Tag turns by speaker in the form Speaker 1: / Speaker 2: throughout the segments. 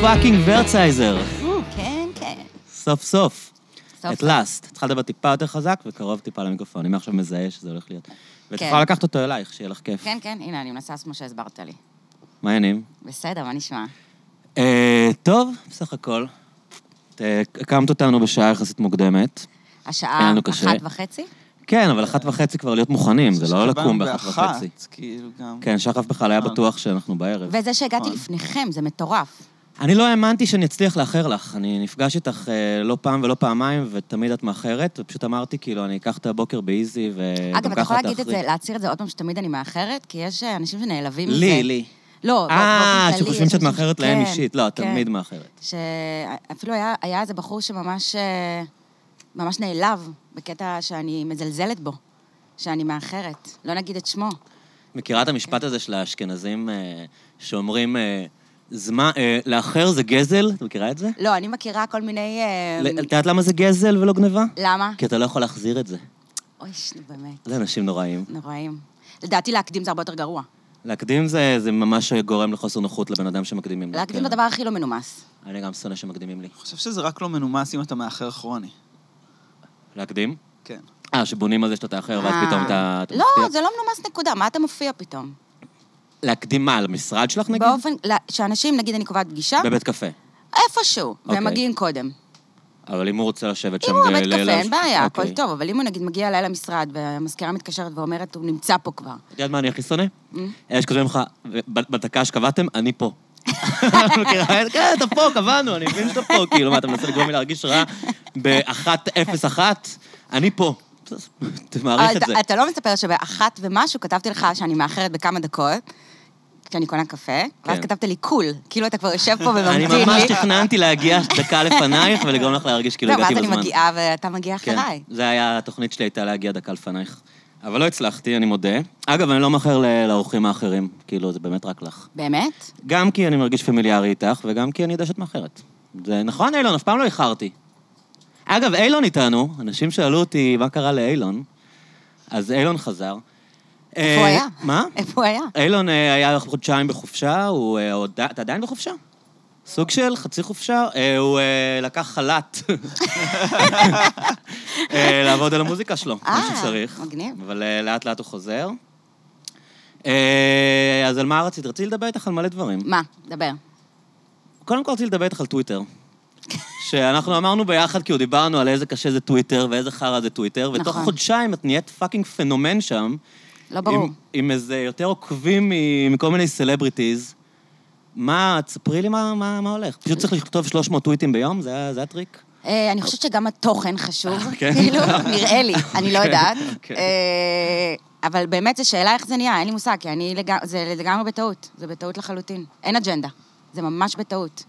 Speaker 1: פאקינג ורצייזר.
Speaker 2: כן, כן.
Speaker 1: סוף סוף.
Speaker 2: סוף
Speaker 1: את לאסט. צריכה לדבר טיפה יותר חזק וקרוב טיפה למיקרופון. אני מעכשיו מזהה שזה הולך להיות. ואת
Speaker 2: כן.
Speaker 1: יכולה לקחת אותו אלייך, שיהיה לך כיף.
Speaker 2: כן, כן, הנה, אני מנסה כמו שהסברת לי.
Speaker 1: מה העניינים?
Speaker 2: בסדר, מה נשמע?
Speaker 1: אה, טוב, בסך הכל. את, אה, הקמת אותנו בשעה יחסית מוקדמת. היה
Speaker 2: השעה
Speaker 1: לנו קשה.
Speaker 2: אחת וחצי?
Speaker 1: כן, אבל אחת וחצי כבר להיות מוכנים, זה לא לקום באחת וחצי.
Speaker 3: כאילו גם.
Speaker 1: כן, שחף בכלל היה
Speaker 2: אה.
Speaker 3: נכון.
Speaker 1: בטוח שאנחנו בערב.
Speaker 2: וזה שהגעתי
Speaker 3: נכון.
Speaker 2: לפניכם, זה מטורף.
Speaker 1: אני לא האמנתי שאני אצליח לאחר לך. אני נפגש איתך אה, לא פעם ולא פעמיים, ותמיד את מאחרת, ופשוט אמרתי, כאילו, אני אקח את הבוקר באיזי, וגם ככה
Speaker 2: אגב, אה, אתה יכול להגיד את זה,
Speaker 1: אחרי.
Speaker 2: להצהיר את זה עוד פעם שתמיד אני מאחרת? כי יש אה, אנשים שנעלבים מזה.
Speaker 1: לי, לי.
Speaker 2: לא, באופן
Speaker 1: אה,
Speaker 2: כללי,
Speaker 1: שחושבים
Speaker 2: יש
Speaker 1: שאת
Speaker 2: אנשים-
Speaker 1: מאחרת להם
Speaker 2: כן,
Speaker 1: אישית. לא, את
Speaker 2: כן.
Speaker 1: תמיד מאחרת.
Speaker 2: שאפילו היה, היה איזה בחור שממש אה, ממש נעלב בקטע שאני מזלזלת בו, שאני מאחרת. לא נגיד את שמו.
Speaker 1: מכירה את המשפט הזה של האשכנזים אה, שאומרים, אה, זמן- אה, לאחר זה גזל? את מכירה את זה?
Speaker 2: לא, אני מכירה כל מיני... אה,
Speaker 1: ל- את יודעת למה זה גזל ולא גניבה?
Speaker 2: למה?
Speaker 1: כי אתה לא יכול להחזיר את זה.
Speaker 2: אוי, ש- נו, באמת,
Speaker 1: זה אנשים נוראים.
Speaker 2: נוראים. לדעתי להקדים זה הרבה יותר גרוע.
Speaker 1: להקדים זה, זה ממש גורם לחוסר נוחות לבן אדם שמקדימים לו.
Speaker 2: להקדים
Speaker 1: כן.
Speaker 2: זה הדבר הכי לא מנומס.
Speaker 1: אני גם שונא שמקדימים לי.
Speaker 3: אני חושב שזה רק לא מנומס אם אתה מאחר כרוני.
Speaker 1: להקדים?
Speaker 3: כן.
Speaker 1: אה, שבונים על זה שאתה תאחר, ואז
Speaker 2: אה.
Speaker 1: פתאום אתה אתה
Speaker 2: לא,
Speaker 1: מפתיע.
Speaker 2: זה לא מנומס נקודה, מה אתה מופיע פתאום?
Speaker 1: להקדים מה, למשרד שלך נגיד?
Speaker 2: באופן, לא, שאנשים, נגיד אני קובעת פגישה,
Speaker 1: בבית קפה.
Speaker 2: איפשהו,
Speaker 1: אוקיי.
Speaker 2: והם מגיעים קודם.
Speaker 1: אבל אם הוא רוצה לשבת שם...
Speaker 2: אם הוא
Speaker 1: ב-
Speaker 2: עומד קפה,
Speaker 1: לילה-
Speaker 2: אין בעיה, הכל
Speaker 1: אוקיי.
Speaker 2: טוב, אבל אם הוא נגיד מגיע אליי למשרד, והמזכירה מתקשרת ואומרת, הוא נמצא פה כבר.
Speaker 1: את יודעת מה אני הכי שונא?
Speaker 2: Mm.
Speaker 1: אלה שכותבים לך, "ב- בדקה שקבעתם, אני פה. את מכירה את זה? כן, אתה פה, קבענו, אני מבין שאתה פה. כאילו, מה, אתה מנסה לגרום לי להרגיש רע ב-1.01? אני פה. תמעריך את
Speaker 2: אתה-
Speaker 1: זה.
Speaker 2: אתה לא מספר שבאחת ומשהו כתבתי לך שאני מאחרת בכמה דקות, כשאני קונה קפה, ואז
Speaker 1: כן.
Speaker 2: כתבת לי קול, כאילו אתה כבר יושב פה
Speaker 1: אני
Speaker 2: וממתין לי.
Speaker 1: ממש תכננתי להגיע דקה לפנייך ולגרום לך להרגיש כאילו
Speaker 2: לא,
Speaker 1: הגעתי
Speaker 2: ואז
Speaker 1: בזמן.
Speaker 2: אני מגיעה ואתה מגיע
Speaker 1: כן,
Speaker 2: אחריי.
Speaker 1: זה היה, התוכנית שלי הייתה להגיע דקה לפנייך. אבל לא הצלחתי, אני מודה. אגב, אני לא מאחר ל- לאורחים האחרים, כאילו, זה באמת רק לך.
Speaker 2: באמת?
Speaker 1: גם כי אני מרגיש פמיליארי איתך, וגם כי אני יודע שאת מאחרת. זה נכון, אילון, אף פעם לא איחרתי. אגב, אילון איתנו, אנשים שאלו אותי מה קרה לאילון, אז אילון חזר. אה,
Speaker 2: איפה הוא היה?
Speaker 1: מה?
Speaker 2: איפה הוא היה?
Speaker 1: אילון אה, היה חודשיים בחופשה, הוא אה, עוד... אתה עדיין בחופשה? סוג של חצי חופשה? אה, הוא אה, לקח חל"ת אה, לעבוד על המוזיקה שלו, כמו
Speaker 2: אה,
Speaker 1: שצריך.
Speaker 2: מגניב.
Speaker 1: אבל אה, לאט לאט הוא חוזר. אה, אז על מה רצית? רציתי לדבר איתך על מלא דברים.
Speaker 2: מה? דבר.
Speaker 1: קודם כל רציתי לדבר איתך על טוויטר. שאנחנו אמרנו ביחד, כאילו דיברנו על איזה קשה זה טוויטר ואיזה חרא זה טוויטר, ותוך
Speaker 2: נכון.
Speaker 1: חודשיים את נהיית פאקינג פנומן שם.
Speaker 2: לא ברור.
Speaker 1: עם, עם איזה יותר עוקבים מ- מכל מיני סלבריטיז. מה, תספרי לי מה, מה, מה הולך. פשוט צריך לכתוב 300 טוויטים ביום? זה, ה- זה הטריק?
Speaker 2: אה, אני חושבת שגם התוכן חשוב,
Speaker 1: אה, כן?
Speaker 2: כאילו, נראה לי, אני לא יודעת.
Speaker 1: כן.
Speaker 2: אה, אבל באמת, זו שאלה איך זה נהיה, אין לי מושג, כי אני לגמרי, זה לגמרי בטעות, זה בטעות לחלוטין. אין אג'נדה, זה ממש בטעות.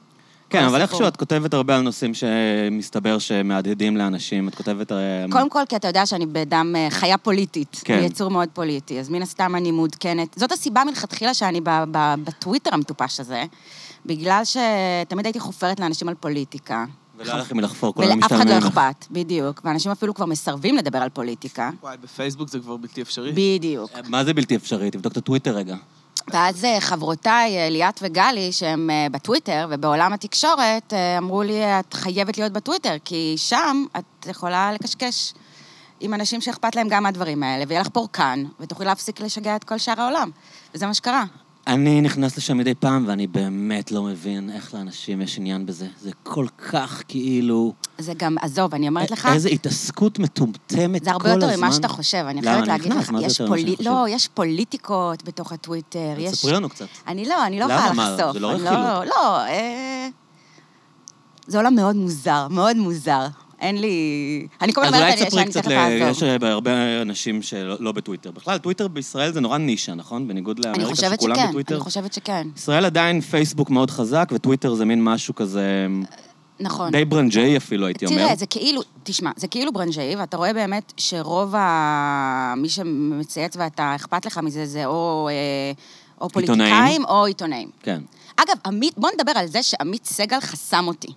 Speaker 1: כן, אבל
Speaker 2: הסיפור.
Speaker 1: איכשהו את כותבת הרבה על נושאים שמסתבר שמהדהדים לאנשים. את כותבת... אה,
Speaker 2: קודם כל, כי אתה יודע שאני בדם אה, חיה פוליטית,
Speaker 1: כן.
Speaker 2: אמ- כן. יצור מאוד פוליטי, אז מן הסתם אני מעודכנת. זאת הסיבה מלכתחילה שאני ב- ב- בטוויטר המטופש הזה, בגלל שתמיד הייתי חופרת לאנשים על פוליטיקה.
Speaker 1: ולא היה לכם מלחפור, כולם
Speaker 2: ולאף אחד
Speaker 1: משתלמים
Speaker 2: לא
Speaker 1: לך.
Speaker 2: אכפת, בדיוק. ואנשים אפילו כבר מסרבים לדבר על פוליטיקה.
Speaker 3: וואי, בפייסבוק זה כבר בלתי אפשרי.
Speaker 2: בדיוק.
Speaker 1: אה, מה זה בלתי אפשרי? תבדוק את הטוויטר רגע.
Speaker 2: ואז אה, חברותיי, אה, ליאת וגלי, שהם אה, בטוויטר ובעולם התקשורת, אה, אמרו לי, את חייבת להיות בטוויטר, כי שם את יכולה לקשקש עם אנשים שאכפת להם גם מהדברים האלה, ויהיה לך פורקן, ותוכלי להפסיק לשגע את כל שאר העולם. וזה מה שקרה.
Speaker 1: אני נכנס לשם מדי פעם, ואני באמת לא מבין איך לאנשים יש עניין בזה. זה כל כך כאילו...
Speaker 2: זה גם, עזוב, אני אומרת לך,
Speaker 1: איזו התעסקות מטומטמת אה, כל הזמן.
Speaker 2: זה הרבה יותר ממה שאתה חושב,
Speaker 1: למה,
Speaker 2: אני חייבת
Speaker 1: אני
Speaker 2: להגיד
Speaker 1: נכנס?
Speaker 2: לך,
Speaker 1: מה זה
Speaker 2: יש
Speaker 1: יותר ממה שאני
Speaker 2: פולי-
Speaker 1: חושב?
Speaker 2: לא, יש פוליטיקות בתוך הטוויטר, יש...
Speaker 1: ספרי לנו קצת.
Speaker 2: אני לא, אני לא
Speaker 1: למה?
Speaker 2: יכולה
Speaker 1: מה,
Speaker 2: לחשוף.
Speaker 1: זה לא
Speaker 2: אני
Speaker 1: רכילות.
Speaker 2: לא, אה, זה עולם מאוד מוזר, מאוד מוזר. אין לי... אני כל הזמן
Speaker 1: אז אולי
Speaker 2: אומרת שאני-
Speaker 1: תספרי
Speaker 2: שאני
Speaker 1: קצת,
Speaker 2: צריך
Speaker 1: ל... יש
Speaker 2: לעזור.
Speaker 1: הרבה אנשים שלא לא בטוויטר. בכלל, טוויטר בישראל זה נורא נישה, נכון? בניגוד
Speaker 2: אני
Speaker 1: לאמריקה
Speaker 2: חושבת
Speaker 1: שכולם
Speaker 2: שכן,
Speaker 1: בטוויטר.
Speaker 2: אני חושבת שכן.
Speaker 1: ישראל עדיין פייסבוק מאוד חזק, וטוויטר זה מין משהו כזה
Speaker 2: נכון.
Speaker 1: די ברנג'אי אפילו, הייתי אומר.
Speaker 2: תראה, זה כאילו, תשמע, זה כאילו ברנז'אי, ואתה רואה באמת שרוב ה... מי שמצייץ ואתה אכפת לך מזה, זה או, אה, או
Speaker 1: עיתונאים.
Speaker 2: פוליטיקאים או עיתונאים.
Speaker 1: כן.
Speaker 2: אגב, עמית, בוא נדבר על זה שעמית סגל חסם אותי.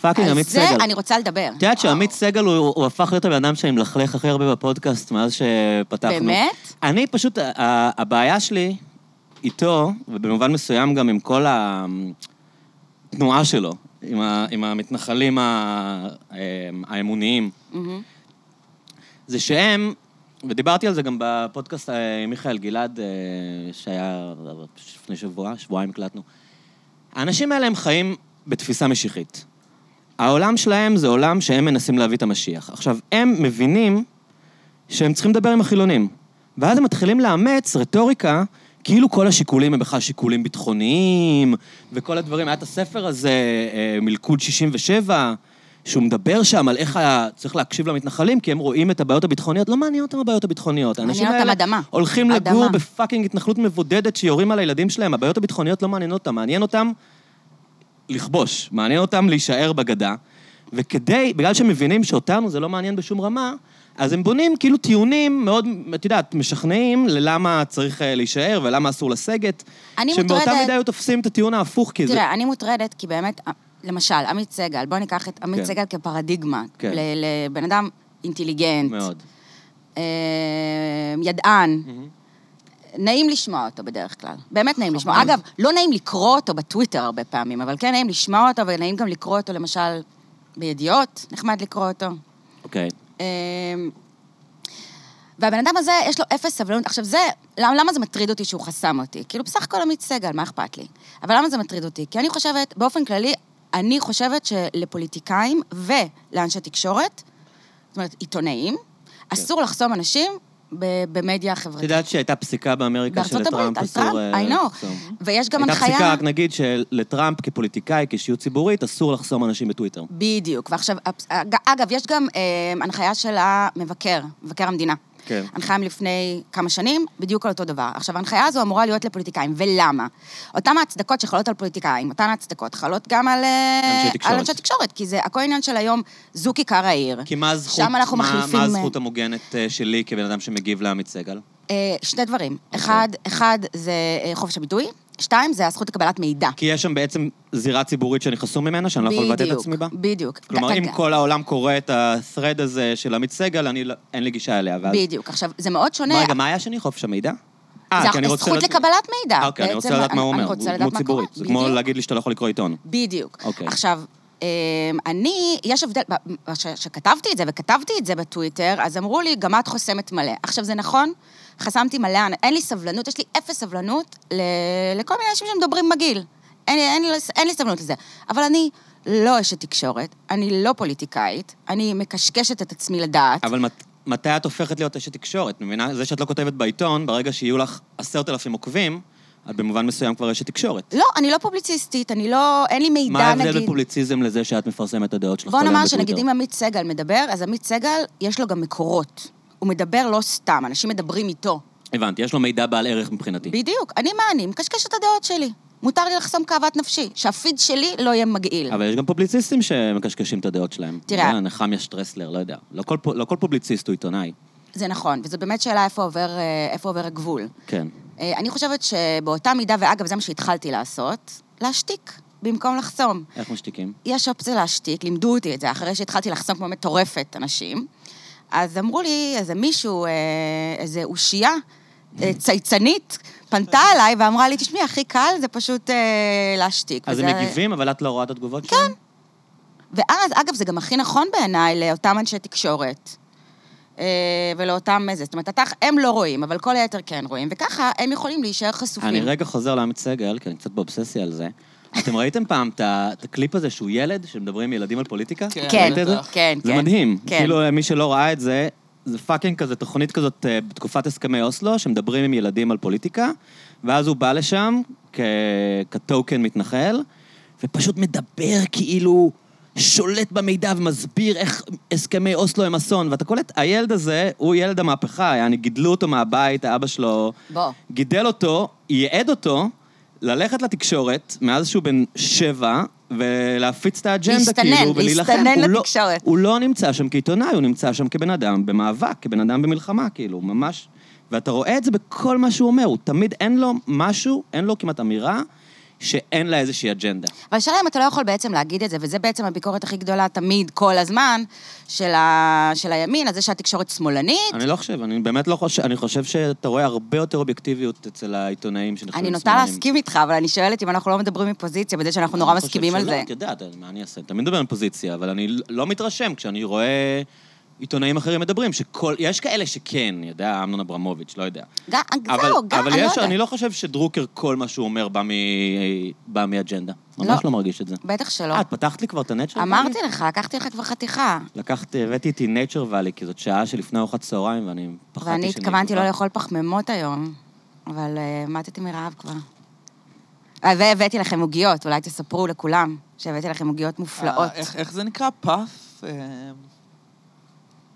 Speaker 1: פאקינג
Speaker 2: על
Speaker 1: אוקיי, עמית
Speaker 2: זה
Speaker 1: סגל. כן.
Speaker 2: אני רוצה לדבר.
Speaker 1: את יודעת שעמית סגל הוא הוא הפך להיות הבן אדם שאני מלכלך הכי הרבה בפודקאסט מאז שפתחנו.
Speaker 2: באמת?
Speaker 1: אני פשוט, ה- ה- הבעיה שלי איתו, ובמובן מסוים גם עם כל ה... התנועה שלו, עם, ה, עם המתנחלים ה, אמ, האמוניים,
Speaker 2: מהמם.
Speaker 1: זה שהם, ודיברתי על זה גם בפודקאסט אה, עם מיכאל גלעד, אה, שהיה לפני שבוע, שבועיים הקלטנו. האנשים האלה הם חיים בתפיסה משיחית. העולם שלהם זה עולם שהם מנסים להביא את המשיח. עכשיו, הם מבינים שהם צריכים לדבר עם החילונים. ואז הם מתחילים לאמץ רטוריקה, כאילו כל השיקולים הם בכלל שיקולים ביטחוניים, וכל הדברים. היה את הספר הזה, אה, מלכוד 67, שהוא מדבר שם על איך ה... צריך להקשיב למתנחלים, כי הם רואים את הבעיות הביטחוניות. לא מעניין אותם הבעיות הביטחוניות. האנשים
Speaker 2: מעניין אותם
Speaker 1: האלה
Speaker 2: אדמה.
Speaker 1: הולכים
Speaker 2: אדמה.
Speaker 1: לגור בפאקינג התנחלות מבודדת שיורים על הילדים שלהם. הבעיות הביטחוניות לא מעניינות אותם. מעניין אותם לכבוש, מעניין אותם להישאר בגדה, וכדי, בגלל שהם מבינים שאותנו זה לא מעניין בשום רמה, אז הם בונים כאילו טיעונים מאוד, את יודעת, משכנעים ללמה צריך אה, להישאר ולמה אסור לסגת.
Speaker 2: אני
Speaker 1: שבאותה
Speaker 2: מוטרדת-
Speaker 1: מידה היו תופסים את הטיעון ההפוך, כי זה...
Speaker 2: תראה, אני מוטרדת, כי באמת, אה, למשל, עמית סגל, בואו ניקח את עמית
Speaker 1: כן.
Speaker 2: סגל כפרדיגמה.
Speaker 1: כן.
Speaker 2: ל- לבן אדם אינטליגנט.
Speaker 1: מאוד.
Speaker 2: אה, ידען. נעים לשמוע אותו בדרך כלל, באמת נעים לשמוע. אגב, לא נעים לקרוא אותו בטוויטר הרבה פעמים, אבל כן נעים לשמוע אותו, ונעים גם לקרוא אותו למשל בידיעות, נחמד לקרוא אותו.
Speaker 1: אוקיי.
Speaker 2: אמ, והבן אדם הזה, יש לו אפס סבלנות. עכשיו, זה, למה, למה זה מטריד אותי שהוא חסם אותי? כאילו, בסך הכל עמית סגל, מה אכפת לי? אבל למה זה מטריד אותי? כי אני חושבת, באופן כללי, אני חושבת שלפוליטיקאים ולאנשי תקשורת, זאת אומרת, עיתונאים, אסור לחסום אנשים ב- במדיה
Speaker 1: כן. את
Speaker 2: החברתית.
Speaker 1: יודעת שהייתה פסיקה באמריקה
Speaker 2: בארצות הברית,
Speaker 1: שלטראמפ
Speaker 2: על
Speaker 1: אסור...
Speaker 2: טראמפ,
Speaker 1: אה,
Speaker 2: I know.
Speaker 1: לחסום.
Speaker 2: ויש גם
Speaker 1: הייתה
Speaker 2: הנחיה...
Speaker 1: פסיקה, רק נגיד, שלטראמפ כפוליטיקאי, כשאיות ציבורית, אסור לחסום אנשים בטוויטר.
Speaker 2: בדיוק. ועכשיו, הפס- אג- אגב, יש גם אה, הנחיה של המבקר, מבקר המדינה.
Speaker 1: כן.
Speaker 2: הנחיה מלפני כמה שנים, בדיוק על אותו דבר. עכשיו, ההנחיה הזו אמורה להיות לפוליטיקאים, ולמה? אותן ההצדקות שחלות על פוליטיקאים, אותן ההצדקות חלות גם על אה,
Speaker 1: אנשי תקשורת.
Speaker 2: על אנשי תקשורת, כי זה הכל עניין של היום, זו כיכר העיר.
Speaker 1: כי מה הזכות,
Speaker 2: שם אנחנו
Speaker 1: מה,
Speaker 2: מחליפים,
Speaker 1: מה
Speaker 2: אה,
Speaker 1: הזכות המוגנת אה, שלי כבן אדם שמגיב לעמית סגל?
Speaker 2: אה, שני דברים. אחד, אחד זה אה, חופש הביטוי, שתיים, זה הזכות לקבלת מידע.
Speaker 1: כי יש שם בעצם זירה ציבורית שאני חסום ממנה, שאני לא יכול לבטא את
Speaker 2: בדיוק,
Speaker 1: עצמי בה.
Speaker 2: בדיוק. כן,
Speaker 1: כלומר,
Speaker 2: אתה-
Speaker 1: אם כל העולם קורא את ה-thread הזה של עמית סגל, אני לא- אין לי גישה אליה, ואז...
Speaker 2: בדיוק. עכשיו, זה מאוד שונה.
Speaker 1: מה, רגע, מה היה שני? חופש המידע? אה, כי אני
Speaker 2: זה
Speaker 1: רוצה
Speaker 2: זכות
Speaker 1: לדעת-
Speaker 2: לקבלת מידע.
Speaker 1: אה, אוקיי, אני רוצה
Speaker 2: בעצם,
Speaker 1: לדעת מה הוא
Speaker 2: אני-
Speaker 1: אומר.
Speaker 2: אני רוצה
Speaker 1: הוא
Speaker 2: לדעת
Speaker 1: דמות
Speaker 2: מה קורה.
Speaker 1: ציבורית. זה כמו
Speaker 2: בדיוק.
Speaker 1: להגיד לי שאתה לא יכול לקרוא עיתון.
Speaker 2: בדיוק.
Speaker 1: אוקיי.
Speaker 2: עכשיו, אמ, אני, יש הבדל, כשכתבתי את זה, וכתבתי את זה בטוויטר, אז אמרו לי, גם את חוסמת מלא. עכשיו, זה נכון, חסמתי מלא, אנ- אין לי סבלנות, יש לי אפס סבלנות ל- לכל מיני אנשים שמדברים מגעיל. אין, אין, לי- אין לי סבלנות לזה. אבל אני לא אשת תקשורת, אני לא פוליטיקאית, אני מקשקשת את עצמי לדעת.
Speaker 1: אבל מת- מתי את הופכת להיות אשת תקשורת? מבינה? זה שאת לא כותבת בעיתון, ברגע שיהיו לך עשרת אלפים עוקבים, את במובן מסוים כבר אשת תקשורת.
Speaker 2: לא, אני לא פובליציסטית, אני לא, אין לי מידע, נגיד.
Speaker 1: מה ההבדל בין פובליציזם לזה שאת מפרסמת את הדעות שלך כל
Speaker 2: בוא
Speaker 1: היום
Speaker 2: נאמר
Speaker 1: בטוויטר?
Speaker 2: שנגיד אם עמית סגל מדבר, אז עמית סגל, יש לו גם מקורות. הוא מדבר לא סתם, אנשים מדברים איתו.
Speaker 1: הבנתי, יש לו מידע בעל ערך מבחינתי.
Speaker 2: בדיוק, אני מה אני? מקשקש את הדעות שלי. מותר לי לחסום כאוות נפשי, שהפיד שלי לא יהיה מגעיל.
Speaker 1: כן. אבל יש גם פובליציסטים שמקשקשים את הדעות שלהם.
Speaker 2: תראה.
Speaker 1: אתה יודע, נחמיה שטרסלר, לא יודע. לא כל, פו- לא כל פובליציסט הוא עיתונאי.
Speaker 2: זה נכון, וזו באמת שאלה איפה עובר, אה, איפה עובר הגבול.
Speaker 1: כן.
Speaker 2: אה, אני חושבת שבאותה מידה, ואגב, זה מה שהתחלתי לעשות, להשתיק, במקום לחסום.
Speaker 1: איך משתיקים?
Speaker 2: יש אופציה להשתיק, לימדו אותי את זה, אחרי שהתחלתי לחסום כמו מטורפת אנשים. אז אמרו לי, איזה מישהו, אה, איזה אושייה, אה, צייצנית, פנתה
Speaker 1: אוקיי.
Speaker 2: אליי ואמרה לי, תשמעי, הכי קל זה פשוט אה, להשתיק.
Speaker 1: אז הם
Speaker 2: וזה-
Speaker 1: מגיבים, אבל את לא רואה את התגובות שלהם? כן.
Speaker 2: ואז, אגב, זה גם הכי נכון בעיניי לאותם אנשי תקשורת. אה, ולאותם איזה, זאת אומרת, אתה, הם לא רואים, אבל כל היתר כן רואים, וככה הם יכולים להישאר חשופים.
Speaker 1: אני רגע חוזר לעמית סגל, כי אני קצת באובססיה על זה. אתם ראיתם פעם את ה- את הקליפ הזה שהוא ילד, שמדברים עם ילדים על פוליטיקה?
Speaker 3: כן,
Speaker 2: כן,
Speaker 1: ראית את זה?
Speaker 2: כן,
Speaker 1: זה
Speaker 2: כן.
Speaker 1: מדהים.
Speaker 2: כן.
Speaker 1: כאילו, מי שלא ראה את זה, זה פאקינג כזה, תוכנית כזאת אה, בתקופת הסכמי אוסלו, שמדברים עם ילדים על פוליטיקה, ואז הוא בא לשם כ- כטוקן מתנחל, ופשוט מדבר כאילו... שולט במידע ומסביר איך הסכמי אוסלו הם אסון. ואתה קולט, הילד הזה הוא ילד המהפכה, יעני, גידלו אותו מהבית, האבא שלו
Speaker 2: בוא.
Speaker 1: גידל אותו, ייעד אותו, ללכת לתקשורת מאז שהוא בן שבע, ולהפיץ את האג'נדה,
Speaker 2: להסתנן,
Speaker 1: כאילו, ולהילחם.
Speaker 2: להסתנן
Speaker 1: הוא לא-
Speaker 2: לתקשורת.
Speaker 1: הוא לא נמצא שם כעיתונאי, הוא נמצא שם כבן אדם במאבק, כבן אדם במלחמה, כאילו, ממש. ואתה רואה את זה בכל מה שהוא אומר, הוא תמיד אין לו משהו, אין לו כמעט אמירה. שאין לה איזושהי אג'נדה.
Speaker 2: אבל השאלה אם אתה לא יכול בעצם להגיד את זה, וזה בעצם הביקורת הכי גדולה תמיד, כל הזמן, של, ה... של הימין, על זה שהתקשורת שמאלנית.
Speaker 1: אני לא חושב, אני באמת לא חושב, אני חושב שאתה רואה הרבה יותר אובייקטיביות אצל העיתונאים שנחשבים
Speaker 2: אני נוטה
Speaker 1: שמאלנים.
Speaker 2: להסכים איתך, אבל אני שואלת אם אנחנו לא מדברים מפוזיציה, בזה שאנחנו נורא
Speaker 1: אני חושב
Speaker 2: מסכימים על
Speaker 1: שלא, כן.
Speaker 2: זה.
Speaker 1: את יודעת, מה אני אעשה? תמיד מדבר על פוזיציה, אבל אני לא מתרשם כשאני רואה עיתונאים אחרים מדברים, שכל... יש כאלה שכן, אני יודע, אמנון אברמוביץ', לא יודע.
Speaker 2: גם, זהו, גם,
Speaker 1: אבל
Speaker 2: אני
Speaker 1: יש,
Speaker 2: לא
Speaker 1: אני
Speaker 2: יודעת.
Speaker 1: לא חושב שדרוקר, כל מה שהוא אומר בא, מ... בא מאג'נדה. ממש
Speaker 2: לא.
Speaker 1: לא. מרגיש את זה.
Speaker 2: בטח שלא.
Speaker 1: אה, את פתחת לי כבר את הנט שלך?
Speaker 2: אמרתי לך, לקחתי לך כבר חתיכה.
Speaker 1: לקחת, הבאתי איתי nature valley, כי זאת שעה שלפני ארוחת צהריים, ואני פחדתי שאני...
Speaker 2: ואני התכוונתי לא
Speaker 1: אקבע.
Speaker 2: לאכול פחמימות היום, אבל אה, מתתי מרעב כבר. אה, והבאתי לכם עוגיות, אולי תספרו לכולם שהבאתי לכם עוגיות מופלאות.
Speaker 3: אה, איך- איך זה נקרא? פאף? אה,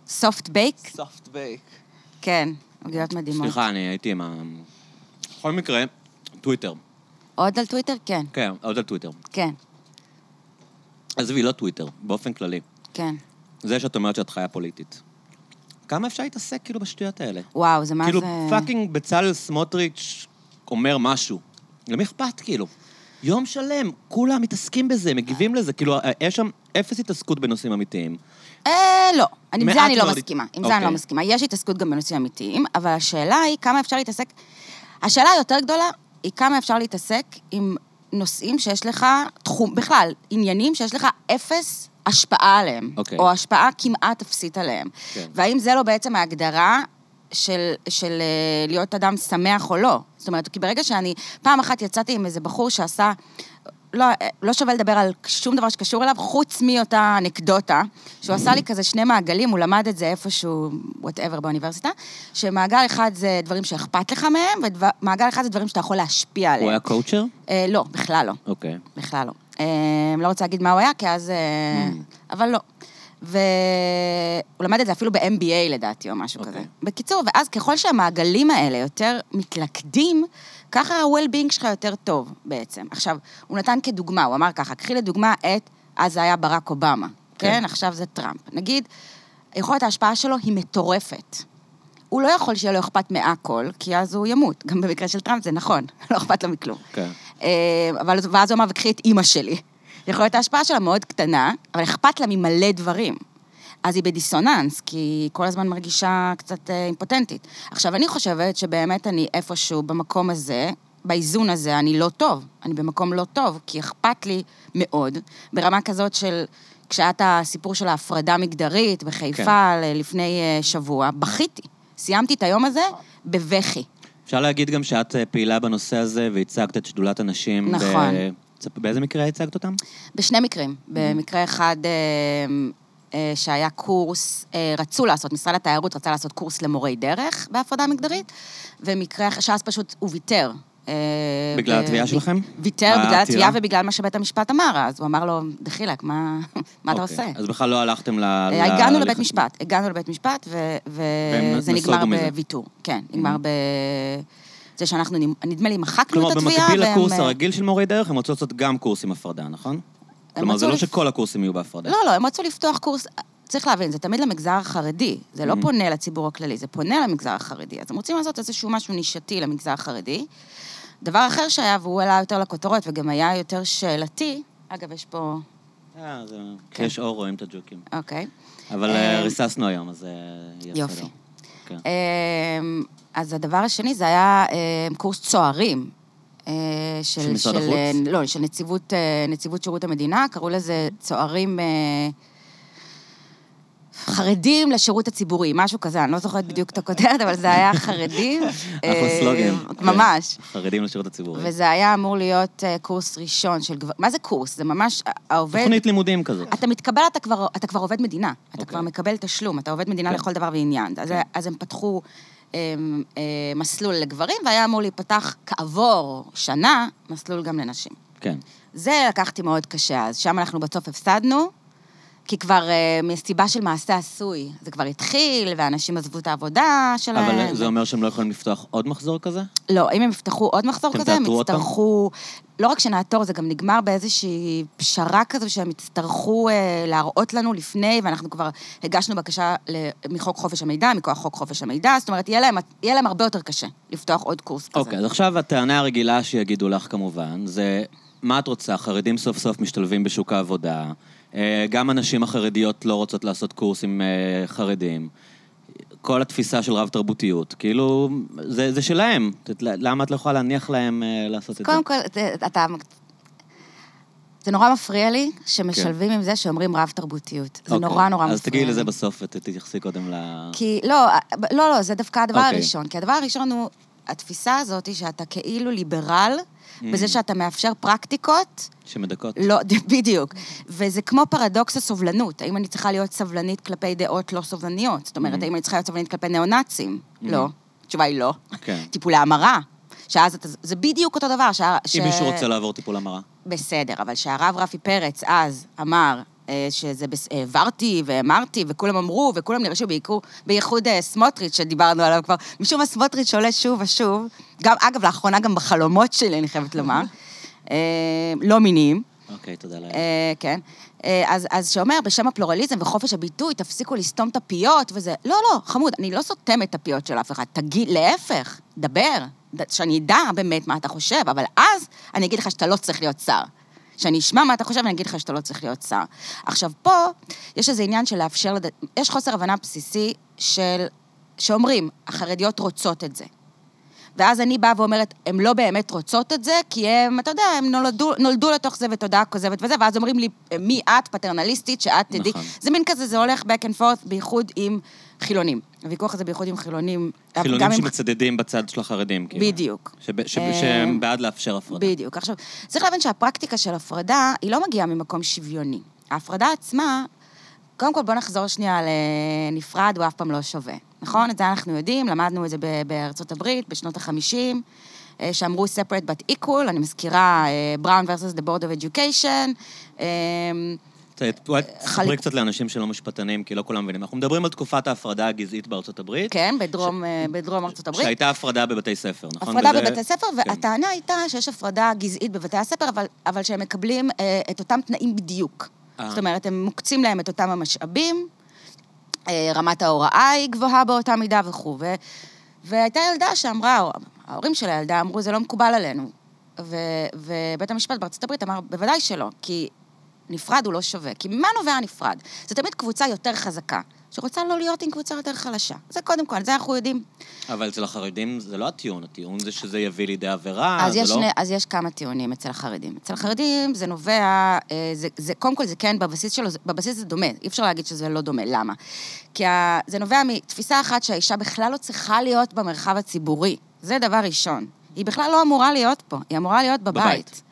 Speaker 2: סופט בייק?
Speaker 3: סופט בייק.
Speaker 2: כן, עוגיות מדהימות.
Speaker 1: סליחה, אני הייתי עם ה... בכל מקרה, טוויטר.
Speaker 2: עוד על טוויטר? כן,
Speaker 1: כן, עוד על טוויטר.
Speaker 2: כן,
Speaker 1: עזבי, לא טוויטר, באופן כללי.
Speaker 2: כן.
Speaker 1: זה שאת אומרת שאת חיה פוליטית. כמה אפשר להתעסק כאילו בשטויות האלה?
Speaker 2: וואו, זה מה
Speaker 1: כאילו,
Speaker 2: זה...
Speaker 1: פאקינג בצלאל סמוטריץ' אומר משהו. למי אכפת כאילו? יום שלם, כולם מתעסקים בזה, מגיבים לזה, כאילו, אה, יש שם אפס התעסקות בנושאים אמיתיים.
Speaker 2: אה, לא. אני, עם
Speaker 1: מעט
Speaker 2: זה אני לא
Speaker 1: מאוד.
Speaker 2: מסכימה. עם זה אני לא
Speaker 1: אוקיי.
Speaker 2: מסכימה. יש התעסקות גם בנושאים אמיתיים, אבל השאלה היא כמה אפשר להתעסק... השאלה היותר גדולה היא כמה אפשר להתעסק עם נושאים שיש לך, תחום, בכלל, עניינים שיש לך אפס השפעה עליהם,
Speaker 1: אוקיי.
Speaker 2: או השפעה כמעט אפסית עליהם.
Speaker 1: כן.
Speaker 2: והאם זה לא בעצם ההגדרה של, של אה, להיות אדם שמח או לא? זאת אומרת, כי ברגע שאני, פעם אחת יצאתי עם איזה בחור שעשה, לא, אה, לא שווה לדבר על שום דבר שקשור אליו, חוץ מאותה אנקדוטה, שהוא עשה לי כזה שני מעגלים, הוא למד את זה איפשהו, וואטאבר, באוניברסיטה, שמעגל אחד זה דברים שאכפת לך מהם, ומעגל אחד זה דברים שאתה יכול להשפיע עליהם.
Speaker 1: הוא היה קואוצ'ר?
Speaker 2: אה, לא, בכלל לא.
Speaker 1: אוקיי.
Speaker 2: בכלל לא. אה, לא רוצה להגיד מה הוא היה, כי אז... אה,
Speaker 1: Mm.
Speaker 2: אבל לא. והוא למד את זה אפילו ב-MBA לדעתי, או משהו
Speaker 1: אוקיי.
Speaker 2: כזה. בקיצור, ואז ככל שהמעגלים האלה יותר מתלכדים, ככה ה-well-being שלך יותר טוב בעצם. עכשיו, הוא נתן כדוגמה, הוא אמר ככה, קחי לדוגמה את, אז זה היה ברק אובמה, כן?
Speaker 1: כן.
Speaker 2: כן? עכשיו זה טראמפ. נגיד, יכולת ההשפעה שלו היא מטורפת. הוא לא יכול שיהיה לו אכפת מהכל, כי אז הוא ימות. גם במקרה של טראמפ זה נכון, לא אכפת לו מכלום.
Speaker 1: כן.
Speaker 2: אה, אבל, ואז הוא אמר, וקחי את אימא שלי. יכולת ההשפעה שלה מאוד קטנה, אבל אכפת לה ממלא דברים. אז היא בדיסוננס, כי היא כל הזמן מרגישה קצת אה, אימפוטנטית. עכשיו, אני חושבת שבאמת אני איפשהו במקום הזה, באיזון הזה, אני לא טוב. אני במקום לא טוב, כי אכפת לי מאוד, ברמה כזאת של... כשהיה את הסיפור של ההפרדה מגדרית בחיפה כן. לפני אה, שבוע, בכיתי. סיימתי את היום הזה בבכי.
Speaker 1: אפשר להגיד גם שאת אה, פעילה בנושא הזה, והצגת את שדולת הנשים. ב-
Speaker 2: נכון.
Speaker 1: צפ- באיזה מקרה הצגת אותם?
Speaker 2: בשני מקרים.
Speaker 1: Mm-hmm.
Speaker 2: במקרה אחד אה, אה, שהיה קורס, אה, רצו לעשות, משרד התיירות רצה לעשות קורס למורי דרך בהפרדה מגדרית, ומקרה אחר, שאז פשוט הוא ויתר. אה,
Speaker 1: בגלל
Speaker 2: ב-
Speaker 1: התביעה
Speaker 2: ב-
Speaker 1: שלכם?
Speaker 2: ויתר בגלל
Speaker 1: העתירה?
Speaker 2: התביעה ובגלל מה שבית המשפט אמר, אז הוא אמר לו, דחילק, מה מה
Speaker 1: אוקיי.
Speaker 2: אתה עושה?
Speaker 1: אז בכלל לא הלכתם ל...
Speaker 2: אה,
Speaker 1: ל-
Speaker 2: הגענו
Speaker 1: ל-
Speaker 2: לבית משפט, הגענו לבית משפט, ו-
Speaker 1: והם
Speaker 2: וזה
Speaker 1: נסוגו
Speaker 2: נגמר
Speaker 1: מזה. Mm-hmm.
Speaker 2: בוויתור. כן, נגמר ב... זה שאנחנו, נמ- נדמה לי, מחקנו
Speaker 1: כלומר,
Speaker 2: את התביעה,
Speaker 1: במקביל
Speaker 2: והם,
Speaker 1: לקורס
Speaker 2: אה,
Speaker 1: הרגיל של מורי דרך, הם רצו לעשות גם קורס עם הפרדה, נכון? כלומר, זה
Speaker 2: רצו
Speaker 1: לא
Speaker 2: לפ-
Speaker 1: שכל הקורסים יהיו בהפרדה.
Speaker 2: לא, לא, הם רצו לפתוח קורס, צריך להבין, זה תמיד למגזר החרדי, זה לא פונה לציבור הכללי, זה פונה למגזר החרדי. אז הם רוצים לעשות איזשהו משהו נישתי למגזר החרדי. דבר אחר שהיה, והוא עלה יותר לכותרות וגם היה יותר שאלתי, אגב, יש פה...
Speaker 1: אה, זה... יש אור, רואים את הג'וקים.
Speaker 2: אוקיי.
Speaker 1: אבל
Speaker 2: אה,
Speaker 1: אה, ריססנו היום, אז אה, יהיה
Speaker 2: יופי.
Speaker 1: בסדר. כן.
Speaker 2: אמ, אז הדבר השני, זה היה אמ, קורס צוערים. אה,
Speaker 1: של משרד החוץ?
Speaker 2: אה, לא, של נציבות, אה, נציבות שירות המדינה, קראו לזה צוערים אה, חרדים לשירות הציבורי, משהו כזה, אני לא זוכרת בדיוק את הכותרת, אבל זה היה חרדים.
Speaker 1: אחלה
Speaker 2: אה,
Speaker 1: סלוגן.
Speaker 2: ממש.
Speaker 1: כן. חרדים לשירות הציבורי.
Speaker 2: וזה היה אמור להיות אה, קורס ראשון של גבר... מה זה קורס? זה ממש... אה, העובד...
Speaker 1: תוכנית לימודים כזאת.
Speaker 2: אתה מתקבל, אתה כבר, אתה כבר עובד מדינה. אתה
Speaker 1: אוקיי.
Speaker 2: כבר מקבל תשלום, אתה עובד מדינה
Speaker 1: כן.
Speaker 2: לכל דבר ועניין. אז, אז הם פתחו אה, אה, מסלול לגברים, והיה אמור להיפתח כעבור שנה מסלול גם לנשים.
Speaker 1: כן.
Speaker 2: זה לקחתי מאוד קשה אז. שם אנחנו בסוף הפסדנו, כי כבר אה, מסיבה של מעשה עשוי. זה כבר התחיל, ואנשים עזבו את העבודה שלהם.
Speaker 1: אבל זה אומר שהם לא יכולים לפתוח עוד מחזור כזה?
Speaker 2: לא, אם הם יפתחו עוד מחזור
Speaker 1: אתם
Speaker 2: כזה, הם
Speaker 1: תעתרו עוד פעם?
Speaker 2: יצטרכו... לא רק שנעתור, זה גם נגמר באיזושהי פשרה כזו שהם יצטרכו אה, להראות לנו לפני, ואנחנו כבר הגשנו בקשה ל- מחוק חופש המידע, מכוח חוק חופש המידע, זאת אומרת, יהיה להם, יהיה להם הרבה יותר קשה לפתוח עוד קורס כזה.
Speaker 1: אוקיי, אז עכשיו הטענה הרגילה שיגידו לך כמובן, זה מה את רוצה, חרדים סוף סוף משתלבים בשוק העבודה, אה, גם הנשים החרדיות לא רוצות לעשות קורסים אה, חרדים. כל התפיסה של רב-תרבותיות, כאילו, זה, זה שלהם. את יודעת, למה את לא יכולה להניח להם אה, לעשות את זה?
Speaker 2: קודם כל, זה- אתה... זה נורא מפריע לי שמשלבים עם זה שאומרים רב-תרבותיות. זה
Speaker 1: כן. אוקיי.
Speaker 2: נורא נורא מפריע לי.
Speaker 1: אז תגיעי לזה בסוף ותתייחסי קודם ל...
Speaker 2: כי, לא, לא, לא, זה דווקא הדבר
Speaker 1: אה. אוקיי.
Speaker 2: הראשון. כי הדבר הראשון הוא התפיסה הזאת היא שאתה כאילו ליברל,
Speaker 1: Mm.
Speaker 2: בזה שאתה מאפשר פרקטיקות,
Speaker 1: שמדכאות.
Speaker 2: לא, בדיוק. וזה כמו פרדוקס הסובלנות. האם אני צריכה להיות סבלנית כלפי דעות לא סובלניות? זאת
Speaker 1: Mm.
Speaker 2: אומרת, האם אני צריכה להיות סבלנית כלפי ניאו-נאצים? לא. התשובה היא לא.
Speaker 1: כן.
Speaker 2: טיפולי המרה. שאז אתה... זה בדיוק אותו דבר. שה- ש...
Speaker 1: אם מישהו רוצה לעבור טיפול המרה.
Speaker 2: בסדר, אבל שהרב רפי פרץ אז אמר אה, שזה, בס- העברתי והאמרתי, וכולם אמרו, וכולם נרשו, בעיקור- בייחוד אה, סמוטריץ', שדיברנו עליו כבר, משום מה סמוטריץ' עולה שוב ושוב, גם, אגב, לאחרונה גם בחלומות שלי, אני חייבת לומר, אה, לא מיניים.
Speaker 1: אוקיי, תודה לאל.
Speaker 2: אה, כן. אה, אז, אז שאומר, בשם הפלורליזם וחופש הביטוי, תפסיקו לסתום את הפיות וזה. לא, לא, חמוד, אני לא סותמת את הפיות של אף אחד. תגיד, להפך, דבר, ד- שאני אדע באמת מה אתה חושב, אבל אז אני אגיד לך שאתה לא צריך להיות שר. שאני אשמע מה אתה חושב, אני אגיד לך שאתה לא צריך להיות שר. עכשיו, פה יש איזה עניין של לאפשר, לד... יש חוסר הבנה בסיסי של... שאומרים, החרדיות רוצות את זה. ואז אני באה ואומרת, הן לא באמת רוצות את זה, כי הן, אתה יודע, הן נולדו, נולדו לתוך זה ותודעה כוזבת וזה, ואז אומרים לי, מי את פטרנליסטית, שאת תדעי.
Speaker 1: נכון.
Speaker 2: זה מין כזה, זה הולך back and forth, בייחוד עם חילונים. הוויכוח הזה בייחוד עם חילונים. אבל
Speaker 1: חילונים
Speaker 2: גם עם-
Speaker 1: שמצדדים בצד של החרדים, כאילו.
Speaker 2: בדיוק.
Speaker 1: שב- שב-
Speaker 2: אה,
Speaker 1: שהם בעד לאפשר הפרדה.
Speaker 2: בדיוק. עכשיו, צריך להבין שהפרקטיקה של הפרדה, היא לא מגיעה ממקום שוויוני. ההפרדה עצמה, קודם כל בוא נחזור שנייה לנפרד, הוא אף פעם לא שווה. נכון? את זה אנחנו יודעים, למדנו את זה ב- בארצות הברית בשנות ה-50, שאמרו separate but equal, אני מזכירה אה, Brown versus the Board of Education. אה,
Speaker 1: ת- אולי תספרי
Speaker 2: חלק-
Speaker 1: קצת לאנשים שלא משפטנים, כי לא כולם מבינים. אנחנו מדברים על תקופת ההפרדה הגזעית בארצות הברית.
Speaker 2: כן, בדרום, אה, בדרום ארצות הברית.
Speaker 1: שהייתה הפרדה בבתי ספר, נכון?
Speaker 2: הפרדה
Speaker 1: וזה-
Speaker 2: בבתי ספר,
Speaker 1: כן.
Speaker 2: והטענה הייתה שיש הפרדה גזעית בבתי הספר, אבל, אבל שהם מקבלים אה, את אותם תנאים בדיוק.
Speaker 1: אה.
Speaker 2: זאת אומרת, הם מוקצים להם את אותם המשאבים, אה, רמת ההוראה היא גבוהה באותה מידה וכו'. ו- והייתה ילדה שאמרה, או ההורים של הילדה אמרו, זה לא מקובל עלינו. ו, ובית המשפט בארצות הברית אמר, בוודאי שלא, כי נפרד הוא לא שווה. כי ממה נובע הנפרד? זה תמיד קבוצה יותר חזקה, שרוצה לא להיות עם קבוצה יותר חלשה. זה קודם כל, זה אנחנו יודעים.
Speaker 1: אבל אצל החרדים זה לא הטיעון, הטיעון זה שזה יביא לידי עבירה,
Speaker 2: אז
Speaker 1: זה
Speaker 2: יש,
Speaker 1: לא...
Speaker 2: שני, אז יש כמה טיעונים אצל החרדים. אצל החרדים זה נובע, אה, זה, זה, קודם כל זה כן, בבסיס שלו, זה- בבסיס זה דומה, אי אפשר להגיד שזה לא דומה, למה? כי ה, זה נובע מתפיסה אחת שהאישה בכלל לא צריכה להיות במרחב הציבורי, זה דבר ראשון. היא בכלל לא אמורה להיות פה, היא אמורה להיות
Speaker 1: בבית.
Speaker 2: בבית.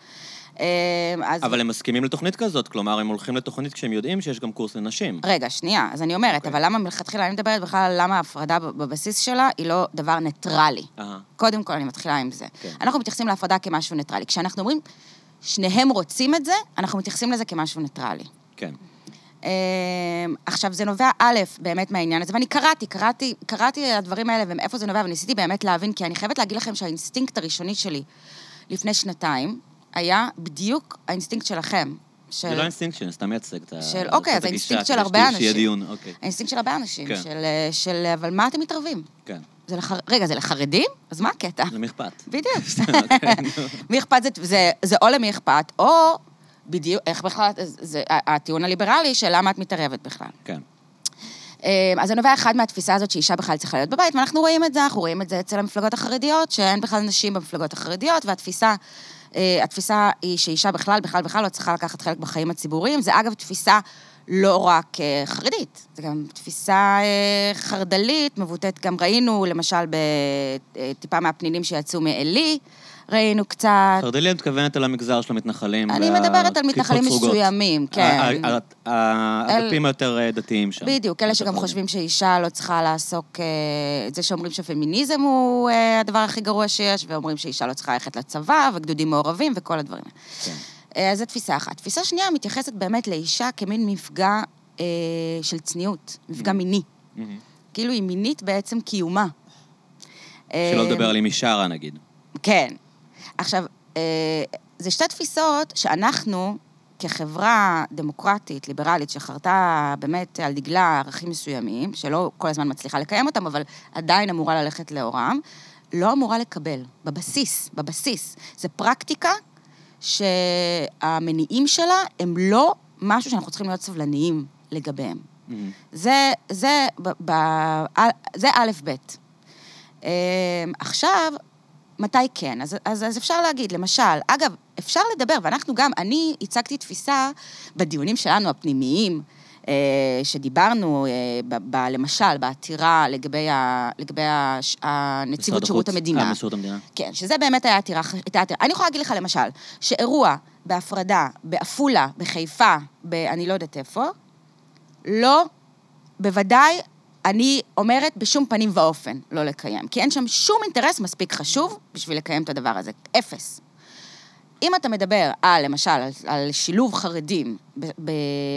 Speaker 2: אה, אז...
Speaker 1: אבל הם מסכימים לתוכנית כזאת, כלומר, הם הולכים לתוכנית כשהם יודעים שיש גם קורס לנשים.
Speaker 2: רגע, שנייה, אז אני אומרת, okay.
Speaker 1: אוקיי.
Speaker 2: אבל למה מלכתחילה, אני מדברת בכלל על למה ההפרדה ב- בבסיס שלה היא לא דבר ניטרלי.
Speaker 1: אהה.
Speaker 2: קודם כל, אני מתחילה עם זה.
Speaker 1: כן.
Speaker 2: אנחנו מתייחסים להפרדה כמשהו ניטרלי. כשאנחנו אומרים, שניהם רוצים את זה, אנחנו מתייחסים לזה כמשהו ניטרלי.
Speaker 1: כן.
Speaker 2: אמ, עכשיו, זה נובע, א', באמת מהעניין הזה, ואני קראתי, קראתי, קראתי על הדברים האלה ומאיפה זה נובע, וניסיתי באמת להבין, כי אני חייבת להגיד לכם שהאינסטינקט הראשוני שלי לפני שנתיים, היה בדיוק האינסטינקט שלכם.
Speaker 1: זה
Speaker 2: של-
Speaker 1: לא אינסטינקט שלי, אני סתם מייצג את ה...
Speaker 2: של-
Speaker 1: זאת
Speaker 2: אוקיי, אז
Speaker 1: הגישה,
Speaker 2: האינסטינקט של
Speaker 1: כדי
Speaker 2: הרבה
Speaker 1: שיהיה- שיהיה
Speaker 2: אנשים.
Speaker 1: דיון, אוקיי,
Speaker 2: האינסטינקט של הרבה אנשים,
Speaker 1: כן.
Speaker 2: של, של אבל מה אתם מתערבים?
Speaker 1: כן.
Speaker 2: זה לחר... רגע, זה לחרדים? אז מה הקטע?
Speaker 1: למי אכפת?
Speaker 2: בדיוק.
Speaker 1: סתם, אוקיי, נו.
Speaker 2: מי אכפת זה, זה, זה או למי אכפת, או בדיוק, איך בכלל, זה הטיעון הליברלי של למה את מתערבת בכלל.
Speaker 1: כן.
Speaker 2: אה, אז זה נובע אחד מהתפיסה הזאת שאישה בכלל צריכה להיות בבית, ואנחנו רואים את זה, אנחנו רואים את זה אצל המפלגות החרדיות, שאין בכלל נשים במפלגות החרדיות, והתפיסה... אה, התפיסה היא שאישה בכלל, בכלל, בכלל לא צריכה לקחת חלק בחיים הציבוריים. זה אגב תפיסה לא רק אה, חרדית, זה גם תפיסה אה, חרד"לית, מבוטאת גם ראינו, למשל, בטיפה מהפנינים שיצאו מעלי, ראינו קצת.
Speaker 1: חרדלי, את מתכוונת על המגזר של המתנחלים.
Speaker 2: אני
Speaker 1: וה-
Speaker 2: מדברת על מתנחלים
Speaker 1: כיפות סרוגות.
Speaker 2: מסוימים, כן.
Speaker 1: ה- ה- ה- האגפים היותר אה, דתיים שם. נכון.
Speaker 2: בדיוק, אלה שגם
Speaker 1: החרדים.
Speaker 2: חושבים שאישה לא צריכה לעסוק, אה, את זה שאומרים שפמיניזם הוא אה, הדבר הכי גרוע שיש, ואומרים שאישה לא צריכה ללכת לצבא, וגדודים מעורבים, וכל הדברים האלה.
Speaker 1: כן.
Speaker 2: אה, אז זו תפיסה אחת. תפיסה שנייה מתייחסת באמת לאישה כמין מפגע אה, של צניעות, מפגע מיני. כאילו היא מינית בעצם קיומה.
Speaker 1: שלא
Speaker 2: אה,
Speaker 1: לדבר על אם היא שרה, נגיד.
Speaker 2: כן. עכשיו, אה, זה שתי תפיסות שאנחנו, כחברה דמוקרטית, ליברלית, שחרתה באמת על דגלה ערכים מסוימים, שלא כל הזמן מצליחה לקיים אותם, אבל עדיין אמורה ללכת לאורם, לא אמורה לקבל, בבסיס, בבסיס. זו פרקטיקה שהמניעים שלה הם לא משהו שאנחנו צריכים להיות סבלניים לגביהם. זה, זה, ב, ב, זה א', ב'. אמ, עכשיו, מתי כן? אז, אז, אז אפשר להגיד, למשל, אגב, אפשר לדבר, ואנחנו גם, אני הצגתי תפיסה בדיונים שלנו, הפנימיים, אה, שדיברנו, אה, ב, ב, למשל, בעתירה לגבי, ה, לגבי הש, הנציבות
Speaker 1: משרד
Speaker 2: שירות
Speaker 1: החוץ.
Speaker 2: המדינה.
Speaker 1: אה, שירות המדינה.
Speaker 2: כן, שזה באמת היה עתירה, ח- הייתה עתירה. אני יכולה להגיד לך, למשל, שאירוע בהפרדה, בעפולה, בחיפה, ב... אני לא יודעת איפה, לא, בוודאי, אני אומרת בשום פנים ואופן לא לקיים. כי אין שם שום אינטרס מספיק חשוב בשביל לקיים את הדבר הזה. אפס. אם אתה מדבר על, למשל, על, על שילוב חרדים ב, ב,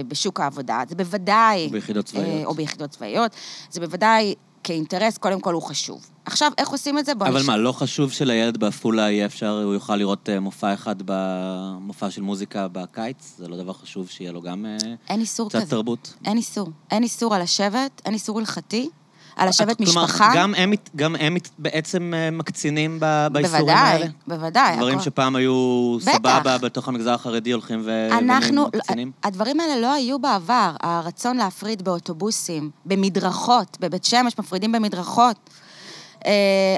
Speaker 2: בשוק העבודה, זה בוודאי...
Speaker 1: ביחידות
Speaker 2: אה,
Speaker 1: צבאיות.
Speaker 2: או ביחידות צבאיות, זה בוודאי כאינטרס, קודם כל הוא חשוב. עכשיו, איך עושים את זה? בוא
Speaker 1: אבל
Speaker 2: נש-
Speaker 1: מה, לא חשוב שלילד בעפולה יהיה אפשר, הוא יוכל לראות אה, מופע אחד במופע של מוזיקה בקיץ? זה לא דבר חשוב שיהיה לו גם אה,
Speaker 2: אין איסור
Speaker 1: קצת
Speaker 2: כזה.
Speaker 1: תרבות?
Speaker 2: אין איסור. אין איסור על השבט, אין איסור הלכתי, על השבט
Speaker 1: כלומר,
Speaker 2: משפחה.
Speaker 1: גם הם, מת- גם הם מת- בעצם אה, מקצינים ב- באיסורים
Speaker 2: בוודאי,
Speaker 1: האלה?
Speaker 2: בוודאי.
Speaker 1: דברים
Speaker 2: הכל.
Speaker 1: שפעם היו
Speaker 2: בטח.
Speaker 1: סבבה בתוך המגזר החרדי הולכים ו-
Speaker 2: אנחנו, לא,
Speaker 1: ומקצינים?
Speaker 2: הדברים האלה לא היו בעבר. הרצון להפריד באוטובוסים, במדרכות, בבית שמש מפרידים במדרכות. אה,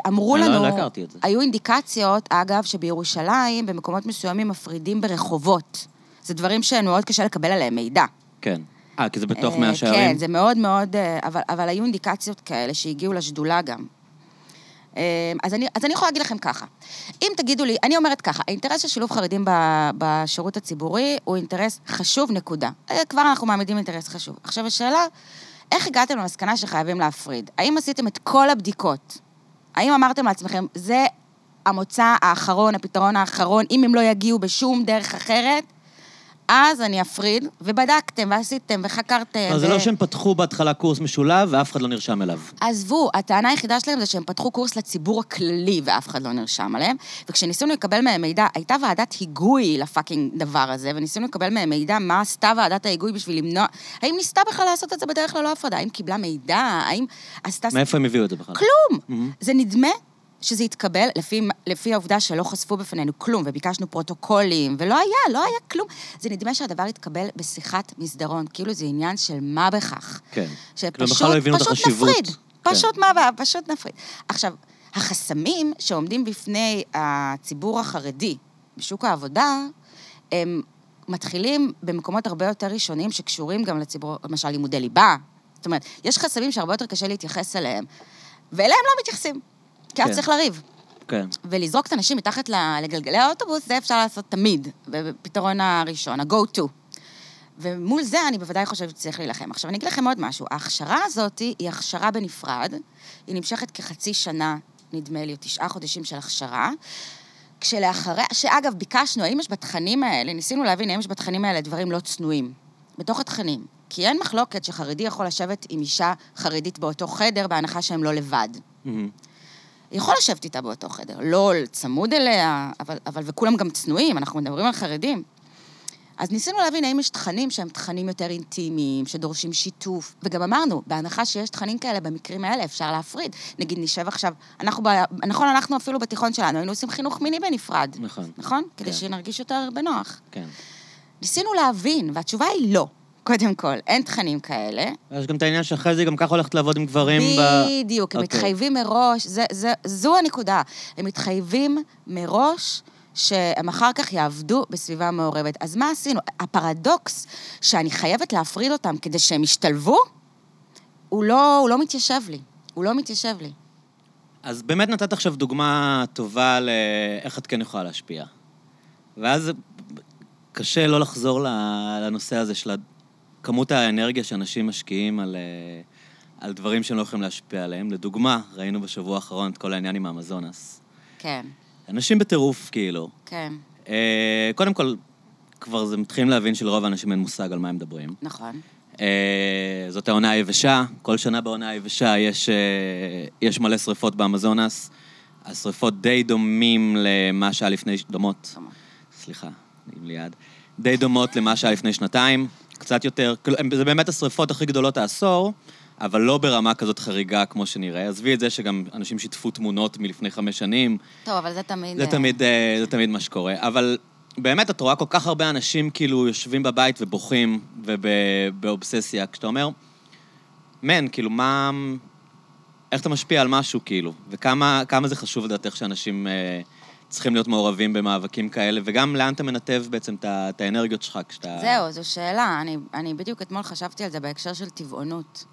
Speaker 2: אמרו
Speaker 1: אני לא-
Speaker 2: לנו,
Speaker 1: לא הכרתי את זה.
Speaker 2: היו אינדיקציות, אגב, שבירושלים, במקומות מסוימים, מפרידים ברחובות. זה דברים שמאוד קשה לקבל עליהם מידע.
Speaker 1: כן. אה, כי זה בתוך
Speaker 2: אה,
Speaker 1: מאה שערים?
Speaker 2: כן, זה מאוד מאוד, אה, אבל, אבל היו אינדיקציות כאלה שהגיעו לשדולה גם. אה, אז אני, אז אני יכולה להגיד לכם ככה, אם תגידו לי, אני אומרת ככה, האינטרס של שילוב חרדים ב, בשירות הציבורי הוא אינטרס חשוב, נקודה. אה, כבר אנחנו מעמידים אינטרס חשוב. עכשיו השאלה, איך הגעתם למסקנה שחייבים להפריד? האם עשיתם את כל הבדיקות? האם אמרתם לעצמכם, זה המוצא האחרון, הפתרון האחרון, אם הם לא יגיעו בשום דרך אחרת, אז אני אפריד, ובדקתם, ועשיתם, וחקרתם.
Speaker 1: לא, זה
Speaker 2: ו-
Speaker 1: לא שהם פתחו בהתחלה קורס משולב ואף אחד לא נרשם אליו.
Speaker 2: עזבו, הטענה היחידה שלהם זה שהם פתחו קורס לציבור הכללי ואף אחד לא נרשם עליהם, וכשניסינו לקבל מהם מידע, הייתה ועדת היגוי לפאקינג דבר הזה, וניסינו לקבל מהם מידע מה עשתה ועדת ההיגוי בשביל למנוע, האם ניסתה בכלל לעשות את זה בדרך ללא הפרדה, האם קיבלה מידע, האם עשתה...
Speaker 1: מאיפה הם הביאו את זה בכלל?
Speaker 2: כלום.
Speaker 1: מהמם.
Speaker 2: זה נדמה שזה התקבל לפי, לפי העובדה שלא חשפו בפנינו כלום, וביקשנו פרוטוקולים, ולא היה, לא היה כלום. זה נדמה שהדבר התקבל בשיחת מסדרון, כאילו זה עניין של מה בכך.
Speaker 1: כן. כאילו,
Speaker 2: שפשוט,
Speaker 1: בכלל לא הבינו את
Speaker 2: פשוט
Speaker 1: החשיבות.
Speaker 2: נפריד.
Speaker 1: כן.
Speaker 2: פשוט מה הבעיה, פשוט נפריד. עכשיו, החסמים שעומדים בפני הציבור החרדי בשוק העבודה, הם מתחילים במקומות הרבה יותר ראשוניים שקשורים גם לציבור, למשל לימודי ליבה. זאת אומרת, יש חסמים שהרבה יותר קשה להתייחס אליהם, ואליהם לא מתייחסים, כי אז
Speaker 1: כן.
Speaker 2: צריך לריב.
Speaker 1: כן.
Speaker 2: ולזרוק את האנשים מתחת ל- לגלגלי האוטובוס, זה אפשר לעשות תמיד, בפתרון הראשון, ה-go to. ומול זה אני בוודאי חושבת שצריך להילחם. עכשיו, אני אגיד לכם עוד משהו. ההכשרה הזאת היא הכשרה בנפרד, היא נמשכת כחצי שנה, נדמה לי, או תשעה חודשים של הכשרה. כשלאחריה, שאגב, ביקשנו, האם יש בתכנים האלה, ניסינו להבין האם יש בתכנים האלה דברים לא צנועים, בתוך התכנים. כי אין מחלוקת שחרדי יכול לשבת עם אישה חרדית באותו חדר, בהנחה שהם לא לבד.
Speaker 1: מהמם.
Speaker 2: יכול לשבת איתה באותו חדר, לא צמוד אליה, אבל, אבל וכולם גם צנועים, אנחנו מדברים על חרדים. אז ניסינו להבין האם יש תכנים שהם תכנים יותר אינטימיים, שדורשים שיתוף, וגם אמרנו, בהנחה שיש תכנים כאלה, במקרים האלה אפשר להפריד. נגיד, נשב עכשיו, אנחנו, ב... נכון, אנחנו אפילו בתיכון שלנו, היינו עושים חינוך מיני בנפרד,
Speaker 1: נכון.
Speaker 2: נכון? כן.
Speaker 1: כן.
Speaker 2: כדי שנרגיש יותר בנוח.
Speaker 1: כן.
Speaker 2: ניסינו להבין, והתשובה היא לא, קודם כל, אין תכנים כאלה.
Speaker 1: יש גם את העניין שאחרי זה היא גם ככה הולכת לעבוד עם גברים ב...
Speaker 2: בדיוק, הם
Speaker 1: אוקיי.
Speaker 2: מתחייבים מראש, זה, זה, זו הנקודה. הם מתחייבים מראש שהם אחר כך יעבדו בסביבה מעורבת. אז מה עשינו? הפרדוקס שאני חייבת להפריד אותם כדי שהם ישתלבו, הוא לא, הוא לא מתיישב לי. הוא לא מתיישב לי.
Speaker 1: אז באמת נתת עכשיו דוגמה טובה לאיך את כן יכולה להשפיע. ואז קשה לא לחזור ל- לנושא הזה של כמות האנרגיה שאנשים משקיעים על, אה, על דברים שהם לא יכולים להשפיע עליהם. לדוגמה, ראינו בשבוע האחרון את כל העניין עם האמזונס.
Speaker 2: כן,
Speaker 1: אנשים בטירוף, כאילו.
Speaker 2: כן,
Speaker 1: אה, קודם כל, כבר זה מתחילים להבין שלרוב האנשים אין מושג על מה הם מדברים.
Speaker 2: נכון.
Speaker 1: אה, זאת העונה היבשה, כל שנה בעונה היבשה יש, אה, יש מלא שריפות באמזונס. השריפות די דומים למה שהיה לפני... ש- דומות.
Speaker 2: דומות.
Speaker 1: סליחה, עם ליעד. די דומות למה שהיה לפני שנתיים, קצת יותר. כאילו, הם- זה באמת השריפות הכי גדולות העשור, אבל לא ברמה כזאת חריגה כמו שנראה. עזבי את זה שגם אנשים שיתפו תמונות מלפני חמש שנים,
Speaker 2: טוב, אבל זה תמיד...
Speaker 1: זה
Speaker 2: אה,
Speaker 1: תמיד, אה, זה תמיד מה שקורה. אבל באמת, את רואה כל כך הרבה אנשים כאילו יושבים בבית ובוכים, ובאובססיה, כשאתה אומר, מן, כאילו, מה... איך אתה משפיע על משהו, כאילו? וכמה כמה זה חשוב לדעתך שאנשים אה, צריכים להיות מעורבים במאבקים כאלה, וגם לאן אתה מנתב בעצם את ה- את האנרגיות שלך כשאתה...
Speaker 2: זהו, זו שאלה. אני, אני בדיוק אתמול חשבתי על זה בהקשר של טבעונות.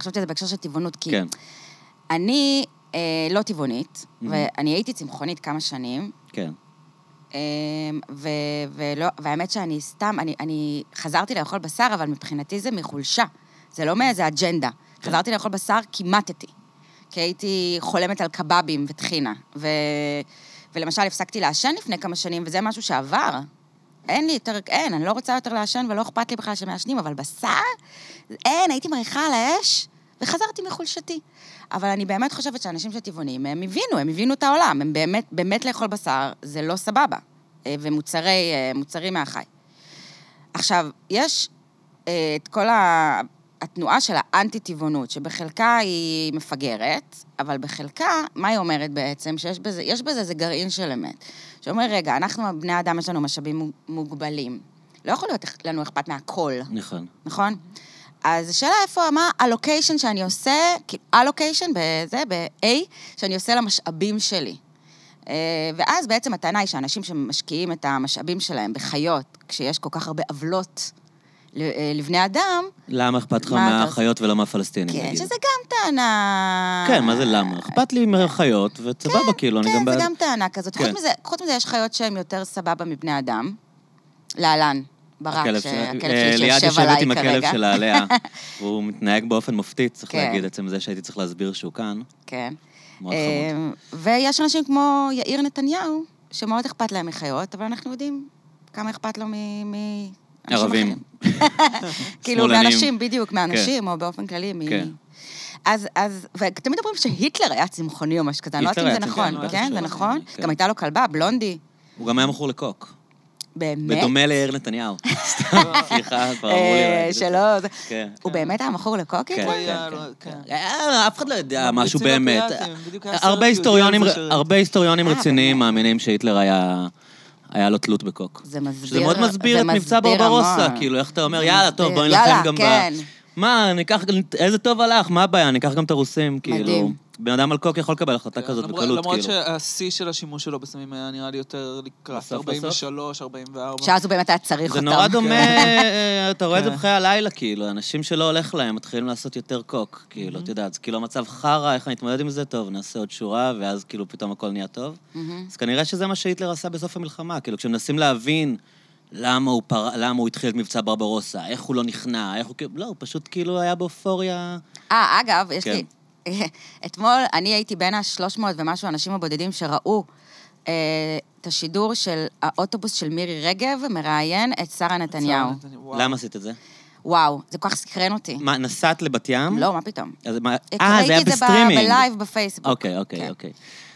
Speaker 2: חשבתי על זה בהקשר של טבעונות, כי
Speaker 1: כן,
Speaker 2: אני אה, לא טבעונית, ואני הייתי צמחונית כמה שנים,
Speaker 1: כן.
Speaker 2: אה, ו, ולא, והאמת שאני סתם, אני, אני חזרתי לאכול בשר, אבל מבחינתי זה מחולשה. זה לא מאיזה אג'נדה. חזרתי לאכול בשר כי מתתי. כי הייתי חולמת על קבבים וטחינה. ו... ולמשל, הפסקתי לעשן לפני כמה שנים, וזה משהו שעבר. אין לי יותר, אין, אני לא רוצה יותר לעשן ולא אכפת לי בכלל שמעשנים, אבל בשר? אין, הייתי מריחה על האש וחזרתי מחולשתי. אבל אני באמת חושבת שאנשים שטבעונים, הם הבינו, הם הבינו את העולם. הם באמת, באמת לאכול בשר זה לא סבבה. אה, ומוצרי, אה, מוצרים מהחי. עכשיו, יש אה, את כל ה... התנועה של האנטי-טבעונות, שבחלקה היא מפגרת, אבל בחלקה, מה היא אומרת בעצם? שיש בזה, יש בזה איזה גרעין של אמת. שאומר, רגע, אנחנו, בני אדם, יש לנו משאבים מוגבלים. לא יכול להיות לנו אכפת מהכל,
Speaker 1: נכון.
Speaker 2: נכון? אז השאלה איפה, מה הלוקיישן שאני עושה, כאילו, הלוקיישן בזה, ב-A, שאני עושה למשאבים שלי. אה, ואז בעצם הטענה היא שאנשים שמשקיעים את המשאבים שלהם בחיות, כשיש כל כך הרבה עוולות ל- אה, לבני אדם,
Speaker 1: למה אכפת לך
Speaker 2: מה אתה עושה?
Speaker 1: מהחיות ולא מהפלסטינים,
Speaker 2: כן,
Speaker 1: נגיד?
Speaker 2: שזה גם טענה...
Speaker 1: כן, מה זה למה? אכפת לי מהחיות, וסבבה, כאילו, אני גם...
Speaker 2: כן, זה
Speaker 1: בעד-
Speaker 2: גם טענה כזאת. חוץ
Speaker 1: כן.
Speaker 2: מזה- חוץ מזה, יש חיות שהן יותר סבבה מבני אדם. להלן, ברק,
Speaker 1: הכלב שלה-
Speaker 2: שהכלב
Speaker 1: אה,
Speaker 2: שלי
Speaker 1: ליעד
Speaker 2: שיושב
Speaker 1: יושבת
Speaker 2: עליי
Speaker 1: עם הכלב
Speaker 2: כרגע.
Speaker 1: שלה עליה, והוא מתנהג באופן מופתי, צריך
Speaker 2: כן.
Speaker 1: להגיד, עצם זה שהייתי צריך להסביר שהוא כאן,
Speaker 2: כן.
Speaker 1: מאוד חמוד.
Speaker 2: אמ, ויש אנשים כמו יאיר נתניהו, שמאוד אכפת להם מחיות, אבל אנחנו יודעים כמה אכפת לו מ... מ- אנשים
Speaker 1: ערבים.
Speaker 2: אחרים. כאילו,
Speaker 1: שמאלנים.
Speaker 2: מאנשים, בדיוק, מאנשים, או באופן כללי, מ...
Speaker 1: כן.
Speaker 2: אז, אז, ותמיד אומרים שהיטלר היה צמחוני או משהו כזה, אני לא יודעת אם
Speaker 1: היטלר
Speaker 2: זה
Speaker 1: היה צמחוני,
Speaker 2: נכון. כן,
Speaker 1: בטח
Speaker 2: זה
Speaker 1: שהוא
Speaker 2: נכון?
Speaker 1: היה, כן.
Speaker 2: גם הייתה לו כלבה, בלונדי.
Speaker 1: הוא גם היה מכור לקוק.
Speaker 2: באמת?
Speaker 1: בדומה ליאיר נתניהו. סתם, סליחה, כבר אמרו לי
Speaker 2: אה,
Speaker 1: להגיד את זה.
Speaker 2: שלא... זה-
Speaker 1: כן.
Speaker 2: הוא באמת היה מכור לקוקי?
Speaker 1: כן.
Speaker 3: לא
Speaker 2: כבר?
Speaker 3: היה,
Speaker 1: כן,
Speaker 3: לא- כן.
Speaker 1: אה, אף אחד לא יודע
Speaker 3: ממליצים
Speaker 1: משהו באמת.
Speaker 3: לפיראטים, בדיוק היה סרט
Speaker 1: הרבה
Speaker 3: יהודי
Speaker 1: היסטוריונים-
Speaker 3: על זה ש-
Speaker 1: הרבה היסטוריונים
Speaker 2: אה,
Speaker 1: רציניים
Speaker 3: כן.
Speaker 2: באמת?
Speaker 1: מאמינים שהיטלר היה... היה לו תלות בקוק.
Speaker 2: זה מסביר-
Speaker 1: שזה מאוד מסביר
Speaker 2: זה
Speaker 1: את מבצע
Speaker 2: מסביר
Speaker 1: ברברוסה,
Speaker 2: המון.
Speaker 1: כאילו, איך אתה אומר,
Speaker 2: זה
Speaker 1: יאללה,
Speaker 2: מסביר.
Speaker 1: טוב, בוא
Speaker 2: יאללה,
Speaker 1: נילחם גם ב...
Speaker 2: כן.
Speaker 1: מה, ניקח, איזה טוב הלך, מה הבעיה, ניקח גם את הרוסים, כאילו.
Speaker 2: מדהים.
Speaker 1: בן אדם על קוק יכול לקבל החלטה כזאת
Speaker 3: כן, למרות-
Speaker 1: בקלות,
Speaker 3: למרות
Speaker 1: כאילו.
Speaker 3: שהשיא של השימוש שלו בסמים היה נראה לי יותר לקראת
Speaker 1: בסוף,
Speaker 3: 43, 44.
Speaker 2: שאז הוא באמת היה צריך
Speaker 1: זה
Speaker 2: אותם.
Speaker 1: נורא דומה, אה, אתה רואה את זה
Speaker 3: כן.
Speaker 1: בחיי הלילה, כאילו, אנשים שלא הולך להם מתחילים לעשות יותר קוק, כאילו, את יודעת, זה כאילו המצב חרא, איך אני אתמודד עם זה? טוב, נעשה עוד שורה, ואז כאילו פתאום הכל נהיה טוב. אז כנראה שזה מה שהיטלר עשה בסוף המלחמה, כאילו, כשמנסים להבין למה הוא פר- למה הוא התחיל את מבצע ברברוסה, איך הוא לא נכנע, איך הוא כאילו, לא, הוא פשוט כאילו היה באופוריה.
Speaker 2: אה, אגב, יש
Speaker 1: כן.
Speaker 2: לי... אתמול אני הייתי בין ה-300 ומשהו אנשים הבודדים שראו אה, את השידור של האוטובוס של מירי רגב מראיין את שרה נתניהו.
Speaker 3: וואו.
Speaker 1: למה עשית את זה?
Speaker 2: וואו, זה כל כך סקרן אותי.
Speaker 1: מה, נסעת לבת ים?
Speaker 2: לא, מה פתאום.
Speaker 1: אז מה- Mm-hmm. אה, זה
Speaker 2: ראיתי
Speaker 1: היה
Speaker 2: את ב-
Speaker 1: בסטרימינג.
Speaker 2: בלייב בפייסבוק.
Speaker 1: אוקיי, אוקיי,
Speaker 2: כן.
Speaker 1: אוקיי.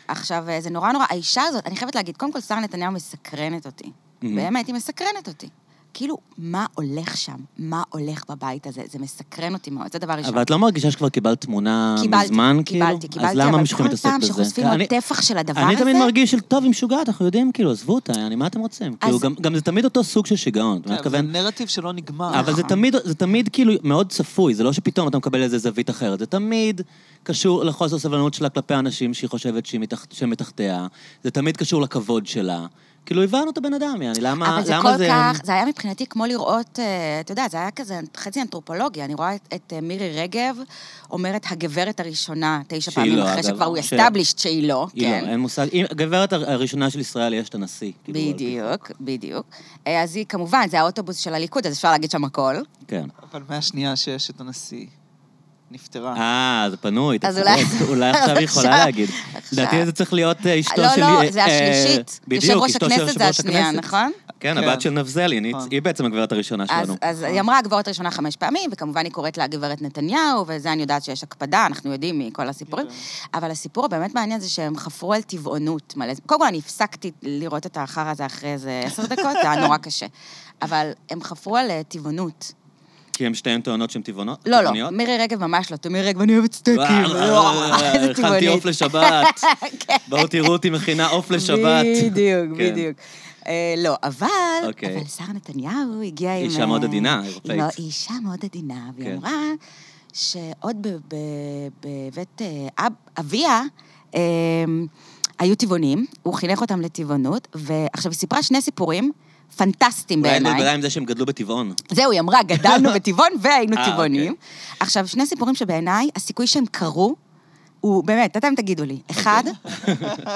Speaker 2: עכשיו, אה, זה נורא נורא, האישה הזאת, אני חייבת להגיד, קודם כל, שרה נתניהו מסקרנת אותי.
Speaker 1: Mm-hmm.
Speaker 2: באמת, היא מסקרנת אותי. כאילו, מה הולך שם? מה הולך בבית הזה? זה מסקרן אותי מאוד, זה דבר ראשון.
Speaker 1: אבל את לא מרגישה שכבר קיבלת תמונה
Speaker 2: קיבלתי,
Speaker 1: מזמן, כאילו?
Speaker 2: קיבלתי, קיבלתי,
Speaker 1: אז למה
Speaker 2: אבל
Speaker 1: ממשיכים
Speaker 2: כל
Speaker 1: להתעסק בזה?
Speaker 2: פעם שחושפים עוד
Speaker 1: אני-
Speaker 2: טפח של הדבר
Speaker 1: אני
Speaker 2: הזה...
Speaker 1: תמיד מרגיש של, טוב, היא משוגעת, אנחנו יודעים, כאילו, עזבו אותה, יעני, מה אתם רוצים?
Speaker 2: אז-
Speaker 1: כאילו, גם- גם זה תמיד אותו סוג של שיגעון, אתה
Speaker 3: כן, זה
Speaker 1: מתכוון?
Speaker 3: נרטיב שלא נגמר.
Speaker 1: אבל זה
Speaker 2: נכון.
Speaker 1: תמיד, זה תמיד כאילו מאוד צפוי, זה לא שפתאום אתה מקבל איזה זווית אחרת, זה תמיד קשור לחוסר סבלנות שלה כלפי אנשים שהיא חושבת שהיא מתחת- שהם מתחתיה, זה תמיד קשור לכבוד שלה. כאילו, הבנו את הבן אדם, יעני, למה
Speaker 2: אבל זה
Speaker 1: למה
Speaker 2: כל כך, זה היה מבחינתי כמו לראות, אה, אתה יודע, זה היה כזה חצי אנתרופולוגי. אני רואה את- את אה, מירי רגב אומרת הגברת הראשונה, תשע
Speaker 1: שהיא
Speaker 2: פעמים
Speaker 1: לא,
Speaker 2: אחרי
Speaker 1: אגב,
Speaker 2: שכבר הוא
Speaker 1: ש-
Speaker 2: established שהיא לא,
Speaker 1: היא לא,
Speaker 2: כן.
Speaker 1: אין מושג. היא- הגברת הר- הראשונה של ישראל יש את הנשיא. כאילו, על פי חוק.
Speaker 2: בדיוק, בדיוק. אה, אז היא, כמובן, זה האוטובוס של הליכוד, אז אפשר להגיד שם הכל.
Speaker 1: כן.
Speaker 3: אבל מהשנייה שיש את הנשיא. נפטרה.
Speaker 1: אה, זה פנוי, אתה
Speaker 2: אז
Speaker 1: צודק.
Speaker 2: אולי-
Speaker 1: אולי עכשיו היא יכולה
Speaker 2: עכשיו-
Speaker 1: להגיד.
Speaker 2: עכשיו.
Speaker 1: לדעתי זה צריך להיות אה, אשתו
Speaker 2: לא,
Speaker 1: שלי.
Speaker 2: לא,
Speaker 1: אה,
Speaker 2: זה השלישית.
Speaker 1: אה, בדיוק,
Speaker 2: יושב ראש
Speaker 1: אשתו של
Speaker 2: הכנסת זה
Speaker 1: יושב-ראש
Speaker 2: השנייה,
Speaker 1: הכנסת.
Speaker 2: נכון?
Speaker 1: כן,
Speaker 3: כן.
Speaker 1: הבת של נבזלי, אני-
Speaker 3: נכון.
Speaker 1: היא בעצם הגברת הראשונה
Speaker 2: אז,
Speaker 1: שלנו.
Speaker 2: אז היא אמרה הגברת הראשונה חמש פעמים, וכמובן היא קוראת לה הגברת נתניהו, וזה אני יודעת שיש הקפדה, אנחנו יודעים מכל הסיפורים.
Speaker 3: כן.
Speaker 2: אבל הסיפור הבאמת מעניין זה שהם חפרו על טבעונות מלא. קודם כל, אני הפסקתי לראות את האחר הזה אחרי איזה עשר דקות, זה היה נורא קשה. אבל הם חפרו על אה, טבעונות.
Speaker 1: כי הן שתיהן טוענות שהן טבעונות?
Speaker 2: לא, לא,
Speaker 1: טבעוניות?
Speaker 2: מירי רגב ממש לא, מירי רגב, אני אוהבת סטייקים.
Speaker 1: וואו,
Speaker 2: איזה
Speaker 1: אה, הכנתי
Speaker 2: טבעונית.
Speaker 1: עוף לשבת.
Speaker 2: כן.
Speaker 1: בואו תראו אותי מכינה עוף לשבת.
Speaker 2: בדיוק,
Speaker 1: כן.
Speaker 2: בדיוק. אה, לא, אבל,
Speaker 1: אוקיי.
Speaker 2: אבל שרה נתניהו הגיעה עם...
Speaker 1: אישה מאוד
Speaker 2: אה,
Speaker 1: עדינה,
Speaker 2: עם-
Speaker 1: אירופאית.
Speaker 2: לא, היא אישה מאוד עדינה, והיא
Speaker 1: כן.
Speaker 2: אמרה שעוד ב- ב- בבית אה, אב- אביה, אה, היו טבעונים, הוא חינך אותם לטבעונות, ועכשיו היא סיפרה שני סיפורים פנטסטיים
Speaker 1: אולי
Speaker 2: בעיניי.
Speaker 1: נדברה עם זה שהם גדלו בטבעון.
Speaker 2: זהו, היא אמרה, גדלנו בטבעון והיינו
Speaker 1: אה,
Speaker 2: טבעונים. עכשיו, שני סיפורים שבעיניי, הסיכוי שהם קרו, הוא באמת, אתם תגידו לי. אחד,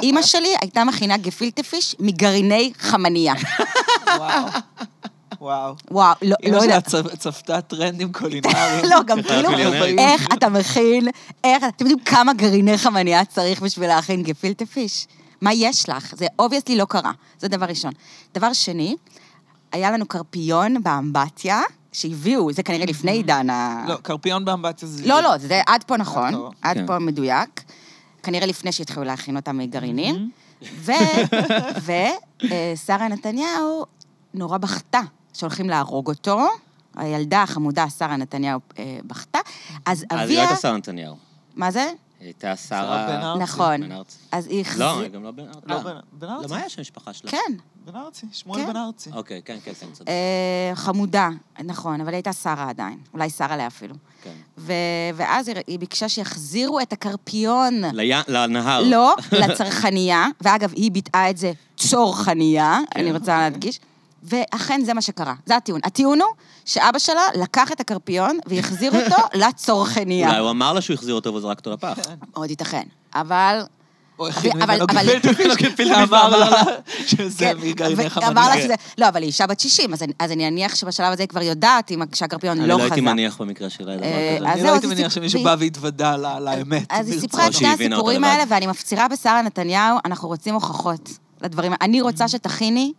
Speaker 2: אימא שלי הייתה מכינה גפילטה פיש מגרעיני חמנייה.
Speaker 3: וואו. וואו.
Speaker 2: וואו, לא- לא
Speaker 3: אמא שלה
Speaker 2: יודעת.
Speaker 3: צפ- צפתה טרנדים קולינריים.
Speaker 2: לא, גם
Speaker 1: אחד
Speaker 2: כאילו,
Speaker 1: מיליונר.
Speaker 2: איך אתה מכין, איך, אתם יודעים כמה גרעיני חמנייה צריך בשביל להכין גפילטה פיש? מה יש לך? זה אובייסלי לא קרה, זה דבר ראשון. דבר שני, היה לנו קרפיון באמבטיה, שהביאו, זה כנראה לפני עידן ה...
Speaker 3: לא, קרפיון באמבטיה זה...
Speaker 2: אה. לא, לא, זה עד פה נכון,
Speaker 3: פה.
Speaker 2: עד
Speaker 1: כן.
Speaker 2: פה מדויק. כנראה לפני שהתחילו להכין אותם מגרעינים. ו... ו... אה, שרה נתניהו נורא בכתה שהולכים להרוג אותו. הילדה החמודה, שרה נתניהו, אה, בכתה. אז
Speaker 1: אז היא לא
Speaker 2: אביה...
Speaker 1: הייתה שרה נתניהו.
Speaker 2: מה זה?
Speaker 1: היא הייתה
Speaker 3: שרה בן
Speaker 1: שרה...
Speaker 3: ארצי.
Speaker 2: נכון.
Speaker 1: בן ארצי.
Speaker 2: אז היא החזיר...
Speaker 1: לא, היא גם לא בן ארצי.
Speaker 3: לא,
Speaker 1: אה.
Speaker 3: בן- בן
Speaker 1: לא,
Speaker 3: ארצי.
Speaker 1: מה היה שם משפחה שלה?
Speaker 2: כן.
Speaker 3: בן ארצי. שמואל
Speaker 2: כן.
Speaker 3: בן ארצי.
Speaker 1: אוקיי, כן, כן, כן, צודק.
Speaker 2: אה, חמודה, נכון, אבל היא הייתה שרה עדיין. אולי שרה לה אפילו.
Speaker 1: כן.
Speaker 2: ו... ואז היא- היא ביקשה שיחזירו את הקרפיון.
Speaker 1: לים- לנהר.
Speaker 2: לא, לצרכנייה, ואגב, היא ביטאה את זה צורחנייה, אני רוצה להדגיש, ואכן זה מה שקרה, זה הטיעון. הטיעון הוא שאבא שלה לקח את הקרפיון והחזיר אותו לצורחנייה.
Speaker 1: אולי הוא אמר לה שהוא החזיר אותו והוא זרק אותו לפח.
Speaker 2: עוד ייתכן, אבל...
Speaker 3: או הכין
Speaker 2: אבל-
Speaker 3: ממנו
Speaker 2: אבל-
Speaker 3: גפילטה פיש.
Speaker 1: גפילטה פיש,
Speaker 3: ואמר
Speaker 1: ואמר
Speaker 3: לה שזה
Speaker 2: כן,
Speaker 3: מגרעיני
Speaker 2: אבל- אמר לה
Speaker 3: חמניה.
Speaker 2: שזה... לא, אבל היא אישה בת 60, אז אני- אז אני אניח שבשלב הזה היא כבר יודעת אם- שהקרפיון
Speaker 1: אני
Speaker 2: לא
Speaker 1: לא הייתי
Speaker 2: חזר.
Speaker 1: מניח במקרה שלה דבר
Speaker 2: אה,
Speaker 1: כזה.
Speaker 2: אז
Speaker 3: אני
Speaker 2: זהו,
Speaker 3: לא הייתי
Speaker 2: אז
Speaker 3: מניח
Speaker 2: הסיפ-
Speaker 3: שמישהו
Speaker 2: והיא-
Speaker 3: בא והתוודע ל- לאמת.
Speaker 2: אז היא
Speaker 3: ברצינות.
Speaker 2: סיפרה
Speaker 1: או
Speaker 2: את שני
Speaker 1: שהיא הבינה אותו
Speaker 2: הסיפורים
Speaker 1: לבד.
Speaker 2: האלה, ואני מפצירה בשרה נתניהו, אנחנו רוצים הוכחות לדברים. אני רוצה שתכיני,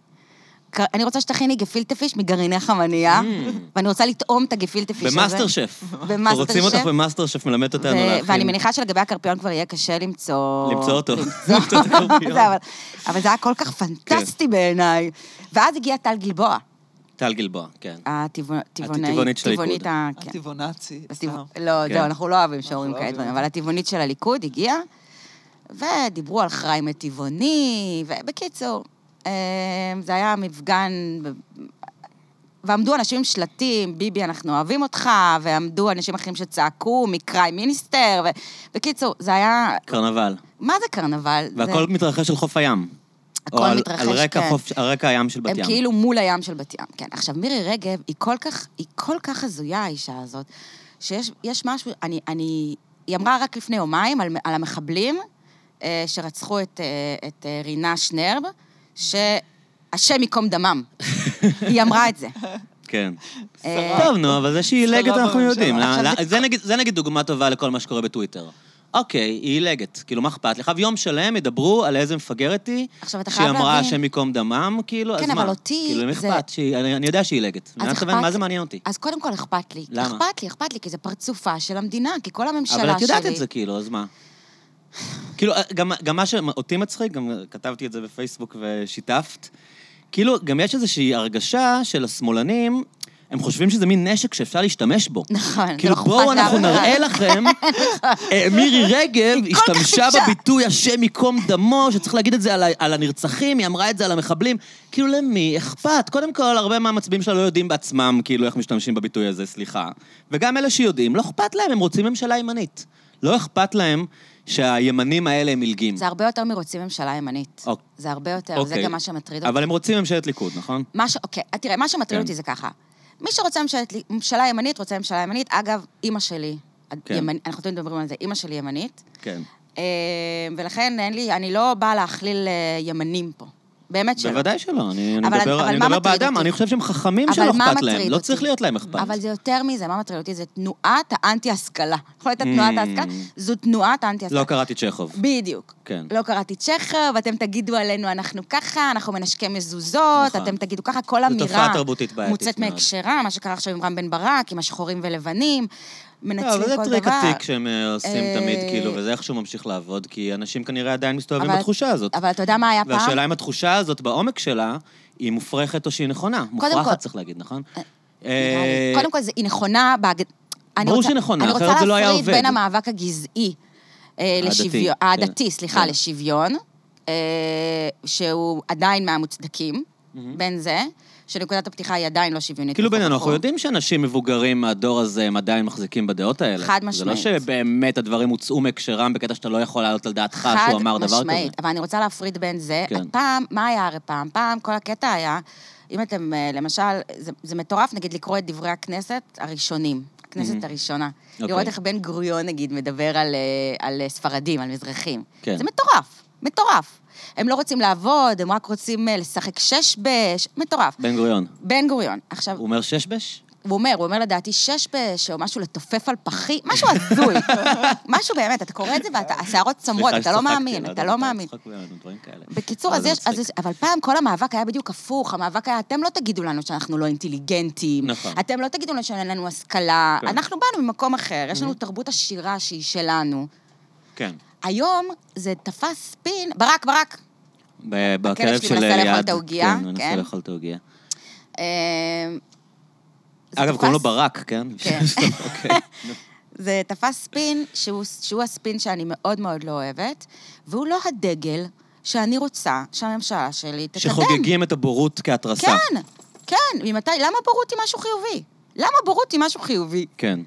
Speaker 2: אני רוצה שתכיני גפילטה פיש מגרעיני חמנייה, ואני רוצה לטעום את הגפילטה פיש הזה.
Speaker 1: Mm. במאסטר שף.
Speaker 2: במאסטר
Speaker 1: רוצים אותך
Speaker 2: שף.
Speaker 1: במאסטר שף, מלמד
Speaker 2: ו-
Speaker 1: אותנו להכין.
Speaker 2: ואני מניחה שלגבי הקרפיון כבר יהיה קשה למצוא...
Speaker 1: למצוא אותו.
Speaker 2: למצוא.
Speaker 1: למצוא את הקרפיון. כן.
Speaker 2: זה, אבל- אבל זה היה כל כך פנטסטי בעיניי. ואז הגיע טל גלבוע,
Speaker 1: טל גלבוע, כן.
Speaker 2: הטבעונאית.
Speaker 1: הטבעונית של הליכוד.
Speaker 2: הטבעונית ה- כן.
Speaker 3: הטבעונאצי.
Speaker 2: הטבע-
Speaker 3: סתם.
Speaker 2: לא,
Speaker 1: כן.
Speaker 2: זהו, אנחנו לא אוהבים שאומרים
Speaker 3: לא
Speaker 2: כאלה
Speaker 3: אוהבים.
Speaker 2: דברים, אבל הטבעונית של הליכוד הגיעה, ודיברו על חיים הטבעוני, ובקיצור, אה, זה היה מפגן, ב- ועמדו אנשים עם שלטים, ביבי, אנחנו אוהבים אותך, ועמדו אנשים אחרים שצעקו, מקראי מיניסטר, ו- בקיצור, זה היה...
Speaker 1: קרנבל.
Speaker 2: מה זה קרנבל? זה-
Speaker 1: והכל מתרחש על חוף הים.
Speaker 2: הכל
Speaker 1: או על-
Speaker 2: מתרחש,
Speaker 1: על רקע
Speaker 2: כן.
Speaker 1: חוף- על רקע הים של בת
Speaker 2: הם
Speaker 1: ים.
Speaker 2: כאילו מול הים של בת ים, כן. עכשיו, מירי רגב, היא כל כך, היא כל כך הזויה, האישה הזאת, שיש יש משהו, אני, אני, היא אמרה רק לפני יומיים על, על המחבלים אה, שרצחו את, אה, את אה, רינה שנרב, שהשם ייקום דמם. היא אמרה את זה.
Speaker 1: כן.
Speaker 2: אה,
Speaker 1: טוב, נו, אבל זה שהיא
Speaker 3: שרה
Speaker 1: עילגת אנחנו
Speaker 3: בממשלה.
Speaker 1: יודעים.
Speaker 2: עכשיו
Speaker 1: לא-
Speaker 2: זה-
Speaker 1: זה נגיד- זה נגיד דוגמה טובה לכל מה שקורה בטוויטר. אוקיי, היא עילגת, כאילו, מה אכפת לך? ויום שלם ידברו על איזה מפגרת היא,
Speaker 2: עכשיו, אתה
Speaker 1: שהיא
Speaker 2: חייב
Speaker 1: אמרה
Speaker 2: להבין-
Speaker 1: השם ייקום דמם, כאילו, אז מה?
Speaker 2: כן, אבל אותי
Speaker 1: כאילו, אם
Speaker 2: זה-
Speaker 1: אכפת, שהיא- אני אני יודע שהיא עילגת. אני
Speaker 2: אכפת-
Speaker 1: מתכוון, מה זה מעניין אותי?
Speaker 2: אז קודם כל אכפת לי.
Speaker 1: למה?
Speaker 2: אכפת לי, אכפת לי, כי זה פרצופה של המדינה, כי כל הממשלה שלי...
Speaker 1: אבל את יודעת את זה, כאילו, אז מה? כאילו, גם, גם מה שאותי מצחיק, גם כתבתי את זה בפייסבוק ושיתפת, כאילו, גם יש איזושהי הרגשה של השמאלנים, הם חושבים שזה מין נשק שאפשר להשתמש בו.
Speaker 2: נכון, זה לא
Speaker 1: כאילו,
Speaker 2: אכפת
Speaker 1: בואו
Speaker 2: לאף
Speaker 1: אנחנו
Speaker 2: אחד."
Speaker 1: נראה לכם, אה, מירי רגב
Speaker 2: כל כך
Speaker 1: השתמשה
Speaker 2: טיפשה.
Speaker 1: בביטוי השם ייקום דמו, שצריך להגיד את זה על, ה- על הנרצחים, היא אמרה את זה על המחבלים. כאילו, למי אכפת? קודם כל, הרבה מהמצביעים שלה לא יודעים בעצמם, כאילו, איך משתמשים בביטוי הזה, סליחה. וגם אלה שיודעים, לא אכפת להם, הם רוצים ממשלה ימנית. לא אכפת להם שהימנים האלה הם עילגים.
Speaker 2: זה הרבה יותר מרוצים ממשלה ימנית.
Speaker 1: אוק-
Speaker 2: זה הרבה יותר, זה
Speaker 1: אוקיי.
Speaker 2: גם מה שמטריד אותי.
Speaker 1: אבל הם רוצים ממשלת ליכוד, נכון?
Speaker 2: מה ש... אוקיי, אז תראה, מה שמטריד
Speaker 1: כן.
Speaker 2: אותי זה ככה. מי שרוצה ממשלת- ממשלה ימנית, רוצה ממשלה ימנית. אגב, אימא שלי,
Speaker 1: כן.
Speaker 2: ימנ... אנחנו תמיד מדברים על זה, אימא שלי ימנית,
Speaker 1: כן.
Speaker 2: אה, ולכן אין לי, אני לא באה להכליל אה, ימנים פה. באמת שלא.
Speaker 1: בוודאי שלא, אני אני
Speaker 2: אבל-
Speaker 1: מדבר
Speaker 2: אבל
Speaker 1: אני
Speaker 2: מה
Speaker 1: מדבר
Speaker 2: מטריד
Speaker 1: באדם,
Speaker 2: אותי?
Speaker 1: אני חושב שהם חכמים
Speaker 2: אבל
Speaker 1: שלא
Speaker 2: מה
Speaker 1: אכפת
Speaker 2: מטריד
Speaker 1: להם, לא
Speaker 2: אותי?
Speaker 1: צריך להיות להם אכפת.
Speaker 2: אבל זה יותר מזה, מה מטריד אותי? זה תנועת האנטי-השכלה. יכול להיות
Speaker 1: Mm.
Speaker 2: תנועת ההשכלה? זו תנועת האנטי-השכלה.
Speaker 1: לא קראתי צ'כוב.
Speaker 2: בדיוק.
Speaker 1: כן.
Speaker 2: לא קראתי צ'כר, ואתם תגידו עלינו אנחנו ככה, אנחנו מנשקי מזוזות,
Speaker 1: נכון.
Speaker 2: אתם תגידו ככה, כל
Speaker 1: זו תופעה
Speaker 2: אמירה
Speaker 1: תרבותית בעייתית
Speaker 2: מוצאת
Speaker 1: מאוד.
Speaker 2: מהקשרה, מה שקרה עכשיו עם רם בן ברק, עם השחורים ולבנים, מנצלים
Speaker 1: לא,
Speaker 2: כל
Speaker 1: אבל
Speaker 2: דבר.
Speaker 1: זה טריק עתיק שהם אה, עושים
Speaker 2: אה,
Speaker 1: תמיד, כאילו, וזה איכשהו ממשיך לעבוד, כי אנשים כנראה עדיין מסתובבים
Speaker 2: אבל-
Speaker 1: בתחושה הזאת.
Speaker 2: אבל אתה יודע מה היה פעם?
Speaker 1: והשאלה אם התחושה הזאת בעומק שלה, היא מופרכת או שהיא נכונה.
Speaker 2: כל-
Speaker 1: מופרכת צריך להגיד, נכון?
Speaker 2: נראה
Speaker 1: אה,
Speaker 2: לי. קודם כל, זה- היא נכונה... בהג- אני
Speaker 1: ברור
Speaker 2: רוצה-
Speaker 1: שהיא נכונה,
Speaker 2: אני
Speaker 1: אחרת
Speaker 2: רוצה
Speaker 1: זה לא היה
Speaker 2: להפריד
Speaker 1: עובד.
Speaker 2: בין המאבק הגזעי אה,
Speaker 1: העדתי,
Speaker 2: לשוויון,
Speaker 1: כן.
Speaker 2: העדתי, סליחה,
Speaker 1: כן.
Speaker 2: לשוויון, אה, שהוא עדיין מהמוצדקים, בין זה, שנקודת הפתיחה היא עדיין לא שוויונית.
Speaker 1: כאילו
Speaker 2: לכל
Speaker 1: בינינו, אנחנו
Speaker 2: מקום.
Speaker 1: יודעים שאנשים מבוגרים מהדור הזה, הם עדיין מחזיקים בדעות האלה.
Speaker 2: חד
Speaker 1: זה לא
Speaker 2: משמעית.
Speaker 1: שבאמת הדברים הוצאו מהקשרם בקטע שאתה לא יכול להעלות על דעתך
Speaker 2: חד
Speaker 1: שהוא אמר דבר כזה.
Speaker 2: משמעית, אבל אני רוצה להפריד בין זה.
Speaker 1: כן.
Speaker 2: פעם, מה היה הרי פעם? פעם כל הקטע היה, אם אתם, אה, למשל, זה, זה מטורף, נגיד, לקרוא את דברי הכנסת הראשונים, הכנסת
Speaker 1: Mhm.
Speaker 2: הראשונה.
Speaker 1: אוקיי.
Speaker 2: לראות איך בן גוריון, נגיד, מדבר על, אה, על אה, ספרדים, על מזרחים.
Speaker 1: כן.
Speaker 2: זה מטורף, מטורף. הם לא רוצים לעבוד, הם רק רוצים אה, לשחק שש בש, מטורף.
Speaker 1: בן גוריון,
Speaker 2: בן גוריון, עכשיו,
Speaker 1: הוא אומר ששבש?
Speaker 2: הוא אומר, הוא אומר לדעתי שש בש, או משהו לתופף על פחי, משהו הזוי. משהו באמת, אתה קורא את זה והשערות צמרות,
Speaker 1: סליחה
Speaker 2: אתה לא
Speaker 1: שצחקתי,
Speaker 2: מאמין, אתה
Speaker 1: יודע,
Speaker 2: לא
Speaker 1: מותר
Speaker 2: מאמין.
Speaker 1: לצחוק ממנו, דברים כאלה.
Speaker 2: בקיצור,
Speaker 1: אבל
Speaker 2: אז
Speaker 1: לא, זה
Speaker 2: יש, אז,
Speaker 1: מצחיק.
Speaker 2: יש- אבל פעם כל המאבק היה בדיוק הפוך. המאבק היה, אתם לא תגידו לנו שאנחנו לא אינטליגנטים.
Speaker 1: נכון.
Speaker 2: אתם לא תגידו לנו שאין לנו השכלה.
Speaker 1: כן. Mm-hmm.
Speaker 2: אנחנו באנו ממקום אחר, יש לנו תרבות עשירה שהיא שלנו.
Speaker 1: כן.
Speaker 2: היום זה תפס ספין, ברק, ברק.
Speaker 1: ב-
Speaker 2: הכלב
Speaker 1: בכלב
Speaker 2: שלי
Speaker 1: של
Speaker 2: מנסה לאכול
Speaker 1: ליעד.
Speaker 2: את העוגיה,
Speaker 1: כן, הוא מנסה
Speaker 2: כן.
Speaker 1: לאכול את העוגיה.
Speaker 2: אה, זה
Speaker 1: אגב, קוראים לו
Speaker 2: תפס-
Speaker 1: ברק, כן?
Speaker 2: כן.
Speaker 1: אוקיי.
Speaker 2: זה תפס ספין שהוא, שהוא הספין שאני מאוד מאוד לא אוהבת, והוא לא הדגל שאני רוצה שהממשלה שלי תקדם.
Speaker 1: שחוגגים את הבורות כהתרסה.
Speaker 2: כן, כן, ממתי? למה בורות היא משהו חיובי? למה בורות היא משהו חיובי?
Speaker 1: כן.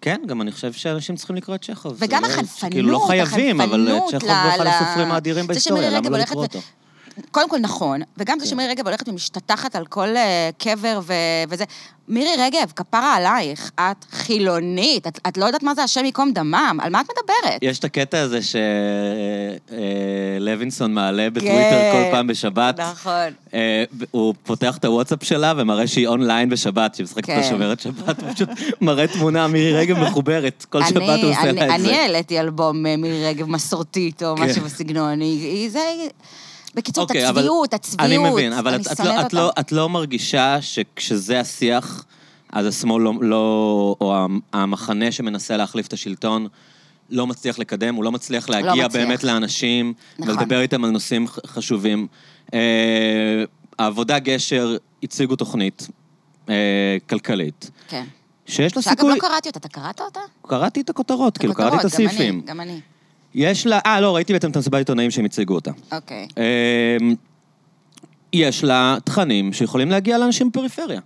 Speaker 1: כן, גם אני חושב שאנשים צריכים לקרוא את צ'כוב. זה
Speaker 2: וגם
Speaker 1: לא-
Speaker 2: החנפנות,
Speaker 1: שכאילו לא חייבים, אבל אה,
Speaker 2: החנפנות
Speaker 1: צ'כוב
Speaker 2: ל-
Speaker 1: הוא אחד
Speaker 2: ל-
Speaker 1: הסופרים האדירים
Speaker 2: זה
Speaker 1: בהיסטוריה,
Speaker 2: שמירי
Speaker 1: למה
Speaker 2: רגב
Speaker 1: לא לקרוא
Speaker 2: הולכת
Speaker 1: אותו?
Speaker 2: קודם כל נכון, וגם זה
Speaker 1: כן.
Speaker 2: שמירי רגב הולכת ומשתטחת על כל אה, קבר ו- וזה. מירי רגב, כפרה עלייך, את חילונית, את, את לא יודעת מה זה השם ייקום דמם, על מה את מדברת?
Speaker 1: יש את הקטע הזה שלוינסון מעלה בטוויטר כל פעם בשבת.
Speaker 2: כן. נכון.
Speaker 1: אה, הוא פותח את הוואטסאפ שלה ומראה שהיא אונליין בשבת, שהיא משחקת
Speaker 2: כן.
Speaker 1: את השומרת שבת, הוא פשוט מראה תמונה מירי רגב מחוברת. כל שבת הוא עושה לה את
Speaker 2: אני
Speaker 1: זה.
Speaker 2: העליתי אלבום אה, מירי רגב מסורתית או
Speaker 1: כן.
Speaker 2: משהו בסגנון, היא- היא זה... היא- בקיצור,
Speaker 1: אוקיי, אבל-
Speaker 2: הצביעות,
Speaker 1: אני
Speaker 2: הצביעות,
Speaker 1: מבין, אבל
Speaker 2: אני
Speaker 1: את- את
Speaker 2: שונאת
Speaker 1: לא- את לא-
Speaker 2: אותה.
Speaker 1: את לא מרגישה שכשזה השיח, אז השמאל לא- לא, או המ- המחנה שמנסה להחליף את השלטון, לא מצליח לקדם, הוא לא מצליח להגיע
Speaker 2: מצליח.
Speaker 1: באמת לאנשים,
Speaker 2: נכון.
Speaker 1: ולדבר איתם על נושאים ח- חשובים. אה, העבודה גשר הציגו תוכנית אה, כלכלית,
Speaker 2: כן.
Speaker 1: שיש לה
Speaker 2: שאגב, לא
Speaker 1: סיכוי...
Speaker 2: קראתי אותה, אתה קראת אותה?
Speaker 1: קראתי את הכותרות, כאילו, קראתי את
Speaker 2: הכותרות, גם אני,
Speaker 1: הסעיפים.
Speaker 2: גם אני,
Speaker 1: יש לה... אה, לא, ראיתי בעצם את המסיבת עיתונאים שהם הציגו אותה.
Speaker 2: אוקיי.
Speaker 1: אמ, יש לה תכנים שיכולים להגיע לאנשים בפריפריה.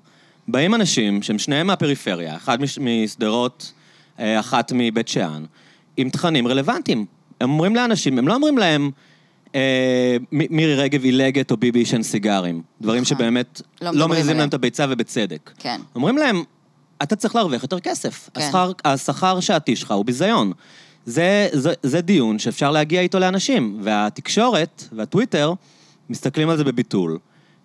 Speaker 1: באים אנשים שהם שניהם מהפריפריה, אחד מש- משדרות, אה, אחת מבית שאן, עם תכנים רלוונטיים. הם אומרים לאנשים, הם לא אומרים להם, אה, מ- מירי רגב עילגת או ביבי עישן סיגרים. דברים
Speaker 2: נכון.
Speaker 1: שבאמת
Speaker 2: לא
Speaker 1: לא
Speaker 2: מדברים
Speaker 1: מריזים להם
Speaker 2: עליהם.
Speaker 1: את הביצה ובצדק.
Speaker 2: כן.
Speaker 1: אומרים להם, אתה צריך להרוויח יותר כסף.
Speaker 2: כן.
Speaker 1: השכר, השכר השעתי שלך הוא ביזיון. זה, זה, זה דיון שאפשר להגיע איתו לאנשים, והתקשורת והטוויטר מסתכלים על זה בביטול.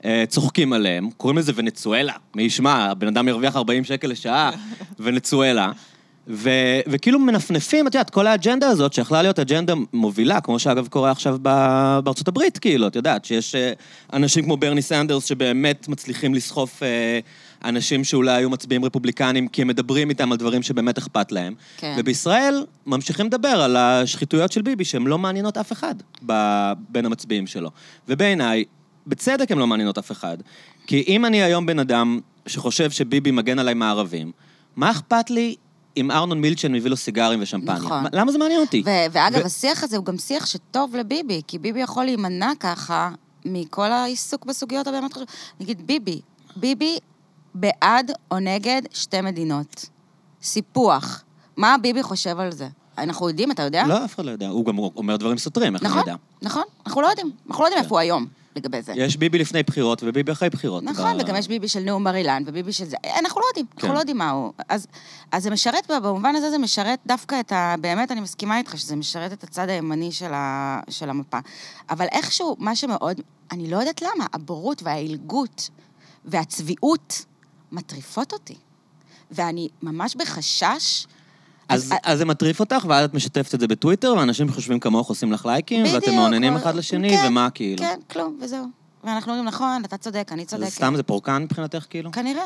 Speaker 1: אה, צוחקים עליהם, קוראים לזה ונצואלה. מי ישמע, הבן אדם ירוויח 40 שקל לשעה, ונצואלה. ו, וכאילו מנפנפים, את יודעת, כל האג'נדה הזאת, שיכולה להיות אג'נדה מובילה, כמו שאגב קורה עכשיו ב- בארצות הברית, כאילו, את יודעת, שיש אה, אנשים כמו ברני סנדרס שבאמת מצליחים לסחוף אה, אנשים שאולי היו מצביעים רפובליקנים, כי הם מדברים איתם על דברים שבאמת אכפת להם.
Speaker 2: כן.
Speaker 1: ובישראל ממשיכים לדבר על השחיתויות של ביבי, שהן לא מעניינות אף אחד ב- בין המצביעים שלו. ובעיניי, בצדק הן לא מעניינות אף אחד. כי אם אני היום בן אדם שחושב שביבי מגן עליי מהערבים, מה אכפת לי אם ארנון מילצ'ן מביא לו סיגרים ושמפניה?
Speaker 2: נכון.
Speaker 1: מה- למה זה מעניין אותי?
Speaker 2: ו- ואגב,
Speaker 1: ו-
Speaker 2: השיח הזה הוא גם שיח שטוב לביבי, כי ביבי יכול להימנע ככה מכל העיסוק בסוגיות הבאמת חשובות. נגיד, ביבי, ביבי בעד או נגד שתי מדינות. סיפוח. מה ביבי חושב על זה? אנחנו יודעים, אתה יודע?
Speaker 1: לא, אף אחד לא יודע. הוא גם אומר דברים סותרים, איך אני
Speaker 2: נכון,
Speaker 1: יודע? כן.
Speaker 2: נכון. אנחנו לא יודעים. אנחנו לא יודעים איפה הוא היום. לגבי זה.
Speaker 1: יש ביבי לפני בחירות וביבי אחרי בחירות.
Speaker 2: נכון,
Speaker 1: ב-
Speaker 2: וגם יש ביבי של נאום בר אילן, וביבי של זה. אנחנו לא יודעים,
Speaker 1: כן.
Speaker 2: אנחנו לא יודעים מה הוא. אז, אז זה משרת, במובן הזה זה משרת דווקא את ה... באמת, אני מסכימה איתך שזה משרת את הצד הימני של, ה, של המפה. אבל איכשהו, מה שמאוד, אני לא יודעת למה, הבורות והעילגות והצביעות מטריפות אותי. ואני ממש בחשש...
Speaker 1: אז, אז זה מטריף אותך, ואז את משתפת את זה בטוויטר, ואנשים חושבים כמוך עושים לך לייקים, ואתם
Speaker 2: בדיוק,
Speaker 1: מעוננים
Speaker 2: או-
Speaker 1: אחד לשני,
Speaker 2: כן,
Speaker 1: ומה כאילו?
Speaker 2: כן, כלום, וזהו. ואנחנו אומרים, נכון, אתה צודק, אני צודקת.
Speaker 1: אז סתם זה פורקן מבחינתך, כאילו?
Speaker 2: כנראה.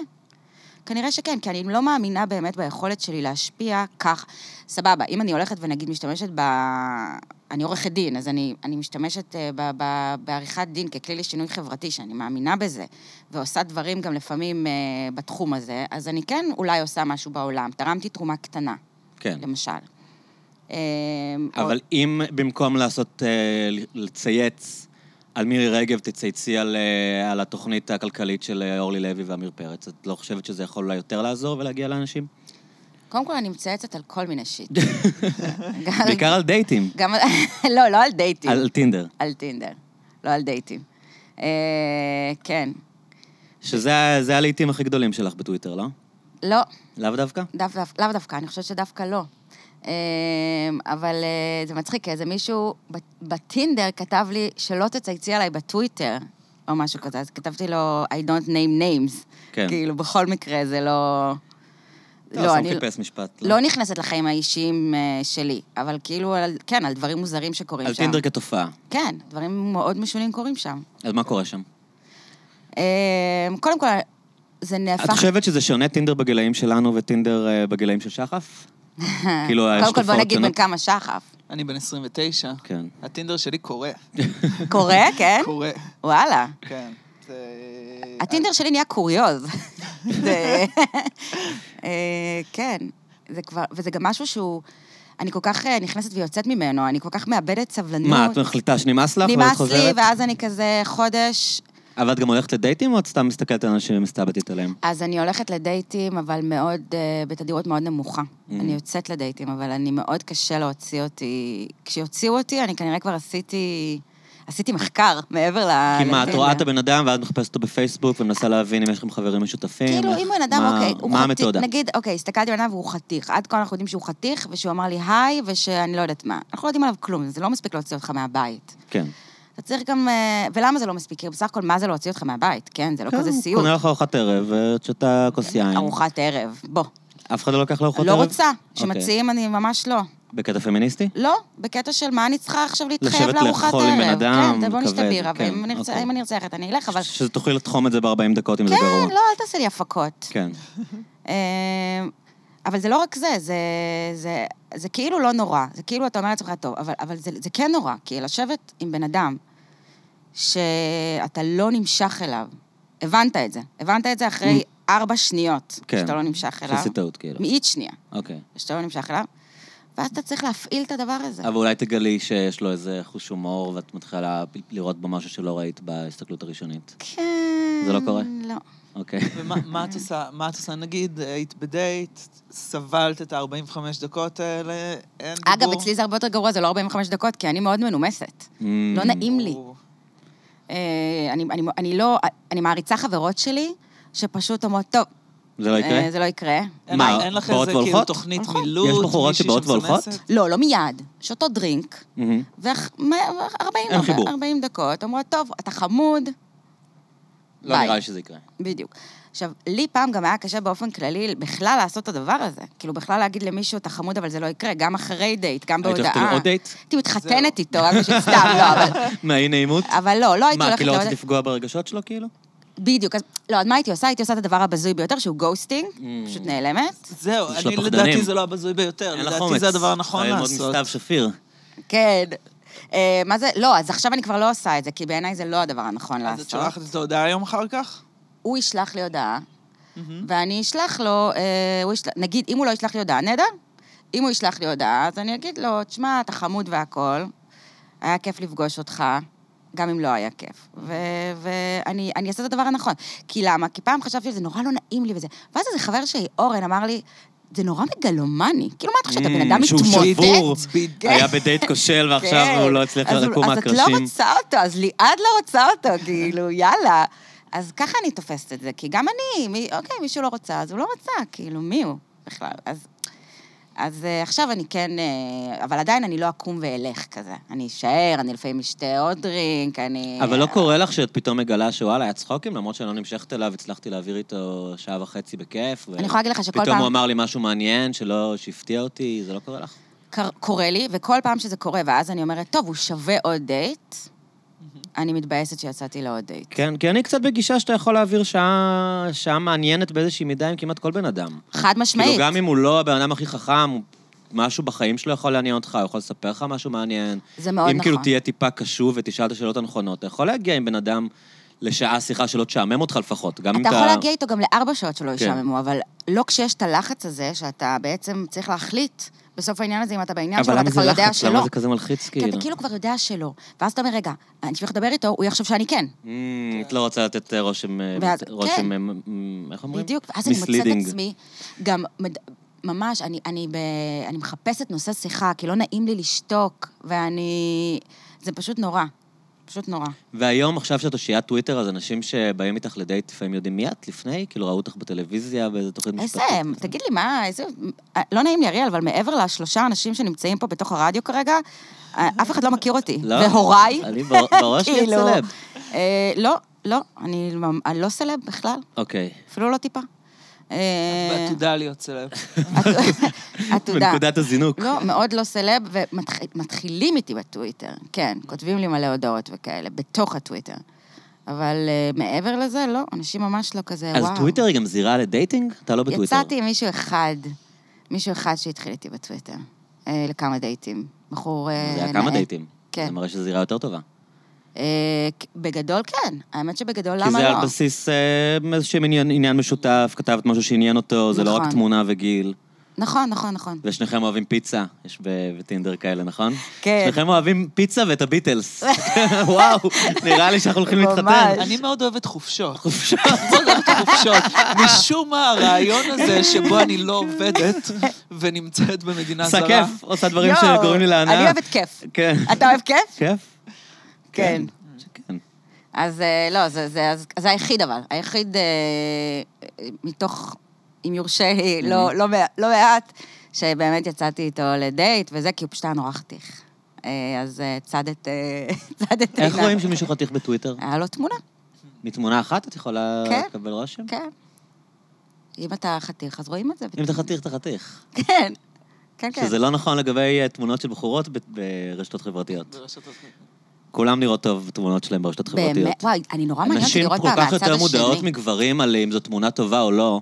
Speaker 2: כנראה שכן, כי אני לא מאמינה באמת ביכולת שלי להשפיע כך. סבבה, אם אני הולכת ונגיד משתמשת ב... אני עורכת דין, אז אני, אני משתמשת אה, ב, ב, בעריכת דין ככלי לשינוי חברתי, שאני מאמינה בזה, ועושה דברים גם לפעמים אה, בתחום הזה, אז אני כן אולי עושה משהו בעולם. תרמתי תרומה קטנה,
Speaker 1: כן.
Speaker 2: למשל. אה,
Speaker 1: אבל
Speaker 2: או-
Speaker 1: אם במקום לעשות, אה, לצייץ על מירי רגב, תצייצי על, אה, על התוכנית הכלכלית של אה, אורלי לוי ועמיר פרץ, את לא חושבת שזה יכול אולי יותר לעזור ולהגיע לאנשים?
Speaker 2: קודם כל אני מצייצת על כל מיני שיט. גם-
Speaker 1: בעיקר על דייטים,
Speaker 2: גם... לא, לא על דייטים.
Speaker 1: על טינדר.
Speaker 2: על טינדר, לא על דייטים. אה, כן.
Speaker 1: שזה ה- זה הלעיתים הכי גדולים שלך בטוויטר, לא?
Speaker 2: לא,
Speaker 1: לאו דווקא?
Speaker 2: דו, דו, לאו דווקא, אני חושבת שדווקא לא. אה, אבל אה, זה מצחיק, כי איזה מישהו ב- בטינדר כתב לי שלא תצייצי עליי בטוויטר, או משהו כזה, אז כתבתי לו I don't name names.
Speaker 1: כן.
Speaker 2: כאילו, בכל מקרה זה לא...
Speaker 1: לא, סתם חיפש משפט.
Speaker 2: לא נכנסת לחיים האישיים אה, שלי, אבל כאילו, על, כן, על דברים מוזרים שקורים
Speaker 1: על
Speaker 2: שם.
Speaker 1: טינדר כתופעה.
Speaker 2: כן, דברים מאוד משונים קורים שם.
Speaker 1: אז מה קורה שם?
Speaker 2: אה, קודם כל, זה נהפך...
Speaker 1: את חושבת שזה שונה טינדר בגילאים שלנו וטינדר אה, בגילאים של שחף? כאילו, יש
Speaker 2: קודם כל, בוא
Speaker 1: תופעות
Speaker 2: נגיד
Speaker 1: שונות?
Speaker 2: בן כמה שחף.
Speaker 3: אני בן 29.
Speaker 1: כן.
Speaker 3: הטינדר שלי קורא.
Speaker 2: קורה, כן?
Speaker 3: קורא,
Speaker 2: וואלה.
Speaker 3: כן. זה-
Speaker 2: הטינדר שלי נהיה קוריוז. זה- אה, כן, זה כבר, וזה גם משהו שהוא... אני כל כך אה, נכנסת ויוצאת ממנו, אני כל כך מאבדת סבלנות.
Speaker 1: מה, את מחליטה שנמאס לך ואת
Speaker 2: נמאס
Speaker 1: חוזרת?
Speaker 2: לי, ואז אני כזה חודש...
Speaker 1: אבל את גם הולכת לדייטים או את סתם מסתכלת על אנשים ומסתלבטת עליהם?
Speaker 2: אז אני הולכת לדייטים, אבל מאוד, אה, בתדירות מאוד נמוכה.
Speaker 1: Mm-hmm.
Speaker 2: אני יוצאת לדייטים, אבל אני מאוד קשה להוציא אותי. כשיוציאו אותי, אני כנראה כבר עשיתי... עשיתי מחקר מעבר ל...
Speaker 1: כי מה, את
Speaker 2: לטינדר.
Speaker 1: רואה את הבן אדם ואז מחפשת אותו בפייסבוק ומנסה להבין אם יש לכם חברים משותפים?
Speaker 2: כאילו,
Speaker 1: איך-
Speaker 2: אם בן אדם,
Speaker 1: מה-
Speaker 2: אוקיי, הוא
Speaker 1: מה
Speaker 2: חתיך,
Speaker 1: המתודה?
Speaker 2: נגיד, אוקיי, הסתכלתי עליו והוא חתיך. עד כה אנחנו יודעים שהוא חתיך, ושהוא אמר לי היי, ושאני לא יודעת מה. אנחנו לא יודעים עליו כלום, זה לא מספיק להוציא אותך מהבית.
Speaker 1: כן.
Speaker 2: אתה צריך גם... אה, ולמה זה לא מספיק? כי בסך הכל, מה זה להוציא אותך מהבית? כן, זה לא כזה
Speaker 1: כן, הוא
Speaker 2: סיוט.
Speaker 1: קונה לך ארוחת ערב ואת שותה כוס יין.
Speaker 2: ארוחת ערב, בוא.
Speaker 1: אף אחד לא לוקח לארוחת ערב?
Speaker 2: לא רוצה.
Speaker 1: אוקיי.
Speaker 2: כשמציעים, אני ממש לא.
Speaker 1: בקטע פמיניסטי?
Speaker 2: לא, בקטע של מה אני צריכה עכשיו להתחייב
Speaker 1: לשבת
Speaker 2: לארוחת
Speaker 1: לאכול עם
Speaker 2: ערב.
Speaker 1: בן אדם,
Speaker 2: כן, בוא נשתה
Speaker 1: כבד,
Speaker 2: בירה,
Speaker 1: כן,
Speaker 2: ואם אני ארצה-
Speaker 1: אוקיי.
Speaker 2: אם אני ארצה ללכת, אני אלך, אבל...
Speaker 1: שתוכלי לתחום את זה ב-40 דקות אם זה גרוע.
Speaker 2: כן, לא, אל תעשה לי הפקות.
Speaker 1: כן.
Speaker 2: אה, אבל זה לא רק זה, זה, זה, זה כאילו לא נורא. זה כאילו אתה אומר לעצמך, טוב, אבל, אבל זה, זה כן נורא, כי לשבת עם בן אדם שאתה לא נמשך אליו, הבנת את זה. הבנת את זה אחרי ארבע שניות
Speaker 1: כן.
Speaker 2: שאתה לא נמשך אליו.
Speaker 1: שעשית טעות, כאילו.
Speaker 2: מאית שנייה
Speaker 1: אוקיי.
Speaker 2: שאתה לא נמשך אליו, ואז אתה צריך להפעיל את הדבר הזה.
Speaker 1: אבל אולי תגלי שיש לו איזה חוש הומור ואת מתחילה לראות בו משהו שלא ראית בהסתכלות הראשונית.
Speaker 2: כן...
Speaker 1: זה לא קורה?
Speaker 2: לא.
Speaker 1: אוקיי.
Speaker 3: ומה מה את עושה, מה את עושה, נגיד, היית בדייט, סבלת את ה-45 דקות האלה, אין דיבור.
Speaker 2: אגב, אצלי זה הרבה יותר גרוע, זה לא 45 דקות, כי אני מאוד מנומסת.
Speaker 1: Mm.
Speaker 2: לא נעים לי.
Speaker 3: או,
Speaker 2: אה, אני, אני, אני לא, אני מעריצה חברות שלי, שפשוט אומרות, טוב,
Speaker 1: זה לא יקרה?
Speaker 2: אה, זה לא יקרה.
Speaker 3: אין-
Speaker 1: מה,
Speaker 3: אין לך
Speaker 1: באות
Speaker 3: איזה כאילו
Speaker 1: והולכות?
Speaker 3: תוכנית
Speaker 2: נכון.
Speaker 3: מילוט,
Speaker 1: יש בחורות
Speaker 3: מישהי
Speaker 1: שבאות והולכות?
Speaker 3: שמסמסת?
Speaker 2: לא, לא מיד. שותות דרינק,
Speaker 1: מהמם. אין חיבור.
Speaker 2: ו-40 דקות, אומרות, טוב, אתה חמוד,
Speaker 1: לא
Speaker 2: ביי.
Speaker 1: נראה לי שזה יקרה.
Speaker 2: בדיוק. עכשיו, לי פעם גם היה קשה באופן כללי בכלל לעשות את הדבר הזה. כאילו, בכלל להגיד למישהו, אתה חמוד, אבל זה לא יקרה, גם אחרי דייט, גם
Speaker 1: היית
Speaker 2: בהודעה.
Speaker 1: הולכת לעוד דייט?
Speaker 2: הייתי מתחתנת איתו, רק בשביל סתם, לא, אבל...
Speaker 1: מהאי נעימות?
Speaker 2: אבל לא, לא הייתי
Speaker 1: מה,
Speaker 2: הולכת
Speaker 1: כי לא
Speaker 2: לעוד-
Speaker 1: רצית לפגוע ברגשות שלו, כאילו?
Speaker 2: בדיוק, אז... לא, אז מה הייתי עושה? הייתי עושה את הדבר הבזוי ביותר, שהוא גוסטינג,
Speaker 3: Mm.
Speaker 2: פשוט נעלמת.
Speaker 3: זהו,
Speaker 1: יש לה
Speaker 3: אני
Speaker 1: פחדנים.
Speaker 3: לדעתי זה לא הבזוי ביותר, לדעתי זה הדבר הנכון לעשות.
Speaker 1: ללמוד מסתיו שפיר.
Speaker 2: כן. אה, מה זה? לא, אז עכשיו אני כבר לא עושה את זה, כי בעיניי זה לא הדבר הנכון
Speaker 3: אז את
Speaker 2: לעשות.
Speaker 3: שולחת את ההודעה היום אחר כך? Mm-hmm.
Speaker 2: הוא ישלח לי הודעה,
Speaker 1: Mm-hmm.
Speaker 2: ואני אשלח לו, אה, הוא ישלח, נגיד, אם הוא לא ישלח לי הודעה, נהדר. אם הוא ישלח לי הודעה, אז אני אגיד לו, תשמע, אתה חמוד והכול, היה כיף לפגוש אותך, גם אם לא היה כיף. ו- ואני אני אעשה את הדבר הנכון. כי למה? כי פעם חשבתי שזה נורא לא נעים לי וזה. ואז איזה חבר שלי, אורן, אמר לי, זה נורא מגלומני. כאילו, מה אתה חושב, הבן
Speaker 1: Mm,
Speaker 2: אדם
Speaker 1: שהוא
Speaker 2: מתמודד?
Speaker 1: שבור. היה בדייט כושל ועכשיו
Speaker 2: כן.
Speaker 1: הוא לא הצליח
Speaker 2: אז הוא-
Speaker 1: לקום
Speaker 2: אז את לא
Speaker 1: מהקרשים.
Speaker 2: רוצה אותו, אז ליעד לא רוצה אותו, כאילו, יאללה. אז ככה אני תופסת את זה, כי גם אני, מי, אוקיי, מישהו לא רוצה, אז הוא לא רצה, כאילו, מי הוא בכלל? אז, אז אה, עכשיו אני כן, אה, אבל עדיין אני לא אקום ואלך כזה. אני אשאר, אני לפעמים אשתה עוד דרינק, אני... אה,
Speaker 1: אבל לא קורה לך שאת פתאום מגלה שוואלה, היה צחוקים, למרות שאני לא נמשכת אליו, הצלחתי להעביר איתו שעה וחצי בכיף. ו-
Speaker 2: אני יכולה להגיד לך שכל
Speaker 1: פתאום
Speaker 2: פעם-
Speaker 1: הוא אמר לי משהו מעניין, שלא, שהפתיע אותי, זה לא קורה לך?
Speaker 2: קר, קורה לי, וכל פעם שזה קורה, ואז אני אומרת, טוב, הוא שווה עוד דייט, אני מתבאסת שיצאתי לעוד דייט.
Speaker 1: כן, כי אני קצת בגישה שאתה יכול להעביר שעה, שעה מעניינת באיזושהי מידה עם כמעט כל בן אדם.
Speaker 2: חד
Speaker 1: כאילו,
Speaker 2: משמעית.
Speaker 1: גם אם הוא לא הבן אדם הכי חכם, הוא- משהו בחיים שלו יכול לעניין אותך, הוא יכול לספר לך משהו מעניין.
Speaker 2: זה מאוד
Speaker 1: אם כאילו
Speaker 2: נכון.
Speaker 1: תהיה טיפה קשוב ותשאל את השאלות הנכונות, אתה יכול להגיע עם בן אדם לשעה שיחה שלא תשעמם אותך לפחות. גם אם
Speaker 2: אתה
Speaker 1: אתה...
Speaker 2: יכול להגיע איתו גם לארבע שעות שלא
Speaker 1: כן.
Speaker 2: ישעממו, אבל לא כשיש את הלחץ הזה, שאתה בעצם צריך להחליט בסוף העניין הזה אם אתה בעניין
Speaker 1: אבל
Speaker 2: שלו, ואתה
Speaker 1: למה זה
Speaker 2: כבר יודע
Speaker 1: לחץ?
Speaker 2: שלא.
Speaker 1: למה זה כזה מלחיץ,
Speaker 2: כי
Speaker 1: כאילו?
Speaker 2: אתה כאילו כבר יודע שלא. ואז אתה אומר, רגע, אני צריך לדבר איתו, הוא יחשוב שאני כן.
Speaker 1: אמ, את לא רוצה לתת אה, רושם... אה,
Speaker 2: ואז-
Speaker 1: רושם...
Speaker 2: כן.
Speaker 1: אה, מ- איך אומרים?
Speaker 2: בדיוק, ואז אני מוצאת את
Speaker 1: Misleading.
Speaker 2: עצמי, גם מד- ממש, אני, אני, ב, אני מחפשת נושא שיחה, כי לא נעים לי לשתוק, ואני... זה פשוט נורא. פשוט נורא.
Speaker 1: והיום, עכשיו שאת אושיית טוויטר, אז אנשים שבאים איתך לדייט לפעמים יודעים מי את לפני? כאילו, ראו אותך בטלוויזיה באיזה תוכנית
Speaker 2: איזה,
Speaker 1: משפטית?
Speaker 2: תגיד לי, מה, איזה... לא נעים לי, אריאל, אבל מעבר לשלושה אנשים שנמצאים פה בתוך הרדיו כרגע, אה, אף אחד לא מכיר אותי.
Speaker 1: לא,
Speaker 2: והוריי,
Speaker 1: אני בר- בראש לי את
Speaker 2: כאילו,
Speaker 1: סלב.
Speaker 2: אה, לא, לא, אני ממ- אני לא סלב בכלל,
Speaker 1: אוקיי.
Speaker 2: אפילו לא טיפה. אה,
Speaker 3: ועתודה להיות סלב.
Speaker 1: אה.
Speaker 2: עתודה.
Speaker 1: בנקודת הזינוק.
Speaker 2: לא, מאוד לא סלב, ומתחילים איתי בטוויטר. כן, כותבים לי מלא הודעות וכאלה, בתוך הטוויטר. אבל אה, מעבר לזה, לא, אנשים ממש לא כזה,
Speaker 1: אז
Speaker 2: וואו.
Speaker 1: טוויטר היא גם זירה לדייטינג? אתה לא בטוויטר.
Speaker 2: יצאתי עם מישהו אחד, מישהו אחד שהתחיל איתי בטוויטר, אה, לכמה דייטים. בחור אה, נאה.
Speaker 1: זה היה כמה דייטים.
Speaker 2: כן.
Speaker 1: זה מראה שזו זירה יותר טובה.
Speaker 2: אה, כ- בגדול כן, האמת שבגדול
Speaker 1: כי
Speaker 2: למה
Speaker 1: זה על
Speaker 2: לא?
Speaker 1: בסיס אה, איזשהו עניין עניין משותף, כתבת משהו שעניין אותו, זה לא רק
Speaker 2: נכון.
Speaker 1: תמונה וגיל.
Speaker 2: נכון, נכון, נכון.
Speaker 1: ושניכם אוהבים פיצה, יש ב- בטינדר כאלה, נכון?
Speaker 2: כן.
Speaker 1: שניכם אוהבים פיצה ואת הביטלס. וואו, נראה לי שאנחנו הולכים להתחתן.
Speaker 2: ממש.
Speaker 3: אני מאוד אוהבת חופשות. חופשות. מאוד אוהבת חופשות. משום מה, הרעיון הזה שבו אני לא עובדת ונמצאת במדינה
Speaker 1: עושה
Speaker 3: זרה.
Speaker 1: כיף, עושה דברים
Speaker 2: יואו,
Speaker 1: שגורמים לי להנאה.
Speaker 2: אני אוהבת כיף.
Speaker 1: כן.
Speaker 2: אתה אוהב כיף?
Speaker 1: כיף?
Speaker 2: כן.
Speaker 1: שכן.
Speaker 2: אז אה, לא, זה- זה אז- זה היחיד אבל. היחיד אה, אה, מתוך, אם יורשה לי, לא- לא מע- לא מעט, שבאמת יצאתי איתו לדייט וזה, כי הוא פשוט היה נורא חתיך. אה, אז אה, צדת אה, צדת
Speaker 1: איך
Speaker 2: עיניו.
Speaker 1: רואים שמישהו חתיך בטוויטר?
Speaker 2: היה לו תמונה,
Speaker 1: מתמונה אחת את יכולה
Speaker 2: כן.
Speaker 1: לקבל רושם?
Speaker 2: כן. אם אתה חתיך, אז רואים את זה.
Speaker 1: אם אתה חתיך, אתה חתיך.
Speaker 2: כן. כן, כן.
Speaker 1: שזה לא נכון לגבי אה, תמונות של בחורות ב- ברשתות חברתיות.
Speaker 3: ברשתות חברתיות.
Speaker 1: כולם נראות טוב בתמונות שלהם ברשתות חברתיות.
Speaker 2: באמת, וואי, אני נורא מעניין אותי
Speaker 1: אנשים
Speaker 2: לראות
Speaker 1: כל
Speaker 2: מה-
Speaker 1: כך
Speaker 2: מהצד
Speaker 1: יותר מודעות
Speaker 2: השני.
Speaker 1: מגברים על אה, אם זו תמונה טובה או לא.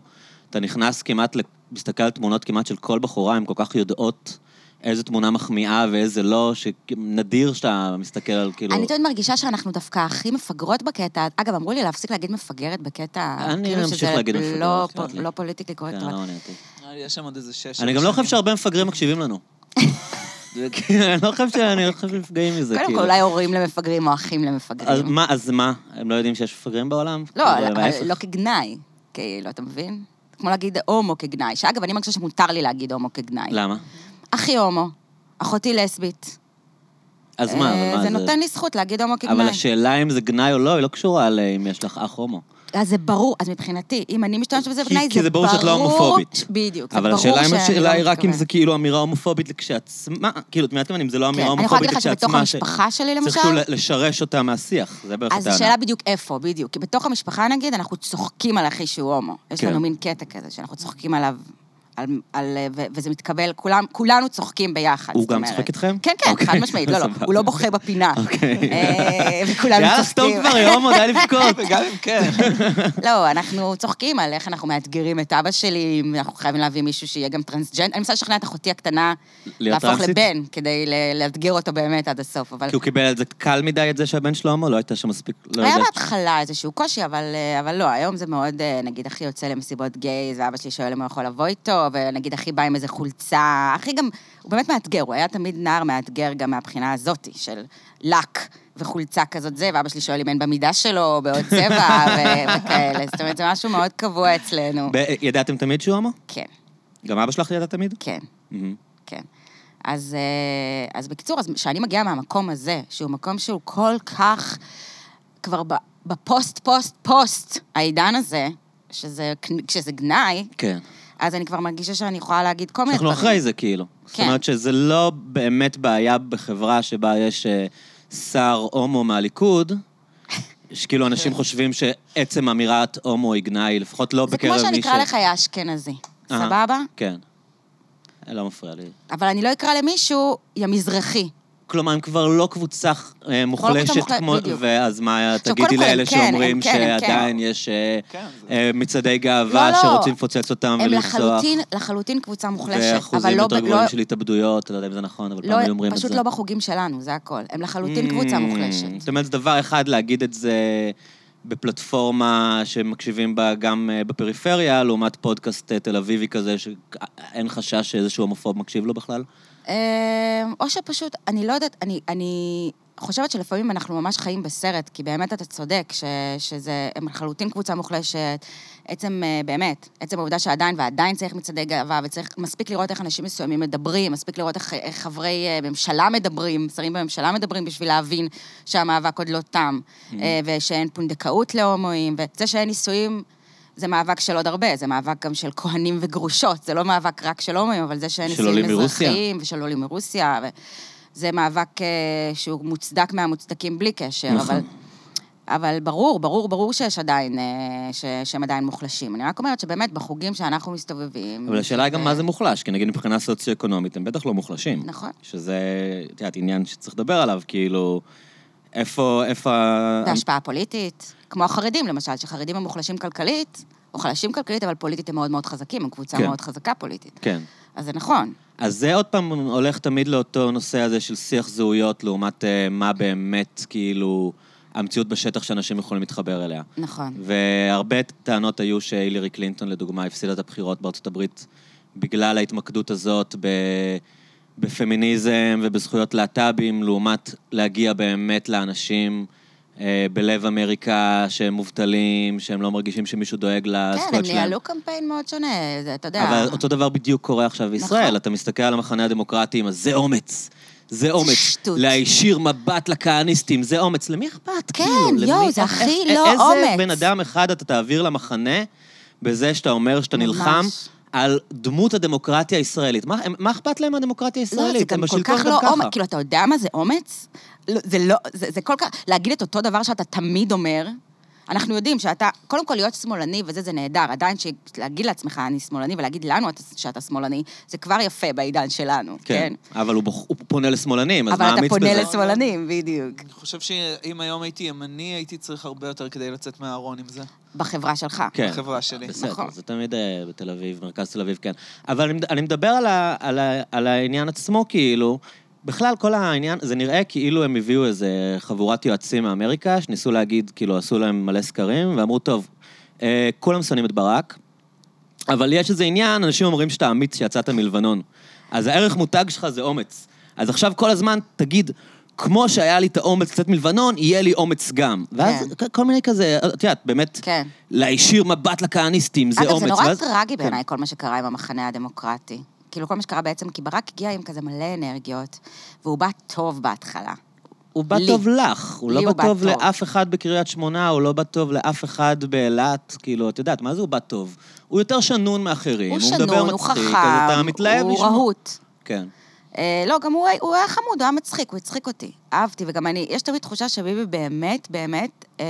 Speaker 1: אתה נכנס כמעט, ל- מסתכל על תמונות כמעט של כל בחורה, הן כל כך יודעות איזו תמונה מחמיאה ואיזה לא, שנדיר שאתה מסתכל על כאילו...
Speaker 2: אני תמיד מרגישה שאנחנו דווקא הכי מפגרות בקטע. אגב, אמרו לי להפסיק להגיד מפגרת בקטע,
Speaker 1: אני
Speaker 2: כאילו
Speaker 1: אמשיך
Speaker 2: שזה
Speaker 1: להגיד
Speaker 2: לא
Speaker 1: מפגרת,
Speaker 2: פו-
Speaker 1: אכפת לי.
Speaker 2: לא פוליטיקלי
Speaker 1: כן,
Speaker 2: קורקט.
Speaker 1: לא
Speaker 2: אבל-
Speaker 1: מעניין אותי.
Speaker 3: נראה לי יש שם עוד איזה שש...
Speaker 1: אני
Speaker 3: שבע
Speaker 1: גם לא חושב
Speaker 3: שנים.
Speaker 1: שהרבה מפגרים מקשיבים לנו. אני לא חושב שאני לא חושב שנפגעים מזה,
Speaker 2: קודם כל,
Speaker 1: כאילו.
Speaker 2: אולי הורים למפגרים או אחים
Speaker 1: אז
Speaker 2: למפגרים.
Speaker 1: מה, אז מה? הם לא יודעים שיש מפגרים בעולם?
Speaker 2: לא,
Speaker 1: כאילו,
Speaker 2: אבל
Speaker 1: ההפך.
Speaker 2: לא כגנאי, כאילו, אתה מבין? כמו להגיד הומו כגנאי, שאגב, אני מרגישה שמותר לי להגיד הומו כגנאי.
Speaker 1: למה?
Speaker 2: אחי הומו, אחותי לסבית.
Speaker 1: אז מה,
Speaker 2: אה,
Speaker 1: אבל מה
Speaker 2: זה נותן לי זכות להגיד הומו כגנאי.
Speaker 1: אבל השאלה אם זה גנאי או לא, היא לא קשורה לאם יש לך אח הומו.
Speaker 2: אז זה ברור, אז מבחינתי, אם אני משתמשת בזה
Speaker 1: כי-
Speaker 2: בגנאי, זה ברור...
Speaker 1: כי זה ברור שאת לא הומופובית.
Speaker 2: ש- בדיוק, זה
Speaker 1: אבל
Speaker 2: ברור
Speaker 1: השאלה אם
Speaker 2: שאני
Speaker 1: השאלה
Speaker 2: לא
Speaker 1: היא רק אם
Speaker 2: מתכוונת.
Speaker 1: זה כאילו אמירה הומופובית כשעצמה, כאילו, את מבינת מה אני, אם זה לא
Speaker 2: כן,
Speaker 1: אמירה
Speaker 2: אני יכולה
Speaker 1: הומופובית
Speaker 2: להגיד לך
Speaker 1: כשעצמה,
Speaker 2: שבתוך
Speaker 1: ש-
Speaker 2: המשפחה שלי, למשל,
Speaker 1: צריך כאילו לשרש אותה מהשיח, זה בערך
Speaker 2: אז
Speaker 1: הטענה.
Speaker 2: השאלה בדיוק איפה, בדיוק. כי בתוך המשפחה, נגיד, אנחנו צוחקים על אחי שהוא הומו. יש
Speaker 1: כן.
Speaker 2: לנו מין קטע כזה, שאנחנו צוחקים עליו, על, על, ו- וזה מתקבל, כולם, כולנו צוחקים ביחד.
Speaker 1: הוא
Speaker 2: זאת
Speaker 1: גם
Speaker 2: אומרת.
Speaker 1: צוחק איתכם?
Speaker 2: כן, כן,
Speaker 1: אוקיי,
Speaker 2: חד משמעית, לא, לא,
Speaker 1: סבבה.
Speaker 2: הוא לא בוכה בפינה.
Speaker 1: אוקיי.
Speaker 2: אה, וכולנו
Speaker 1: יאללה, סתום
Speaker 2: צוחקים.
Speaker 1: כבר, יא הומו, די לבכות.
Speaker 3: וגם אם כן.
Speaker 2: לא, אנחנו צוחקים על איך אנחנו מאתגרים את אבא שלי, אם אנחנו חייבים להביא מישהו שיהיה גם טרנסג'נד. אני מנסה לשכנע את אחותי הקטנה
Speaker 1: להיות
Speaker 2: להפוך
Speaker 1: טרנסית?
Speaker 2: לבן, כדי ל- לאתגר אותו באמת עד הסוף, אבל...
Speaker 1: כי הוא קיבל את זה קל מדי, את זה שהבן שלו הומו, לא הייתה שם מספיק, לא
Speaker 2: היה
Speaker 1: יודעת.
Speaker 2: בהתחלה איזשהו קושי, אבל, אה, אבל לא, היום זה מאוד, אה, נגיד, אחי יוצא למסיבות גיי, ואבא שלי שואל אם הוא יכול לבוא איתו, ונגיד אחי בא עם איזה חולצה, אחי גם, הוא באמת מאתגר, הוא היה תמיד נער מאתגר גם מהבחינה הזאת, של לק וחולצה כזאת זה, ואבא שלי שואל אם אין במידה שלו, בעוד צבע ו- וכאלה, זאת אומרת, זה משהו מאוד קבוע אצלנו.
Speaker 1: ב- ידעתם תמיד שהוא הומו?
Speaker 2: כן.
Speaker 1: גם אבא שלך ידע תמיד?
Speaker 2: כן,
Speaker 1: מהמם.
Speaker 2: כן. אז, אה, אז בקיצור, אז כשאני מגיעה מהמקום הזה, שהוא מקום שהוא כל כך כבר ב- בפוסט, פוסט, פוסט, העידן הזה, שזה, שזה גנאי,
Speaker 1: כן.
Speaker 2: אז אני כבר מרגישה שאני יכולה להגיד כל מיני
Speaker 1: אנחנו
Speaker 2: דברים.
Speaker 1: אחרי זה, כאילו. זאת
Speaker 2: כן.
Speaker 1: אומרת שזה לא באמת בעיה בחברה שבה יש אה, שר הומו מהליכוד, שכאילו אנשים חושבים שעצם אמירת הומו היא גנאי, לפחות לא
Speaker 2: זה
Speaker 1: בקרב
Speaker 2: כמו
Speaker 1: מי ש...
Speaker 2: שאני אקרא לך יא אשכנזי,
Speaker 1: אהה.
Speaker 2: סבבה?
Speaker 1: כן. אה, לא מפריע לי.
Speaker 2: אבל אני לא אקרא למישהו יא מזרחי.
Speaker 1: כלומר, הם כבר לא קבוצה אה, מוחלשת
Speaker 2: מוחלשת,
Speaker 1: כמו...
Speaker 2: בדיוק.
Speaker 1: ואז מה
Speaker 2: עכשיו,
Speaker 1: תגידי
Speaker 2: קודם כל,
Speaker 1: לאלה
Speaker 2: הם כן, הם
Speaker 1: שאומרים
Speaker 2: כן, הם כן.
Speaker 1: שעדיין יש אה,
Speaker 3: כן, זה-
Speaker 1: אה, מצעדי גאווה
Speaker 2: לא, לא.
Speaker 1: שרוצים לפוצץ אותם
Speaker 2: הם
Speaker 1: ולרצוח?
Speaker 2: לחלוטין, לחלוטין קבוצה מוחלשת, אבל
Speaker 1: ואחוזים
Speaker 2: לא... ב-
Speaker 1: יותר
Speaker 2: לא-
Speaker 1: גבוהים של התאבדויות, לא יודע אם זה נכון, אבל פעם היו אומרים
Speaker 2: לא,
Speaker 1: את זה.
Speaker 2: פשוט לא בחוגים שלנו, זה הכל. הם לחלוטין קבוצה
Speaker 1: Mm,
Speaker 2: מוחלשת.
Speaker 1: זאת אומרת, זה דבר אחד להגיד את זה בפלטפורמה שמקשיבים בה גם אה, בפריפריה, לעומת פודקאסט אה, תל אביבי כזה, שאין חשש שאיזשהו הומופוב מקשיב לו בכלל.
Speaker 2: אה, או שפשוט, אני לא יודעת, אני, אני חושבת שלפעמים אנחנו ממש חיים בסרט, כי באמת אתה צודק, ש, שזה, הם לחלוטין קבוצה מוחלשת. עצם, אה, באמת, עצם העובדה שעדיין ועדיין צריך מצעדי גאווה, וצריך, מספיק לראות איך אנשים מסוימים מדברים, מספיק לראות איך, איך חברי אה, ממשלה מדברים, שרים בממשלה מדברים בשביל להבין שהמאבק עוד לא תם, אה, ושאין פונדקאות להומואים, וזה שאין נישואים... זה מאבק של עוד הרבה, זה מאבק גם של כהנים וגרושות, זה לא מאבק רק של הומואים, אבל זה שאין
Speaker 1: של עולים
Speaker 2: נישואים
Speaker 1: מרוסיה.
Speaker 2: אזרחיים ושל עולים מרוסיה, ו... זה מאבק אה, שהוא מוצדק מהמוצדקים בלי קשר,
Speaker 1: נכון.
Speaker 2: אבל, אבל ברור, ברור, ברור שיש עדיין, אה, ש... שהם עדיין מוחלשים. אני רק אומרת שבאמת, בחוגים שאנחנו מסתובבים...
Speaker 1: אבל השאלה היא גם
Speaker 2: זה-
Speaker 1: מה זה מוחלש, כי נגיד מבחינה סוציו-אקונומית הם בטח לא מוחלשים.
Speaker 2: נכון.
Speaker 1: שזה, את יודעת, עניין שצריך לדבר עליו, כאילו, איפה, איפה... ה-
Speaker 2: והשפעה פוליטית, כמו החרדים למשל, שחרדים הם מוחלשים כלכלית, מוחלשים כלכלית, אבל פוליטית הם מאוד מאוד חזקים, הם קבוצה
Speaker 1: כן.
Speaker 2: מאוד חזקה פוליטית.
Speaker 1: כן.
Speaker 2: אז זה נכון.
Speaker 1: אז זה עוד פעם הולך תמיד לאותו נושא הזה של שיח זהויות לעומת אה, מה באמת, כאילו, המציאות בשטח שאנשים יכולים להתחבר אליה.
Speaker 2: נכון.
Speaker 1: והרבה טענות היו שהילרי קלינטון, לדוגמה, הפסידה את הבחירות בארצות הברית בגלל ההתמקדות הזאת ב... בפמיניזם ובזכויות להט"בים, לעומת להגיע באמת לאנשים אה, בלב אמריקה, שהם מובטלים, שהם לא מרגישים שמישהו דואג לזכויות שלהם.
Speaker 2: כן, הם ניהלו קמפיין מאוד שונה, זה, אתה יודע. לא,
Speaker 1: אבל אותו דבר בדיוק קורה עכשיו בישראל.
Speaker 2: נכון.
Speaker 1: אתה מסתכל על המחנה הדמוקרטי עם הזה אומץ. זה אומץ.
Speaker 2: שטות.
Speaker 1: להישיר מבט לכהניסטים, זה אומץ. למי אכפת?
Speaker 2: כן,
Speaker 1: כאילו,
Speaker 2: יואו,
Speaker 1: למי-
Speaker 2: זה
Speaker 1: איך-
Speaker 2: הכי
Speaker 1: איך-
Speaker 2: לא
Speaker 1: איזה
Speaker 2: אומץ.
Speaker 1: בן אדם אחד אתה תעביר למחנה בזה שאתה אומר שאתה
Speaker 2: ממש.
Speaker 1: נלחם על דמות הדמוקרטיה הישראלית? מה- הם- מה אכפת להם מהדמוקרטיה
Speaker 2: לא, זה
Speaker 1: הישראלית? הם
Speaker 2: גם כל
Speaker 1: בשלטון
Speaker 2: כך
Speaker 1: גם
Speaker 2: לא
Speaker 1: ככה.
Speaker 2: אומץ. כאילו, אתה יודע מה זה אומץ? לא, זה לא, זה, זה כל כך, להגיד את אותו דבר שאתה תמיד אומר. אנחנו יודעים שאתה, קודם כל להיות שמאלני וזה, זה נהדר. עדיין להגיד לעצמך אני שמאלני ולהגיד לנו את- שאתה שמאלני, זה כבר יפה בעידן שלנו,
Speaker 1: כן,
Speaker 2: כן?
Speaker 1: אבל הוא בוח- הוא פונה לשמאלנים, אז מה
Speaker 2: אבל אתה
Speaker 1: אמיץ בזה?
Speaker 2: פונה לשמאלנים, בדיוק.
Speaker 3: אני חושב שאם היום הייתי ימני, הייתי צריך הרבה יותר כדי לצאת מהארון עם זה.
Speaker 2: בחברה שלך.
Speaker 1: כן.
Speaker 3: החברה שלי.
Speaker 1: בסדר,
Speaker 2: נכון.
Speaker 1: זה תמיד אה, בתל אביב, מרכז תל אביב, כן. אבל אני מד- אני מדבר על ה- על ה- על העניין עצמו, כאילו, בכלל, כל העניין, זה נראה כאילו הם הביאו איזה חבורת יועצים מאמריקה, שניסו להגיד, כאילו, עשו להם מלא סקרים, ואמרו, טוב, אה, כולם שונאים את ברק, אבל יש איזה עניין, אנשים אומרים שאתה אמיץ שיצאת מלבנון. אז הערך מותג שלך זה אומץ. אז עכשיו כל הזמן תגיד, כמו שהיה לי את האומץ קצת מלבנון, יהיה לי אומץ גם. ואז
Speaker 2: כן.
Speaker 1: כן. כל מיני כזה, את יודעת, באמת,
Speaker 2: כן.
Speaker 1: להישיר מבט לכהניסטים, זה
Speaker 2: אגב,
Speaker 1: אומץ.
Speaker 2: זה נורא
Speaker 1: ואז-
Speaker 2: טרגי
Speaker 1: כן.
Speaker 2: בעיניי, כל מה שקרה עם המחנה הדמוקרטי. כאילו, כל מה שקרה בעצם, כי ברק הגיע עם כזה מלא אנרגיות, והוא בא טוב בהתחלה.
Speaker 1: הוא בא
Speaker 2: לי.
Speaker 1: טוב לך, הוא
Speaker 2: לי
Speaker 1: לא
Speaker 2: הוא
Speaker 1: בא
Speaker 2: בא
Speaker 1: טוב
Speaker 2: טוב.
Speaker 1: לאף אחד בקריית שמונה, הוא לא בא טוב לאף אחד באילת, כאילו, את יודעת, מה זה הוא בא טוב? הוא יותר שנון מאחרים,
Speaker 2: הוא
Speaker 1: מדבר
Speaker 2: שנון, הוא
Speaker 1: מצחיק, אז אתה
Speaker 2: חכם,
Speaker 1: מתלהב
Speaker 2: הוא
Speaker 1: לשמוע.
Speaker 2: רהוט.
Speaker 1: כן.
Speaker 2: אה, לא, גם הוא, היה- הוא היה חמוד, הוא היה מצחיק, הוא הצחיק אותי. אהבתי, וגם אני, יש תמיד תחושה שביבי באמת, באמת, אה,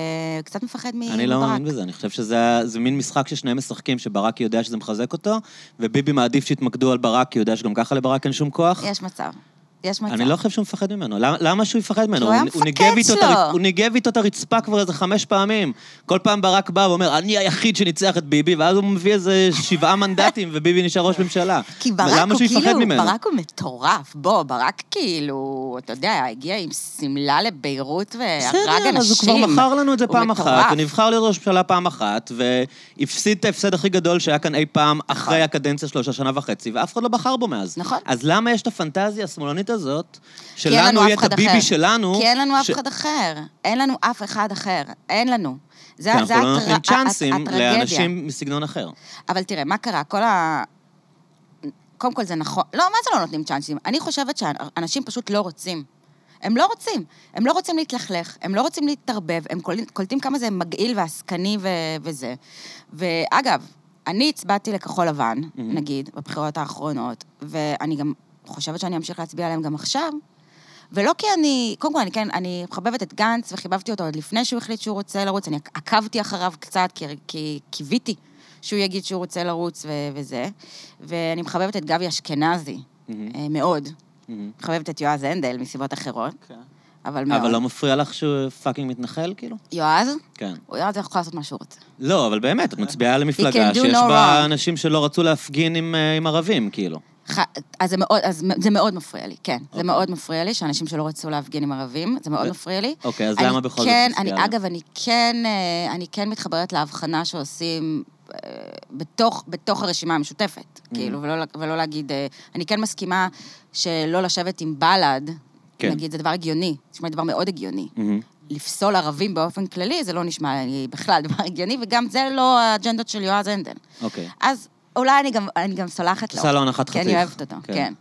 Speaker 2: קצת מפחד מברק.
Speaker 1: אני לא מאמין בזה, אני חושב שזה זה מין משחק ששניהם משחקים, שברק יודע שזה מחזק אותו, וביבי מעדיף שיתמקדו על ברק, כי הוא יודע שגם ככה לברק אין שום כוח.
Speaker 2: יש מצב. יש מצב.
Speaker 1: אני לא חושב שהוא מפחד ממנו. למה, למה שהוא יפחד ממנו?
Speaker 2: הוא היה
Speaker 1: הוא
Speaker 2: המפקד
Speaker 1: ניגב איתו את
Speaker 2: שלו.
Speaker 1: הר- הוא ניגב איתו את הרצפה כבר איזה חמש פעמים. כל פעם ברק בא ואומר, אני היחיד שניצח את ביבי, ואז הוא מביא איזה שבעה מנדטים, וביבי נשאר ראש ממשלה.
Speaker 2: כי ברק
Speaker 1: למה
Speaker 2: הוא
Speaker 1: שהוא יפחד
Speaker 2: כאילו,
Speaker 1: ממנו?
Speaker 2: ברק הוא מטורף. בוא, ברק כאילו, אתה יודע, הגיע עם שמלה לביירות והרג אנשים.
Speaker 1: בסדר, אז הוא כבר מכר לנו את זה
Speaker 2: הוא
Speaker 1: פעם אחת,
Speaker 2: מטורף.
Speaker 1: הוא נבחר להיות ראש ממשלה פעם אחת, והפסיד את ההפסד הכי גדול שהיה כאן אי פעם אחרי הקדנציה שלו של שנה וחצי, ואף אחד לא בחר בו מאז.
Speaker 2: נכון.
Speaker 1: אז למה יש את הפנטזיה השמאלנית הזאת,
Speaker 2: כי אין לנו
Speaker 1: שלנו יהיה
Speaker 2: אף
Speaker 1: את
Speaker 2: אחד
Speaker 1: הביבי
Speaker 2: אחר.
Speaker 1: שלנו,
Speaker 2: כי אין לנו אף
Speaker 1: ש-
Speaker 2: אחד אחר. אין לנו אף אחד אחר. אין לנו. זה
Speaker 1: כי
Speaker 2: זה
Speaker 1: אנחנו לא
Speaker 2: הטר-
Speaker 1: נותנים
Speaker 2: הט-
Speaker 1: צ'אנסים
Speaker 2: הטרגדיה.
Speaker 1: לאנשים מסגנון אחר.
Speaker 2: אבל תראה, מה קרה? כל ה... קודם כל זה נכון. לא, מה זה לא נותנים צ'אנסים? אני חושבת שאנשים פשוט לא רוצים. הם לא רוצים. הם לא רוצים להתלכלך, הם לא רוצים להתערבב, הם קול- קולטים כמה זה מגעיל ועסקני ו- וזה. ואגב, אני הצבעתי לכחול לבן, נגיד, בבחירות האחרונות, ואני גם חושבת שאני אמשיך להצביע עליהם גם עכשיו, ולא כי אני, קודם כל, אני כן, אני מחבבת את גנץ, וחיבבתי אותו עוד לפני שהוא החליט שהוא רוצה לרוץ, אני עקבתי אחריו קצת, כי, כי קיוויתי שהוא יגיד שהוא רוצה לרוץ ו- וזה, ואני מחבבת את גבי אשכנזי, אה, מאוד. מחבבת את יועז הנדל מסיבות אחרות,
Speaker 3: כן.
Speaker 2: אבל מאוד.
Speaker 1: אבל לא מפריע לך שהוא פאקינג מתנחל, כאילו?
Speaker 2: יועז?
Speaker 1: כן.
Speaker 2: הוא יועז יכול לעשות מה שהוא רוצה.
Speaker 1: לא, אבל באמת, את מצביעה
Speaker 2: He
Speaker 1: למפלגה
Speaker 2: can do
Speaker 1: שיש
Speaker 2: no
Speaker 1: בה
Speaker 2: wrong.
Speaker 1: אנשים שלא רצו להפגין עם, אה, עם ערבים, כאילו.
Speaker 2: ח- אז זה מאוד, אז זה מאוד מפריע לי, כן. זה מאוד מפריע לי שאנשים שלא רצו להפגין עם ערבים, זה מאוד
Speaker 1: אוקיי. ו-
Speaker 2: מפריע לי.
Speaker 1: אוקיי, אז
Speaker 2: אני
Speaker 1: למה בכל זאת
Speaker 2: כן,
Speaker 1: הצביעה
Speaker 2: אני,
Speaker 1: עליהם?
Speaker 2: אגב, אני כן, אה, אני כן מתחברת להבחנה שעושים אה, בתוך, בתוך הרשימה המשותפת,
Speaker 1: Mm-hmm.
Speaker 2: כאילו, ולא, לה- ולא להגיד... אה, אני כן מסכימה שלא לשבת עם בל"ד,
Speaker 1: כן.
Speaker 2: נגיד, זה דבר הגיוני, זה נשמע לי דבר מאוד הגיוני.
Speaker 1: מהמם.
Speaker 2: לפסול ערבים באופן כללי, זה לא נשמע לי בכלל דבר הגיוני, וגם זה לא האג'נדות של יועז הנדל.
Speaker 1: אוקיי.
Speaker 2: אז אולי אני גם, אני גם סולחת לו.
Speaker 1: עושה לו הנחת
Speaker 2: כי
Speaker 1: חתיך.
Speaker 2: אני אוהבת אותו,
Speaker 1: כן.
Speaker 2: כן.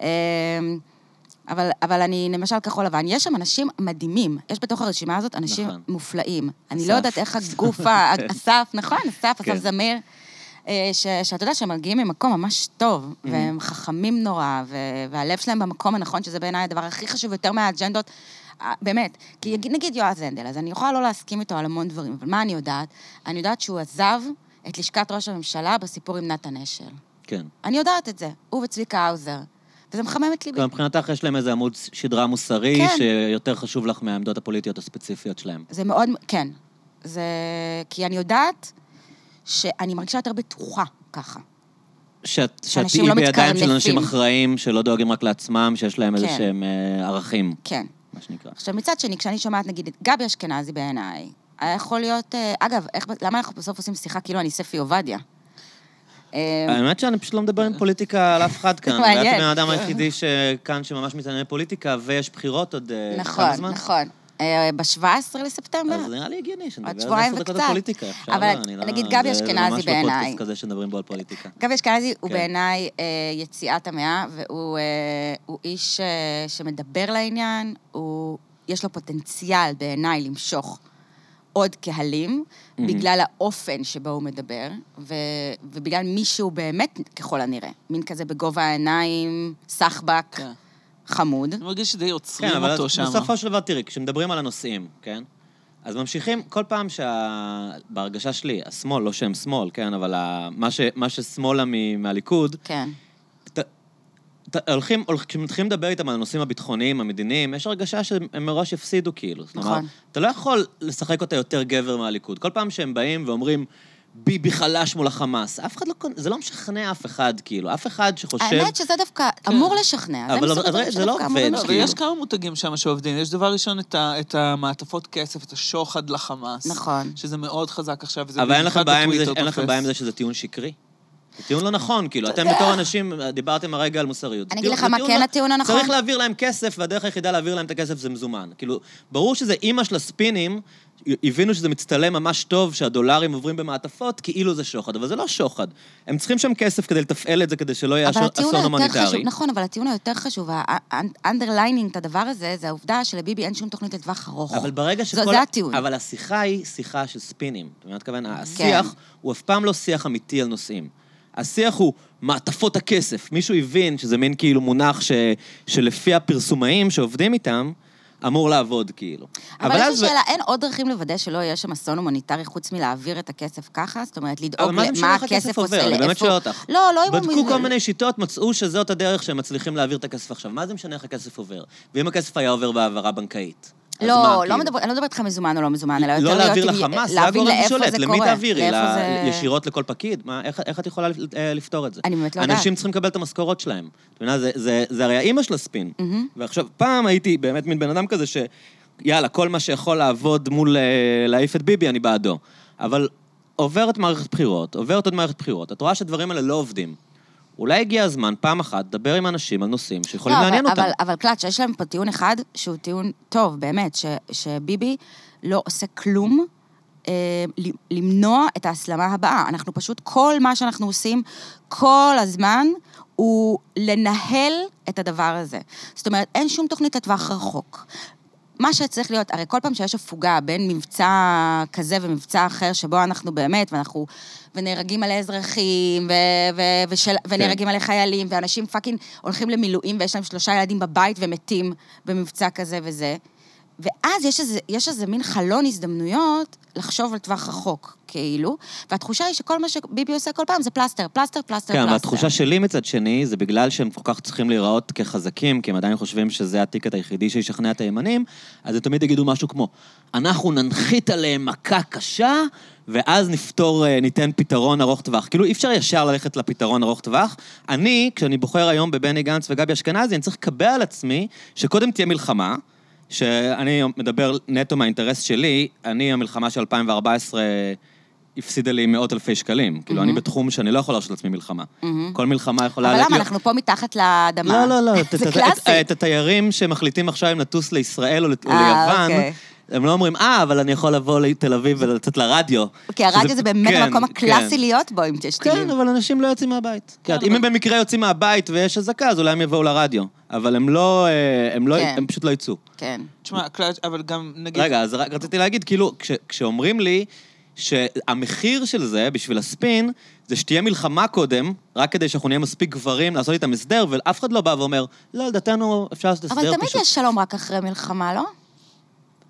Speaker 2: אמ, אבל, אבל אני, למשל כחול לבן, יש שם אנשים מדהימים. יש בתוך הרשימה הזאת אנשים
Speaker 1: נכון.
Speaker 2: מופלאים. אני
Speaker 1: אסף.
Speaker 2: לא יודעת איך הגוף, ה-
Speaker 1: כן.
Speaker 2: אסף, נכון? אסף,
Speaker 1: כן.
Speaker 2: אסף זמיר. אה, ש- שאתה יודע שהם מגיעים ממקום ממש טוב, והם חכמים נורא, ו- והלב שלהם במקום הנכון, שזה בעיניי הדבר הכי חשוב יותר מהאג'נדות. אה, באמת, כי יגיד- נגיד יועז הנדל, אז אני יכולה לא להסכים איתו על המון דברים, אבל מה אני יודעת? אני יודעת שהוא עזב את לשכת ראש הממשלה בסיפור עם נתן אשל.
Speaker 1: כן.
Speaker 2: אני יודעת את זה, הוא וצביקה האוזר. וזה מחמם את ליבי.
Speaker 1: כלומר, מבחינתך יש להם איזה עמוד שדרה מוסרי,
Speaker 2: כן.
Speaker 1: שיותר חשוב לך מהעמדות הפוליטיות הספציפיות שלהם.
Speaker 2: זה מאוד, כן. זה... כי אני יודעת שאני מרגישה יותר בטוחה ככה.
Speaker 1: שאת שאת
Speaker 2: שאנשים
Speaker 1: תהיי
Speaker 2: לא
Speaker 1: בידיים של אנשים
Speaker 2: מתקרנפים.
Speaker 1: אחראים, שלא דואגים רק לעצמם, שיש להם
Speaker 2: כן.
Speaker 1: איזה שהם אה, ערכים,
Speaker 2: כן.
Speaker 1: מה שנקרא.
Speaker 2: עכשיו, מצד שני, כשאני שומעת, נגיד, את גבי אשכנזי בעיניי, היה יכול להיות... אה, אגב, איך, למה אנחנו בסוף עושים שיחה כאילו אני ספי עובדיה? אה,
Speaker 1: האמת שאני פשוט לא מדבר עם פוליטיקה על אף אחד כאן.
Speaker 2: מעניין.
Speaker 1: מעניין. את הבן אדם היחידי שכאן שממש מתעניין בפוליטיקה, ויש בחירות עוד אה, כמה
Speaker 2: נכון,
Speaker 1: זמן?
Speaker 2: נכון. ב-17 לספטמבר?
Speaker 1: אז נראה לי הגיוני
Speaker 2: עוד
Speaker 1: שנדבר על
Speaker 2: שבועיים
Speaker 1: עשר דקות
Speaker 2: וקצת.
Speaker 1: על פוליטיקה. אפשר,
Speaker 2: אבל
Speaker 1: לא, אני לא-
Speaker 2: נגיד גבי
Speaker 1: זה- זה
Speaker 2: אשכנזי
Speaker 1: ממש לא
Speaker 2: בעיניי.
Speaker 1: פודקאסט כזה שמדברים בו על פוליטיקה.
Speaker 2: גבי אשכנזי הוא
Speaker 1: כן.
Speaker 2: בעיניי אה, יציאת המאה, והוא אה, הוא איש אה, שמדבר לעניין, הוא, יש לו פוטנציאל בעיניי למשוך עוד קהלים, בגלל האופן שבו הוא מדבר, ו, ובגלל מי שהוא באמת, ככל הנראה, מין כזה בגובה העיניים, סחבק,
Speaker 3: כן.
Speaker 2: חמוד.
Speaker 3: אני מרגיש שדי עוצרים
Speaker 1: כן, אבל
Speaker 3: אותו
Speaker 1: אז
Speaker 3: שם.
Speaker 1: בסופו של דבר, תראי, כשמדברים על הנושאים, כן? אז ממשיכים, כל פעם שה... בהרגשה שלי, השמאל, לא שהם שמאל, כן? אבל ה... מה, ש... מה ששמאלה מ... מהליכוד,
Speaker 2: כן,
Speaker 1: ת... ת... הולכים, הולכ... כשמתחילים לדבר איתם על הנושאים הביטחוניים, המדיניים, יש הרגשה שהם מראש יפסידו, כאילו. נכון. כלומר,
Speaker 2: נכון.
Speaker 1: אתה לא יכול לשחק אותה יותר גבר מהליכוד. כל פעם שהם באים ואומרים, ביבי חלש מול החמאס, אף אחד לא... קונ- זה לא משכנע אף אחד, כאילו. אף אחד שחושב...
Speaker 2: האמת שזה דווקא אמור לשכנע, זה
Speaker 1: כן. אבל-
Speaker 2: מסוג
Speaker 1: אבל
Speaker 2: הדברים
Speaker 1: זה לא
Speaker 2: שדווקא
Speaker 1: עובד,
Speaker 2: אמורים
Speaker 1: לא,
Speaker 3: לא,
Speaker 2: לשכנע.
Speaker 3: אבל
Speaker 1: כאילו.
Speaker 3: יש כמה מותגים שם שעובדים. יש דבר ראשון את ה- את המעטפות כסף, את השוחד לחמאס.
Speaker 2: נכון.
Speaker 3: שזה מאוד חזק עכשיו, וזה
Speaker 1: אבל אין לכם
Speaker 3: במיוחד
Speaker 1: בעיה עם זה-
Speaker 3: בטוויטר
Speaker 1: אין לכם
Speaker 3: תופס.
Speaker 1: בעיה עם זה שזה טיעון שקרי? זה טיעון לא נכון, כאילו, אתם בתור אנשים, דיברתם הרגע על מוסריות. זה
Speaker 2: אני אגיד
Speaker 1: טיעון-
Speaker 2: לך
Speaker 1: זה
Speaker 2: מה
Speaker 1: טיעון
Speaker 2: כן
Speaker 1: לא-
Speaker 2: הטיעון הנכון.
Speaker 1: צריך להעביר להם כסף, והדרך היחידה להעביר להם את הכסף זה מזומן. כאילו, ברור שזה אימא של הספינים, הבינו שזה מצטלם ממש טוב, שהדולרים עוברים במעטפות, כאילו זה שוחד, אבל זה לא שוחד. הם צריכים שם כסף כדי לתפעל את זה, כדי שלא יהיה
Speaker 2: אבל
Speaker 1: אסון
Speaker 2: הטיעון
Speaker 1: אסון
Speaker 2: היותר חשוב,
Speaker 1: הומניטרי.
Speaker 2: נכון, אבל הטיעון היותר חשוב, האנדרליינינג את הדבר הזה, זה העובדה שלביבי אין שום תוכנית לטווח ארוך.
Speaker 1: אבל ברגע
Speaker 2: זה-
Speaker 1: שכל...
Speaker 2: נכון. זה הטיעון. כן.
Speaker 1: אבל השיחה היא שיחה של ספינים. אתה מבין מה אתכוון? השיח הוא אף פעם לא שיח אמיתי על נושאים. השיח הוא מעטפות הכסף. מישהו הבין שזה מין כאילו מונח ש... שלפי הפרסומאים שעובדים איתם, אמור לעבוד כאילו.
Speaker 2: אבל יש לי שאלה, אין עוד דרכים לוודא שלא יהיה שם אסון הומניטרי חוץ מלהעביר את הכסף ככה? זאת אומרת, לדאוג
Speaker 1: אבל אוקיי, מה זה משנה
Speaker 2: למה
Speaker 1: איך הכסף
Speaker 2: הכסף
Speaker 1: עובר?
Speaker 2: עושה,
Speaker 1: אני באמת
Speaker 2: לאיפה...
Speaker 1: שואל אותך.
Speaker 2: לא, לא אם הוא...
Speaker 1: בדקו כל מיני שיטות, מצאו שזאת הדרך שהם מצליחים להעביר את הכסף עכשיו. מה זה משנה איך הכסף עובר? ואם הכסף היה עובר בהעברה בנקאית? אז מה,
Speaker 2: לא,
Speaker 1: כאילו?
Speaker 2: לא מדבר- אני לא מדברת איתך מזומן או לא מזומן, אלא יותר
Speaker 1: לא
Speaker 2: להיות
Speaker 1: להעביר
Speaker 2: עם-
Speaker 1: לחמאס, זה
Speaker 2: להבין
Speaker 1: הגורם
Speaker 2: לאיפה
Speaker 1: ששולט.
Speaker 2: זה
Speaker 1: למי
Speaker 2: קורה,
Speaker 1: תעבירי?
Speaker 2: לאיפה
Speaker 1: ל-
Speaker 2: זה-
Speaker 1: ישירות לכל פקיד? מה, איך, איך את יכולה לפ- אה, לפתור את זה?
Speaker 2: אני באמת לא יודעת.
Speaker 1: אנשים צריכים לקבל את המשכורות שלהם. את מבינה, זה, זה, זה הרי האימא של הספין.
Speaker 2: Mm-hmm.
Speaker 1: ועכשיו, פעם הייתי באמת מין בן אדם כזה ש... יאללה, כל מה שיכול לעבוד מול אה, להעיף את ביבי, אני בעדו. אבל עוברת מערכת בחירות, עוברת עוד מערכת בחירות, את רואה שהדברים האלה לא עובדים. אולי הגיע הזמן, פעם אחת, לדבר עם אנשים על נושאים שיכולים
Speaker 2: לא,
Speaker 1: לעניין
Speaker 2: אבל,
Speaker 1: אותם.
Speaker 2: אבל, אבל קלאץ', שיש להם פה טיעון אחד, שהוא טיעון טוב, באמת, ש, שביבי לא עושה כלום אה, ל- למנוע את ההסלמה הבאה. אנחנו פשוט, כל מה שאנחנו עושים, כל הזמן, הוא לנהל את הדבר הזה. זאת אומרת, אין שום תוכנית לטווח רחוק. מה שצריך להיות, הרי כל פעם שיש הפוגה בין מבצע כזה ומבצע אחר, שבו אנחנו באמת, ואנחנו, ונהרגים על אזרחים, ו, ו, ושל,
Speaker 1: כן.
Speaker 2: ונהרגים על חיילים, ואנשים פאקינג הולכים למילואים ויש להם שלושה ילדים בבית ומתים במבצע כזה וזה. ואז יש איזה, יש איזה מין חלון הזדמנויות לחשוב על טווח רחוק, כאילו, והתחושה היא שכל מה שביבי עושה כל פעם זה פלסטר, פלסטר, פלסטר,
Speaker 1: כן,
Speaker 2: פלסטר.
Speaker 1: והתחושה שלי מצד שני, זה בגלל שהם כל כך צריכים להיראות כחזקים, כי הם עדיין חושבים שזה הטיקט היחידי שישכנע את הימנים, אז הם תמיד יגידו משהו כמו, אנחנו ננחית עליהם מכה קשה, ואז נפתור, אה, ניתן פתרון ארוך טווח. כאילו, אי אפשר ישר ללכת לפתרון ארוך טווח. אני, כשאני בוחר היום בבני גנץ וגבי אשכנזי, אני צריך לקבע על עצמי שקודם תהיה מלחמה, שאני מדבר נטו מהאינטרס שלי, אני, המלחמה של 2014 הפסידה לי מאות אלפי שקלים. כאילו, אני בתחום שאני לא יכול להרשות לעצמי מלחמה. כל מלחמה יכולה...
Speaker 2: Mm-hmm. אבל
Speaker 1: להיות-
Speaker 2: למה, אנחנו פה מתחת
Speaker 1: לא,
Speaker 2: לאדמה.
Speaker 1: לא, לא. את-
Speaker 2: זה
Speaker 1: את-
Speaker 2: קלאסי.
Speaker 1: את התיירים שמחליטים עכשיו אם לטוס לישראל או לת- או
Speaker 2: אה,
Speaker 1: ליוון,
Speaker 2: אוקיי.
Speaker 1: הם לא אומרים, אה, אבל אני יכול לבוא לתל אביב ולצאת לרדיו.
Speaker 2: כי הרדיו
Speaker 1: שזה-
Speaker 2: אוקיי, זה באמת
Speaker 1: כן,
Speaker 2: המקום הקלאסי
Speaker 1: כן.
Speaker 2: להיות בו, אם יש
Speaker 1: כן,
Speaker 2: טילים.
Speaker 1: אבל אנשים לא יוצאים מהבית. כן, אם הם במקרה יוצאים מהבית ויש אזעקה, אז אולי הם יבואו לרדיו. אבל הם לא, אה, הם לא,
Speaker 2: כן.
Speaker 1: הם פשוט לא יצאו.
Speaker 2: כן.
Speaker 3: תשמע, הקלאץ', אבל גם נגיד...
Speaker 1: רגע, אז רק רציתי להגיד, כאילו, כש, כשאומרים לי שהמחיר של זה, בשביל הספין, זה שתהיה מלחמה קודם, רק כדי שאנחנו נהיה מספיק גברים לעשות איתם הסדר, ואף אחד לא בא ואומר, לא, לדעתנו אפשר לעשות הסדר
Speaker 2: אבל
Speaker 1: לא פשוט.
Speaker 2: תמיד יש שלום רק אחרי מלחמה, לא?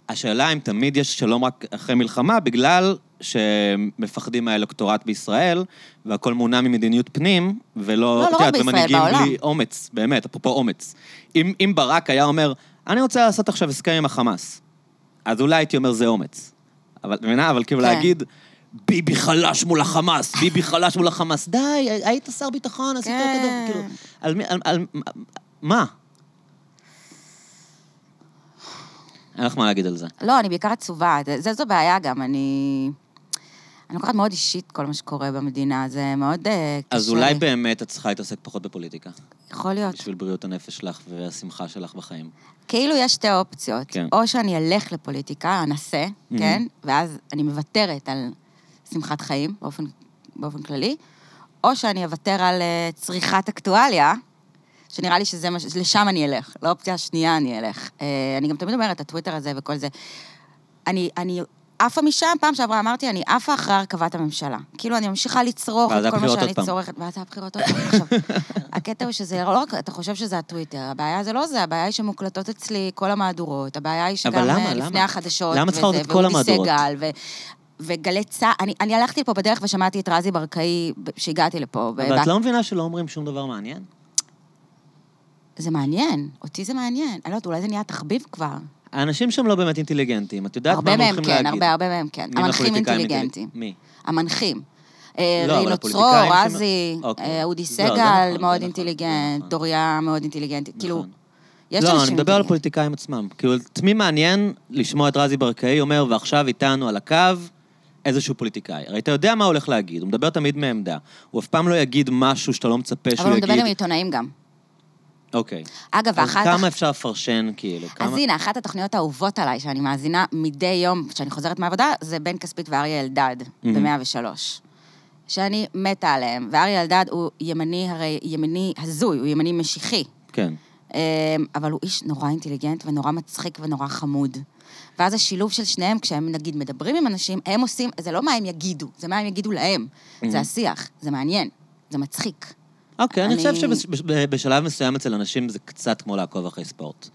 Speaker 1: השאלה אם תמיד יש שלום רק אחרי מלחמה, בגלל שמפחדים מהאלקטורט בישראל, והכל מונע ממדיניות פנים, ולא,
Speaker 2: לא, לא
Speaker 1: את יודעת,
Speaker 2: רק בישראל,
Speaker 1: ומנהיגים
Speaker 2: בעולם.
Speaker 1: בלי אומץ, באמת, אפרופו אומץ. אם, אם ברק היה אומר, אני רוצה לעשות עכשיו הסכם עם החמאס, אז אולי הייתי אומר זה אומץ. אבל, את מבינה? אבל כאילו
Speaker 2: כן.
Speaker 1: להגיד, ביבי חלש מול החמאס, ביבי חלש מול החמאס, די, היית שר ביטחון, עשית
Speaker 2: כן.
Speaker 1: אותו דבר, כאילו, על מי, על, על, מה? אין לך מה להגיד על זה.
Speaker 2: לא, אני בעיקר עצובה. זה- זה זו בעיה גם, אני... אני לוקחת מאוד אישית כל מה שקורה במדינה, זה מאוד אה, קשה.
Speaker 1: אז אולי
Speaker 2: לי.
Speaker 1: באמת את צריכה להתעסק פחות בפוליטיקה,
Speaker 2: יכול להיות.
Speaker 1: בשביל בריאות הנפש שלך והשמחה שלך בחיים.
Speaker 2: כאילו יש שתי אופציות.
Speaker 1: כן. Mm-hmm.
Speaker 2: או שאני אלך לפוליטיקה, אנסה, כן? ואז אני מוותרת על שמחת חיים באופן, באופן כללי, או שאני אוותר על אה, צריכת אקטואליה, שנראה לי שזה מה ש... לשם אני אלך, לאופציה השנייה אני אלך. אה, אני גם תמיד אומרת, הטוויטר הזה וכל זה. אני, אני עפה משם, פעם שעברה אמרתי, אני עפה אחרי הרכבת הממשלה. כאילו, אני ממשיכה לצרוך
Speaker 1: ואז
Speaker 2: את כל מה
Speaker 1: הבחירות
Speaker 2: שאני
Speaker 1: עוד פעם.
Speaker 2: צורכת. ואז הבחירות עוד פעם. עכשיו, הקטע הוא שזה לא רק, אתה חושב שזה הטוויטר, הבעיה זה לא זה, הבעיה היא שמוקלטות אצלי כל המהדורות, הבעיה היא שגם
Speaker 1: אבל למה?
Speaker 2: אה, לפני
Speaker 1: למה?
Speaker 2: החדשות,
Speaker 1: למה צריכה
Speaker 2: וזה,
Speaker 1: לראות את כל המהדורות?
Speaker 2: סגל, ו... וגלי צה"ל, אני, אני הלכתי לפה בדרך ושמעתי את רזי ברקאי ב- שהגעתי לפה. ו-
Speaker 1: אבל את לא מבינה שלא אומרים שום דבר מעניין?
Speaker 2: זה מעניין, אותי זה מעניין. אני לא יודעת, אולי זה נהיה תחביב כבר.
Speaker 1: האנשים שם לא באמת אינטליגנטים, את יודעת מה
Speaker 2: הרבה
Speaker 1: הם
Speaker 2: מהם
Speaker 1: הולכים
Speaker 2: כן,
Speaker 1: להגיד.
Speaker 2: הרבה הרבה מהם כן.
Speaker 1: מי
Speaker 2: המנחים
Speaker 1: מהפוליטיקאים
Speaker 2: אינטליגנטים.
Speaker 1: אינטליג- מי?
Speaker 2: המנחים. אה,
Speaker 1: לא, אבל
Speaker 2: רינו
Speaker 1: הפוליטיקאים
Speaker 2: צרור,
Speaker 1: שם-
Speaker 2: רזי,
Speaker 1: אוקיי.
Speaker 2: אה, אודי
Speaker 1: לא, זה נכון,
Speaker 2: סגל,
Speaker 1: זה
Speaker 2: מאוד
Speaker 1: נכון, זה
Speaker 2: אינטליגנט,
Speaker 1: נכון.
Speaker 2: דוריה מאוד אינטליגנטית. כאילו,
Speaker 1: נכון.
Speaker 2: יש
Speaker 1: לא,
Speaker 2: אנשים...
Speaker 1: אני מדבר על
Speaker 2: אינטליגנטים.
Speaker 1: הפוליטיקאים עצמם. כאילו, את מי מעניין לשמוע את רזי ברקאי אומר, ועכשיו איתנו על הקו איזשהו פוליטיקאי. הרי אתה יודע מה הוא הולך להגיד, הוא מדבר תמיד מעמדה. הוא אף פעם לא יגיד משהו שאתה לא מצפה שהוא
Speaker 2: אבל הוא
Speaker 1: יגיד.
Speaker 2: מדבר עם עיתונאים גם.
Speaker 1: אוקיי.
Speaker 2: אגב,
Speaker 1: אז
Speaker 2: ואחת...
Speaker 1: כמה אפשר לפרשן, כאילו?
Speaker 2: אז
Speaker 1: כמה-
Speaker 2: הנה, אחת התוכניות האהובות עליי, שאני מאזינה מדי יום כשאני חוזרת מהעבודה, זה בן כספית ואריה אלדד,
Speaker 1: Mhm.
Speaker 2: ב-103. שאני מתה עליהם. ואריה אלדד הוא ימני, הרי ימני הזוי, הוא ימני משיחי.
Speaker 1: כן.
Speaker 2: אמ, אבל הוא איש נורא אינטליגנט ונורא מצחיק ונורא חמוד. ואז השילוב של שניהם, כשהם נגיד מדברים עם אנשים, הם עושים, זה לא מה הם יגידו, זה מה הם יגידו להם.
Speaker 1: Mhm.
Speaker 2: זה השיח, זה מעניין, זה מצחיק.
Speaker 1: אוקיי, אני
Speaker 2: אני-
Speaker 1: חושב שבשלב מסוים אצל אנשים זה קצת כמו לעקוב אחרי ספורט.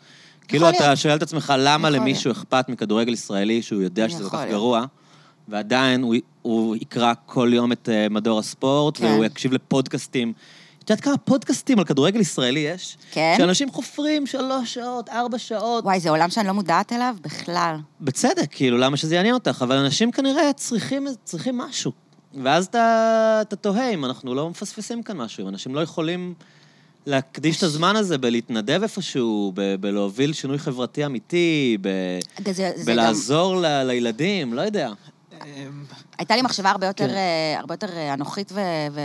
Speaker 1: כאילו,
Speaker 2: יכול
Speaker 1: אתה
Speaker 2: להיות.
Speaker 1: שואל את עצמך למה
Speaker 2: יכול
Speaker 1: למישהו אכפת מכדורגל ישראלי שהוא יודע שזה כל
Speaker 2: יכול
Speaker 1: כך
Speaker 2: להיות.
Speaker 1: גרוע, ועדיין הוא- הוא יקרא כל יום את אה, מדור הספורט,
Speaker 2: כן.
Speaker 1: והוא יקשיב לפודקאסטים. את יודעת כמה פודקאסטים על כדורגל ישראלי יש?
Speaker 2: כן?
Speaker 1: שאנשים חופרים שלוש שעות, ארבע שעות.
Speaker 2: וואי, זה עולם שאני לא מודעת אליו בכלל.
Speaker 1: בצדק, כאילו, למה שזה יעניין אותך? אבל אנשים כנראה צריכים, צריכים משהו. ואז אתה, אתה תוהה אם אנחנו לא מפספסים כאן משהו, אם אנשים לא יכולים להקדיש את הזמן הזה בלהתנדב איפשהו, ב- בלהוביל שינוי חברתי אמיתי, ב-
Speaker 2: זה, זה גם...
Speaker 1: בלעזור ל- לילדים, לא יודע.
Speaker 3: אמ,
Speaker 2: הייתה לי מחשבה הרבה יותר,
Speaker 1: כן.
Speaker 2: אה, הרבה יותר אה, אנוכית ו- ו-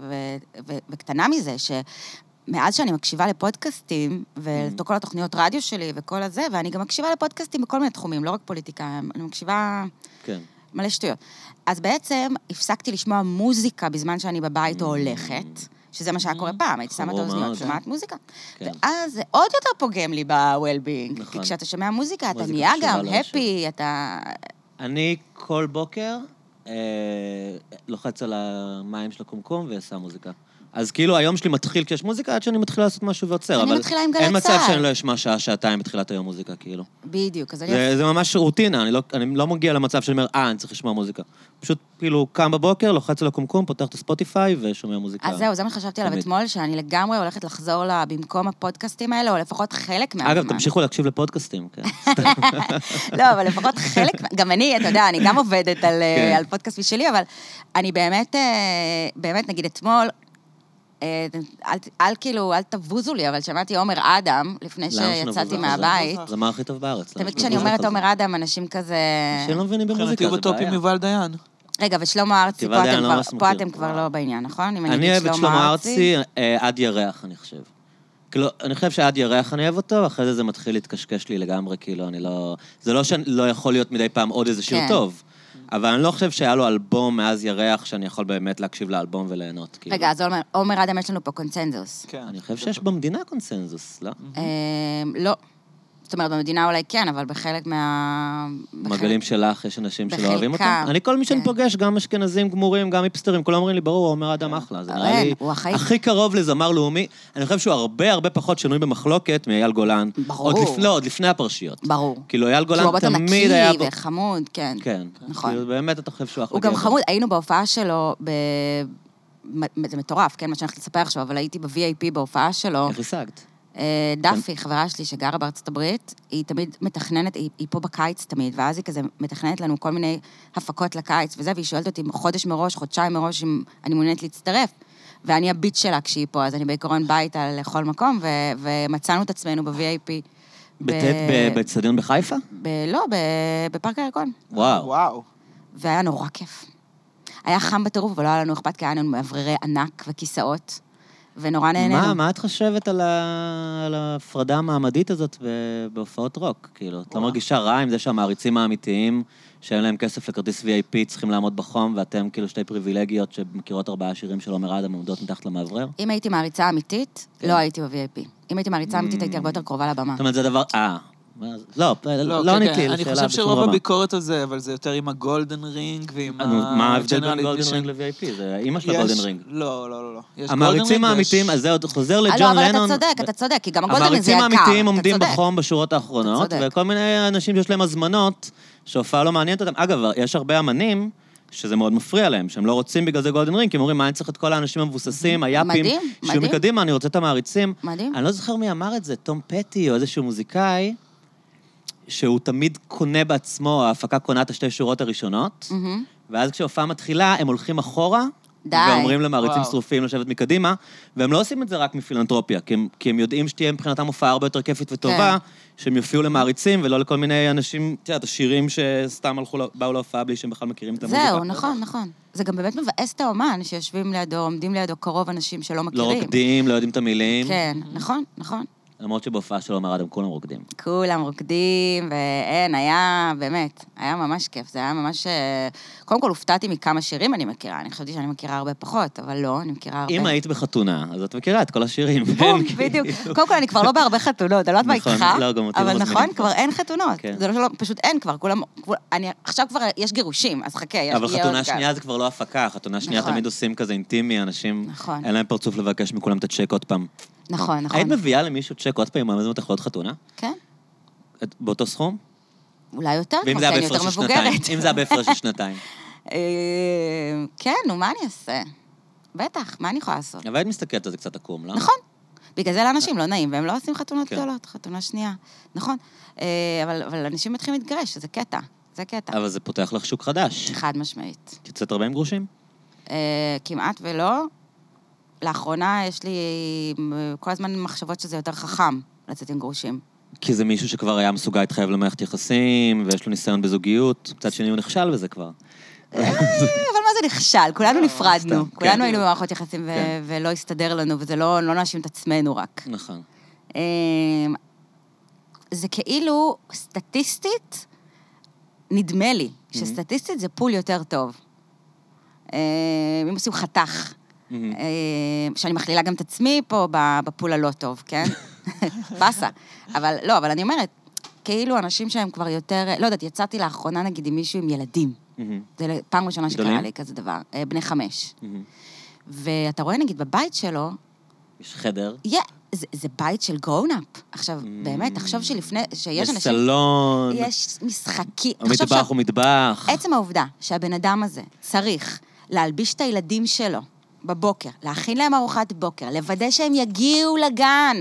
Speaker 2: ו- ו- וקטנה מזה, שמאז שאני מקשיבה לפודקאסטים,
Speaker 1: Mm-hmm.
Speaker 2: וכל התוכניות רדיו שלי וכל הזה, ואני גם מקשיבה לפודקאסטים בכל מיני תחומים, לא רק פוליטיקה, אני מקשיבה
Speaker 1: כן.
Speaker 2: מלא שטויות. אז בעצם הפסקתי לשמוע מוזיקה בזמן שאני בבית או הולכת, שזה מה שהיה קורה פעם, הייתי שמה את
Speaker 1: Mm-hmm. חמור מאוד. אה?
Speaker 2: האוזניות, שומעת מוזיקה.
Speaker 1: כן.
Speaker 2: ואז זה עוד יותר פוגם לי ב-well-being.
Speaker 1: נכון.
Speaker 2: כי כשאתה שומע מוזיקה, אתה
Speaker 1: מוזיקה
Speaker 2: נהיה
Speaker 1: חשובה
Speaker 2: גם
Speaker 1: לאנשים.
Speaker 2: happy, אתה...
Speaker 1: אני כל בוקר אה, לוחץ על המים של הקומקום ושם מוזיקה. אז כאילו היום שלי מתחיל כשיש מוזיקה עד שאני מתחילה לעשות משהו ועוצר,
Speaker 2: אני
Speaker 1: אבל
Speaker 2: מתחילה עם גלי
Speaker 1: אין מצב
Speaker 2: צה"ל.
Speaker 1: שאני לא אשמע שעה, שעתיים בתחילת היום מוזיקה, כאילו.
Speaker 2: בדיוק, אז אני...
Speaker 1: זה, זה ממש רוטינה, אני לא, אני לא מגיע למצב שאני אומר, אה, אני צריך לשמוע מוזיקה. פשוט כאילו קם בבוקר, לוחץ על הקומקום, פותח את הספוטיפיי ושומע מוזיקה.
Speaker 2: אז זהו, זה מה שחשבתי עליו
Speaker 1: לא. תמיד.
Speaker 2: אתמול, שאני לגמרי הולכת לחזור ל... במקום הפודקאסטים האלה, או לפחות חלק מהזמן.
Speaker 1: אגב, תמשיכו להקשיב לפודקאסטים, כן.
Speaker 2: לא, אבל לפחות חלק, מה- גם אני, אתה יודע, אני גם עובדת על, אה,
Speaker 1: כן.
Speaker 2: על פודקאסט משלי, אבל אני באמת, אה, באמת, נגיד אתמול, אה, אל, ת- אל כאילו, אל תבוזו לי, אבל שמעתי עומר אדם, לפני
Speaker 1: למה שנבוז
Speaker 2: שיצאתי
Speaker 1: לך?
Speaker 2: מהבית.
Speaker 1: זה מה הכי טוב בארץ. למה
Speaker 2: תמיד
Speaker 1: שנבוז
Speaker 2: כשאני
Speaker 1: לך?
Speaker 2: אומרת אה, עומר אדם, אנשים כזה...
Speaker 1: אנשים לא מבינים
Speaker 3: מבחינתי
Speaker 1: במוזיקה,
Speaker 3: הוא
Speaker 1: זה
Speaker 3: בטופ עם
Speaker 1: בעיה.
Speaker 3: יובל דיין.
Speaker 2: רגע, ושלמה ארצי,
Speaker 1: יובל
Speaker 2: פה
Speaker 1: דיין
Speaker 2: אתם
Speaker 1: לא
Speaker 2: כבר-
Speaker 1: ממש
Speaker 2: פה
Speaker 1: מכיר.
Speaker 2: אתם כבר לא בעניין, נכון? אם
Speaker 1: אני
Speaker 2: אגיד
Speaker 1: אוהב את שלמה ארצי אה, עד ירח, אני חושב. כאילו, אני חושב שעד ירח אני אוהב אותו, אחרי זה זה מתחיל להתקשקש לי לגמרי, כאילו, אני לא... זה לא שאני לא יכול להיות מדי פעם עוד איזה שיר
Speaker 2: כן.
Speaker 1: טוב, אבל אני לא חושב שהיה לו אלבום מאז ירח שאני יכול באמת להקשיב לאלבום וליהנות, כאילו.
Speaker 2: רגע, אז עומר- עומר אדם, יש לנו פה קונצנזוס.
Speaker 3: כן.
Speaker 1: אני חושב שיש במדינה קונסנזוס, לא?
Speaker 2: אמ, לא. זאת אומרת, במדינה אולי כן, אבל בחלק מה... בחלק-
Speaker 1: מעגלים שלך, יש אנשים שלא
Speaker 2: בחלקם,
Speaker 1: אוהבים אותם. אני, כל מי שאני
Speaker 2: כן.
Speaker 1: פוגש, גם אשכנזים גמורים, גם היפסטרים, כולם אומרים לי, ברור, הוא אומר אדם אחלה. זה
Speaker 2: אבל
Speaker 1: נראה לי
Speaker 2: הוא החיים.
Speaker 1: הכי קרוב לזמר לאומי. אני חושב שהוא הרבה הרבה פחות שנוי במחלוקת מאייל גולן.
Speaker 2: ברור.
Speaker 1: עוד לפני- לא, עוד לפני הפרשיות.
Speaker 2: ברור.
Speaker 1: כאילו, אייל
Speaker 2: כי הוא הרבה
Speaker 1: גולן
Speaker 2: יותר
Speaker 1: תמיד היה...
Speaker 2: נקי וחמוד, כן.
Speaker 1: כן.
Speaker 2: נכון.
Speaker 1: כאילו, באמת, אתה חושב שהוא אחלה
Speaker 2: הוא גם
Speaker 1: גבר.
Speaker 2: חמוד, היינו בהופעה שלו ב... מ- זה מטורף, כן, מה שאני הולכת לספר עכשיו, אבל הייתי ב-VIP בהופעה שלו.
Speaker 1: איך השגת?
Speaker 2: אה, דפי, חברה שלי שגרה בארצות הברית, היא תמיד מתכננת, היא, היא פה בקיץ תמיד, ואז היא כזה מתכננת לנו כל מיני הפקות לקיץ וזה, והיא שואלת אותי חודש מראש, חודשיים מראש, אם אני מעוניינת להצטרף. ואני הביט שלה כשהיא פה, אז אני בעיקרון ביתה לכל מקום, ו, ומצאנו את עצמנו ב-VIP.
Speaker 1: בטט- באצטדיון בחיפה?
Speaker 2: ב- לא, ב, בפארק הירקון.
Speaker 1: וואו.
Speaker 3: וואו.
Speaker 2: והיה נורא כיף. היה חם בטירוף, אבל לא היה לנו אכפת, כי היה לנו מאווררי ענק וכיסאות, ונורא נהנינו.
Speaker 1: מה, מה את חושבת על ה- על ההפרדה המעמדית הזאת ב- בהופעות רוק? כאילו, את לא מרגישה רע עם זה שהמעריצים האמיתיים, שאין להם כסף לכרטיס VIP, צריכים לעמוד בחום, ואתם כאילו שתי פריבילגיות שמכירות ארבעה שירים של עומר אדם עומדות מתחת למאוורר?
Speaker 2: אם הייתי מעריצה אמיתית, לא הייתי ב-VIP. אם הייתי מעריצה אמיתית, הייתי הרבה יותר קרובה לבמה.
Speaker 1: כן. זאת אומרת, זה דבר... אה. לא, לא
Speaker 3: כן,
Speaker 1: ענית
Speaker 3: כן,
Speaker 1: לי
Speaker 3: אני
Speaker 1: לשאלה
Speaker 3: חושב
Speaker 1: בשום
Speaker 3: שרוב
Speaker 1: רמה. אה,
Speaker 3: הביקורת על זה, אבל זה יותר עם הגולדן רינג ועם
Speaker 1: נו, מה ההבדל
Speaker 3: ה-General
Speaker 1: בין גולדן
Speaker 3: Admission.
Speaker 1: רינג ל-VIP? זה אימא של
Speaker 3: אה, יש-
Speaker 1: הגולדן רינג.
Speaker 3: לא, לא, לא, לא. יש גולדן
Speaker 1: המעריצים
Speaker 3: רינג ויש-
Speaker 1: האמיתיים, אז זה עוד חוזר
Speaker 2: אה, לא,
Speaker 1: לג'ון
Speaker 2: אבל אתה
Speaker 1: לנון.
Speaker 2: צודק, אתה צודק, כי גם הגולדן
Speaker 1: המעריצים
Speaker 2: זה יקר.
Speaker 1: האמיתיים
Speaker 2: אתה
Speaker 1: עומדים
Speaker 2: צודק.
Speaker 1: בחום בשורות האחרונות,
Speaker 2: אתה צודק.
Speaker 1: וכל מיני אנשים שיש להם הזמנות, שהופעה לא מעניינת אותם. אגב, יש הרבה אמנים שזה מאוד מפריע להם, שהם לא רוצים בגלל זה גולדן רינג, כי הם אומרים, מה אני צריך את כל האנשים המבוססים, היאפים,
Speaker 2: Mm-hmm. מדהים,
Speaker 1: שיהיו
Speaker 2: מדהים.
Speaker 1: מקדימה, אני רוצה את המעריצים.
Speaker 2: מדהים.
Speaker 1: אני לא זוכר מי אמר את זה, תום פטי או איזשהו מוזיקאי, שהוא תמיד קונה בעצמו, ההפקה קונה את השתי שורות הראשונות,
Speaker 2: מהמם.
Speaker 1: ואז כשההופעה מתחילה, הם הולכים אחורה,
Speaker 2: די.
Speaker 1: ואומרים למעריצים
Speaker 3: וואו.
Speaker 1: שרופים לשבת מקדימה, והם לא עושים את זה רק מפילנטרופיה, כי הם, כי הם יודעים שתהיה מבחינתם הופעה הרבה יותר כיפית וטובה,
Speaker 2: כן.
Speaker 1: שהם יופיעו למעריצים ולא לכל מיני אנשים, את יודעת, השירים שסתם הלכו, ל- באו להופעה בלי שהם בכלל מכירים את המוזיקה.
Speaker 2: זהו, נכון, נכון. זה גם באמת מבאס את האומן, שיושבים לידו, עומדים לידו קרוב אנשים שלא
Speaker 1: לא
Speaker 2: מכירים.
Speaker 1: רוקדים, לא יודעים את המילים,
Speaker 2: כן, נכון, נכון.
Speaker 1: למרות שבהופעה של עומר אדם כולם רוקדים.
Speaker 2: כולם רוקדים, ואין, היה, באמת, היה ממש כיף. זה היה ממש... אה, קודם כל, הופתעתי מכמה שירים אני מכירה. אני חשבתי שאני מכירה הרבה פחות, אבל לא, אני מכירה הרבה.
Speaker 1: אם היית בחתונה, אז את מכירה את כל השירים.
Speaker 2: בום,
Speaker 1: כן,
Speaker 2: בדיוק.
Speaker 1: כאילו.
Speaker 2: קודם כל, אני כבר לא בהרבה חתונות, אני לא יודעת מה איתך,
Speaker 1: נכון, לא, גם אותי לא
Speaker 2: אבל
Speaker 1: מזמינים
Speaker 2: נכון,
Speaker 1: כבר.
Speaker 2: כבר אין חתונות.
Speaker 1: כן.
Speaker 2: זה לא שלא, פשוט אין כבר, כולם... כול- אני- עכשיו כבר יש גירושים, אז חכה, יש...
Speaker 1: אבל
Speaker 2: יהיה
Speaker 1: חתונה
Speaker 2: עוד גל.
Speaker 1: שנייה זה כבר לא הפקה, חתונה שנייה
Speaker 2: נכון.
Speaker 1: תמיד עושים כזה אינטימי, אנשים,
Speaker 2: נכון.
Speaker 1: אין להם פרצוף לבקש מכולם את הצ'ק עוד פעם.
Speaker 2: נכון, נכון.
Speaker 1: היית מביאה למישהו צ'ק עוד פעם, אם הוא מזמין אותך לעוד חתונה?
Speaker 2: כן,
Speaker 1: את- באותו סכום?
Speaker 2: אולי יותר
Speaker 1: ואם
Speaker 2: כבר,
Speaker 1: זה
Speaker 2: לא,
Speaker 1: היה
Speaker 2: כי אני
Speaker 1: בהפרש
Speaker 2: יותר
Speaker 1: של שנתיים?
Speaker 2: מבוגרת.
Speaker 1: אם זה היה בהפרש של שנתיים.
Speaker 2: אה, כן, נו, מה אני אעשה? בטח, מה אני יכולה לעשות?
Speaker 1: אבל היית מסתכלת על זה קצת עקום, לא?
Speaker 2: נכון. בגלל זה לאנשים לא נעים, והם לא עושים חתונות
Speaker 1: כן.
Speaker 2: גדולות, חתונה שנייה. נכון. אה, אבל אבל אנשים מתחילים להתגרש, זה קטע. זה קטע.
Speaker 1: אבל זה פותח לך שוק חדש.
Speaker 2: חד משמעית.
Speaker 1: את יוצאת הרבה עם גרושים?
Speaker 2: אה, כמעט ולא. לאחרונה יש לי אה, כל הזמן מחשבות שזה יותר חכם לצאת עם גרושים.
Speaker 1: כי זה מישהו שכבר היה מסוגל להתחייב למערכת יחסים, ויש לו ניסיון בזוגיות. מצד שני, הוא נכשל בזה כבר.
Speaker 2: אה, אבל מה זה נכשל? כולנו נפרדנו.
Speaker 1: סתם, כן.
Speaker 2: כולנו היינו במערכות יחסים ו-
Speaker 1: כן.
Speaker 2: ולא הסתדר לנו, וזה לא לא נאשים את עצמנו רק.
Speaker 1: נכון.
Speaker 2: אה, זה כאילו, סטטיסטית, נדמה
Speaker 1: Mm-hmm.
Speaker 2: לי שסטטיסטית זה פול יותר טוב. אה, אם עושים חתך.
Speaker 1: Mm.
Speaker 2: אה, שאני מכלילה גם את עצמי פה ב- בפול הלא טוב, כן? באסה. אבל לא, אבל אני אומרת, כאילו אנשים שהם כבר יותר, לא יודעת, יצאתי לאחרונה נגיד עם מישהו עם ילדים.
Speaker 1: מהמם.
Speaker 2: זה פעם ראשונה שקרה
Speaker 1: גדולים?
Speaker 2: לי כזה דבר, אה, בני חמש.
Speaker 1: מהמם.
Speaker 2: ואתה רואה נגיד בבית שלו,
Speaker 1: יש חדר,
Speaker 2: יא, זה, זה בית של גרונאפ. עכשיו, באמת, תחשוב שלפני, שיש
Speaker 1: יש
Speaker 2: אנשים...
Speaker 1: סלון,
Speaker 2: יש משחקים. תחשוב
Speaker 1: המטבח הוא מטבח.
Speaker 2: עצם העובדה שהבן אדם הזה צריך להלביש את הילדים שלו בבוקר, להכין להם ארוחת בוקר, לוודא שהם יגיעו לגן.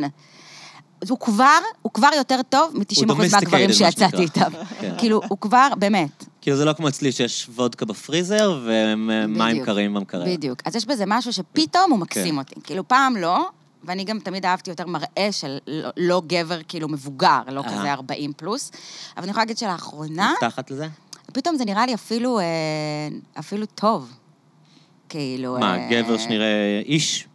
Speaker 2: אז הוא כבר, הוא כבר יותר טוב
Speaker 1: הוא
Speaker 2: מ-90%
Speaker 1: domesticated,
Speaker 2: מהגברים
Speaker 1: מה
Speaker 2: שיצאתי
Speaker 1: שנקרא.
Speaker 2: איתם.
Speaker 1: כן.
Speaker 2: כאילו, הוא כבר, באמת,
Speaker 1: כאילו זה לא כמו אצלי שיש וודקה בפריזר ומים
Speaker 2: בדיוק.
Speaker 1: קרים כן. במקרר.
Speaker 2: בדיוק. אז יש בזה משהו שפתאום הוא מקסים אותי. כאילו, פעם לא, ואני גם תמיד אהבתי יותר מראה של לא- לא גבר, כאילו, מבוגר, לא
Speaker 1: אהה.
Speaker 2: כזה 40 פלוס. אבל אני יכולה להגיד שלאחרונה,
Speaker 1: מתחת לזה?
Speaker 2: פתאום זה נראה לי אפילו, אה, אפילו טוב. כאילו...
Speaker 1: מה,
Speaker 2: אה,
Speaker 1: גבר שנראה איש?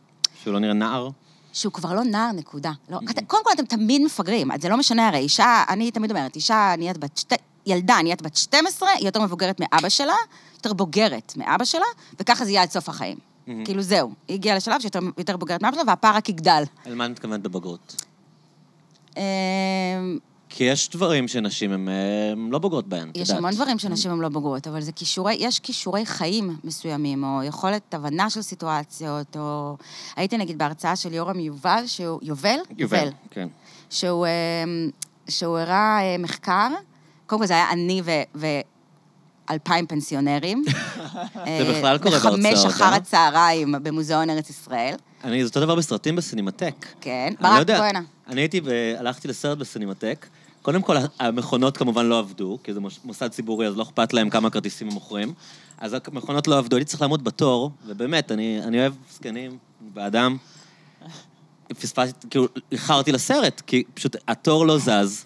Speaker 1: שהוא לא נראה נער?
Speaker 2: שהוא כבר לא נער, נקודה. לא, את, קודם כל, אתם תמיד מפגרים, אז זה לא משנה הרי. אישה, אני תמיד אומרת, אישה נהיית בת שתי... ילדה נהיית בת 12, היא יותר מבוגרת מאבא שלה, יותר בוגרת מאבא שלה, וככה זה יהיה עד סוף החיים.
Speaker 1: מהמם.
Speaker 2: כאילו זהו, היא הגיעה לשלב שהיא יותר, יותר בוגרת מאבא שלה, והפער רק יגדל.
Speaker 1: על מה אני מתכוונת בבגרות?
Speaker 2: אה,
Speaker 1: כי יש דברים שנשים הן אה, לא בוגרות בהן, את
Speaker 2: יש
Speaker 1: יודעת. כן.
Speaker 2: המון דברים שנשים הן לא בוגרות, אבל זה כישורי, יש כישורי חיים מסוימים, או יכולת הבנה של סיטואציות, או... הייתי נגיד בהרצאה של יורם יובל, שהוא... יובל?
Speaker 1: יובל, כן.
Speaker 2: שהוא, אה, שהוא הראה אה, מחקר, קודם כל זה היה אני ו... ו... אלפיים פנסיונרים. אה,
Speaker 1: בכלל קורה
Speaker 2: בחמש
Speaker 1: בהרצאות,
Speaker 2: אחר
Speaker 1: אה?
Speaker 2: הצהריים במוזיאון ארץ ישראל.
Speaker 1: אני, זה אותו דבר בסרטים בסינמטק.
Speaker 2: כן.
Speaker 1: אני לא
Speaker 2: ברק,
Speaker 1: יודע,
Speaker 2: בוא הנה.
Speaker 1: אני הייתי, ב- הלכתי לסרט בסינמטק. קודם כל, המכונות כמובן לא עבדו, כי זה מוש- מוסד ציבורי, אז לא אכפת להם כמה כרטיסים הם מוכרים. אז המכונות לא עבדו, הייתי צריך לעמוד בתור, ובאמת, אני, אני אוהב זקנים, אני בעדם. פספסתי, כאילו, איחרתי לסרט, כי פשוט התור לא זז.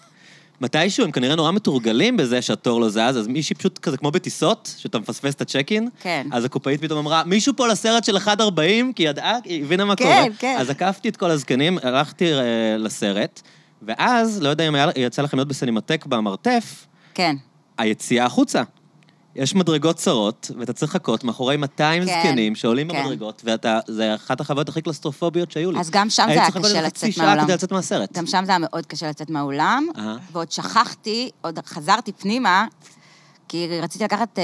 Speaker 1: מתישהו, הם כנראה נורא מתורגלים בזה שהתור לא זז, אז מישהי פשוט כזה, כמו בטיסות, שאתה מפספס את הצ'ק אין,
Speaker 2: כן.
Speaker 1: אז הקופאית פתאום אמרה, מישהו פה לסרט של 1.40, כי היא ידעה, היא הבינה מה
Speaker 2: כן,
Speaker 1: קורה.
Speaker 2: כן.
Speaker 1: אוקיי, אז עקפתי את כל הזקנים, הלכתי אה, לסרט, ואז, לא יודע אם היה- יצא לכם להיות בסינמטק במרתף,
Speaker 2: כן.
Speaker 1: היציאה החוצה. יש מדרגות צרות, ואתה צריך לחכות מאחורי 200
Speaker 2: כן,
Speaker 1: זקנים שעולים
Speaker 2: כן.
Speaker 1: במדרגות, ואתה, זה אחת החוויות הכי קלסטרופוביות שהיו לי.
Speaker 2: אז גם שם זה
Speaker 1: הייתי
Speaker 2: היה
Speaker 1: צריך לחכות
Speaker 2: קשה
Speaker 1: איזה חצי
Speaker 2: לצאת
Speaker 1: שעה
Speaker 2: מהאולם.
Speaker 1: כדי לצאת מהסרט.
Speaker 2: גם שם זה היה מאוד קשה לצאת מהאולם,
Speaker 1: אהה.
Speaker 2: ועוד שכחתי, עוד חזרתי פנימה, כי רציתי לקחת אה,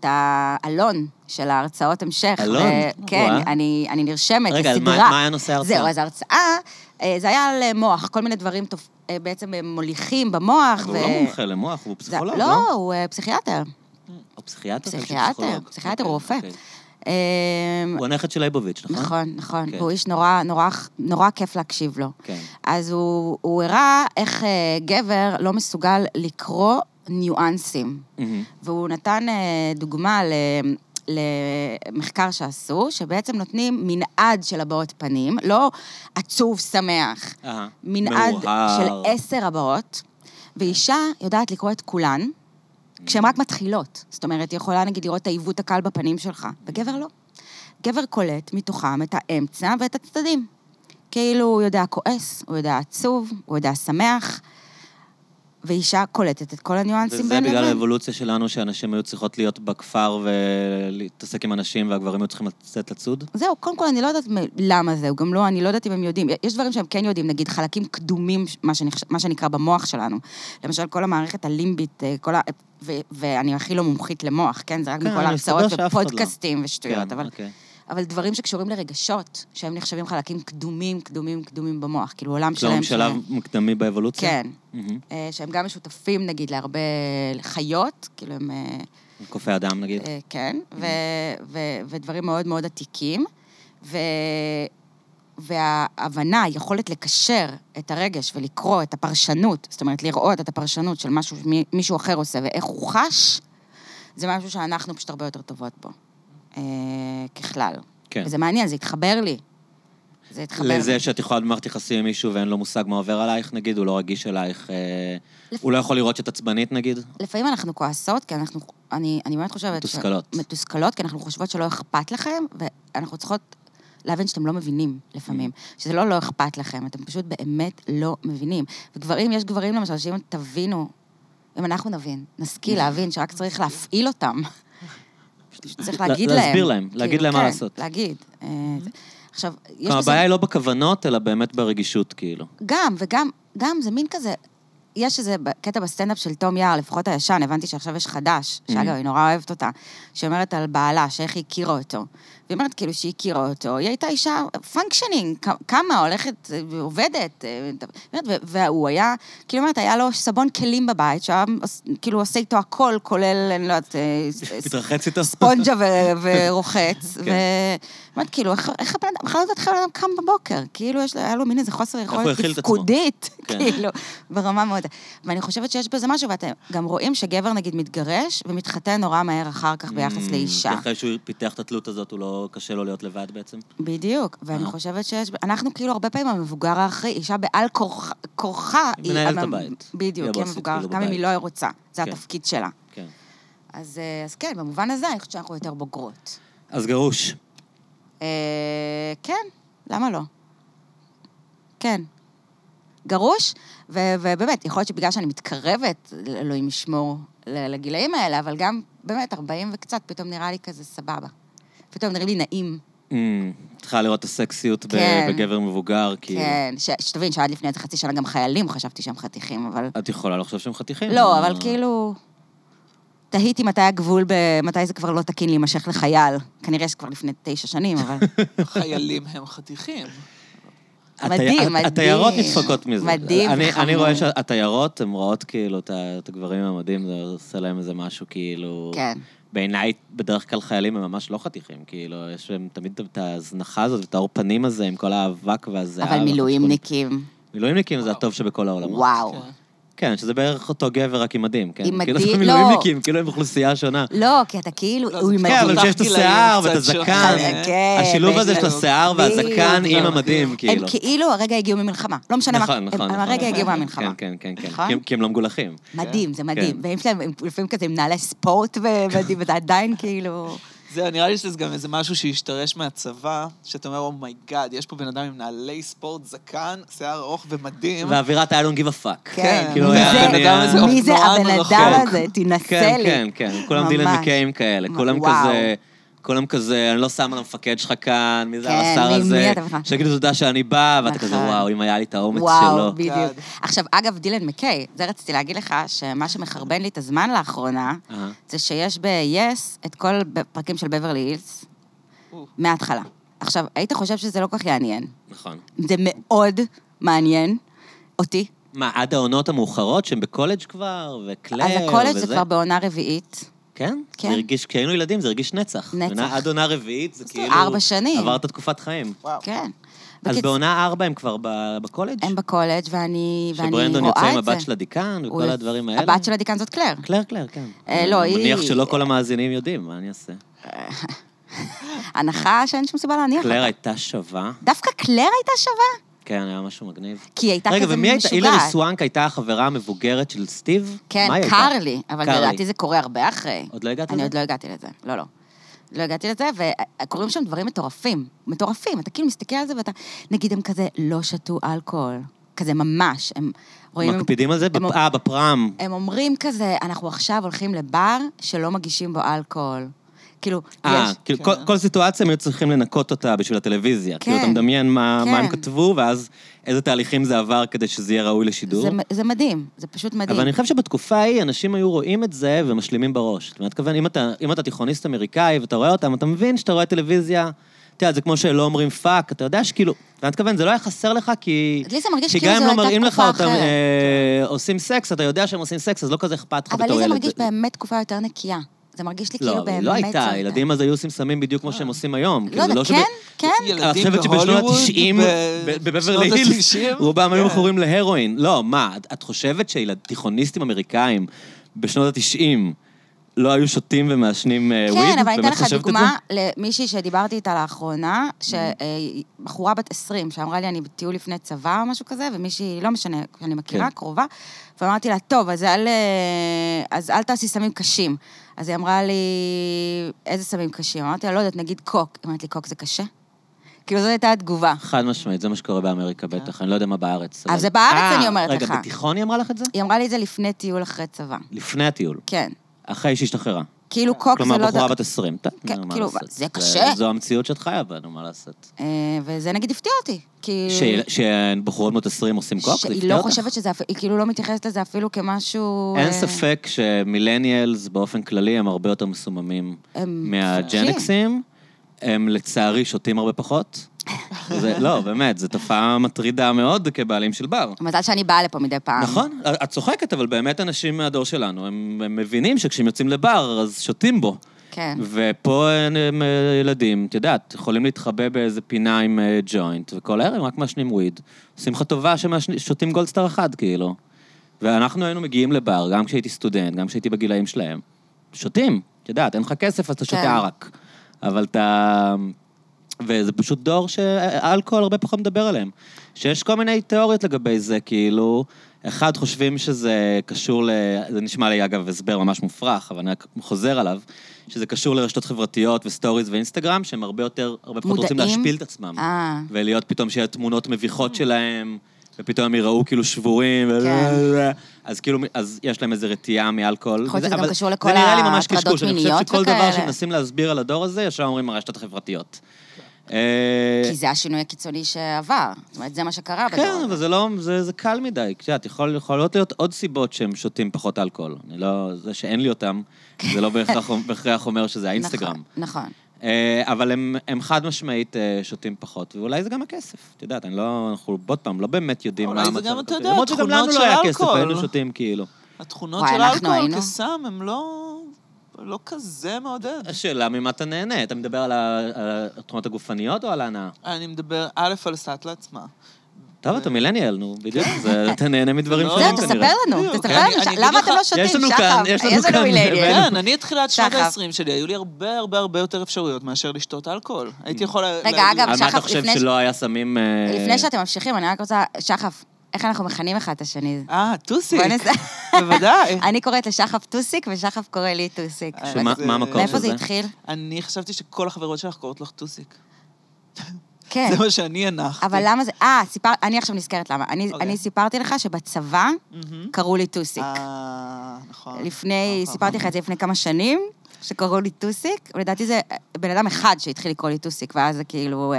Speaker 2: את העלון של ההרצאות המשך.
Speaker 1: עלון?
Speaker 2: אה, כן,
Speaker 1: וואה.
Speaker 2: אני, אני נרשמת
Speaker 1: רגע, אז מה-
Speaker 2: לסדרה.
Speaker 1: מה היה נושא ההרצאה?
Speaker 2: זהו, אז ההרצאה, אה, זה היה על אה, מוח, כל מיני דברים תופ... אה, בעצם אה, מוליכים במוח.
Speaker 1: אבל הוא לא מומחה למוח, הוא
Speaker 2: זה-
Speaker 1: פסיכולוג,
Speaker 2: לא,
Speaker 1: לא?
Speaker 2: הוא אה, פסיכיאטר.
Speaker 1: או פסיכיאטר? אני חושב
Speaker 2: פסיכיאטר,
Speaker 1: פסיכולוג.
Speaker 2: פסיכיאטר,
Speaker 1: אוקיי,
Speaker 2: הוא רופא.
Speaker 1: אוקיי.
Speaker 2: אה,
Speaker 1: הוא הנכד של ליבוביץ', נכון?
Speaker 2: נכון, נכון.
Speaker 1: כן.
Speaker 2: והוא איש נורא, נורא, נורא כיף להקשיב לו.
Speaker 1: כן.
Speaker 2: אז הוא, הוא הראה איך אה, גבר לא מסוגל לקרוא ניואנסים.
Speaker 1: מהמם.
Speaker 2: והוא נתן אה, דוגמה ל... למחקר שעשו, שבעצם נותנים מנעד של הבעות פנים, לא עצוב, שמח,
Speaker 1: אהה.
Speaker 2: מנעד
Speaker 1: מאוהר.
Speaker 2: של עשר הבעות, ואישה יודעת לקרוא את כולן כשהן רק מתחילות. זאת אומרת, היא יכולה נגיד לראות את העיוות הקל בפנים שלך, וגבר לא. גבר קולט מתוכם את האמצע ואת הצדדים. כאילו, הוא יודע כועס, הוא יודע עצוב, הוא יודע שמח, ואישה קולטת את כל הניואנסים
Speaker 1: וזה
Speaker 2: בין
Speaker 1: בגלל
Speaker 2: לבין.
Speaker 1: האבולוציה שלנו, שהנשים היו צריכות להיות בכפר ולהתעסק עם אנשים, והגברים היו צריכים לצאת לצוד?
Speaker 2: זהו, קודם כל, אני לא יודעת מ- למה זה, גם לא, אני לא יודעת אם הם יודעים. יש דברים שהם כן יודעים, נגיד חלקים קדומים, מה, שנחש... מה שנקרא במוח שלנו. למשל, כל המערכת הלימבית, אה, כל ה... ו... ואני הכי לא מומחית למוח, כן? זה רק
Speaker 1: כן,
Speaker 2: מכל
Speaker 1: אני
Speaker 2: ההרצאות
Speaker 1: מסתבר שאף אחד לא.
Speaker 2: ופודקאסטים ושטויות,
Speaker 1: כן,
Speaker 2: אבל...
Speaker 1: אוקיי.
Speaker 2: אבל דברים שקשורים לרגשות, שהם נחשבים חלקים קדומים, קדומים, קדומים במוח, כאילו עולם
Speaker 1: כלום
Speaker 2: שלם.
Speaker 1: שלב
Speaker 2: שלהם.
Speaker 1: מקדמי לא, באבולוציה?
Speaker 2: כן.
Speaker 1: מהמם.
Speaker 2: אה, שהם גם משותפים, נגיד, להרבה חיות, כאילו הם... אה,
Speaker 1: קופי אדם, נגיד.
Speaker 2: אה, כן,
Speaker 1: Mm-hmm.
Speaker 2: ו- ו- ודברים מאוד מאוד עתיקים. ו- וההבנה, היכולת לקשר את הרגש ולקרוא את הפרשנות, זאת אומרת, לראות את הפרשנות של משהו שמישהו אחר עושה ואיך הוא חש, זה משהו שאנחנו פשוט הרבה יותר טובות בו, אה, ככלל.
Speaker 1: כן.
Speaker 2: וזה מעניין, זה התחבר לי. זה התחבר לי.
Speaker 1: לזה שאת יכולה במערכת יחסים עם מישהו ואין לו מושג מה עובר עלייך, נגיד, הוא לא רגיש אלייך, אה, הוא לא יכול לראות שאת עצבנית, נגיד?
Speaker 2: לפעמים אנחנו כועסות, כי אנחנו, אני, אני באמת חושבת... ש-
Speaker 1: מתוסכלות.
Speaker 2: מתוסכלות, כי אנחנו חושבות שלא אכפת לכם, ואנחנו צריכות להבין שאתם לא מבינים לפעמים.
Speaker 1: Mm.
Speaker 2: שזה לא לא אכפת לכם, אתם פשוט באמת לא מבינים. וגברים, יש גברים למשל, שאם
Speaker 1: Mm.
Speaker 2: תבינו, אם אנחנו נבין, נשכיל להבין שרק צריך להפעיל אותם. צריך
Speaker 1: לה-
Speaker 2: להגיד להם.
Speaker 1: להסביר להם, להגיד
Speaker 2: כאילו,
Speaker 1: להם מה
Speaker 2: כן,
Speaker 1: לעשות. Mm-hmm.
Speaker 2: להגיד. אה, זה- עכשיו, יש
Speaker 1: כלומר,
Speaker 2: בזה...
Speaker 1: הבעיה היא לא בכוונות, אלא באמת ברגישות, כאילו.
Speaker 2: גם, וגם, גם זה מין כזה... יש איזה ב- קטע בסטנדאפ של תום יער, לפחות הישן, הבנתי שעכשיו יש חדש, שאגב, היא נורא אוהבת אותה, שאומרת על בעלה, שאיך היא הכירה אותו. והיא אומרת כאילו שהיא הכירה אותו, היא הייתה אישה פונקשנינג, כ- כמה, הולכת, אה, עובדת. אה, באמת, ו- והוא היה, כאילו אומרת, היה לו סבון כלים בבית, שהיה עוש- כאילו עושה איתו הכל, כולל, אני לא יודעת, אה, ס-
Speaker 1: מתרחץ איתו?
Speaker 2: ספונג'ה ו- ורוחץ.
Speaker 1: כן.
Speaker 2: ו... באמת, כאילו, איך איך הבן אדם, בכלל לא יודעת איך הבן אדם קם בבוקר. כאילו, יש לו- היה לו מין איזה חוסר
Speaker 1: הוא
Speaker 2: יכולת
Speaker 1: הכיל את עצמו.
Speaker 2: תפקודית,
Speaker 1: כן.
Speaker 2: כאילו, ברמה מאוד... ואני חושבת שיש בזה משהו, ואתם גם רואים שגבר, נגיד, מתגרש ומתחתן נורא מהר אחר כך ביחס
Speaker 1: Mm,
Speaker 2: לאישה.
Speaker 1: אחרי שהוא פיתח את התלות הזאת, הוא לא... קשה לו להיות לבד בעצם?
Speaker 2: בדיוק. ואני
Speaker 1: אה.
Speaker 2: חושבת שיש... אנחנו כאילו הרבה פעמים המבוגר האחראי, אישה בעל כורח- כורחה...
Speaker 1: היא מנהלת
Speaker 2: המ-
Speaker 1: הבית. היא
Speaker 2: בדיוק, היא
Speaker 1: הבוסית,
Speaker 2: המבוגר,
Speaker 1: כאילו,
Speaker 2: גם אם
Speaker 1: בבית.
Speaker 2: היא לא רוצה. זה
Speaker 1: כן.
Speaker 2: התפקיד שלה.
Speaker 1: כן.
Speaker 2: אז אה, אז כן, במובן הזה, אני חושבת שאנחנו יותר בוגרות.
Speaker 1: אז גרוש.
Speaker 2: אה, כן, למה לא? כן. גרוש, ו- ובאמת, יכול להיות שבגלל שאני מתקרבת, אלוהים ישמור, ל- לגילאים האלה, אבל גם, באמת, 40 וקצת, פתאום נראה לי כזה סבבה. פתאום נראה לי נעים.
Speaker 1: Mm, צריכה לראות את הסקסיות ב-
Speaker 2: כן.
Speaker 1: בגבר מבוגר, כאילו.
Speaker 2: כן, ש- שתבין שעד לפני איזה חצי שנה גם חיילים חשבתי שהם חתיכים, אבל...
Speaker 1: את יכולה לא לחשוב שהם חתיכים.
Speaker 2: לא, אבל כאילו... תהיתי מתי הגבול, ב- מתי זה כבר לא תקין להימשך לחייל. כנראה שכבר לפני תשע שנים, אבל...
Speaker 3: חיילים הם חתיכים.
Speaker 1: התי-
Speaker 2: מדהים,
Speaker 1: הת-
Speaker 2: מדהים.
Speaker 1: התיירות נדפקות מזה.
Speaker 2: מדהים
Speaker 1: אני-
Speaker 2: וחמוד.
Speaker 1: אני רואה שהתיירות, הן רואות כאילו את ה- את הגברים המדהים, זה עושה להם איזה משהו כאילו...
Speaker 2: כן.
Speaker 1: בעיניי, בדרך כלל חיילים הם ממש לא חתיכים, כאילו, יש להם תמיד את ההזנחה הזאת, את האור פנים הזה עם כל האבק והזיער.
Speaker 2: אבל מילואימניקים,
Speaker 1: מילואימניקים זה הטוב שבכל העולמות.
Speaker 2: וואו.
Speaker 3: כן.
Speaker 1: נכון. כן, שזה בערך אותו גבר רק עם מדים, כן?
Speaker 2: עם
Speaker 1: כאילו,
Speaker 2: מדים,
Speaker 1: זה
Speaker 2: לא.
Speaker 1: מילואימניקים, כאילו הם אוכלוסייה שונה.
Speaker 2: לא, כי אתה כאילו,
Speaker 3: לא,
Speaker 2: הוא
Speaker 3: זה-
Speaker 2: עם
Speaker 1: כן,
Speaker 2: מדים.
Speaker 1: אבל
Speaker 3: אותך
Speaker 1: שיש את
Speaker 3: גילאים
Speaker 1: השיער ואת
Speaker 3: קצת
Speaker 1: הזקן.
Speaker 3: שונה.
Speaker 2: כן,
Speaker 1: השילוב הזה
Speaker 2: ויש
Speaker 1: של
Speaker 2: להם-
Speaker 1: הזקן והזקן
Speaker 2: בדיוק.
Speaker 1: עם המדים, כאילו.
Speaker 2: הם כאילו הרגע הגיעו ממלחמה. לא משנה מה.
Speaker 1: נכון, נכון,
Speaker 2: הם
Speaker 1: נכון.
Speaker 2: הרגע הגיעו מהמלחמה.
Speaker 1: כן, כן, כן, כן.
Speaker 2: נכון?
Speaker 1: כי הם- כי הם לא מגולחים.
Speaker 2: מדהים, זה מדהים.
Speaker 1: כן.
Speaker 2: והם שלהם, הם לפעמים כזה עם נעלי ספורט ומדהים, וזה עדיין כאילו...
Speaker 3: זה, נראה לי שזה גם איזה משהו שהשתרש מהצבא, שאתה אומר, אומייגאד, יש פה בן אדם עם נעלי ספורט, זקן, שיער ארוך ומדים.
Speaker 1: ואווירת I don't give a fuck.
Speaker 2: כן.
Speaker 1: כאילו,
Speaker 2: מי
Speaker 1: היה-
Speaker 2: זה-
Speaker 1: אני-
Speaker 3: אדם איזה
Speaker 2: מי זה
Speaker 3: אופנוען
Speaker 2: הבן
Speaker 3: רחוק.
Speaker 2: אדם הזה? תנסה
Speaker 1: כן,
Speaker 2: לי.
Speaker 1: כן, כן, כולם דילן
Speaker 2: ממש.
Speaker 1: מקיים כאלה, כולם
Speaker 2: וואו.
Speaker 1: כזה, כולם כזה, אני לא שם על המפקד שלך כאן, מי זה
Speaker 2: כן,
Speaker 1: הרס"ר
Speaker 2: מי- מי
Speaker 1: הזה,
Speaker 2: אתה בכלל?
Speaker 1: שיגידו תודה שאני בא, ואתה
Speaker 2: נכון.
Speaker 1: כזה, וואו, אם היה לי את האומץ
Speaker 2: וואו,
Speaker 1: שלו. כן.
Speaker 2: בדיוק.
Speaker 3: God.
Speaker 2: עכשיו, אגב, דילן מקיי, זה רציתי להגיד לך, שמה שמחרבן לי את הזמן לאחרונה,
Speaker 1: אהה.
Speaker 2: זה שיש ב-yes את כל הפרקים של בברלי הילס,
Speaker 3: או.
Speaker 2: מההתחלה. עכשיו, היית חושב שזה לא כל כך יעניין.
Speaker 1: נכון.
Speaker 2: זה מאוד מעניין אותי.
Speaker 1: מה, עד העונות המאוחרות שהם בקולג' כבר, וקלר,
Speaker 2: אז
Speaker 1: וזה?
Speaker 2: הקולג' זה כבר בעונה רביעית.
Speaker 1: כן?
Speaker 2: כן.
Speaker 1: זה הרגיש, כשהיינו ילדים זה הרגיש נצח.
Speaker 2: נצח.
Speaker 1: בעונה- עד עונה רביעית זה כאילו...
Speaker 2: ארבע שנים.
Speaker 1: עברת תקופת חיים.
Speaker 3: וואו.
Speaker 2: כן.
Speaker 1: אז
Speaker 2: בקיצ-
Speaker 1: בעונה ארבע הם כבר ב- בקולג'?
Speaker 2: הם בקולג' ואני ואני רואה את זה.
Speaker 1: שברנדון יוצא עם הבת של הדיקן
Speaker 2: הוא
Speaker 1: וכל הדברים האלה?
Speaker 2: הבת של הדיקן זאת קלר.
Speaker 1: קלר, קלר, כן.
Speaker 2: אה, לא,
Speaker 1: אני מניח
Speaker 2: היא-
Speaker 1: שלא כל המאזינים יודעים, מה אני אעשה?
Speaker 2: הנחה שאין שום סיבה להניח.
Speaker 1: כן. קלר הייתה שווה.
Speaker 2: דווקא קלר הייתה שווה?
Speaker 1: כן, היה משהו מגניב.
Speaker 2: כי היא הייתה
Speaker 1: רגע,
Speaker 2: כזה
Speaker 1: ומי הייתה? הילרי
Speaker 2: משוגעת.
Speaker 1: סוואנק הייתה החברה המבוגרת של סטיב?
Speaker 2: כן,
Speaker 1: מה היא הייתה?
Speaker 2: קרלי, אבל
Speaker 1: קרלי.
Speaker 2: לדעתי זה קורה הרבה אחרי.
Speaker 1: עוד לא הגעת
Speaker 2: אני
Speaker 1: לזה?
Speaker 2: עוד לא הגעתי לזה, לא, לא. לא הגעתי לזה, וקורים שם דברים מטורפים. מטורפים, אתה כאילו מסתכל על זה ואתה... נגיד הם כזה לא שתו אלכוהול. כזה ממש, הם רואים...
Speaker 1: מקפידים על זה?
Speaker 2: הם-
Speaker 1: בפ- אה, בפרם.
Speaker 2: הם אומרים כזה, אנחנו עכשיו הולכים לבר שלא מגישים בו אלכוהול. כאילו,
Speaker 1: אה,
Speaker 2: יש...
Speaker 1: כאילו
Speaker 3: כן.
Speaker 1: כל- כל סיטואציה הם היו צריכים לנקות אותה בשביל הטלוויזיה. כאילו,
Speaker 2: כן.
Speaker 1: אתה מדמיין מה מה הם
Speaker 2: כן.
Speaker 1: כתבו, ואז איזה תהליכים זה עבר כדי שזה יהיה ראוי לשידור.
Speaker 2: זה, מ- זה מדהים, זה פשוט מדהים.
Speaker 1: כאילו, אבל אני חושב שבתקופה ההיא אנשים היו רואים את זה ומשלימים בראש. זאת אומרת, כוון, אם אתה, אם אתה תיכוניסט אמריקאי ואתה רואה אותם, אתה מבין שאתה רואה טלוויזיה, אתה יודע, זה כמו שלא אומרים פאק, אתה יודע שכאילו, אתה מתכוון, זה לא היה חסר לך כי...
Speaker 2: לי זה מרגיש
Speaker 1: כי
Speaker 2: כאילו
Speaker 1: גם אם
Speaker 2: זו
Speaker 1: לא
Speaker 2: הייתה
Speaker 1: מראים לך
Speaker 2: תקופה
Speaker 1: אותם
Speaker 2: אחרת.
Speaker 1: אה, עושים סקס, אתה יודע שהם עושים סקס, אז לא כזה אכפת לך
Speaker 2: אבל
Speaker 1: בתור
Speaker 2: לי זה
Speaker 1: ילד.
Speaker 2: מרגיש באמת תקופה יותר נקייה. זה מרגיש לי
Speaker 1: לא,
Speaker 2: כאילו
Speaker 1: אבל
Speaker 2: באמת...
Speaker 1: היא לא הייתה,
Speaker 2: זו-
Speaker 1: הילדים אז היו עושים סמים בדיוק כמו שהם עושים היום.
Speaker 2: לא
Speaker 1: כאילו, זה
Speaker 2: יודע,
Speaker 1: שב-
Speaker 2: כן, כן.
Speaker 1: את
Speaker 3: ילדים
Speaker 1: חושבת שבשנות
Speaker 3: בהוליווד,
Speaker 1: ה-90,
Speaker 3: ב-
Speaker 1: בבברלי
Speaker 3: שנות
Speaker 1: הילס,
Speaker 3: ה-תשעים?
Speaker 1: רובם היו
Speaker 3: כן.
Speaker 1: מכורים להרואין. לא, מה, את- את חושבת שתיכוניסטים אמריקאים בשנות ה-90 לא היו שותים ומעשנים אה, וויד?
Speaker 2: כן, אבל אני אתן
Speaker 1: באמת
Speaker 2: לך
Speaker 1: חושבת את Mm-hmm.
Speaker 2: דוגמה למישהי שדיברתי איתה לאחרונה, שבחורה בת 20, שאמרה לי, אני בטיול לפני צבא או משהו כזה, ומישהי, לא משנה, אני מכירה,
Speaker 1: כן.
Speaker 2: קרובה, ואמרתי לה, טוב, אז אל, אה, אז אל תעשי סמים קשים. אז היא אמרה לי, איזה סמים קשים? אמרתי לה, לא יודעת, נגיד קוק. היא אמרת לי, קוק זה קשה? כאילו, זאת הייתה התגובה.
Speaker 1: זה? חד משמעית, זה מה שקורה באמריקה בטח, אני לא יודע מה בארץ.
Speaker 2: אבל זה בארץ,
Speaker 1: אה,
Speaker 2: אני אומרת לך.
Speaker 1: רגע, בתיכון היא אמרה לך את זה?
Speaker 2: היא אמרה לי את זה לפני טיול אחרי צבא.
Speaker 1: לפני הטיול,
Speaker 2: כן.
Speaker 1: אחרי שהשתחררה.
Speaker 2: כאילו קוק זה
Speaker 1: אה, כלומר,
Speaker 2: לא...
Speaker 1: בחורה
Speaker 2: ד-
Speaker 1: בת 20, טוב,
Speaker 2: כן,
Speaker 1: מה
Speaker 2: כאילו,
Speaker 1: לעשות?
Speaker 2: זה קשה.
Speaker 1: זו המציאות שאת חיה בה, נו, מה לעשות?
Speaker 2: אה, וזה נגיד הפתיע אותי. כאילו...
Speaker 1: ש- שבחורות בנות 20 עושים קוק? זה
Speaker 2: שהיא
Speaker 1: הפתיע
Speaker 2: לא
Speaker 1: אותך?
Speaker 2: חושבת שזה... אפ- היא כאילו לא מתייחסת לזה אפילו כמשהו...
Speaker 1: אין
Speaker 2: אה,
Speaker 1: ספק שמילניאלס באופן כללי הם הרבה יותר מסוממים
Speaker 2: הם
Speaker 1: מהג'נקסים. הם לצערי שותים הרבה פחות. זה, לא, באמת, זו תופעה מטרידה מאוד כבעלים של בר.
Speaker 2: מזל שאני באה לפה מדי פעם.
Speaker 1: נכון, את צוחקת, אבל באמת אנשים מהדור שלנו, הם, הם מבינים שכשהם יוצאים לבר, אז שותים בו.
Speaker 2: כן.
Speaker 1: ופה הם, הם אה, ילדים, את יודעת, יכולים להתחבא באיזה פינה עם אה, ג'וינט, וכל הערב רק מעשנים וויד. עושים לך טובה ששותים גולדסטאר אחד, כאילו. ואנחנו היינו מגיעים לבר, גם כשהייתי סטודנט, גם כשהייתי בגילאים שלהם. שותים, את יודעת, אין לך כסף, אז אתה
Speaker 2: כן.
Speaker 1: שותה ערק. אבל אתה... וזה פשוט דור שהאלכוהול הרבה פחות מדבר עליהם. שיש כל מיני תיאוריות לגבי זה, כאילו, אחד, חושבים שזה קשור ל... זה נשמע לי, אגב, הסבר ממש מופרך, אבל אני רק חוזר עליו, שזה קשור לרשתות חברתיות וסטוריז ואינסטגרם, שהם הרבה יותר, הרבה פחות רוצים
Speaker 2: מודעים?
Speaker 1: להשפיל את עצמם.
Speaker 2: אה.
Speaker 1: ולהיות פתאום שיהיה תמונות מביכות שלהם, ופתאום הם יראו כאילו שבורים, ו-
Speaker 2: כן.
Speaker 1: אז כאילו, אז יש להם איזו רתיעה מאלכוהול.
Speaker 2: יכול
Speaker 1: וזה-
Speaker 2: להיות שזה גם
Speaker 1: אבל
Speaker 2: קשור לכל
Speaker 1: זה נראה לי ממש
Speaker 2: ההטרדות
Speaker 1: קשקוש, אני חושב
Speaker 2: מיניות
Speaker 1: שכל דבר
Speaker 2: וכאלה.
Speaker 1: שמנסים להסביר על הדור הזה, ישר אומרים הרשתות החברתיות. אה,
Speaker 2: כי זה השינוי הקיצוני שעבר. זאת אומרת, זה מה שקרה נכון, בדור.
Speaker 1: כן, אבל זה לא, זה, זה קל מדי. את יודעת, יכול, יכולות להיות עוד סיבות שהם שותים פחות אלכוהול. אני לא, זה שאין לי אותם, זה לא בהכרח, בהכרח אומר שזה האינסטגרם.
Speaker 2: נכון, נכון.
Speaker 1: אה, אבל הם, הם חד משמעית אה, שותים פחות, ואולי זה גם הכסף. את יודעת, אני לא, אנחנו עוד פעם לא באמת יודעים
Speaker 3: אולי
Speaker 1: מה המצב.
Speaker 3: זה גם, אתה
Speaker 1: הכלכלי.
Speaker 3: יודע,
Speaker 1: למרות שגם
Speaker 3: תכונות
Speaker 1: לנו
Speaker 3: של
Speaker 1: לא היה כסף,
Speaker 3: אלכוהול.
Speaker 1: היינו שותים כאילו.
Speaker 3: התכונות
Speaker 2: וואי,
Speaker 3: של
Speaker 2: אנחנו
Speaker 3: האלכוהול
Speaker 2: היינו.
Speaker 3: כסם הם לא... לא כזה מעודד.
Speaker 1: השאלה ממה אתה נהנה, אתה מדבר על ה- על התכונות הגופניות או על ההנאה?
Speaker 3: אני מדבר א' על סאטלה עצמה.
Speaker 1: טוב, אתה מילניאל, נו, בדיוק, זה- אתה נהנה מדברים
Speaker 3: לא,
Speaker 1: שונים
Speaker 2: זהו,
Speaker 1: כנראה.
Speaker 2: תספר לנו,
Speaker 3: בדיוק,
Speaker 1: כן.
Speaker 2: תספר
Speaker 3: אני-
Speaker 2: לנו,
Speaker 3: אני
Speaker 2: ש-
Speaker 3: אגיד
Speaker 2: למה
Speaker 3: לך-
Speaker 2: אתם לא שותים,
Speaker 1: יש לנו
Speaker 2: שחר?
Speaker 1: כאן, יש לנו כאן,
Speaker 2: מילניאל.
Speaker 1: הבאנו.
Speaker 3: כן, אני את תחילת שנות
Speaker 2: שחר.
Speaker 3: ה-20 שלי, היו לי הרבה הרבה הרבה יותר אפשרויות מאשר לשתות אלכוהול. הייתי יכול... לה-
Speaker 2: רגע,
Speaker 3: לה-
Speaker 2: אגב,
Speaker 1: על מה
Speaker 2: שחף,
Speaker 1: אתה חושב
Speaker 2: לפני ש-
Speaker 1: שלא היה סמים... אה,
Speaker 2: לפני שאתם ממשיכים, אני רק רוצה... שחף, איך אנחנו מכנים אחד את השני?
Speaker 3: אה, טוסיק.
Speaker 2: בוא נס-
Speaker 3: בוודאי.
Speaker 2: אני קוראת לשחף טוסיק, ושחף קורא לי טוסיק.
Speaker 1: שמה-
Speaker 3: אז,
Speaker 1: מה
Speaker 3: אה,
Speaker 1: המקור
Speaker 2: מאיפה
Speaker 1: של
Speaker 2: זה התחיל?
Speaker 3: אני חשבתי שכל החברות שלך קוראות לך טוסיק.
Speaker 2: כן.
Speaker 3: זה מה שאני הנחתי.
Speaker 2: אבל למה זה... אה, סיפר... אני עכשיו נזכרת למה. אני,
Speaker 3: אוקיי.
Speaker 2: אני סיפרתי לך שבצבא
Speaker 3: מהמם.
Speaker 2: קראו לי טוסיק.
Speaker 3: אה, נכון.
Speaker 2: לפני,
Speaker 3: נכון,
Speaker 2: סיפרתי לך את זה לפני כמה שנים, שקראו לי טוסיק, ולדעתי זה בן אדם אחד שהתחיל לקרוא לי טוסיק, ואז זה כאילו... אה,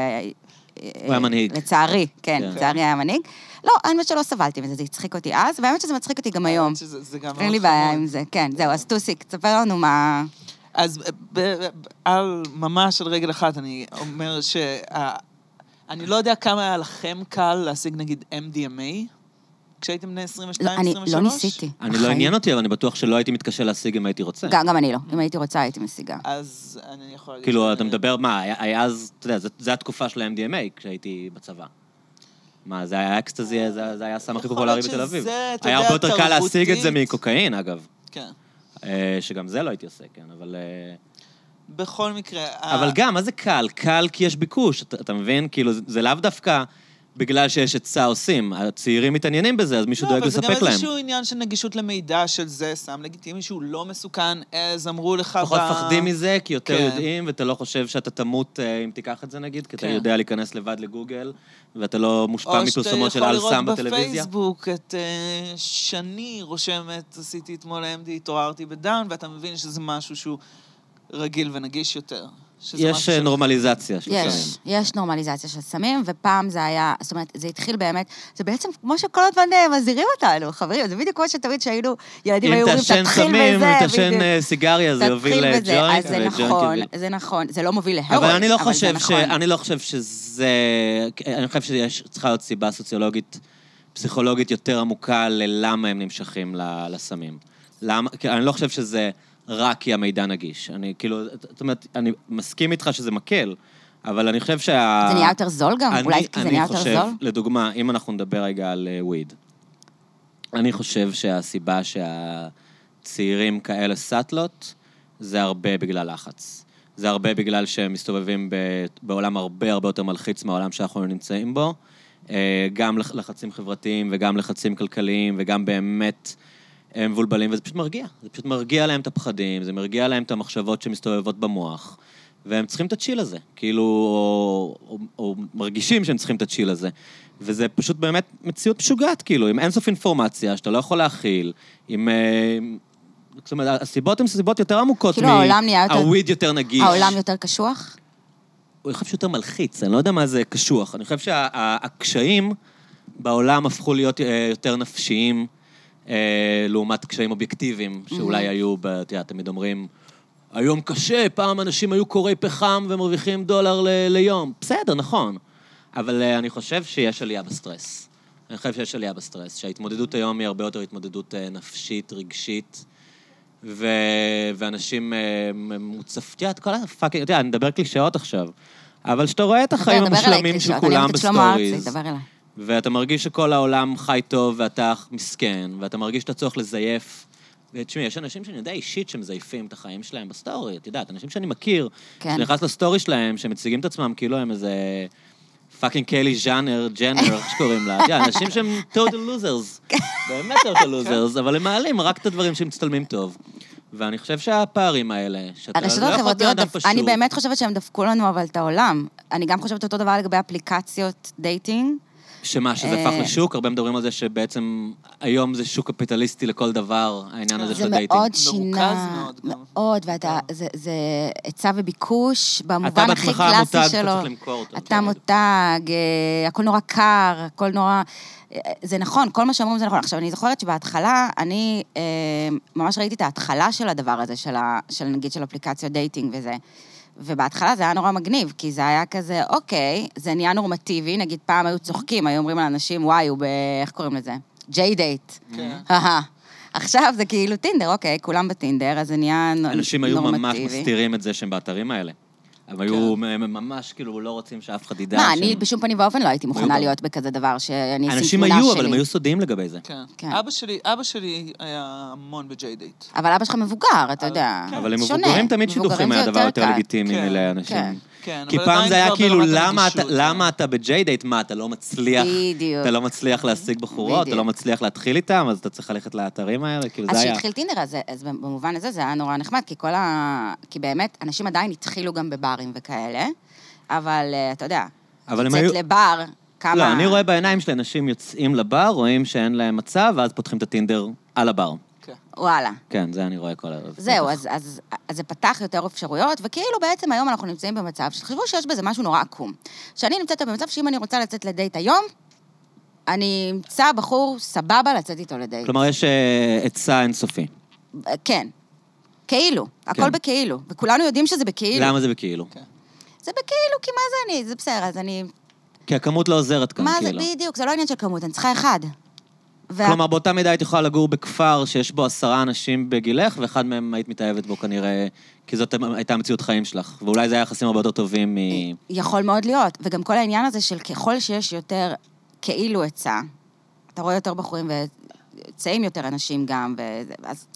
Speaker 2: אה,
Speaker 1: היה מנהיג.
Speaker 2: לצערי, כן,
Speaker 1: כן.
Speaker 2: לצערי היה מנהיג. לא, האמת שלא סבלתי מזה, זה הצחיק אותי אז, והאמת שזה מצחיק אותי גם היום.
Speaker 3: האמת שזה- אה, זה גם
Speaker 2: אין לי
Speaker 3: מאוד
Speaker 2: בעיה
Speaker 3: חמוד.
Speaker 2: עם זה, כן, זהו, אז טוסיק, תספר לנו מה...
Speaker 3: אז אה, ב- ב- ב- על ממש על רגל אחת אני אומר ש... ה- אני לא יודע כמה היה לכם קל להשיג נגיד MDMA כשהייתם בני 22-23.
Speaker 2: לא, אני לא ניסיתי.
Speaker 1: אני לא
Speaker 2: בחיים.
Speaker 1: עניין אותי, אבל אני בטוח שלא הייתי מתקשה להשיג אם הייתי רוצה.
Speaker 2: גם גם אני לא. אם הייתי רוצה, הייתי משיגה.
Speaker 3: אז אני יכול להגיד...
Speaker 1: כאילו,
Speaker 3: שאני-
Speaker 1: אתה מדבר, מה, היה- היה אז, אתה יודע, זה- זה התקופה של ה-MDMA כשהייתי בצבא. מה, זה היה אקסטזי, זה זה היה הסם הכי
Speaker 3: יכול
Speaker 1: פופולרי
Speaker 3: להיות
Speaker 1: בתל אביב.
Speaker 3: שזה, אתה
Speaker 1: היה
Speaker 3: יודע,
Speaker 1: הרבה יותר קל להשיג את זה
Speaker 3: תרבותית.
Speaker 1: מקוקאין, אגב.
Speaker 3: כן.
Speaker 1: אה, שגם זה לא הייתי עושה, כן, אבל... אה,
Speaker 3: בכל מקרה... ה-
Speaker 1: אבל גם, מה זה קל? קל כי יש ביקוש, אתה אתה מבין? כאילו, זה- זה לאו דווקא בגלל שיש היצע עושים. הצעירים מתעניינים בזה, אז מישהו דואג
Speaker 3: לא,
Speaker 1: לספק
Speaker 3: אבל זה גם
Speaker 1: להם.
Speaker 3: איזשהו עניין של נגישות למידע של זה, סם לגיטימי שהוא לא מסוכן, אז אמרו לך...
Speaker 1: פחות
Speaker 3: ב-
Speaker 1: מפחדים מזה, כי יותר
Speaker 3: כן.
Speaker 1: יודעים, ואתה לא חושב שאתה תמות אה, אם תיקח את זה נגיד, כי אתה
Speaker 3: כן.
Speaker 1: יודע להיכנס לבד לגוגל, ואתה לא מושפע מפרסומות של אל
Speaker 3: או שאתה
Speaker 1: סם
Speaker 3: יכול לראות
Speaker 1: בטלוויזיה.
Speaker 3: בפייסבוק את אה, שני רושמת, עשיתי אתמול AMD, התעוררתי בדאון, ואתה מבין שזה משהו שהוא רגיל ונגיש יותר. שזה
Speaker 1: יש
Speaker 3: משהו
Speaker 1: אה,
Speaker 3: ש-
Speaker 1: נורמליזציה של סמים.
Speaker 2: יש, יש נורמליזציה של סמים, ופעם זה היה, זאת אומרת, זה התחיל באמת, זה בעצם כמו שכל הזמן אה, מזהירים אותנו, חברים, זה בדיוק כמו שתמיד שהיינו, ילדים
Speaker 1: אם
Speaker 2: היו אומרים,
Speaker 1: תעשן
Speaker 2: תתחיל
Speaker 1: סמים,
Speaker 2: בזה,
Speaker 1: אם תעשן
Speaker 2: בדיוק."
Speaker 1: אה, סיגריה, זה יוביל
Speaker 2: תתחיל
Speaker 1: לג'וינט,
Speaker 2: בזה, אז זה
Speaker 1: וג'וינט
Speaker 2: נכון,
Speaker 1: יוביל-
Speaker 2: זה נכון, זה לא מוביל להרואין,
Speaker 1: אבל אני לא
Speaker 2: זה
Speaker 1: חושב ש...
Speaker 2: נכון.
Speaker 1: אני לא חושב שזה... אני חושב שצריכה להיות סיבה סוציולוגית, פסיכולוגית יותר עמוקה ללמה הם נמשכים ל- לסמים. למה... כי אני לא חושב שזה רק כי המידע נגיש. אני כאילו... זאת אומרת, אני מסכים איתך שזה מקל, אבל אני חושב שה...
Speaker 2: זה נהיה יותר זול גם?
Speaker 1: אני-
Speaker 2: אולי כי זה נהיה יותר
Speaker 1: אני
Speaker 2: זול?
Speaker 1: חושב, לדוגמה, אם אנחנו נדבר רגע על אה, וויד, אני חושב שהסיבה שהצעירים כאלה סאטלות, זה הרבה בגלל לחץ. זה הרבה בגלל שהם מסתובבים ב- בעולם הרבה הרבה יותר מלחיץ מהעולם שאנחנו נמצאים בו. אה, גם לח- לחצים חברתיים וגם לחצים כלכליים וגם באמת הם מבולבלים, וזה פשוט מרגיע. זה פשוט מרגיע להם את הפחדים, זה מרגיע להם את המחשבות שמסתובבות במוח, והם צריכים את הצ'יל הזה, כאילו, או, או, או מרגישים שהם צריכים את הצ'יל הזה. וזה פשוט באמת מציאות משוגעת, כאילו, עם אינסוף אינפורמציה שאתה לא יכול להכיל, עם... אה, זאת אומרת, הסיבות הן סיבות יותר עמוקות
Speaker 2: כאילו,
Speaker 1: מ-
Speaker 2: העולם נהיה יותר-
Speaker 1: הוויד יותר נגיש.
Speaker 2: העולם יותר קשוח?
Speaker 1: אני חושב שיותר מלחיץ, אני לא יודע מה זה קשוח. אני חושב שהקשיים בעולם הפכו להיות אה, יותר נפשיים אה, לעומת קשיים אובייקטיביים, שאולי היו, ב- את יודעת, תמיד אומרים, היום קשה, פעם אנשים היו קוראי פחם ומרוויחים דולר ל- ליום. בסדר, נכון. אבל אה, אני חושב שיש עלייה בסטרס. אני חושב שיש עלייה בסטרס, שההתמודדות היום היא הרבה יותר התמודדות אה, נפשית, רגשית. ו... ואנשים אה, מוצפ... את יודעת, כל הפאקינג, אתה יודע, אני מדבר קלישאות עכשיו, אבל שאתה רואה את החיים
Speaker 2: דבר, דבר אליי,
Speaker 1: המושלמים של
Speaker 2: קלישאות, אני
Speaker 1: כולם
Speaker 2: אוהבת את שלמה ארצי,
Speaker 1: בסטוריז,
Speaker 2: דבר אליי.
Speaker 1: ואתה מרגיש שכל העולם חי טוב ואתה מסכן, ואתה מרגיש את הצורך לזייף. תשמעי, יש אנשים שאני יודע אישית שמזייפים את החיים שלהם בסטורי, את יודעת, אנשים שאני מכיר,
Speaker 2: כן.
Speaker 1: שאני נכנס לסטורי שלהם, שמציגים את עצמם כאילו הם איזה פאקינג קלי ז'אנר, ג'נר, איך שקוראים לה. את יודעת, אנשים שהם total
Speaker 2: כן.
Speaker 1: losers. באמת total losers, אבל הם מעלים רק את הדברים שמצטלמים טוב. ואני חושב שהפערים האלה, שאתה לא יכול
Speaker 2: הרשתות
Speaker 1: להיות
Speaker 2: החברתיות,
Speaker 1: אדם
Speaker 2: דפ-
Speaker 1: פשוט.
Speaker 2: אני באמת חושבת שהם דפקו לנו אבל את העולם. אני גם חושבת אותו דבר לגבי אפליקציות דייטינג.
Speaker 1: שמה, שזה
Speaker 2: אה,
Speaker 1: הפך לשוק? הרבה מדברים על זה שבעצם היום זה שוק קפיטליסטי לכל דבר, העניין הזה
Speaker 2: זה
Speaker 1: של דייטינג.
Speaker 2: מאוד שינה,
Speaker 3: מאוד גם.
Speaker 2: מאוד, ואתה, זה- זה היצע וביקוש
Speaker 1: אתה
Speaker 2: במובן הכי
Speaker 1: בעצמך המותג,
Speaker 2: קלאסי
Speaker 1: אתה
Speaker 2: שלו.
Speaker 1: צריך למכור אותו.
Speaker 2: אתה
Speaker 3: כן.
Speaker 2: מותג, אה, הכל נורא קר, הכל נורא... אה, זה נכון, כל מה שאומרים זה נכון. עכשיו, אני זוכרת שבהתחלה, אני אה, ממש ראיתי את ההתחלה של הדבר הזה, של, ה, של נגיד של אפליקציות דייטינג וזה. ובהתחלה זה היה נורא מגניב, כי זה היה כזה, אוקיי, זה נהיה נורמטיבי, נגיד פעם היו צוחקים, היו אומרים לאנשים, וואי, הוא ב... איך קוראים לזה? ג'יי דייט.
Speaker 3: כן.
Speaker 2: אהה. עכשיו זה כאילו טינדר, אוקיי, כולם בטינדר, אז זה נהיה נ- נורמטיבי. כן.
Speaker 1: אנשים היו ממש מסתירים את זה שהם באתרים האלה. הם היו מ- ממש כאילו לא רוצים שאף אחד ידע.
Speaker 2: מה,
Speaker 1: שהם-
Speaker 2: אני בשום פנים ואופן לא הייתי
Speaker 1: היו
Speaker 2: מוכנה
Speaker 1: גם-
Speaker 2: להיות בכזה דבר שאני אשים
Speaker 1: אנשים
Speaker 2: תמונה שלי.
Speaker 1: היו, אבל הם היו סודיים לגבי זה.
Speaker 3: כן.
Speaker 2: כן.
Speaker 3: אבא שלי, אבא שלי היה המון בג'יי דייט.
Speaker 2: אבל אבא שלך מבוגר, אתה יודע.
Speaker 3: כן.
Speaker 1: אבל הם
Speaker 2: שונה.
Speaker 1: מבוגרים תמיד
Speaker 2: מבוגרים
Speaker 1: שידוכים
Speaker 2: זה
Speaker 1: מהדבר יותר
Speaker 2: קל.
Speaker 1: לגיטימי
Speaker 3: כן,
Speaker 1: לאנשים.
Speaker 2: כן.
Speaker 3: כן,
Speaker 1: כי
Speaker 3: אבל
Speaker 1: פעם
Speaker 3: עדיין
Speaker 1: זה היה
Speaker 3: כבר
Speaker 1: כאילו,
Speaker 3: ברמת
Speaker 1: למה אתה-
Speaker 3: הרגישות,
Speaker 1: למה
Speaker 3: כן.
Speaker 1: אתה בג'יי דייט? מה, אתה לא מצליח?
Speaker 2: בדיוק.
Speaker 1: אתה לא מצליח להשיג בחורות? אתה לא
Speaker 2: בדיוק.
Speaker 1: מצליח להתחיל איתם? אז אתה צריך ללכת לאתרים האלה? כאילו,
Speaker 2: אז
Speaker 1: זה היה...
Speaker 2: כשהתחיל טינדר, אז, אז במובן הזה זה היה נורא נחמד, כי כל ה... כי באמת, אנשים עדיין התחילו גם בברים וכאלה, אבל אה, אתה יודע,
Speaker 1: אבל הם
Speaker 2: לצאת
Speaker 1: היו-
Speaker 2: לבר, כמה...
Speaker 1: לא, אני רואה בעיניים של אנשים יוצאים לבר, רואים שאין להם מצב, ואז פותחים את הטינדר על הבר.
Speaker 3: כן.
Speaker 2: וואלה.
Speaker 1: כן, זה אני רואה כל ה...
Speaker 2: זהו, אז, אז, אז זה פתח יותר אפשרויות, וכאילו בעצם היום אנחנו נמצאים במצב, שחשבו שיש בזה משהו נורא עקום. שאני נמצאת במצב שאם אני רוצה לצאת לדייט היום, אני אמצא בחור סבבה לצאת איתו לדייט.
Speaker 1: כלומר, יש אה, היצע אינסופי.
Speaker 2: כן. כאילו, הכל
Speaker 1: כן.
Speaker 2: בכאילו, וכולנו יודעים שזה בכאילו.
Speaker 1: למה זה בכאילו?
Speaker 3: כן.
Speaker 2: זה בכאילו, כי מה זה אני? זה בסדר, אז אני...
Speaker 1: כי הכמות לא עוזרת כאן,
Speaker 2: מה זה
Speaker 1: כאילו.
Speaker 2: בדיוק? זה לא עניין של כמות, אני צריכה אחד. וה-
Speaker 1: כלומר, באותה מידה היית יכולה לגור בכפר שיש בו עשרה אנשים בגילך, ואחד מהם היית מתאהבת בו כנראה, כי זאת הייתה המציאות חיים שלך. ואולי זה היה יחסים הרבה יותר טובים מ...
Speaker 2: יכול מאוד להיות. וגם כל העניין הזה של ככל שיש יותר כאילו היצע, אתה רואה יותר בחורים ויוצאים יותר אנשים גם, וזה- אז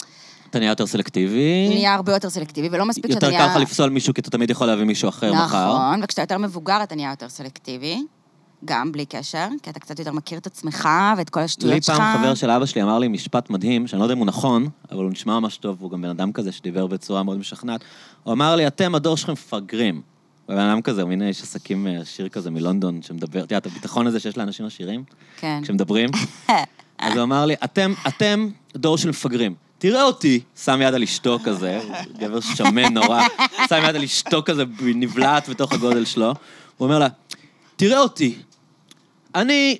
Speaker 1: אתה נהיה יותר סלקטיבי.
Speaker 2: נהיה הרבה יותר סלקטיבי, ולא מספיק שאתה
Speaker 1: יותר
Speaker 2: נהיה...
Speaker 1: קל לך לפסול מישהו, כי אתה תמיד יכול להביא מישהו אחר מחר.
Speaker 2: נכון, וכשאתה יותר מבוגר אתה נהיה יותר סלקטיבי, גם בלי קשר, כי אתה קצת יותר מכיר את עצמך ואת כל
Speaker 1: לי
Speaker 2: השטויות שלך.
Speaker 1: פעם חבר של אבא שלי אמר לי משפט מדהים, שאני לא יודע אם הוא נכון, אבל הוא נשמע ממש טוב, הוא גם בן אדם כזה שדיבר בצורה מאוד משכנעת. הוא אמר לי, אתם, הדור שלכם מפגרים. הוא בן אדם כזה, הוא מין איש עסקים אה, עשיר כזה מלונדון, שמדבר, אתה יודע, את הביטחון הזה שיש לאנשים עשירים,
Speaker 2: כן.
Speaker 1: כשמדברים. אז הוא אמר לי, אתם, אתם דור של מפגרים. תראה אותי, שם יד על אשתו כזה, הוא גבר שמן נורא, שם יד על אשתו כזה, ב- נבלעת בתוך הגודל שלו. הוא אומר לה, תראה אותי, אני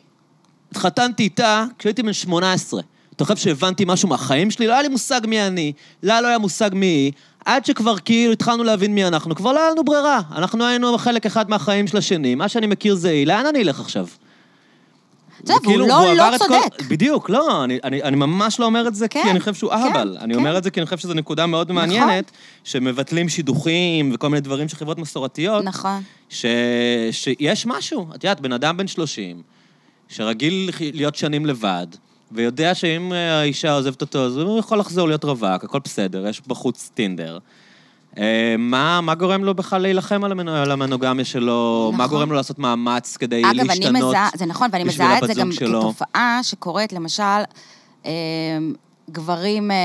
Speaker 1: התחתנתי איתה כשהייתי בן 18. אתה חושב שהבנתי משהו מהחיים שלי? לא היה לי מושג מי אני, לה לא היה מושג מי היא, עד שכבר כאילו התחלנו להבין מי אנחנו, כבר לא היה לנו ברירה. אנחנו היינו חלק אחד מהחיים של השני, מה שאני מכיר זה היא, לאן אני אלך עכשיו?
Speaker 2: אתה יודע, והוא
Speaker 1: כאילו,
Speaker 2: לא-
Speaker 1: הוא
Speaker 2: לא
Speaker 1: עבר את כל-
Speaker 2: צודק.
Speaker 1: בדיוק, לא, אני- אני אני ממש לא אומר את זה כי
Speaker 2: כן,
Speaker 1: אני חושב שהוא
Speaker 2: כן,
Speaker 1: אהבל. אני
Speaker 2: כן. נכון.
Speaker 1: אומר את זה כי אני חושב שזו נקודה מאוד מעניינת, שמבטלים שידוכים וכל מיני דברים של חברות מסורתיות.
Speaker 2: נכון.
Speaker 1: ש... שיש משהו. את יודעת, בן אדם בן 30, שרגיל לח- להיות שנים לבד, ויודע שאם אה, האישה עוזבת אותו, אז הוא יכול לחזור להיות רווק, הכל בסדר, יש בחוץ טינדר. אה, מה, מה גורם לו בכלל להילחם על המנ- על המנוגמיה שלו?
Speaker 2: נכון.
Speaker 1: מה גורם לו לעשות מאמץ כדי
Speaker 2: אגב,
Speaker 1: אה, להשתנות
Speaker 2: אני מזהה, זה נכון, ואני
Speaker 1: בשביל
Speaker 2: מזהה את זה
Speaker 1: הבת זוג
Speaker 2: גם
Speaker 1: שלו?
Speaker 2: כתופעה שקורית, למשל, אמ, גברים, אה,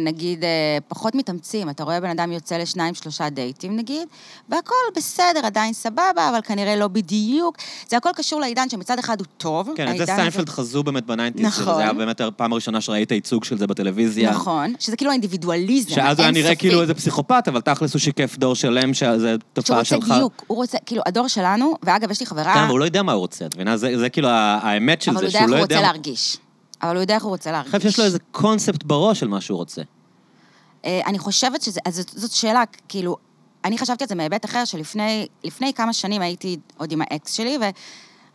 Speaker 2: נגיד, אה, פחות מתאמצים. אתה רואה בן אדם יוצא לשניים, שלושה דייטים, נגיד, והכול בסדר, עדיין סבבה, אבל כנראה לא בדיוק. זה הכל קשור לעידן שמצד אחד הוא טוב.
Speaker 1: כן, את זה
Speaker 2: העידן הזה-
Speaker 1: סיינפלד חזו באמת בניינטיז.
Speaker 2: נכון.
Speaker 1: זה היה באמת הפעם הראשונה שראית ייצוג של זה בטלוויזיה.
Speaker 2: נכון, שזה כאילו האינדיבידואליזם,
Speaker 1: שאז הוא היה נראה
Speaker 2: האינסופי.
Speaker 1: כאילו איזה פסיכופת, אבל תכלס הוא שיקף דור שלם שזה תופעה
Speaker 2: שהוא
Speaker 1: שלך.
Speaker 2: רוצה דיוק, הוא רוצה, כאילו, הדור שלנו, ואגב, יש לי חברה...
Speaker 1: כן, אבל הוא לא יודע מה הוא רוצה, את מבינה? זה זה כאילו ה- האמת של
Speaker 2: אבל הוא
Speaker 1: זה,
Speaker 2: יודע איך
Speaker 1: שהוא לא
Speaker 2: הוא
Speaker 1: יודע...
Speaker 2: רוצה להרגיש. אבל הוא יודע איך הוא רוצה
Speaker 1: אני
Speaker 2: להרגיש.
Speaker 1: חושב שיש לו איזה קונספט בראש של מה שהוא רוצה.
Speaker 2: אה, אני חושבת שזה, אז זאת, זאת שאלה, כאילו, אני חשבתי על זה מהיבט אחר, שלפני לפני כמה שנים הייתי עוד עם האקס שלי,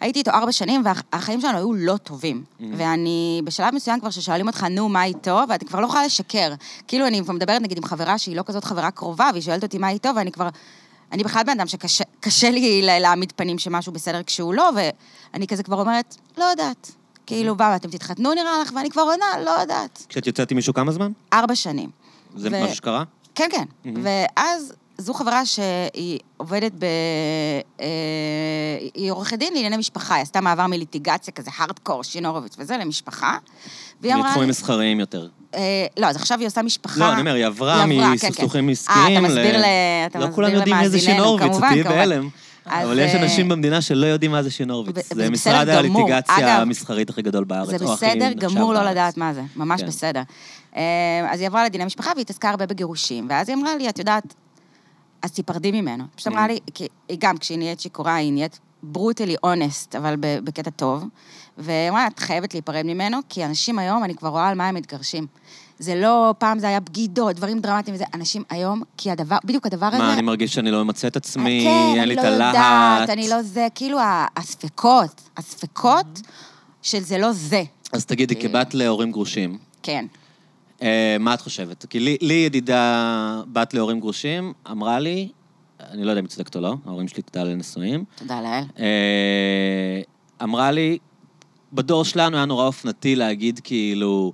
Speaker 2: והייתי איתו ארבע שנים, והחיים שלנו היו לא טובים. ואני בשלב מסוים כבר ששואלים אותך, נו, מה איתו? ואתה כבר לא יכולה לשקר. כאילו, אני כבר מדברת נגיד עם חברה שהיא לא כזאת חברה קרובה, והיא שואלת אותי מה איתו, ואני כבר... אני בכלל בן אדם שקשה קשה לי לה- להעמיד פנים שמשהו בסדר כשהוא לא, ואני כזה כבר אומרת, לא יודעת. כאילו, מה, אתם תתחתנו נראה לך? ואני כבר עונה, לא יודעת.
Speaker 1: כשאת יוצאת עם מישהו כמה זמן?
Speaker 2: ארבע שנים.
Speaker 1: זה
Speaker 2: ו-
Speaker 1: משהו שקרה?
Speaker 2: כן, כן. Mm-hmm. ואז זו חברה שהיא עובדת ב... אה, היא עורכת דין לענייני משפחה, היא עשתה מעבר מליטיגציה כזה הארדקור, שין הורוביץ וזה, למשפחה. והיא אמרה...
Speaker 1: לתחומים מסחריים יותר.
Speaker 2: אה, לא, אז עכשיו היא עושה משפחה.
Speaker 1: לא, אני אומר, היא עברה
Speaker 2: היא עברה, כן,
Speaker 1: מסכסוכים
Speaker 2: כן.
Speaker 1: עסקיים
Speaker 2: אה, אתה מסביר
Speaker 1: ל-
Speaker 2: ל... אתה
Speaker 1: לא
Speaker 2: מסביר
Speaker 1: כולם יודעים מי זה שין
Speaker 2: למאזיננו,
Speaker 1: הורוביץ,
Speaker 2: כמובן,
Speaker 1: תהיי
Speaker 2: כמובן.
Speaker 1: בהלם.
Speaker 2: אז,
Speaker 1: אבל יש
Speaker 2: אה,
Speaker 1: אנשים במדינה שלא יודעים מה זה שין
Speaker 2: ו-
Speaker 1: הורוביץ.
Speaker 2: וזה
Speaker 1: זה משרד
Speaker 2: בסדר גמור.
Speaker 1: הליטיגציה
Speaker 2: אגב,
Speaker 1: המסחרית הכי גדול בארץ.
Speaker 2: זה
Speaker 1: או הכי
Speaker 2: בסדר
Speaker 1: נחשב
Speaker 2: גמור לא
Speaker 1: בארץ.
Speaker 2: לדעת מה זה, ממש
Speaker 1: כן.
Speaker 2: בסדר. אה, אז היא עברה לדיני משפחה והיא התעסקה הרבה בגירושים, ואז היא אמרה לי, את יודעת, אז תיפרדי ממנו.
Speaker 1: כן.
Speaker 2: פשוט אמרה לי, כי היא גם כשהיא נהיית שיכורה, היא נהיית ברוטלי אונסט, אבל ב- בקטע טוב, והיא אמרה, את חייבת להיפרד ממנו, כי אנשים היום, אני כבר רואה על מה הם מתגרשים. זה לא, פעם זה היה בגידות, דברים דרמטיים וזה, אנשים היום, כי הדבר, בדיוק הדבר הזה... "אה,
Speaker 1: מה, אני מרגיש שאני לא ממצה את עצמי,
Speaker 2: כן,
Speaker 1: אין לי
Speaker 2: אני
Speaker 1: את
Speaker 2: לא
Speaker 1: הלהט.
Speaker 2: יודעת, אני לא זה, כאילו ה- הספקות, הספקות
Speaker 1: Mm-hmm.
Speaker 2: של זה לא זה,
Speaker 1: אז תגידי, כבת להורים גרושים,
Speaker 2: כן.
Speaker 1: אה, מה את חושבת? כי לי, לי ידידה, בת להורים גרושים, אמרה לי, אני לא יודע אם היא צודקת או לא, ההורים שלי תודה לנשואים,
Speaker 2: תודה לאל.
Speaker 1: אה, אמרה לי, בדור שלנו היה נורא אופנתי להגיד כאילו,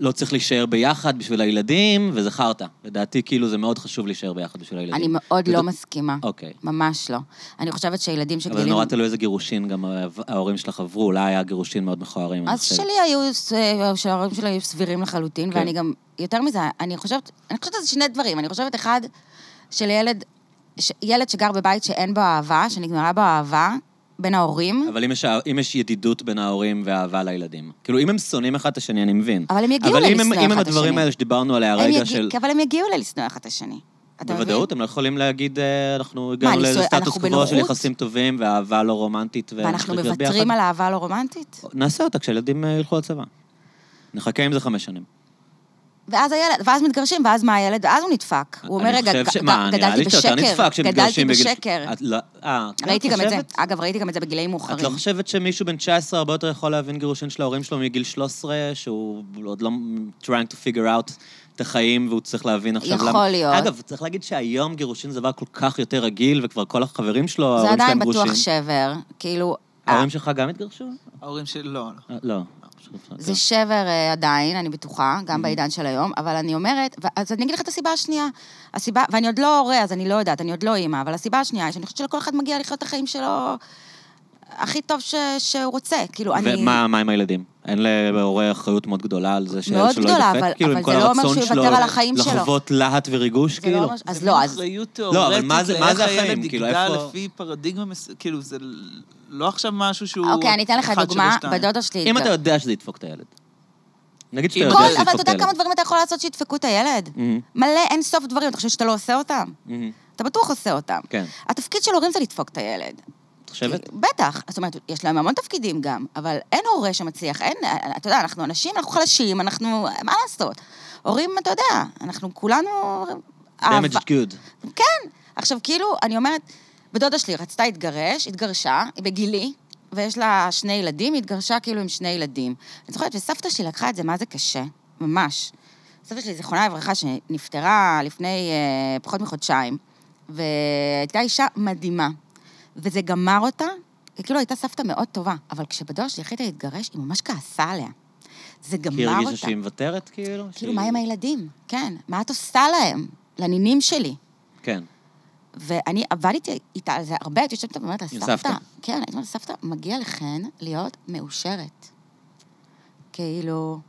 Speaker 1: לא צריך להישאר ביחד בשביל הילדים, וזה חרטא. לדעתי, כאילו, זה מאוד חשוב להישאר ביחד בשביל הילדים.
Speaker 2: אני
Speaker 1: וד-
Speaker 2: מאוד לא מסכימה.
Speaker 1: אוקיי.
Speaker 2: ממש לא. אני חושבת שילדים
Speaker 1: אבל זה
Speaker 2: שגדלים...
Speaker 1: נורא תלוי איזה גירושין גם ההורים שלך עברו, אולי היה גירושין מאוד מכוערים. אני
Speaker 2: אז
Speaker 1: חושב.
Speaker 2: שלי היו, ס- אה, שההורים שלי היו סבירים לחלוטין,
Speaker 1: כן.
Speaker 2: ואני גם, יותר מזה, אני חושבת, אני חושבת על זה שני דברים. אני חושבת, אחד, שלילד, ש- ילד שגר בבית שאין בו אהבה, שנגמרה בו אהבה, בין ההורים,
Speaker 1: אבל אם יש, אם יש ידידות בין ההורים ואהבה לילדים. כאילו, אם הם שונאים אחד את השני, אני מבין.
Speaker 2: אבל הם יגיעו
Speaker 1: אבל אם הם-
Speaker 2: לשנוא
Speaker 1: אם הם
Speaker 2: אחד את
Speaker 1: הדברים
Speaker 2: השני.
Speaker 1: האלה שדיברנו עליה
Speaker 2: הם
Speaker 1: הרגע
Speaker 2: יגיע-
Speaker 1: של...
Speaker 2: אבל הם יגיעו ללשנוא אחד את השני. אתה מבין?
Speaker 1: בוודאות, הם לא יכולים להגיד, אה, אנחנו הגענו לאיזה
Speaker 2: נישואי-
Speaker 1: סטטוס
Speaker 2: אנחנו
Speaker 1: קוו של
Speaker 2: בנוחות?
Speaker 1: יחסים טובים, ואהבה לא רומנטית,
Speaker 2: ואנחנו
Speaker 1: ונמשיך להיות
Speaker 2: מוותרים
Speaker 1: ביחד."
Speaker 2: על אהבה לא רומנטית?
Speaker 1: נעשה אותה כשילדים אה, ילכו לצבא. נחכה עם זה חמש שנים.
Speaker 2: ואז הילד, ואז מתגרשים, ואז מה הילד, ואז הוא נדפק. הוא אומר,
Speaker 1: אני
Speaker 2: רגע,
Speaker 1: חושב
Speaker 2: ג-
Speaker 1: ש-
Speaker 2: ג-
Speaker 1: מה, נראה לי
Speaker 2: גדלתי
Speaker 1: שאתה
Speaker 2: בשקר,
Speaker 1: נדפק
Speaker 2: גדלתי
Speaker 1: כשמתגרשים בגיל-
Speaker 2: בשקר.
Speaker 1: את לא- אה, כן,
Speaker 2: ראיתי
Speaker 1: את
Speaker 2: גם את זה.
Speaker 1: חושבת?
Speaker 2: אגב, ראיתי גם את זה בגילאים
Speaker 1: את לא
Speaker 2: מאוחרים.
Speaker 1: חושבת שמישהו בן 19 הרבה יותר יכול להבין גירושין של ההורים שלו מגיל 13, שהוא עוד לא trying to figure out את החיים, והוא צריך להבין עכשיו
Speaker 2: יכול להיות.
Speaker 1: אגב, צריך להגיד שהיום גירושין זה דבר כל כך יותר רגיל, וכבר כל החברים שלו,
Speaker 2: זה
Speaker 1: ההורים
Speaker 2: עדיין
Speaker 1: שלהם גרושים.
Speaker 2: בטוח שבר. כאילו, אה,
Speaker 1: ההורים שלך גם התגרשו?
Speaker 3: ההורים שלי, לא, לא.
Speaker 1: אה, לא.
Speaker 2: זה שבר אה, עדיין, אני בטוחה,
Speaker 1: Mm-hmm.
Speaker 2: גם בעידן של היום, אבל אני אומרת, ו- אז אני אגיד לך את הסיבה השנייה. הסיבה, ואני עוד לא הורה, אז אני לא יודעת, אני עוד לא אימא, אבל הסיבה השנייה היא שאני חושבת שלכל אחד מגיע לחיות את החיים שלו הכי טוב ש- שהוא רוצה. כאילו, אני...
Speaker 1: ומה מה עם הילדים? אין להורה אחריות מאוד גדולה על זה שהילד
Speaker 2: מאוד
Speaker 1: שלו
Speaker 2: גדולה,
Speaker 1: ידפק?
Speaker 2: אבל-
Speaker 1: כאילו, עם
Speaker 2: אבל
Speaker 1: כל
Speaker 2: זה לא אומר
Speaker 1: הרצון
Speaker 2: שהוא
Speaker 1: שלו
Speaker 2: יוותר על החיים שלו.
Speaker 1: לחוות להט וריגוש,
Speaker 2: זה לא
Speaker 1: כאילו?
Speaker 2: ממש- אז
Speaker 3: זה
Speaker 2: לא,
Speaker 3: מין
Speaker 2: אז...
Speaker 3: אחריות
Speaker 1: לא, אבל מה
Speaker 3: תיאורטית
Speaker 1: זה- מה זה
Speaker 3: לאיך
Speaker 1: החיים?
Speaker 3: הילד
Speaker 1: כאילו,
Speaker 3: יגדל
Speaker 1: איפה-
Speaker 3: לפי פרדיגמה, מס- כאילו, זה לא עכשיו משהו שהוא...
Speaker 2: אוקיי, אני אתן לך
Speaker 3: אחד,
Speaker 2: דוגמה,
Speaker 3: שלוש, שתיים.
Speaker 2: בדודה שלי...
Speaker 1: אם אתה יודע שזה ידפוק את הילד. נגיד שאתה
Speaker 3: אם
Speaker 1: יודע
Speaker 2: כן. כל,
Speaker 1: שזה ידפוק את הילד. Mm. Mm-hmm,
Speaker 2: אבל אתה יודע כמה דברים אתה יכול לעשות שידפקו את הילד?
Speaker 1: מהמם.
Speaker 2: מלא אין סוף דברים, אתה חושב שאתה לא עושה אותם?
Speaker 1: מהמם.
Speaker 2: אתה בטוח עושה אותם.
Speaker 1: כן.
Speaker 2: התפקיד של הורים זה לדפוק את הילד.
Speaker 1: את
Speaker 2: כאילו,
Speaker 1: חושבת?
Speaker 2: בטח. זאת אומרת, יש להם המון תפקידים גם, אבל אין הורה שמצליח, אין, אתה יודע, אנחנו אנשים, אנחנו חלשים, אנחנו, מה לעשות? הורים, אתה יודע, אנחנו כולנו... אהבה.
Speaker 1: damaged good.
Speaker 2: כן. עכשיו, כאילו, אני אומרת, בדודה שלי רצתה להתגרש, התגרשה, היא בגילי, ויש לה שני ילדים, היא התגרשה כאילו עם שני ילדים. אני זוכרת, וסבתא שלי לקחה את זה, מה זה קשה, ממש. סבתא שלי, זיכרונה לברכה, שנפטרה לפני אה, פחות מחודשיים, והייתה אישה מדהימה, וזה גמר אותה, היא כאילו הייתה סבתא מאוד טובה, אבל כשבדודה שלי החליטה להתגרש, היא ממש כעסה עליה. זה גמר אותה.
Speaker 1: כי היא הרגישה שהיא מוותרת, כאילו?
Speaker 2: כאילו,
Speaker 1: שהיא-
Speaker 2: מה עם הילדים? כן. מה את עושה להם? לנינים שלי.
Speaker 1: כן.
Speaker 2: ואני עבדתי איתה על זה הרבה, הייתי יושבת ואומרת לה,
Speaker 1: עם
Speaker 2: סבתא,
Speaker 1: סבתא."
Speaker 2: כן, הייתי אומרת, סבתא, מגיע לכן להיות מאושרת. כאילו...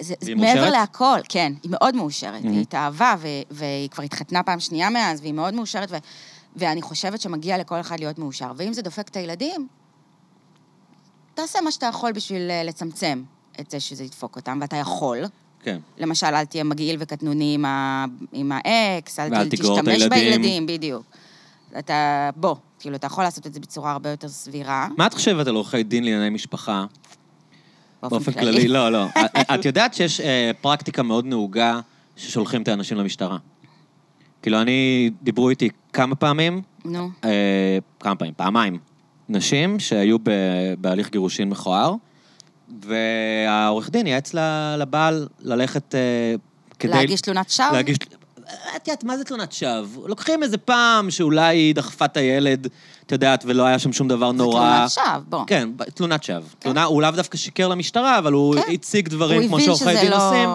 Speaker 2: זה, זה
Speaker 1: והיא
Speaker 2: מעבר
Speaker 1: מאושרת?
Speaker 2: להכל, כן, היא מאוד מאושרת. היא התאהבה, ו- והיא כבר התחתנה פעם שנייה מאז, והיא מאוד מאושרת, ו- ואני חושבת שמגיע לכל אחד להיות מאושר. ואם זה דופק את הילדים, תעשה מה שאתה יכול בשביל אה, לצמצם את זה שזה ידפוק אותם, ואתה יכול.
Speaker 1: כן.
Speaker 2: למשל, אל תהיה מגעיל וקטנוני עם, ה... עם האקס, אל,
Speaker 1: ואל
Speaker 2: אל
Speaker 1: תגרור את
Speaker 2: תשתמש
Speaker 1: הילדים.
Speaker 2: בילדים, בדיוק. אתה, בוא, כאילו, אתה יכול לעשות את זה בצורה הרבה יותר סבירה.
Speaker 1: מה את חושבת על עורכי דין לענייני משפחה? באופן
Speaker 2: כללי.
Speaker 1: כללי, לא, לא. את- את יודעת שיש אה, פרקטיקה מאוד נהוגה ששולחים את האנשים למשטרה. כאילו, אני, דיברו איתי כמה פעמים,
Speaker 2: נו,
Speaker 1: אה, כמה פעמים, פעמיים, נשים שהיו ב, בהליך גירושין מכוער, והעורך דין ייעץ ל- לבעל ללכת אה, כדי...
Speaker 2: להגיש תלונת שווא?
Speaker 1: להגיש... את יודעת, מה זה תלונת שווא? לוקחים איזה פעם שאולי היא דחפה את הילד, את יודעת, ולא היה שם שום דבר נורא.
Speaker 2: תלונת שווא, בוא.
Speaker 1: כן, ב- תלונת שווא. תלונה, הוא לאו דווקא שיקר למשטרה, אבל הוא
Speaker 2: כן.
Speaker 1: הציג דברים
Speaker 2: הוא
Speaker 1: כמו
Speaker 2: הבין
Speaker 1: שעורכי
Speaker 2: שזה
Speaker 1: דין
Speaker 2: לא-
Speaker 1: עושים,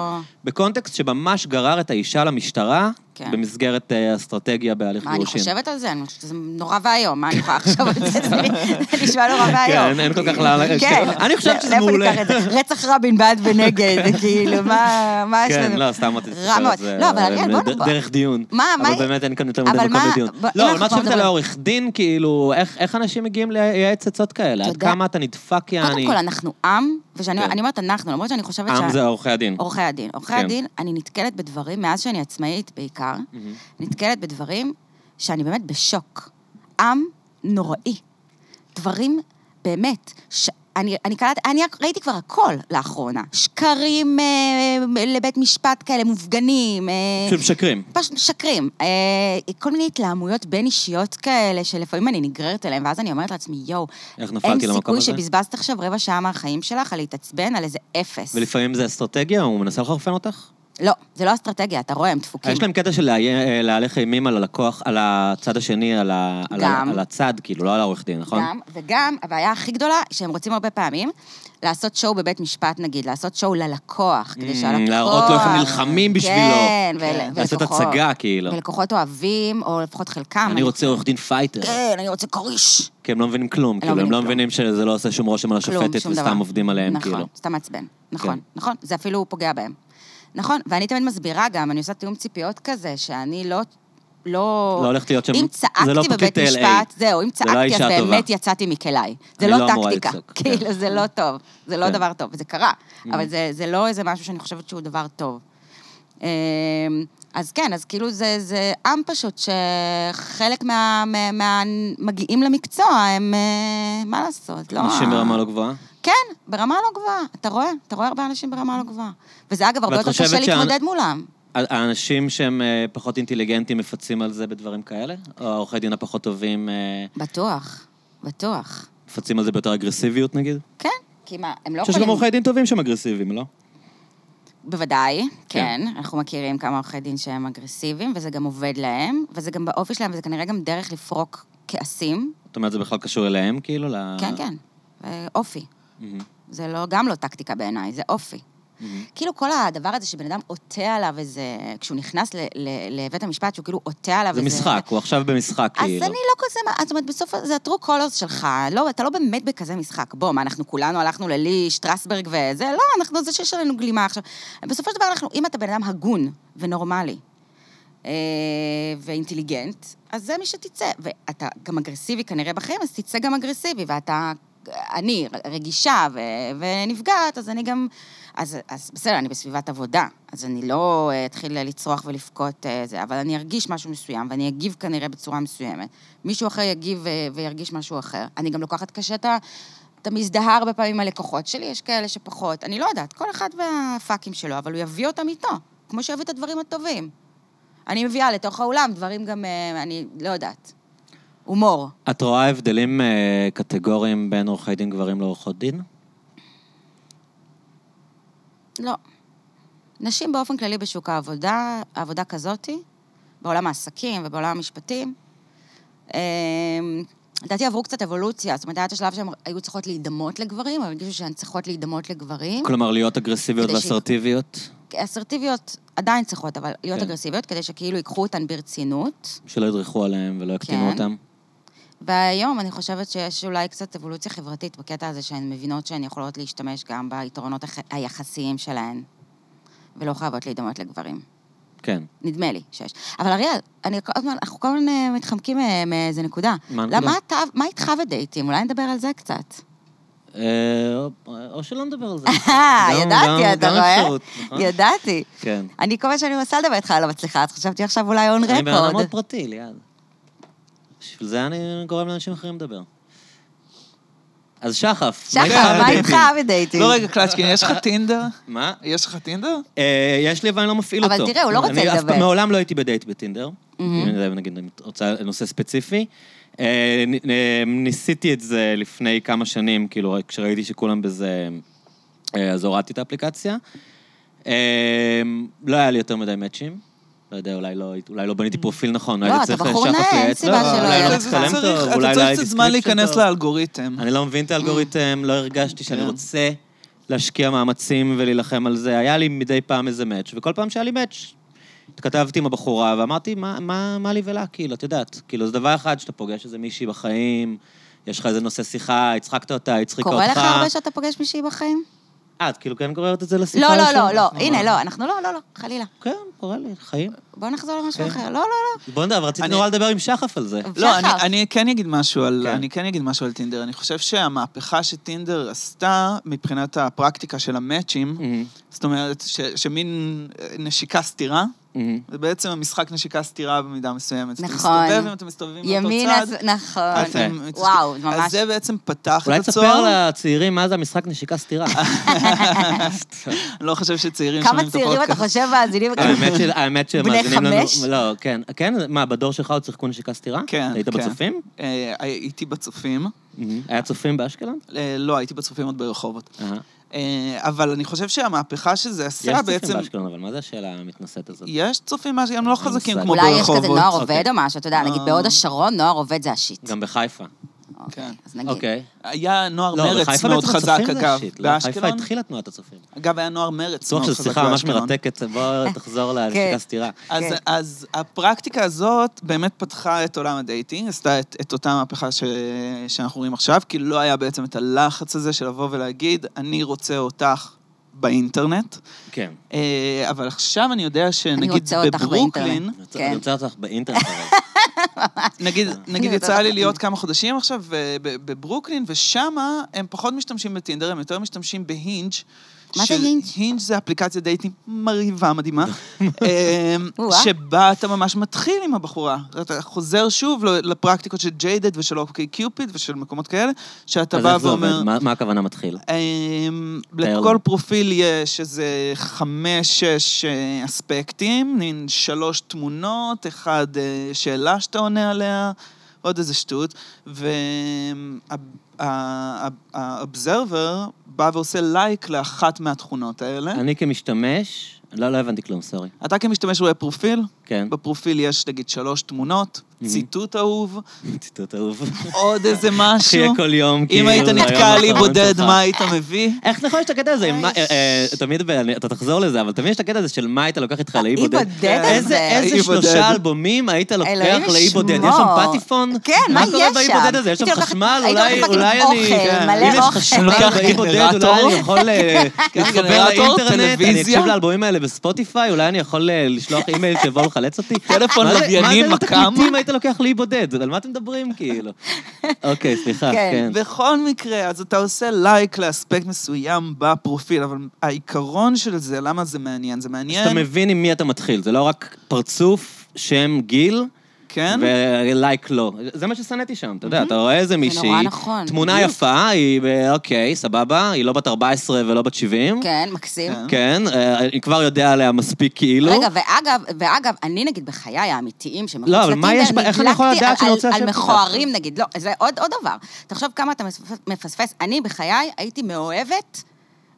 Speaker 1: בקונטקסט שממש גרר את האישה למשטרה,
Speaker 2: כן.
Speaker 1: במסגרת אה, אסטרטגיה בהליך
Speaker 2: מה אני
Speaker 1: גירושין.
Speaker 2: חושבת על זה? אני חושבת שזה נורא ואיום, מה אני יכולה עכשיו על זה? זה נשמע נורא ואיום.
Speaker 1: כן, אין כל כך לאן-
Speaker 2: כן.
Speaker 1: אני חושבת שזה
Speaker 2: לאיפה
Speaker 1: מעולה.
Speaker 2: ניקח את זה? רצח רבין בעד ונגד, זה כאילו, מה מה יש לנו?
Speaker 1: כן, לא, סתם רציתי
Speaker 2: רע מאוד. לא, אבל
Speaker 1: אה,
Speaker 2: אריאל, בוא נבוא.
Speaker 1: דרך דיון.
Speaker 2: מה, מה-
Speaker 1: אבל באמת אין כאן יותר מדי
Speaker 2: אבל
Speaker 1: מקום
Speaker 2: מה-
Speaker 1: לדיון.
Speaker 2: ב- אם
Speaker 1: לא, אבל
Speaker 2: אנחנו
Speaker 1: מה את חושבת
Speaker 2: מדברים-
Speaker 1: על העורך דין, כאילו, איך איך אנשים מגיעים לייעץ עצות כאלה? עד
Speaker 2: יודע-
Speaker 1: כמה אתה נדפק,
Speaker 2: קודם
Speaker 1: יעני?
Speaker 2: כל, אנחנו עם,
Speaker 1: כן.
Speaker 2: ואני אומרת אנחנו, למרות שאני חושבת שה-
Speaker 1: עם זה עורכי הדין.
Speaker 2: עורכי הדין. עורכי
Speaker 1: כן.
Speaker 2: הדין, אני נתקלת בדברים, מאז שאני עצמאית בעיקר, נתקלת בדברים שאני באמת בשוק. עם נוראי. דברים, באמת, ש... אני, אני קלט, אני ראיתי כבר הכל לאחרונה. שקרים אה, לבית משפט כאלה מופגנים. אה,
Speaker 1: פשוט משקרים.
Speaker 2: פשוט משקרים. אה, כל מיני התלהמויות בין אישיות כאלה, שלפעמים אני נגררת אליהם, ואז אני אומרת לעצמי, יואו,
Speaker 1: איך
Speaker 2: אין
Speaker 1: נפלתי למקום
Speaker 2: סיכוי
Speaker 1: הזה?
Speaker 2: שבזבזת עכשיו רבע שעה מהחיים שלך על להתעצבן על איזה אפס.
Speaker 1: ולפעמים זה אסטרטגיה, הוא מנסה לחרפן אותך?
Speaker 2: לא, זה לא אסטרטגיה, אתה רואה, הם דפוקים.
Speaker 1: יש להם קטע של להי- להלך אימים על הלקוח, על הצד השני, על ה- על ה-
Speaker 2: גם.
Speaker 1: על הצד, כאילו, לא על העורך דין, נכון?
Speaker 2: גם, וגם, הבעיה הכי גדולה, שהם רוצים הרבה פעמים, לעשות שואו בבית משפט, נגיד, לעשות שואו ללקוח, כדי
Speaker 1: Mm,
Speaker 2: שהלקוח...
Speaker 1: להראות לו איך הם נלחמים בשבילו.
Speaker 2: כן, ול-
Speaker 3: כן.
Speaker 1: לעשות
Speaker 2: ולקוחות...
Speaker 1: הצגה, כאילו.
Speaker 2: ולקוחות אוהבים, או לפחות חלקם.
Speaker 1: אני רוצה עורך דין פייטר,
Speaker 2: כן, אני רוצה כריש.
Speaker 1: כי הם לא מבינים כלום, כאילו, הם
Speaker 2: מבינים
Speaker 1: לא
Speaker 2: כלום.
Speaker 1: מבינים שזה לא עושה שום רושם על
Speaker 2: כלום,
Speaker 1: השופטת,
Speaker 2: שום דבר.
Speaker 1: וסתם עובדים עליהם, כאילו.
Speaker 2: נכון, סתם מעצבן. נכון,
Speaker 1: כן.
Speaker 2: נכון, זה אפילו פוגע בהם. נכון, ואני תמיד מסבירה גם, אני עושה תיאום ציפיות כזה, שאני לא... לא...
Speaker 1: לא הולכת להיות שם-
Speaker 2: אם
Speaker 1: זה לא
Speaker 2: צעקתי
Speaker 1: פרקליט
Speaker 2: בבית
Speaker 1: LA.
Speaker 2: משפט, זהו, אם
Speaker 1: זה לא
Speaker 2: צעקתי, אז
Speaker 1: האישה הטובה.
Speaker 2: באמת יצאתי מכליי. זה
Speaker 1: אני
Speaker 2: לא
Speaker 1: לא אמורה
Speaker 2: טקטיקה.
Speaker 1: לצעוק, כן.
Speaker 2: כאילו, זה לא טוב. זה לא
Speaker 1: כן. Mm.
Speaker 2: דבר טוב, זה קרה. אבל זה- זה לא איזה משהו שאני חושבת שהוא דבר טוב. אמ, אז כן, אז כאילו זה, זה עם פשוט שחלק מה, מה, מה, מגיעים למקצוע, הם, אה, מה לעשות, לא...
Speaker 1: אנשים ברמה לא גבוהה.
Speaker 2: כן, ברמה לא גבוהה. אתה רואה, אתה רואה הרבה אנשים ברמה לא גבוהה. וזה אגב הרבה
Speaker 1: ואת
Speaker 2: יותר קשה
Speaker 1: חושבת שה-
Speaker 2: להתמודד מולם.
Speaker 1: ה- האנשים שהם אה, פחות אינטליגנטים מפצים על זה בדברים כאלה? או העורכי דין הפחות טובים אה,
Speaker 2: בטוח, בטוח.
Speaker 1: מפצים על זה ביותר אגרסיביות, נגיד?
Speaker 2: כן, כי מה, הם לא
Speaker 1: אני חושב
Speaker 2: יכולים...
Speaker 1: שגם עורכי דין טובים שהם אגרסיביים, לא?
Speaker 2: בוודאי,
Speaker 1: כן.
Speaker 2: כן. אנחנו מכירים כמה עורכי דין שהם אגרסיביים, וזה גם עובד להם, וזה גם באופי שלהם, וזה כנראה גם דרך לפרוק כעסים.
Speaker 1: זאת אומרת, זה בכלל קשור אליהם, כאילו? ל-
Speaker 2: כן, כן. אה, אופי.
Speaker 1: מהמם.
Speaker 2: זה לא, גם לא טקטיקה בעיניי, זה אופי. כאילו כל הדבר הזה שבן אדם עוטה עליו איזה... כשהוא נכנס ל- ל- לבית המשפט, שהוא כאילו עוטה עליו
Speaker 1: זה
Speaker 2: איזה...
Speaker 1: משחק, הוא עכשיו במשחק,
Speaker 2: אז
Speaker 1: כאילו.
Speaker 2: אני לא כזה, מה- זאת אומרת, בסוף זה הטרו קולרס שלך, לא, אתה לא באמת בכזה משחק. בוא, מה, אנחנו כולנו הלכנו ללי, שטרסברג וזה, לא, אנחנו, זה שיש עלינו גלימה עכשיו. בסופו של דבר, אנחנו, אם אתה בן אדם הגון ונורמלי אה, ואינטליגנט, אז זה מי שתצא. ואתה גם אגרסיבי כנראה בחיים, אז תצא גם אגרסיבי, ואתה, אני רגישה ו, ונפגעת, אז אני גם... אז, אז בסדר, אני בסביבת עבודה, אז אני לא אה, אתחיל לצרוח ולבכות אה, זה, אבל אני ארגיש משהו מסוים, ואני אגיב כנראה בצורה מסוימת. מישהו אחר יגיב אה, וירגיש משהו אחר. אני גם לוקחת קשה את ה... אתה מזדהה הרבה פעמים עם הלקוחות שלי, יש כאלה שפחות. אני לא יודעת, כל אחד והפאקים שלו, אבל הוא יביא אותם איתו, כמו שיביא את הדברים הטובים. אני מביאה לתוך האולם דברים גם, אה, אני לא יודעת. הומור.
Speaker 1: את רואה הבדלים אה, קטגוריים בין עורכי דין גברים לעורכות דין?
Speaker 2: Mm-hmm. לא. נשים באופן כללי בשוק העבודה, עבודה כזאתי, בעולם העסקים ובעולם המשפטים, אה, לדעתי עברו קצת אבולוציה, זאת אומרת, היה את השלב שהן היו צריכות להידמות לגברים, אבל הרגישו שהן צריכות להידמות לגברים.
Speaker 1: כלומר, להיות אגרסיביות
Speaker 2: כדי ש-
Speaker 1: ואסרטיביות?
Speaker 2: אסרטיביות עדיין צריכות, אבל להיות
Speaker 1: כן.
Speaker 2: אגרסיביות, כדי שכאילו ייקחו אותן ברצינות.
Speaker 1: שלא ידרכו עליהם ולא יקטינו
Speaker 2: כן.
Speaker 1: אותם?
Speaker 2: והיום אני חושבת שיש אולי קצת אבולוציה חברתית בקטע הזה שהן מבינות שהן יכולות להשתמש גם ביתרונות הח- היחסיים שלהן. ולא חייבות להידמות לגברים.
Speaker 1: כן.
Speaker 2: נדמה לי שיש. אבל אריאל, אני כל הזמן, אנחנו כל הזמן אה, מתחמקים אה, מאיזה נקודה.
Speaker 1: מה לא. הנקודה?
Speaker 2: למה אתה, מה איתך ודייטים? אולי נדבר על זה קצת.
Speaker 1: אה, או- או שלא נדבר על זה.
Speaker 2: אה,
Speaker 1: גם- גם-
Speaker 2: ידעתי, אתה
Speaker 1: גם
Speaker 2: רואה?
Speaker 1: אפשרות, נכון?
Speaker 2: ידעתי.
Speaker 1: כן.
Speaker 2: אני כל מה שאני מנסה לדבר איתך לא מצליחה, אז חשבתי עכשיו אולי און
Speaker 1: אני בן אדם מאוד
Speaker 2: רקורד.
Speaker 1: פרטי, ליעד. בשביל זה אני גורם לאנשים אחרים לדבר. אז שחף.
Speaker 2: שחר,
Speaker 1: איתך
Speaker 2: מה
Speaker 1: בדייטים?
Speaker 2: איתך בדייטים?
Speaker 3: לא, רגע, קלצ'קין, יש לך טינדר?
Speaker 1: מה?
Speaker 3: יש לך טינדר?
Speaker 1: אה, יש לי, אבל אני לא מפעיל
Speaker 2: אבל
Speaker 1: אותו.
Speaker 2: תראה, הוא לא רוצה
Speaker 1: אני אף
Speaker 2: לדבר.
Speaker 1: פעם מעולם לא הייתי בדייט בטינדר. אם זה, נגיד, אני רוצה נושא ספציפי. אה, נ- אה, ניסיתי את זה לפני כמה שנים, כאילו, כשראיתי שכולם בזה... אה, אז הורדתי את האפליקציה. אה, לא היה לי יותר מדי מאצ'ים. לא יודע, אולי לא, אולי לא בניתי פרופיל נכון.
Speaker 2: לא,
Speaker 1: הייתי
Speaker 2: אתה
Speaker 1: צריך
Speaker 2: בחור
Speaker 1: שחף
Speaker 2: נאה, אין
Speaker 1: לייעץ לו,
Speaker 2: סיבה שלא
Speaker 1: אולי
Speaker 2: יהיה
Speaker 1: לא
Speaker 2: לך.
Speaker 1: מצטלם טוב,
Speaker 3: אתה צריך-
Speaker 1: אולי לא
Speaker 3: אתה
Speaker 1: היה
Speaker 3: צריך קצת זמן
Speaker 1: description
Speaker 3: להיכנס
Speaker 1: טוב.
Speaker 3: לאלגוריתם.
Speaker 1: אני לא מבין את האלגוריתם, לא הרגשתי שאני
Speaker 3: כן.
Speaker 1: רוצה להשקיע מאמצים ולהילחם על זה. היה לי מדי פעם איזה מאץ', וכל פעם שהיה לי מאץ', התכתבתי עם הבחורה ואמרתי, "מה- מה מה לי ולה, כאילו, את יודעת. כאילו, זה דבר אחד שאתה פוגש איזה מישהי בחיים, יש לך איזה נושא שיחה, הצחקת אותה, הצחיקה אותך.
Speaker 2: קורה לך הרבה שאתה פוגש מישהי בחיים?
Speaker 1: אה, את כאילו כן גוררת את זה לשיחה?
Speaker 2: לא, לא,
Speaker 1: שוב?
Speaker 2: לא, לא.
Speaker 1: אנחנו-
Speaker 2: הנה, לא, אנחנו לא, לא, לא, חלילה.
Speaker 1: כן, קורה לי, חיים.
Speaker 2: בוא נחזור למשהו
Speaker 1: כן.
Speaker 2: אחר. לא, לא, לא.
Speaker 1: בוא נדבר, רציתי
Speaker 3: אני-
Speaker 1: נורא לדבר עם שחף על זה.
Speaker 3: לא, אני,
Speaker 2: שחר.
Speaker 3: אני כן אגיד משהו על,
Speaker 1: כן.
Speaker 3: כן. אני כן אגיד משהו על טינדר. אני חושב שהמהפכה שטינדר עשתה, מבחינת הפרקטיקה של המאצ'ים,
Speaker 1: מהמם,
Speaker 3: זאת אומרת, ש, שמין אה, נשיקה סתירה,
Speaker 1: מהמם.
Speaker 3: זה בעצם המשחק נשיקה סתירה במידה מסוימת.
Speaker 2: נכון.
Speaker 3: אתה מסתובב, אם אתם מסתובבים לאותו
Speaker 2: ימינה,
Speaker 3: צד,
Speaker 2: ז- נכון.
Speaker 1: אה,
Speaker 3: אתם-
Speaker 2: וואו, זה
Speaker 3: אז
Speaker 2: ממש...
Speaker 3: זה בעצם פתח
Speaker 1: אולי
Speaker 3: את הצוהר.
Speaker 1: תספר לצעירים מה זה המשחק נשיקה סתירה.
Speaker 3: אני לא חושב שצעירים
Speaker 2: כמה
Speaker 3: שומעים את
Speaker 2: צעירים אתה
Speaker 3: הפודקאסט.
Speaker 2: חושב מאזינים?
Speaker 1: אה, האמת של- האמת שמאזינים לנו...
Speaker 2: חמש?
Speaker 1: לא, כן. כן? מה, בדור שלך עוד שיחקו נשיקה סתירה?
Speaker 3: כן,
Speaker 1: היית
Speaker 3: כן.
Speaker 1: בצופים?
Speaker 3: אה, הייתי בצופים.
Speaker 1: היה צופים באשקלון?
Speaker 3: אה, לא, הייתי בצופים עוד ברחובות.
Speaker 1: אהה.
Speaker 3: אה, אבל אני חושב שהמהפכה שזה עשה
Speaker 1: יש
Speaker 3: בעצם...
Speaker 1: צופים באשקלון, אבל מה זה השאלה המתנשאת הזאת?
Speaker 3: יש צופים, מה- הם לא חזקים
Speaker 1: מושג.
Speaker 3: כמו
Speaker 2: אולי יש
Speaker 3: ברחובות.
Speaker 2: כזה נוער
Speaker 1: אוקיי.
Speaker 2: עובד או משהו, אתה יודע, נגיד
Speaker 3: אה.
Speaker 2: בהוד השרון, נוער עובד זה השיט.
Speaker 1: גם בחיפה.
Speaker 2: אוקיי,
Speaker 3: כן.
Speaker 2: אז נגיד.
Speaker 1: אוקיי.
Speaker 3: היה נוער
Speaker 1: לא,
Speaker 3: מרץ
Speaker 1: בחיפה
Speaker 3: מאוד
Speaker 1: בעצם
Speaker 3: חזק,
Speaker 1: הצופים זה
Speaker 3: אגב.
Speaker 1: השיט, לא? בחיפה
Speaker 3: באשקלון?
Speaker 1: התחילה תנועת הצופים.
Speaker 3: אגב, היה נוער מרץ
Speaker 1: בטוח
Speaker 3: מאוד
Speaker 1: שזו
Speaker 3: חזק
Speaker 1: שיחה ממש
Speaker 3: באשקלון.
Speaker 1: מרתקת, בוא
Speaker 2: אה,
Speaker 1: תחזור לנשיקה סתירה.
Speaker 3: אז,
Speaker 2: כן.
Speaker 3: אז הפרקטיקה הזאת באמת פתחה את עולם הדייטינג, עשתה את, את אותה מהפכה ש, שאנחנו רואים עכשיו, כי לא היה בעצם את הלחץ הזה של לבוא ולהגיד, אני רוצה אותך באינטרנט.
Speaker 1: כן.
Speaker 3: אה, אבל עכשיו אני יודע שנגיד
Speaker 2: רוצה אותך
Speaker 3: בברוקלין,
Speaker 2: באינטרנט.
Speaker 1: אני רוצה-
Speaker 2: כן.
Speaker 1: אני רוצה אותך באינטרנט. אבל.
Speaker 3: נגיד,
Speaker 2: אה,
Speaker 3: נגיד
Speaker 2: יודעת.
Speaker 3: יצא לי להיות כמה חודשים עכשיו אה, ב- בברוקלין, ושמה הם פחות משתמשים בטינדר, הם יותר משתמשים בהינג'.
Speaker 2: מה זה
Speaker 3: של-
Speaker 2: הינג'?
Speaker 3: הינג' זה אפליקציה דייטים מרהיבה, מדהימה, אמ,
Speaker 2: או-אה.
Speaker 3: שבה אתה ממש מתחיל עם הבחורה. אתה חוזר שוב ל- לפרקטיקות של ג'יידד ושל אוקיי קיופיד ושל מקומות כאלה, שאתה
Speaker 1: אז
Speaker 3: בא
Speaker 1: איך זה
Speaker 3: ואומר...
Speaker 1: עובד? מה- מה הכוונה מתחיל?
Speaker 3: אמ,
Speaker 1: תאר
Speaker 3: לכל
Speaker 1: לנו.
Speaker 3: פרופיל יש איזה חמש-שש אה, אספקטים, מין שלוש תמונות, אחד אה, שאלה שאתה עונה עליה, עוד איזה שטות, והאובזרבר בא ועושה לייק לאחת מהתכונות האלה.
Speaker 1: אני כמשתמש, לא לא הבנתי כלום, סורי.
Speaker 3: אתה כמשתמש רואה פרופיל,
Speaker 1: כן.
Speaker 3: בפרופיל יש נגיד שלוש תמונות, ציטוט אהוב,
Speaker 1: ציטוט אהוב.
Speaker 3: עוד איזה
Speaker 1: שיהיה
Speaker 3: משהו.
Speaker 1: כל יום,
Speaker 3: אם
Speaker 1: כאילו,
Speaker 3: היית
Speaker 1: ליום
Speaker 3: נתקע לי
Speaker 1: האחרון
Speaker 3: בודד,
Speaker 1: שלך.
Speaker 3: מה היית מביא?
Speaker 1: איך נכון יש את הקטע הזה? עם מה-
Speaker 2: אוי.
Speaker 1: אה, אה, תמיד, ב- אני- אתה תחזור לזה, אבל תמיד יש את הקטע הזה של מה היית לוקח איתך לאי
Speaker 2: האי
Speaker 1: בודד.
Speaker 2: אה, בודד
Speaker 1: איזה-
Speaker 2: הזה.
Speaker 1: איזה
Speaker 3: האי
Speaker 1: שלושה
Speaker 3: בודד.
Speaker 1: אלבומים היית לוקח
Speaker 2: אלוהים
Speaker 1: לאי בודד?
Speaker 2: ישמור.
Speaker 1: יש שם פטיפון?
Speaker 2: כן, מה יש שם?
Speaker 1: קורה באי בודד הזה? יש שם
Speaker 2: הייתי לוקחת-
Speaker 1: חשמל?
Speaker 2: הייתי
Speaker 1: אולי
Speaker 2: לוקחת
Speaker 1: אולי
Speaker 2: אוכל,
Speaker 1: אני... כן.
Speaker 2: מלא
Speaker 1: אם יש
Speaker 2: אוכל.
Speaker 1: חשמל
Speaker 3: לוקח
Speaker 1: באי בודד, אולי
Speaker 3: גנרטור?
Speaker 1: אני יכול אה, להתחבר
Speaker 3: גנרטור,
Speaker 1: לאינטרנט, אני
Speaker 3: טלוויזיה.
Speaker 1: אקשיב לאלבומים האלה בספוטיפיי, אולי אני יכול אה, לשלוח אימייל שיבואו לחלץ אותי?
Speaker 3: טלפון
Speaker 1: מה זה-
Speaker 3: לווייני,
Speaker 1: מה זה
Speaker 3: מקם?
Speaker 1: תקליטים היית לוקח לאי בודד? על מה אתם מדברים, כאילו? אוקיי, סליחה,
Speaker 2: כן.
Speaker 1: כן.
Speaker 3: בכל מקרה, אז אתה עושה לייק לאספקט מסוים בפרופיל, אבל העיקרון של זה, למה זה מעניין? זה מעניין,
Speaker 1: שאתה מבין עם מי אתה מתחיל, זה לא רק פרצוף, שם, גיל,
Speaker 3: כן?
Speaker 1: ולייק לא. זה מה ששנאתי שם, אתה יודע, אתה רואה איזה מישהי,
Speaker 2: נורא נכון,
Speaker 1: תמונה
Speaker 2: בדיוק.
Speaker 1: יפה, היא ב- אוקיי, סבבה, היא לא בת 14 ולא בת 70,
Speaker 2: כן, מקסים.
Speaker 3: כן.
Speaker 1: כן, אה, אני כבר יודע עליה מספיק כאילו.
Speaker 2: רגע, ואגב, ואגב, אני נגיד בחיי האמיתיים, שמחוץ
Speaker 1: לא,
Speaker 2: לטינדר,
Speaker 1: אבל מה יש ב- איך אני יכול
Speaker 2: נדלקתי
Speaker 1: לדעת שאני
Speaker 2: על-
Speaker 1: רוצה
Speaker 2: על
Speaker 1: לשבת איתך?
Speaker 2: מכוערים נגיד, לא, זה עוד עוד דבר. תחשוב כמה אתה מפספס- מפספס. אני בחיי הייתי מאוהבת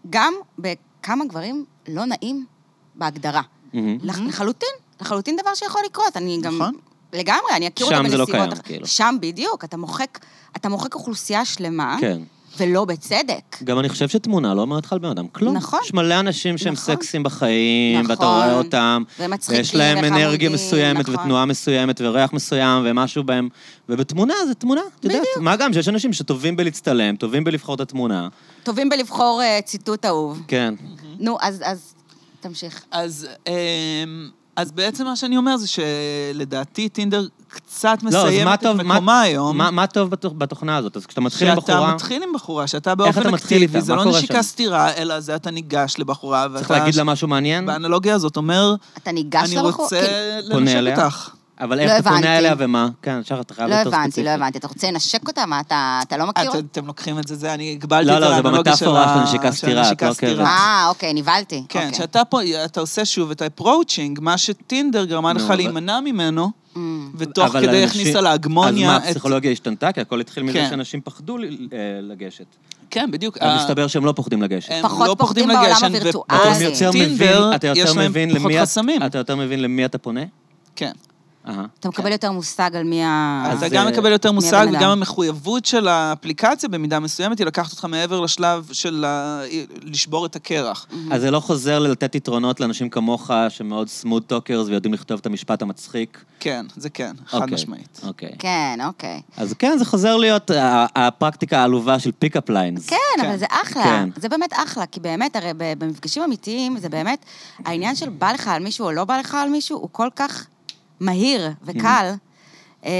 Speaker 2: גם בכמה גברים לא נעים בהגדרה.
Speaker 1: מהמם.
Speaker 2: לח- לחלוטין, לחלוטין דבר שיכול לקרות. אני גם...
Speaker 3: Mm-hmm. נכון.
Speaker 2: לגמרי, אני אכיר
Speaker 1: שם
Speaker 2: אותה
Speaker 1: זה לא
Speaker 2: בנסיבות.
Speaker 1: קיים,
Speaker 2: אח-
Speaker 1: כאילו.
Speaker 2: שם בדיוק, אתה מוחק, אתה מוחק אוכלוסייה שלמה,
Speaker 1: כן.
Speaker 2: ולא בצדק.
Speaker 1: גם אני חושב שתמונה לא אומרת לך על בן אדם כלום.
Speaker 2: נכון.
Speaker 1: יש מלא אנשים שהם
Speaker 2: נכון.
Speaker 1: סקסים בחיים, ואתה
Speaker 2: נכון.
Speaker 1: רואה אותם.
Speaker 2: ומצחיקים
Speaker 1: יש להם אנרגיה
Speaker 2: וחמודים,
Speaker 1: מסוימת,
Speaker 2: נכון.
Speaker 1: ותנועה מסוימת, וריח מסוים, ומשהו בהם. ובתמונה זה תמונה, את יודעת. מה גם שיש אנשים שטובים בלהצטלם, טובים בלבחור את התמונה.
Speaker 3: Mm-hmm.
Speaker 2: טובים בלבחור אה, ציטוט אהוב.
Speaker 1: כן.
Speaker 2: נו, אז... אז תמשיך.
Speaker 3: אז, אמ, אז בעצם מה שאני אומר זה שלדעתי טינדר קצת
Speaker 1: לא, אז מה
Speaker 3: מסיימת את
Speaker 1: טוב- מה-
Speaker 3: מקומה היום.
Speaker 1: מה- מה טוב בתוכ- בתוכנה הזאת? אז כשאתה מתחיל עם
Speaker 3: שאתה
Speaker 1: בחורה,
Speaker 3: מתחיל עם בחורה, שאתה באופן
Speaker 1: אתה מתחיל
Speaker 3: אקטיבי,
Speaker 1: איתה?
Speaker 3: זה
Speaker 1: מה
Speaker 3: לא
Speaker 1: קורה שם?
Speaker 3: נשיקה סתירה, אלא זה אתה ניגש לבחורה, ואתה...
Speaker 1: צריך להגיד לה משהו מעניין,
Speaker 3: באנלוגיה הזאת אומר,
Speaker 2: אתה ניגש
Speaker 3: אני
Speaker 2: לבחור?
Speaker 3: רוצה
Speaker 2: כאילו,
Speaker 1: פונה
Speaker 3: לנשק
Speaker 1: אליה?
Speaker 3: אותך.
Speaker 1: אבל
Speaker 2: לא
Speaker 1: איך אתה
Speaker 2: הבנתי.
Speaker 1: פונה אליה ומה? כן, שחר, אתה חייב
Speaker 2: לא
Speaker 1: יותר
Speaker 2: הבנתי,
Speaker 1: ספציפי.
Speaker 2: לא הבנתי. אתה רוצה לנשק אותה? מה, אתה אתה לא מכיר
Speaker 3: את-
Speaker 2: אותה?
Speaker 3: אה, אתם לוקחים את זה, זה, אני הגבלתי
Speaker 1: לא,
Speaker 3: את
Speaker 1: לא, זה
Speaker 3: האנלוגיה של
Speaker 1: במטאפורה של
Speaker 3: ה-
Speaker 1: נשיקה
Speaker 3: של
Speaker 1: סתירה, את
Speaker 3: הנשיקה
Speaker 1: לא
Speaker 3: סתירה.
Speaker 1: עוקבת.
Speaker 2: אה, אוקיי, נבהלתי.
Speaker 3: כן,
Speaker 2: אוקיי.
Speaker 3: שאתה פה, אתה עושה שוב את האפרואוצ'ינג, מה שטינדר גרמה
Speaker 1: נו,
Speaker 3: לך
Speaker 1: אבל-
Speaker 3: להימנע ממנו,
Speaker 2: אמ,
Speaker 3: ותוך
Speaker 1: אבל
Speaker 3: כדי
Speaker 1: אנשים-
Speaker 3: הכניסה
Speaker 1: אז
Speaker 3: להגמוניה
Speaker 1: מה,
Speaker 3: את...
Speaker 1: הפסיכולוגיה השתנתה? כי הכל התחיל מזה
Speaker 3: כן.
Speaker 1: שאנשים פחדו ל- אה, לגשת.
Speaker 3: כן, בדיוק.
Speaker 1: אז מסתבר שהם לא פוחדים לגשת.
Speaker 3: הם
Speaker 2: פחות
Speaker 3: לא
Speaker 2: פוחדים
Speaker 3: פוחדים
Speaker 2: בעולם
Speaker 3: לגשת,
Speaker 2: הווירטואלי.
Speaker 1: אתה
Speaker 2: אה,
Speaker 1: גם
Speaker 2: זה-
Speaker 1: יותר
Speaker 3: טינדר,
Speaker 1: מבין, אתה יותר
Speaker 3: יש להם
Speaker 1: מבין
Speaker 3: פחות
Speaker 1: למי, את-
Speaker 3: חסמים.
Speaker 1: אתה יותר מבין למי אתה פונה?
Speaker 3: כן.
Speaker 1: אהה.
Speaker 2: אתה מקבל יותר מושג על מי ה...
Speaker 1: אז אה,
Speaker 3: אתה
Speaker 1: זה-
Speaker 3: גם מקבל יותר
Speaker 2: מי
Speaker 3: מושג,
Speaker 2: הבן אדם?
Speaker 3: וגם המחויבות של האפליקציה במידה מסוימת היא לקחת אותך מעבר לשלב של ה- לשבור את הקרח.
Speaker 1: אז זה לא חוזר ללתת יתרונות לאנשים כמוך, שמאוד סמוד טוקרס ויודעים לכתוב את המשפט המצחיק.
Speaker 3: כן, זה כן, חד
Speaker 1: אוקיי,
Speaker 3: משמעית.
Speaker 1: אוקיי.
Speaker 2: כן, אוקיי.
Speaker 1: אז כן, זה חוזר להיות ה- הפרקטיקה העלובה של פיקאפ ליינס.
Speaker 2: כן,
Speaker 3: כן.
Speaker 2: אבל זה אחלה.
Speaker 1: כן.
Speaker 2: זה באמת אחלה, כי באמת, הרי ב- במפגשים אמיתיים, זה באמת, העניין של בא לך על מישהו או לא בא לך על מישהו, הוא כל כך מהיר וקל, אה,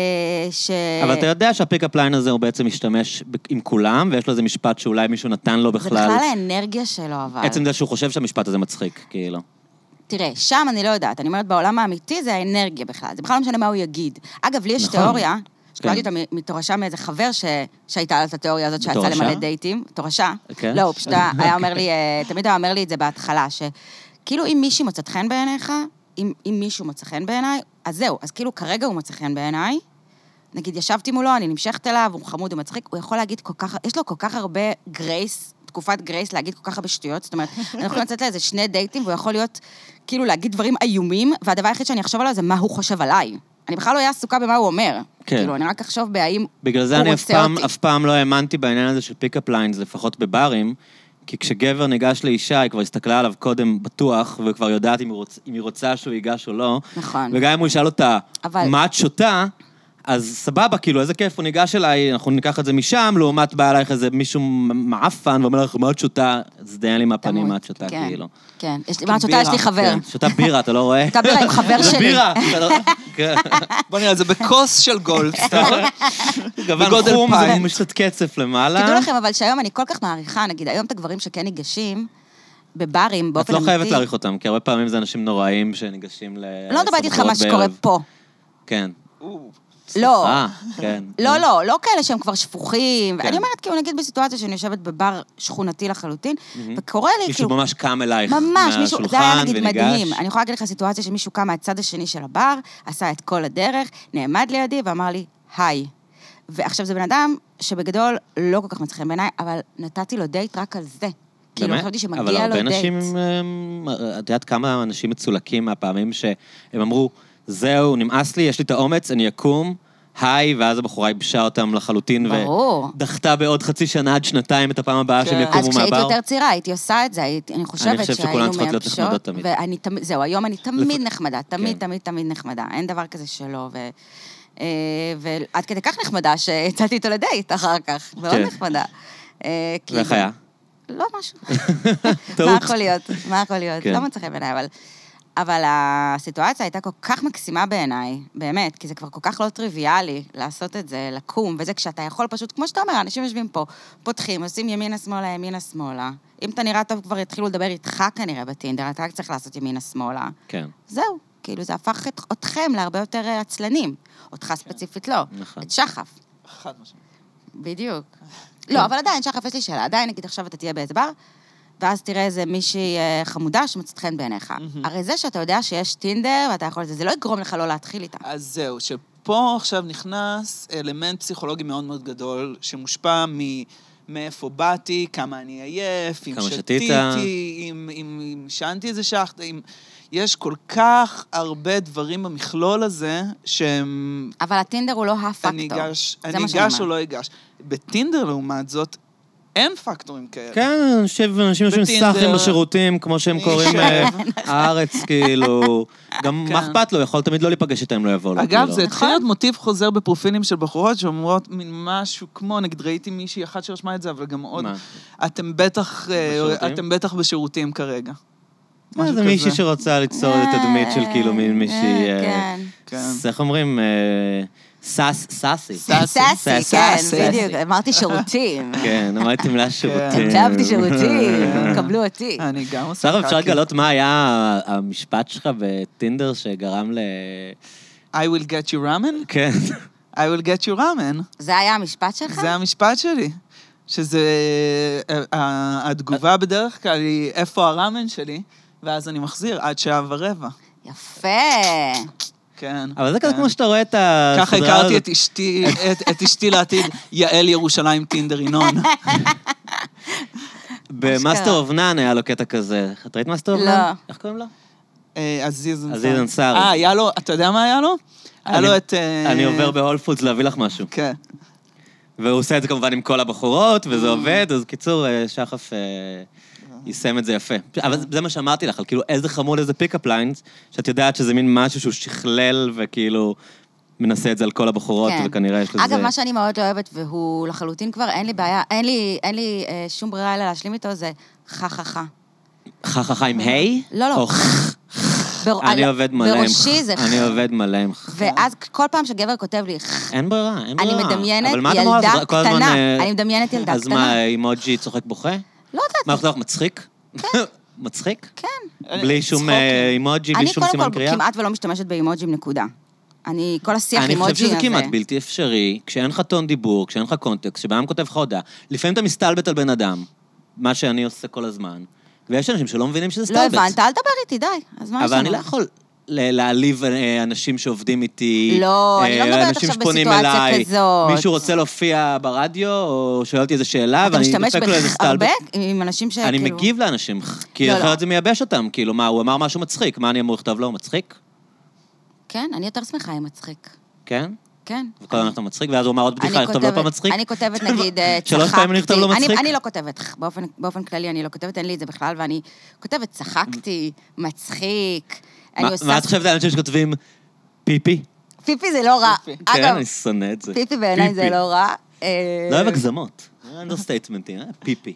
Speaker 2: ש...
Speaker 1: Mm-hmm. אבל אתה יודע שהפיקאפ ליין הזה הוא בעצם משתמש ב- עם כולם, ויש לו איזה משפט שאולי מישהו נתן לו
Speaker 2: זה
Speaker 1: בכלל.
Speaker 2: בכלל האנרגיה שלו, אבל.
Speaker 1: עצם זה שהוא חושב שהמשפט הזה מצחיק, כאילו.
Speaker 2: תראה, שם אני לא יודעת, אני אומרת, בעולם האמיתי זה האנרגיה בכלל, זה בכלל לא משנה מה הוא יגיד. אגב, לי יש
Speaker 1: נכון.
Speaker 2: תיאוריה,
Speaker 1: כן.
Speaker 2: שקיבלתי אותה מ- מתורשה מאיזה חבר ש... שהייתה על את התיאוריה הזאת, שיצא
Speaker 1: בתורשה?
Speaker 2: למלא דייטים, תורשה.
Speaker 1: כן?
Speaker 2: לא, הוא פשוט היה היה אומר לי, אה, תמיד היה אומר לי את זה בהתחלה, שכאילו אם מישהי מוצאת חן בעיניך, אם אם מישהו מוצא חן בעיניי, אז זהו, אז כאילו כרגע הוא מוצא חן בעיניי, נגיד ישבתי מולו, אני נמשכת אליו, הוא חמוד, הוא מצחיק, הוא יכול להגיד כל כך, יש לו כל כך הרבה גרייס, תקופת גרייס להגיד כל כך הרבה שטויות, זאת אומרת, אני יכולה לצאת לאיזה שני דייטים, והוא יכול להיות, כאילו להגיד דברים איומים, והדבר היחיד שאני אחשוב עליו זה מה הוא חושב עליי. אני בכלל לא אהיה עסוקה במה הוא אומר.
Speaker 1: כן.
Speaker 2: כאילו, אני רק אחשוב בהאם...
Speaker 1: בגלל זה
Speaker 2: הוא
Speaker 1: אני אף
Speaker 2: רוצה
Speaker 1: פעם,
Speaker 2: אותי.
Speaker 1: אף פעם לא האמנתי בעניין הזה של פיקאפ ליינס, לפחות בברים, כי כשגבר ניגש לאישה, היא כבר הסתכלה עליו קודם בטוח, וכבר יודעת אם, הוא רוצ, אם היא רוצה שהוא ייגש או לא.
Speaker 2: נכון.
Speaker 1: וגם אם הוא ישאל אותה,
Speaker 2: אבל-
Speaker 1: מה את שותה? אז סבבה, כאילו, איזה כיף, הוא ניגש אליי, אנחנו ניקח את זה משם, לעומת בא אלייך איזה מישהו מעפן ואומר לך, מה את שותה? אז דיין לי מהפנים,
Speaker 2: תמות.
Speaker 1: מה את שותה,
Speaker 2: כן,
Speaker 1: כאילו.
Speaker 2: כן. יש לי, מה את שותה? יש לי
Speaker 3: בירה.
Speaker 2: חבר.
Speaker 1: כן, שותה בירה, אתה לא רואה?
Speaker 2: שותה בירה עם חבר
Speaker 1: זה
Speaker 2: שלי.
Speaker 1: בירה. אתה לא- כן.
Speaker 3: בוא נראה, זה בכוס של גולד, סתם.
Speaker 1: גוון
Speaker 3: בגודל
Speaker 1: חום, זה
Speaker 3: פאי.
Speaker 1: משתת קצף למעלה.
Speaker 2: תדעו לכם, אבל שהיום אני כל כך מעריכה, נגיד, היום את הגברים שכן ניגשים, בברים,
Speaker 1: את
Speaker 2: באופן
Speaker 1: לא
Speaker 2: אמיתי...
Speaker 1: חייבת להעריך אותם, כי הרבה פעמים זה אנשים נוראים שניגשים ל...
Speaker 2: אני לא מדברת איתך מה
Speaker 1: לסדרות
Speaker 2: שקורה
Speaker 1: בערב.
Speaker 2: פה.
Speaker 1: כן.
Speaker 2: לא.
Speaker 1: אה, כן.
Speaker 2: לא, לא, לא כאלה שהם כבר שפוכים.
Speaker 1: כן.
Speaker 2: אני אומרת, כאילו, נגיד בסיטואציה שאני יושבת בבר שכונתי לחלוטין, וקורה לי,
Speaker 1: מישהו
Speaker 2: כאילו...
Speaker 1: ממש קם אלייך
Speaker 2: ממש, מישהו, זה היה
Speaker 1: מהשולחן
Speaker 2: נגיד
Speaker 1: וניגש.
Speaker 2: מדהים. אני יכולה להגיד לך סיטואציה שמישהו קם מהצד השני של הבר, עשה את כל הדרך, נעמד לידי ואמר לי, היי. ועכשיו זה בן אדם שבגדול לא כל כך מצא חן בעיניי, אבל נתתי לו דייט רק על זה. כאילו,
Speaker 1: באמת?
Speaker 2: חשבתי שמגיע לו
Speaker 1: אבל
Speaker 2: דייט.
Speaker 1: הרבה נשים, הם, את יודעת כמה אנשים מצולקים מהפעמים שהם אמרו, זהו, נמאס לי, יש לי את האומץ, אני אקום, היי, ואז הבחורה ייבשה אותם לחלוטין,
Speaker 2: ברור.
Speaker 1: ודחתה בעוד חצי שנה עד שנתיים את הפעם הבאה שהם
Speaker 3: כן.
Speaker 1: יקומו
Speaker 2: אז
Speaker 1: מהבר.
Speaker 2: כשהייתי יותר צעירה הייתי עושה את זה, הייתי, אני חושבת
Speaker 1: חושב
Speaker 2: שהיינו
Speaker 1: שכולן צריכות להיות
Speaker 2: מייבשות,
Speaker 1: נחמדות תמיד.
Speaker 2: ואני תמיד, זהו, היום אני תמיד
Speaker 1: לפ-
Speaker 2: נחמדה, תמיד,
Speaker 1: כן.
Speaker 2: תמיד, תמיד נחמדה, אין דבר כזה שלא, ו... אה, ועד כדי כך נחמדה שיצאתי איתו לדייט אחר כך, מאוד
Speaker 1: כן.
Speaker 2: נחמדה. אה, כאילו-
Speaker 1: ואיך היה?
Speaker 2: לא משהו. מה
Speaker 1: טעות.
Speaker 2: יכול להיות? מה יכול להיות?
Speaker 1: כן.
Speaker 2: לא מצא חן בעיניי, אבל... אבל הסיטואציה הייתה כל כך מקסימה בעיניי, באמת, כי זה כבר כל כך לא טריוויאלי לעשות את זה, לקום, וזה כשאתה יכול פשוט, כמו שאתה אומר, אנשים יושבים פה, פותחים, עושים ימינה-שמאלה, ימינה-שמאלה. אם אתה נראה טוב, כבר יתחילו לדבר איתך כנראה בטינדר, אתה רק צריך לעשות ימינה-שמאלה.
Speaker 1: כן.
Speaker 2: זהו, כאילו, זה הפך את, אתכם להרבה יותר אה, עצלנים. אותך ספציפית לא.
Speaker 1: כן. נכון.
Speaker 2: את שחף.
Speaker 3: חד משמעית.
Speaker 2: בדיוק. לא, אבל עדיין, שחף, יש לי שאלה. עדיין, נגיד, עכשיו אתה תהיה באיזה בר, ואז תראה איזה מישהי אה, חמודה שמוצאת חן בעיניך. הרי זה שאתה יודע שיש טינדר ואתה יכול... זה לא יגרום לך לא להתחיל איתה.
Speaker 3: אז זהו, שפה עכשיו נכנס אלמנט פסיכולוגי מאוד מאוד גדול, שמושפע מ... מאיפה באתי, כמה אני עייף, אם
Speaker 1: כמה שתית.
Speaker 3: שתיתי, אם, אם, אם שנתי איזה שחט, אם... יש כל כך הרבה דברים במכלול הזה, שהם
Speaker 2: אבל הטינדר הוא לא הפקטור.
Speaker 3: אני אגש,
Speaker 2: זה
Speaker 3: אני
Speaker 2: מה שאני
Speaker 3: אגש או
Speaker 2: אומרת.
Speaker 3: לא אגש. בטינדר, לעומת זאת, אין פקטורים כאלה.
Speaker 1: כן, אנשים אנשים יושבים
Speaker 3: בטינדר.
Speaker 1: סאחים בשירותים, כמו שהם
Speaker 3: אני
Speaker 1: קוראים
Speaker 3: חושב.
Speaker 1: אה, הארץ, כאילו. גם מה
Speaker 3: כן.
Speaker 1: אכפת לו, יכול תמיד לא להיפגש איתם, לא יבוא לו.
Speaker 3: אגב,
Speaker 1: כאילו.
Speaker 3: זה
Speaker 2: נכון.
Speaker 3: התחיל להיות מוטיב חוזר בפרופילים של בחורות שאומרות מין משהו כמו, נגיד ראיתי מישהי אחת שרשמה את זה, אבל גם עוד,
Speaker 1: מה?
Speaker 3: אתם בטח, אה,
Speaker 1: בשירותים?
Speaker 3: אתם בטח בשירותים כרגע.
Speaker 1: אה,
Speaker 3: משהו
Speaker 1: זה מישהי
Speaker 3: כזה.
Speaker 1: שרוצה ליצור את התדמית של כאילו מין מישהי...
Speaker 2: אה,
Speaker 1: אה,
Speaker 2: כן.
Speaker 3: כן.
Speaker 1: ס- איך אומרים? אה, סאס, סאסי.
Speaker 3: סאסי.
Speaker 1: סאסי,
Speaker 4: סאסי, כן,
Speaker 3: סאסי.
Speaker 4: בדיוק. אמרתי שירותים.
Speaker 1: כן, אמרתי מילה שירותים.
Speaker 4: כתבתי שירותים, קבלו אותי.
Speaker 3: אני גם עושה
Speaker 1: שרה, אפשר
Speaker 3: קקי.
Speaker 1: לגלות מה היה המשפט שלך בטינדר שגרם ל...
Speaker 3: I will get you ramen?
Speaker 1: כן.
Speaker 3: I will get you ramen.
Speaker 2: זה היה המשפט שלך?
Speaker 1: אה.
Speaker 3: זה המשפט שלי. שזה... אה, ה- התגובה בדרך כלל היא, איפה הראמן שלי? ואז אני מחזיר עד שעה ורבע.
Speaker 2: יפה.
Speaker 3: כן.
Speaker 1: אבל זה כזה
Speaker 3: כן.
Speaker 1: כמו שאתה רואה את הסדרה
Speaker 3: ככה הכרתי
Speaker 1: הזאת.
Speaker 3: את אשתי, את- את אשתי לעתיד, יעל ירושלים טינדר ינון.
Speaker 1: במאסטר
Speaker 2: אשכרה.
Speaker 1: אובנן היה לו קטע כזה. את ראית מאסטר
Speaker 2: לא.
Speaker 1: אובנן? איך קוראים לו?
Speaker 3: אה, עזיז אנסארי.
Speaker 1: עזיז אנסארי.
Speaker 3: אה, היה לו, אתה יודע מה היה לו? היה
Speaker 1: אני-
Speaker 3: לו את... אה,
Speaker 1: אני עובר בהול פודס להביא לך משהו.
Speaker 3: כן.
Speaker 1: והוא עושה את זה כמובן עם כל הבחורות,
Speaker 2: Mm.
Speaker 1: וזה עובד, אז קיצור, אה, שחף אה, יישם את זה יפה. אבל זה- זה מה שאמרתי לך, על כאילו איזה חמוד, איזה פיקאפ ליינס, שאת יודעת שזה מין משהו שהוא שכלל וכאילו מנסה את זה על כל הבחורות,
Speaker 2: כן.
Speaker 1: וכנראה יש לזה...
Speaker 2: אגב, מה שאני מאוד אוהבת, והוא לחלוטין כבר, אין לי בעיה, אין לי, אין לי אה, שום ברירה אלא להשלים איתו, זה חה חה חה.
Speaker 1: חה חה חה עם היי?
Speaker 2: לא, לא.
Speaker 1: או ח?
Speaker 2: בר-
Speaker 1: אני
Speaker 2: על-
Speaker 1: עובד מלא עם ח.
Speaker 2: בראשי זה
Speaker 1: אני
Speaker 2: ח.
Speaker 1: עובד מלא עם ח.
Speaker 2: ואז כל פעם שגבר כותב לי ח,
Speaker 1: אין ברירה, אין
Speaker 2: אני
Speaker 1: ברירה.
Speaker 2: מדמיינת
Speaker 1: אבל מה את
Speaker 2: ילדה
Speaker 1: אמורה לעשות? כל הזמן,
Speaker 2: קטנה.
Speaker 1: אה,
Speaker 2: אני מדמיינת ילדה
Speaker 1: אז
Speaker 2: קטנה.
Speaker 1: מה, אימוג'י צוחק בוכה?
Speaker 2: לא
Speaker 1: מה,
Speaker 2: יודעת,
Speaker 1: את אומרת, מצחיק? מצחיק?
Speaker 2: כן.
Speaker 1: בלי שום אה,
Speaker 3: צחוקים.
Speaker 1: אימוג'י, בלי
Speaker 2: אני
Speaker 1: שום סימן
Speaker 2: קודם כל
Speaker 1: קריאה?
Speaker 2: כמעט ולא משתמשת באימוג'ים, נקודה. אני, כל השיח
Speaker 1: אני
Speaker 2: אימוג'י
Speaker 1: חושב
Speaker 2: הזה...
Speaker 1: שזה כמעט בלתי אפשרי, כשאין לך טון דיבור, כשאין לך קונטקסט, כשבן אדם כותב לך הודעה. לפעמים אתה מסתלבט על בן אדם, מה שאני עושה כל הזמן, ויש אנשים שלא מבינים שזה
Speaker 2: לא
Speaker 1: סתלבט.
Speaker 2: הבנת, אל תדבר איתי, די. אז מה יש
Speaker 1: אבל אני לא
Speaker 2: לנו?
Speaker 1: יכול ל- להעליב אה, אנשים שעובדים איתי.
Speaker 2: לא, אני לא
Speaker 1: אה,
Speaker 2: מדברת
Speaker 1: אנשים
Speaker 2: עכשיו
Speaker 1: שפונים
Speaker 2: בסיטואציה
Speaker 1: אליי.
Speaker 2: כזאת.
Speaker 1: מישהו רוצה להופיע ברדיו, או שואל אותי איזו שאלה,
Speaker 2: אתה
Speaker 1: ואני
Speaker 2: משתמש
Speaker 1: דופק לו איזה
Speaker 2: בך הרבה
Speaker 1: סטלבט.
Speaker 2: עם אנשים שכאילו...
Speaker 1: אני מגיב לאנשים, כי
Speaker 2: לא, לא.
Speaker 1: אחרת זה מייבש אותם. כאילו, מה, הוא אמר משהו מצחיק, מה אני אמור לכתוב לו? מצחיק?
Speaker 2: כן, אני יותר שמחה עם מצחיק.
Speaker 1: כן?
Speaker 2: כן.
Speaker 1: וכל הזמן אתה מצחיק, ואז הוא אמר עוד בדיחה,
Speaker 2: אני
Speaker 1: לכתוב לו
Speaker 2: כותבת-
Speaker 1: פעם מצחיק?
Speaker 2: אני כותבת, נגיד, אה, צחקתי.
Speaker 1: שלוש פעמים אני אכתוב לו
Speaker 2: אני-
Speaker 1: מצחיק?
Speaker 2: אני לא כותבת, באופן- באופן כללי אני לא כותבת, אין לי את זה בכלל, ואני כותבת, צחקתי, מצחיק.
Speaker 1: מה-
Speaker 2: אני
Speaker 1: מה
Speaker 2: עושה...
Speaker 1: את חושבת על אנשים שכותבים פיפי?
Speaker 2: פיפי זה לא רע.
Speaker 3: פיפי.
Speaker 1: כן,
Speaker 2: אגב,
Speaker 1: אני שונא את זה.
Speaker 2: פיפי בעיניי זה לא רע. אה,
Speaker 1: לא אוהב הגזמות. אנדרסטייטמנטים, אה? פיפי.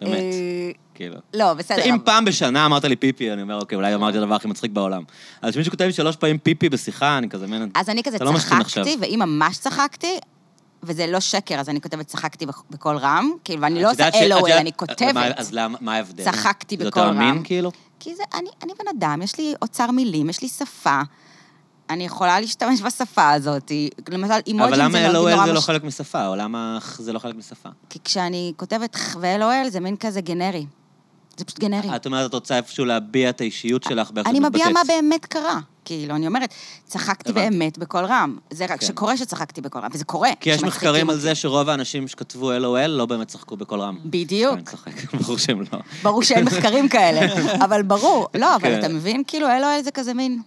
Speaker 1: באמת,
Speaker 2: אה,
Speaker 1: כאילו.
Speaker 2: לא, בסדר.
Speaker 1: אם
Speaker 2: אבל-
Speaker 1: פעם בשנה אמרת לי פיפי, אני אומר, אוקיי, אולי אמרתי את הדבר הכי מצחיק בעולם. אז כשמישהו כותב לי שלוש פעמים פיפי בשיחה, אני כזה מנ...
Speaker 2: אז אני כזה
Speaker 1: אתה לא משתין עכשיו.
Speaker 2: צחקתי, ואם ממש צחקתי, וזה לא שקר, אז אני כותבת צחקתי בכ- בקול רם, כאילו, ואני לא
Speaker 1: את
Speaker 2: עושה
Speaker 1: יודעת ש- את
Speaker 2: LOL,
Speaker 1: יודעת- אה,
Speaker 2: אני
Speaker 1: מה-
Speaker 2: כותבת.
Speaker 1: אז למה- מה ההבדל?
Speaker 2: צחקתי
Speaker 1: זה
Speaker 2: בקול
Speaker 1: יותר אמין,
Speaker 2: רם.
Speaker 1: כאילו?
Speaker 2: כי זה, אני, אני בן אדם, יש לי אוצר מילים, יש לי שפה. אני יכולה להשתמש בשפה הזאת. למשל,
Speaker 1: אבל
Speaker 2: אימוג'ים
Speaker 1: למה
Speaker 2: זה נורא
Speaker 1: LOL זה
Speaker 2: נורא
Speaker 1: לא
Speaker 2: מש...
Speaker 1: חלק משפה, או למה אח זה לא חלק משפה?
Speaker 2: כי כשאני כותבת ח ו-LOL, זה מין כזה גנרי. זה פשוט גנרי.
Speaker 1: את אומרת, את רוצה איפשהו להביע את האישיות שלך באיך שאת
Speaker 2: אני מביעה מה
Speaker 1: אה, מתבטאת.
Speaker 2: באמת קרה. כאילו, אני אומרת, צחקתי
Speaker 1: הבנתי.
Speaker 2: באמת בקול רם. זה רק
Speaker 1: כן.
Speaker 2: שקורה שצחקתי בקול רם, וזה קורה.
Speaker 1: כי יש
Speaker 2: שמצחיקים
Speaker 1: מחקרים על
Speaker 2: אותי.
Speaker 1: זה שרוב האנשים שכתבו LOL לא באמת צחקו בקול רם.
Speaker 2: בדיוק.
Speaker 1: אני צוחק, ברור שהם לא.
Speaker 2: ברור שאין מחקרים כאלה, אבל ברור. לא, אבל
Speaker 1: כן.
Speaker 2: אתה מבין? כאילו, LOL זה כזה מין...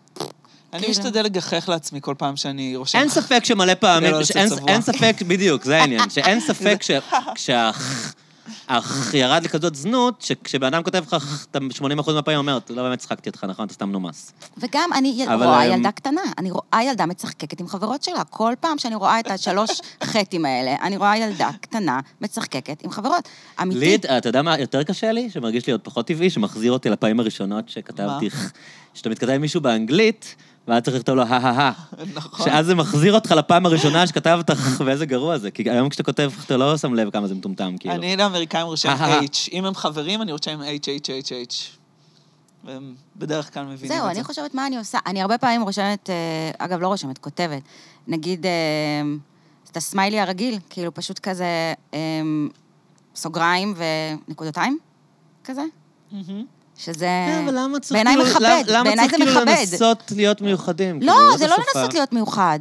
Speaker 3: אני
Speaker 2: כאילו.
Speaker 3: משתדל לגחך לעצמי כל פעם שאני רושם.
Speaker 1: אין ספק שמלא פעמים,
Speaker 3: כדי לא לצאת
Speaker 1: שאין-
Speaker 3: צבוע.
Speaker 1: אין ספק, בדיוק, זה העניין, שאין ספק ש- כשהח... אך ירד לכזאת זנות, שכשבן אדם כותב לך, "אך", אתה 80% מהפעמים אומר, לא באמת צחקתי אותך, נכון? אתה סתם נומס.
Speaker 2: וגם אני יל-
Speaker 1: אבל,
Speaker 2: רואה
Speaker 1: אמ,
Speaker 2: ילדה קטנה, אני רואה ילדה מצחקקת עם חברות שלה. כל פעם שאני רואה את השלוש חטים האלה, אני רואה ילדה קטנה מצחקקת עם חברות.
Speaker 1: לי,
Speaker 2: אמיתי.
Speaker 1: אה, אתה יודע מה יותר קשה לי? שמרגיש לי עוד פחות טבעי, שמחזיר אותי לפעמים הראשונות שכתבתי, "אך". שאתה מתכתב עם מישהו באנגלית, ואז צריך לכתוב לו הא-הא-הא.
Speaker 3: נכון.
Speaker 1: שאז זה מחזיר אותך לפעם הראשונה שכתבת, "אך", ואיזה גרוע זה. כי היום כשאתה כותב, אתה לא שם לב כמה זה מטומטם, כאילו.
Speaker 3: אני לאמריקאים
Speaker 2: אה,
Speaker 3: רושם
Speaker 1: אהה.
Speaker 3: H. אם הם חברים, אני רושם H, H, H, H. והם בדרך כלל מבינים
Speaker 2: זהו,
Speaker 3: את זה.
Speaker 2: אני חושבת מה אני עושה. אני הרבה פעמים רושמת, אה, אגב, לא רושמת, כותבת. נגיד, אה, את הסמיילי הרגיל, כאילו פשוט כזה אה, סוגריים ונקודתיים, כזה.
Speaker 3: מהמם.
Speaker 2: שזה...
Speaker 1: כן, אבל למה צריך
Speaker 2: בעיניי
Speaker 1: כאילו...
Speaker 2: מכבד,
Speaker 1: למה- למה
Speaker 2: בעיניי
Speaker 1: צריך
Speaker 2: זה
Speaker 1: כאילו
Speaker 2: מכבד.
Speaker 1: לנסות להיות מיוחדים?
Speaker 2: לא,
Speaker 1: כאילו,
Speaker 2: זה לא
Speaker 1: בשפה.
Speaker 2: לנסות להיות מיוחד.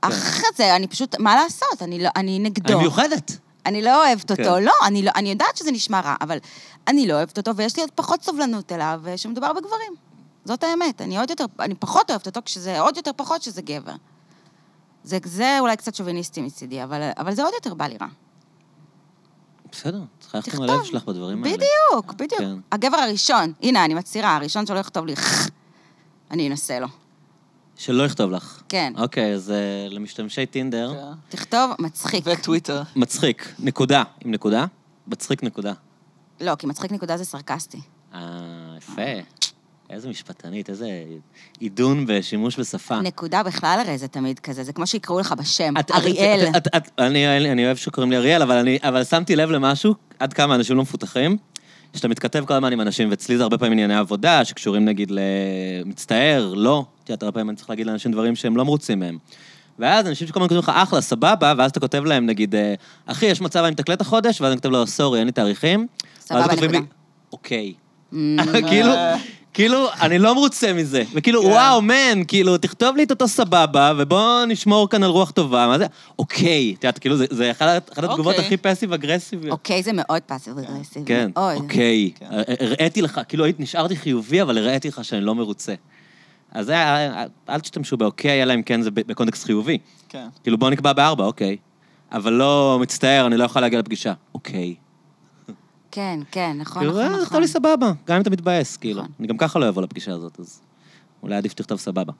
Speaker 2: אחרי זה, אני פשוט, מה לעשות? אני, לא, אני
Speaker 1: כן. אני
Speaker 2: נגדו.
Speaker 1: מיוחדת.
Speaker 2: אני לא אוהבת אותו.
Speaker 1: כן.
Speaker 2: לא, אני לא, אני יודעת שזה נשמע רע, אבל אני לא אוהבת אותו, ויש לי עוד פחות סובלנות אליו אה, שמדובר בגברים. זאת האמת. אני עוד יותר, אני פחות אוהבת אותו כשזה, עוד יותר פחות שזה גבר. זה, זה אולי קצת שוביניסטי מצידי, אבל, אבל זה עוד יותר בא לי רע.
Speaker 1: בסדר, צריכה ללכת עם
Speaker 2: תכתוב.
Speaker 1: הלב שלך בדברים האלה.
Speaker 2: בדיוק, בדיוק.
Speaker 1: כן.
Speaker 2: הגבר הראשון, הנה, אני מצהירה, הראשון שלא יכתוב לי, אני אנסה לו.
Speaker 1: שלא יכתוב לך.
Speaker 2: כן.
Speaker 1: אוקיי, אז אה, למשתמשי טינדר,
Speaker 2: אה?
Speaker 3: כן.
Speaker 2: תכתוב מצחיק.
Speaker 3: וטוויטר.
Speaker 1: מצחיק, נקודה, עם נקודה, מצחיק נקודה.
Speaker 2: לא, כי מצחיק נקודה זה סרקסטי.
Speaker 1: אה, יפה. איזה משפטנית, איזה עידון ושימוש בשפה.
Speaker 2: נקודה בכלל הרי זה תמיד כזה, זה כמו שיקראו לך בשם,
Speaker 1: אה. את- את-
Speaker 2: אריאל.
Speaker 1: את- את- את- אני אני אוהב שקוראים לי אריאל, אבל אני- אבל שמתי לב למשהו, עד כמה אנשים לא מפותחים, שאתה מתכתב כל הזמן עם אנשים, ואצלי זה הרבה פעמים ענייני עבודה, שקשורים נגיד למצטער, לא. את יודעת, הרבה פעמים אני צריך להגיד לאנשים דברים שהם לא מרוצים מהם. ואז אנשים שכל הזמן כותבים לך אחלה, סבבה, ואז אתה כותב להם נגיד, אה, אחי, יש מצב אני מתקלט החודש, ואז אני כותב לו, סורי, אין לי תאריכים.
Speaker 2: סבבה,
Speaker 1: ואז כותבים לי,
Speaker 2: נקודה.
Speaker 1: אוקיי. כאילו, כאילו, אני לא מרוצה מזה. וכאילו,
Speaker 3: כן.
Speaker 1: וואו, מן, כאילו, תכתוב לי את אותו סבבה, ובוא נשמור כאן על רוח טובה, מה זה? אוקיי. את יודעת, כאילו, זה- זה אחת אחת התגובות
Speaker 3: אוקיי.
Speaker 1: הכי פסיב אגרסיביות.
Speaker 2: אוקיי, זה מאוד פאסיב אגרסיב,
Speaker 1: כן,
Speaker 2: מאוד.
Speaker 1: אוקיי.
Speaker 3: כן.
Speaker 1: הראיתי לך, כאילו, הייתי- נשארתי חיובי, אבל הראיתי לך שאני לא מרוצה. אז זה היה- אל תשתמשו באוקיי, אלא אם כן זה ב- בקונטקסט חיובי.
Speaker 3: כן.
Speaker 1: כאילו, בוא נקבע בארבע, אוקיי. אבל לא, מצטער, אני לא יכול להגיע לפגישה. אוקיי.
Speaker 2: כן, כן, נכון,
Speaker 1: כאילו,
Speaker 2: נכון,
Speaker 1: אה,
Speaker 2: נכון.
Speaker 1: תכתוב לי סבבה, גם אם אתה מתבאס, כאילו.
Speaker 2: נכון.
Speaker 1: אני גם ככה לא אבוא לפגישה הזאת, אז אולי עדיף שתכתוב סבבה.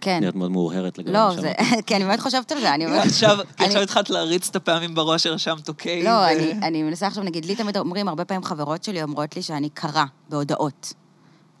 Speaker 2: כן.
Speaker 1: נראית מאוד מאוהרת לגבי מה
Speaker 2: לא, זה...
Speaker 1: שאמרת.
Speaker 2: כי אני באמת חושבת על זה, אני באמת...
Speaker 3: עכשיו, כי
Speaker 2: אני-
Speaker 3: עכשיו התחלת להריץ את הפעמים בראש שרשמת אוקיי.
Speaker 2: לא,
Speaker 3: ו-
Speaker 2: אני, אני מנסה עכשיו, נגיד, לי תמיד אומרים, הרבה פעמים חברות שלי אומרות לי שאני קרה בהודעות.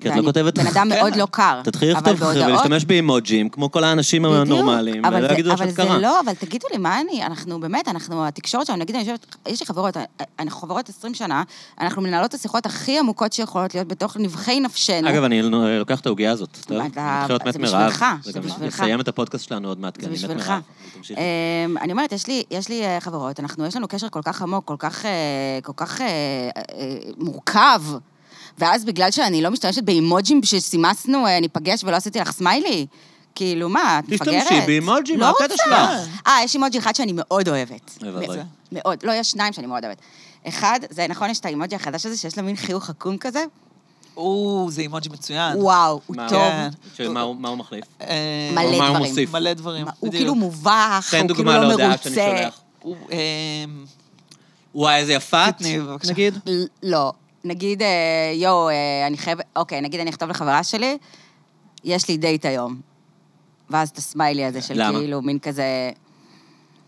Speaker 1: כי את לא
Speaker 2: ואני
Speaker 1: כותבת-
Speaker 2: בן אדם
Speaker 3: כן.
Speaker 2: מאוד לא קר.
Speaker 1: תתחילי
Speaker 2: אבל
Speaker 1: לכתוב
Speaker 2: בהודעות-
Speaker 1: ולהשתמש באימוג'ים, כמו כל האנשים
Speaker 2: בדיוק,
Speaker 1: הנורמליים,
Speaker 2: אבל
Speaker 1: ולא
Speaker 2: זה-
Speaker 1: יגידו לך
Speaker 2: אבל
Speaker 1: שאת
Speaker 2: זה
Speaker 1: קרה.
Speaker 2: לא, אבל תגידו לי, מה אני, אנחנו באמת, אנחנו, התקשורת שלנו, נגיד, אני יושבת, יש לי חברות, אנחנו חברות 20 שנה, אנחנו מנהלות את השיחות הכי עמוקות שיכולות להיות בתוך נבחי נפשנו.
Speaker 1: אגב, אני לוקח את העוגיה הזאת, טוב?
Speaker 2: מה,
Speaker 1: אני
Speaker 2: לא-
Speaker 1: מתחיל
Speaker 2: אתה-
Speaker 1: להיות מת
Speaker 2: זה
Speaker 1: מרעב.
Speaker 2: בשבילך, זה
Speaker 1: גם
Speaker 2: בשבילך.
Speaker 1: נסיים את הפודקאסט שלנו עוד מעט, כי
Speaker 2: זה
Speaker 1: כן, אני מת
Speaker 2: בשבילך.
Speaker 1: מרעב. אבל תמשיכי.
Speaker 2: אמ, אני אומרת, יש לי, יש לי אה, חברות, אנחנו, יש לנו קשר כל כך עמוק, כל כך, אה, כל כך אה, אה, אה, מורכב, ואז בגלל שאני לא משתמשת באימוג'ים שסימסנו, אה, ניפגש ולא עשיתי לך סמיילי, כאילו, מה, את מפגרת?
Speaker 1: תשתמשי באימוג'ים,
Speaker 2: לא
Speaker 1: מה הקטע
Speaker 2: רוצה.
Speaker 1: שלך?
Speaker 2: אה, יש אימוג'י אחד שאני מאוד אוהבת.
Speaker 1: אוי ואבוי.
Speaker 2: מאוד. לא, יש שניים שאני מאוד אוהבת. אחד, זה נכון, יש את האימוג'י החדש הזה, שיש לו מין חיוך עקום כזה?
Speaker 3: או, זה אימוג'י מצוין.
Speaker 2: וואו, הוא
Speaker 1: מה-
Speaker 2: טוב.
Speaker 3: כן.
Speaker 1: שמה הוא מה הוא מחליף?
Speaker 3: אה,
Speaker 2: מלא
Speaker 1: או מה הוא
Speaker 2: דברים.
Speaker 1: מוסיף?
Speaker 3: מלא דברים.
Speaker 2: מה, הוא
Speaker 3: בדיוק.
Speaker 2: כאילו מובך,
Speaker 1: כן, תן
Speaker 2: הוא כאילו
Speaker 1: דוגמה
Speaker 2: לא
Speaker 1: להודעה שאני
Speaker 2: מרוצה.
Speaker 1: שולח.
Speaker 3: הוא, אמ,
Speaker 1: וואי, איזה יפה את,
Speaker 3: תתני, בבקשה.
Speaker 1: נגיד.
Speaker 2: ל- לא. נגיד, אה, יואו, אה, אני חייבת, אוקיי, נגיד אני אכתוב לחברה שלי, יש לי דייט היום. ואז את הסמיילי הזה של
Speaker 1: למה?
Speaker 2: כאילו, מין כזה...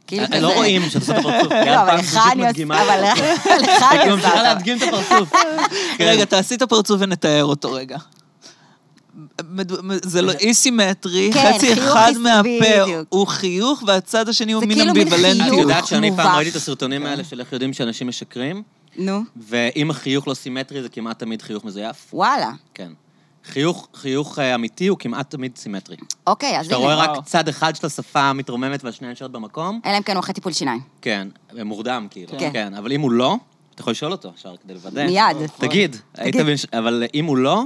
Speaker 2: כאילו
Speaker 1: אה, לא רואים שאת עושה את הפרצוף. כי
Speaker 2: לא,
Speaker 1: את
Speaker 2: אבל
Speaker 1: פעם
Speaker 2: לך
Speaker 1: שלישית
Speaker 2: אני עושה,
Speaker 1: מדגימה.
Speaker 2: אבל לך אני
Speaker 1: את ממשיכה
Speaker 2: עושה.
Speaker 1: להדגים את הפרצוף. כן.
Speaker 3: רגע, תעשי את הפרצוף ונתאר אותו רגע. מד- מד- זה לא אי סימטרי,
Speaker 2: כן,
Speaker 3: חצי
Speaker 2: חיוך
Speaker 3: אחד
Speaker 2: עיס-
Speaker 3: מהפה
Speaker 2: בדיוק. הוא
Speaker 3: הוא חיוך והצד השני הוא
Speaker 2: זה
Speaker 3: מין
Speaker 2: כאילו מין
Speaker 1: את
Speaker 3: אמביוולנטיות.
Speaker 2: חיוך.
Speaker 1: יודעת שאני פעם
Speaker 2: מובך.
Speaker 1: ראיתי את הסרטונים האלה של איך יודעים שאנשים משקרים,
Speaker 2: נו,
Speaker 1: ואם החיוך לא סימטרי זה כמעט תמיד חיוך מזויף.
Speaker 2: וואלה.
Speaker 1: כן. חיוך, חיוך אה, אמיתי הוא כמעט תמיד סימטרי.
Speaker 2: אוקיי, אז
Speaker 1: כשאתה
Speaker 2: הנה.
Speaker 1: רואה רק
Speaker 3: וואו.
Speaker 1: צד אחד של השפה מתרוממת והשנייה נשארת במקום,
Speaker 2: אלא אם כן הוא אחרי טיפול שיניים.
Speaker 1: כן, מורדם כאילו.
Speaker 2: כן.
Speaker 1: כן, אבל אם הוא לא, אתה יכול לשאול אותו ישר כדי לוודא.
Speaker 2: מיד.
Speaker 1: תגיד, היית בן... ש- אבל אם הוא לא,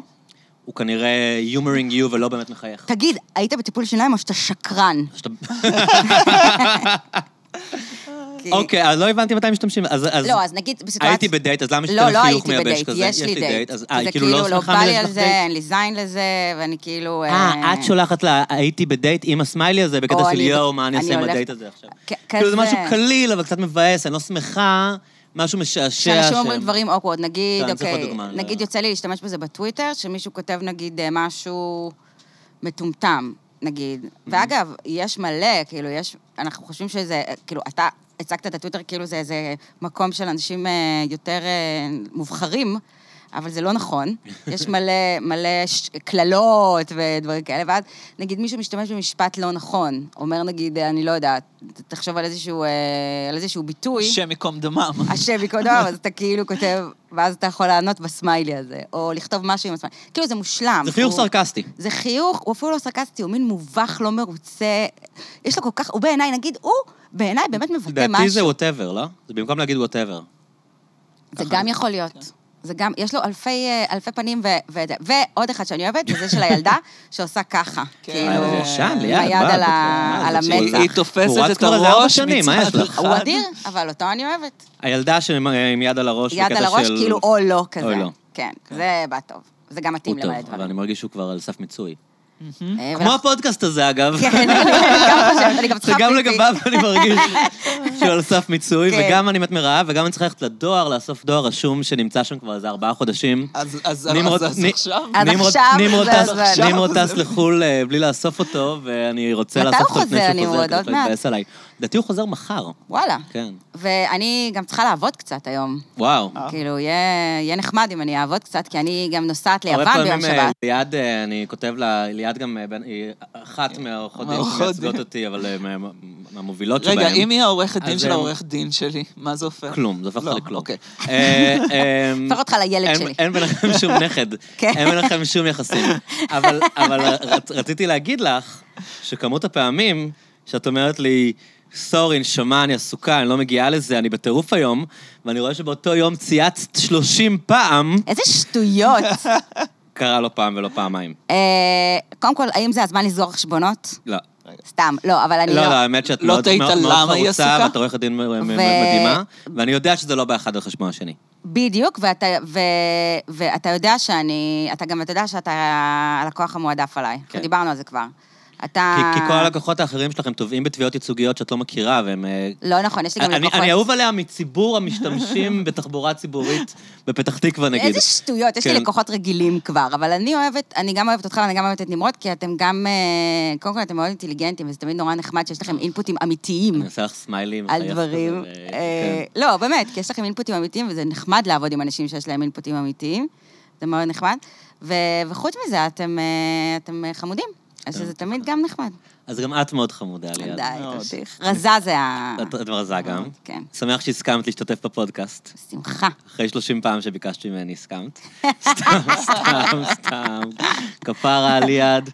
Speaker 1: הוא כנראה humouring you ולא באמת מחייך.
Speaker 2: תגיד, היית בטיפול שיניים או שאתה שקרן?
Speaker 1: שאתה- אוקיי, אז לא הבנתי מתי משתמשים. אז- אז-
Speaker 2: לא, אז נגיד בסיטואציה...
Speaker 1: הייתי בדייט, אז למה
Speaker 2: לא,
Speaker 1: שתיתן
Speaker 2: לא
Speaker 1: חיוך
Speaker 2: הייתי
Speaker 1: מייבש
Speaker 2: בדייט,
Speaker 1: כזה?
Speaker 2: יש לי דייט.
Speaker 1: אז אה,
Speaker 2: זה
Speaker 1: כאילו לא
Speaker 2: לא
Speaker 1: שמחה
Speaker 2: בא לי
Speaker 1: מזה
Speaker 2: על
Speaker 1: שלך
Speaker 2: זה,
Speaker 1: דייט?
Speaker 2: אין לי זין לזה, ואני כאילו...
Speaker 1: אה, את שולחת לה, הייתי בדייט עם הסמיילי הזה, בקטע
Speaker 2: או
Speaker 1: של
Speaker 2: אני-
Speaker 1: יואו, מה אני
Speaker 2: אני
Speaker 1: אעשה עם
Speaker 2: הולכת-
Speaker 1: הדייט הזה עכשיו.
Speaker 2: כ-
Speaker 1: כאילו זה
Speaker 2: כזה.
Speaker 1: משהו קליל, אבל קצת מבאס, אני לא שמחה, משהו משעשע.
Speaker 2: כשאנשים אומרים
Speaker 1: שהם-
Speaker 2: דברים אוקוורד, נגיד,
Speaker 1: כן, אני צריך עוד
Speaker 2: אוקיי,
Speaker 1: דוגמה, אני לא
Speaker 2: נגיד
Speaker 1: יודע.
Speaker 2: יוצא לי להשתמש בזה בטוויטר, שמישהו כותב נגיד אה, משהו מטומטם,
Speaker 1: Mm.
Speaker 2: נגיד. ואגב, יש מלא, כאילו, יש, אנחנו חושבים שזה, אה, כאילו, אתה הצגת את הטוויטר כאילו זה איזה מקום של אנשים אה, יותר אה, מובחרים. אבל זה לא נכון, יש מלא, מלא ש- קללות ודברים כאלה, ואז נגיד מישהו משתמש במשפט לא נכון, אומר נגיד, אה, אני לא יודעת, ת- תחשוב על איזשהו, אה, על איזשהו ביטוי.
Speaker 3: השם ייקום דמם.
Speaker 2: השם ייקום דמם, אז אתה כאילו כותב, ואז אתה יכול לענות בסמיילי הזה, או לכתוב משהו עם הסמיילי. כאילו, זה מושלם.
Speaker 1: זה חיוך
Speaker 2: הוא-
Speaker 1: סרקסטי.
Speaker 2: זה חיוך, הוא אפילו לא סרקסטי, הוא מין מובך, לא מרוצה. יש לו כל כך, הוא בעיניי, נגיד, הוא בעיניי באמת מבטא
Speaker 1: לדעתי זה
Speaker 2: משהו.
Speaker 1: ווטאבר, לא? זה במקום להגיד ווטאבר.
Speaker 2: זה גם יכול
Speaker 1: כן.
Speaker 2: להיות. זה גם, יש לו אלפי, אה, אלפי פנים, ו, ו, ועוד אחד שאני אוהבת, וזה של הילדה שעושה ככה.
Speaker 3: כן.
Speaker 2: כאילו,
Speaker 3: אה,
Speaker 1: ישן, ליד,
Speaker 2: עם היד
Speaker 1: בא,
Speaker 2: על ה-
Speaker 1: בא,
Speaker 2: על
Speaker 1: זה
Speaker 2: המצח.
Speaker 1: צ'יל.
Speaker 3: היא תופסת
Speaker 1: הוא רץ
Speaker 3: את
Speaker 1: כבר איזה ארבע
Speaker 3: הראש
Speaker 1: שנים, מה
Speaker 3: מצד
Speaker 1: יש לך?
Speaker 3: אחד.
Speaker 2: הוא אדיר, אבל אותו אני אוהבת.
Speaker 1: הילדה שעם- עם יד על הראש,
Speaker 2: יד
Speaker 1: לא, בקטע
Speaker 2: על הראש,
Speaker 1: של-
Speaker 2: כאילו, או לא כזה.
Speaker 1: אוי, לא.
Speaker 2: כן, זה בא טוב. זה גם מתאים
Speaker 1: הוא טוב,
Speaker 2: למלא דברים.
Speaker 1: אבל אני מרגיש שהוא כבר על סף מיצוי.
Speaker 2: אה,
Speaker 1: כמו הפודקאסט הזה, אגב.
Speaker 2: כן, אני גם חושבת, אני גם צריכה
Speaker 1: שגם
Speaker 2: פיפי.
Speaker 1: לגביו אני מרגיש שהוא על סף מיצוי,
Speaker 2: כן.
Speaker 1: וגם אני מת מרעב, וגם אני צריך ללכת לדואר, לאסוף דואר רשום שנמצא שם כבר איזה ארבעה חודשים.
Speaker 3: אז- אז
Speaker 1: נמרוד-
Speaker 3: אז- אז
Speaker 1: נ-
Speaker 3: עכשיו?
Speaker 2: אז
Speaker 1: נמרוד-
Speaker 2: עכשיו
Speaker 1: נמרוד
Speaker 2: זה
Speaker 1: טס-
Speaker 2: הזמן.
Speaker 1: נמרוד
Speaker 3: עכשיו
Speaker 1: טס לחו"ל אה, בלי לאסוף אותו, ואני רוצה
Speaker 2: מתי
Speaker 1: לאסוף
Speaker 2: הוא
Speaker 1: אותו לפני
Speaker 2: לא חוזר,
Speaker 1: שהוא
Speaker 2: נמרוד?
Speaker 1: חוזר,
Speaker 2: עוד
Speaker 1: כדי
Speaker 2: מעט.
Speaker 1: להתבאס עליי. לדעתי הוא חוזר מחר.
Speaker 2: וואלה.
Speaker 1: כן.
Speaker 2: ואני גם צריכה לעבוד קצת היום.
Speaker 1: וואו.
Speaker 3: אה.
Speaker 2: כאילו, יהיה יהיה נחמד אם אני אעבוד קצת, כי אני גם נוסעת
Speaker 1: הרבה
Speaker 2: ליוון ביום
Speaker 1: פעמים, אה,
Speaker 2: שבת.
Speaker 1: ליעד, אה, אני כותב לה, ליעד גם, אה, בין- היא אחת מהעורכות דין
Speaker 3: מהעורכות
Speaker 1: שמייצגות
Speaker 3: דין.
Speaker 1: אותי, אבל אה, מה- מה- מהמובילות שבהן.
Speaker 3: רגע, אם היא העורכת דין
Speaker 1: אז
Speaker 3: של
Speaker 1: הם-
Speaker 3: העורך דין שלי, מה זה הופך?
Speaker 1: כלום, זה הופך
Speaker 3: לא,
Speaker 1: אותך לכלום.
Speaker 3: אוקיי.
Speaker 1: אה, אה,
Speaker 2: הופך אותך לילד
Speaker 1: אין-
Speaker 2: שלי.
Speaker 1: אין ביניכם שום נכד,
Speaker 2: כן.
Speaker 1: אין ביניכם שום יחסים. אבל אבל רצ- רציתי להגיד לך שכמות הפעמים שאת אומרת לי, סורי, נשמה, אני עסוקה, אני לא מגיעה לזה, אני בטירוף היום, ואני רואה שבאותו יום צייצת 30 פעם,
Speaker 2: איזה שטויות.
Speaker 1: קרה לא פעם ולא פעמיים.
Speaker 2: אה, קודם כל, האם זה הזמן לסגור חשבונות?
Speaker 1: לא.
Speaker 2: סתם, לא, אבל אני
Speaker 1: לא,
Speaker 2: לא...
Speaker 1: לא, האמת שאת
Speaker 3: לא
Speaker 1: מאוד
Speaker 3: תהית
Speaker 1: מאוד- מאוד
Speaker 3: למה היא
Speaker 1: חרוצה,
Speaker 3: עסוקה?
Speaker 1: ואת עורכת דין מ- מ-
Speaker 2: ו-
Speaker 1: מדהימה, ואני יודע שזה לא בא אחד על חשבון השני.
Speaker 2: בדיוק, ואתה, ו, ואתה יודע שאני... אתה גם, אתה יודע שאתה הלקוח המועדף עליי. אנחנו דיברנו על זה כבר. אתה...
Speaker 1: כן. כי- כי כל הלקוחות האחרים שלכם תובעים בתביעות ייצוגיות שאת לא מכירה, והם אה,
Speaker 2: לא נכון, יש לי גם
Speaker 1: אני,
Speaker 2: לקוחות...
Speaker 1: אני אהוב עליה מציבור המשתמשים בתחבורה ציבורית בפתח תקווה, נגיד.
Speaker 2: איזה שטויות, יש לי
Speaker 1: כן.
Speaker 2: לקוחות רגילים כבר, אבל אני אוהבת, אני גם אוהבת אותך ואני גם אוהבת את נמרוד, כי אתם גם, אה, קודם כל אתם מאוד אינטליגנטים, וזה תמיד נורא נחמד שיש לכם אינפוטים אמיתיים
Speaker 1: אני עושה לך סמיילים.
Speaker 2: על
Speaker 1: מחייך
Speaker 2: דברים.
Speaker 1: כזה, ו-
Speaker 2: אה,
Speaker 1: כן.
Speaker 2: לא, באמת, כי יש לכם אינפוטים אמיתיים, וזה נחמד לעבוד עם אנשים שיש להם אינפוטים אמיתיים, זה מאוד נחמד, ו- וחוץ מזה, אתם, אה, אתם אה, חמודים, אז
Speaker 1: כן.
Speaker 2: זה תמיד גם נחמד.
Speaker 1: אז גם את מאוד חמודה, ליעד.
Speaker 2: די,
Speaker 3: מאוד.
Speaker 2: תמשיך. רזה זה ה...
Speaker 1: את את מרזה גם.
Speaker 2: כן,
Speaker 1: שמח שהסכמת להשתתף בפודקאסט.
Speaker 2: בשמחה.
Speaker 1: אחרי 30 פעם שביקשת ממני, הסכמת. סתם, סתם, סתם. כפרה על יד.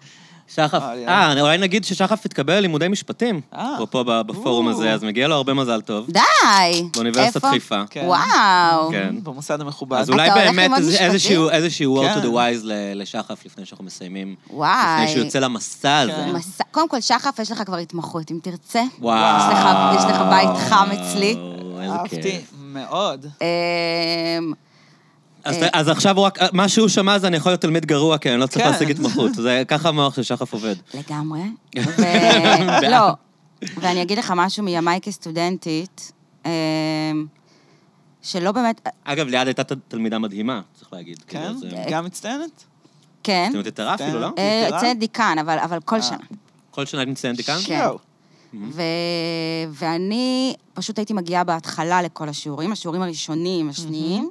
Speaker 1: שחף,
Speaker 3: אה, ליעד.
Speaker 1: אה, אולי נגיד ששחף התקבל ללימודי משפטים,
Speaker 3: אה.
Speaker 1: אפרופו ב- בפורום
Speaker 3: או.
Speaker 1: הזה, אז מגיע לו הרבה מזל טוב.
Speaker 2: די!
Speaker 1: באוניברסיטת
Speaker 2: איפה?
Speaker 1: חיפה.
Speaker 3: כן.
Speaker 2: וואו.
Speaker 1: כן.
Speaker 3: במוסד המכובד.
Speaker 1: אז אולי
Speaker 2: הולך
Speaker 1: באמת
Speaker 2: ללמוד
Speaker 1: איזה-
Speaker 2: משפטים?
Speaker 1: איזשהו, איזשהו word to the
Speaker 3: כן.
Speaker 1: wise ל- לשחף לפני שאנחנו מסיימים.
Speaker 2: וואי.
Speaker 1: לפני שהוא יוצא למסע הזה.
Speaker 3: כן.
Speaker 2: מסע- קודם כל, שחף, יש לך כבר התמחות, אם תרצה.
Speaker 1: אה. וואו.
Speaker 2: יש לך- יש לך בית חם אצלי.
Speaker 1: וואו, איזה
Speaker 3: אהבתי
Speaker 1: כיף.
Speaker 3: מאוד.
Speaker 2: אמ,
Speaker 1: אז- אז עכשיו הוא רק, אה, מה שהוא שמע זה אני יכול להיות תלמיד גרוע, כי אני לא צריך
Speaker 3: כן.
Speaker 1: להשיג התמחות. זה ככה המוח של שחף עובד.
Speaker 2: לגמרי. ו- לא, ואני אגיד לך משהו מימיי כסטודנטית, אמ, שלא באמת,
Speaker 1: אגב, ליעד הייתה ת- תלמידה מדהימה, צריך להגיד.
Speaker 3: כן?
Speaker 1: כאילו, זה-
Speaker 3: גם מצטיינת?
Speaker 2: כן,
Speaker 1: זאת אומרת, אה, את הרע אפילו, לא?
Speaker 3: כן.
Speaker 2: אה,
Speaker 3: יתרה?
Speaker 2: יוצאת דיקן, אבל אבל כל שנה.
Speaker 1: כל שנה את מציינת כאן?
Speaker 2: כן.
Speaker 3: יואו.
Speaker 2: ו- ואני פשוט הייתי מגיעה בהתחלה לכל השיעורים, השיעורים הראשונים, השניים,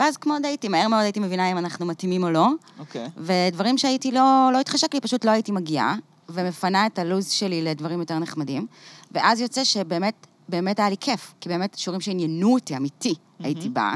Speaker 2: ואז כמו עוד הייתי, מהר מאוד הייתי מבינה אם אנחנו מתאימים או לא,
Speaker 3: אוקיי.
Speaker 2: ודברים שהייתי לא, לא התחשק לי, פשוט לא הייתי מגיעה, ומפנה את הלו"ז שלי לדברים יותר נחמדים, ואז יוצא שבאמת, באמת היה לי כיף, כי באמת שיעורים שעניינו אותי, אמיתי, הייתי באה.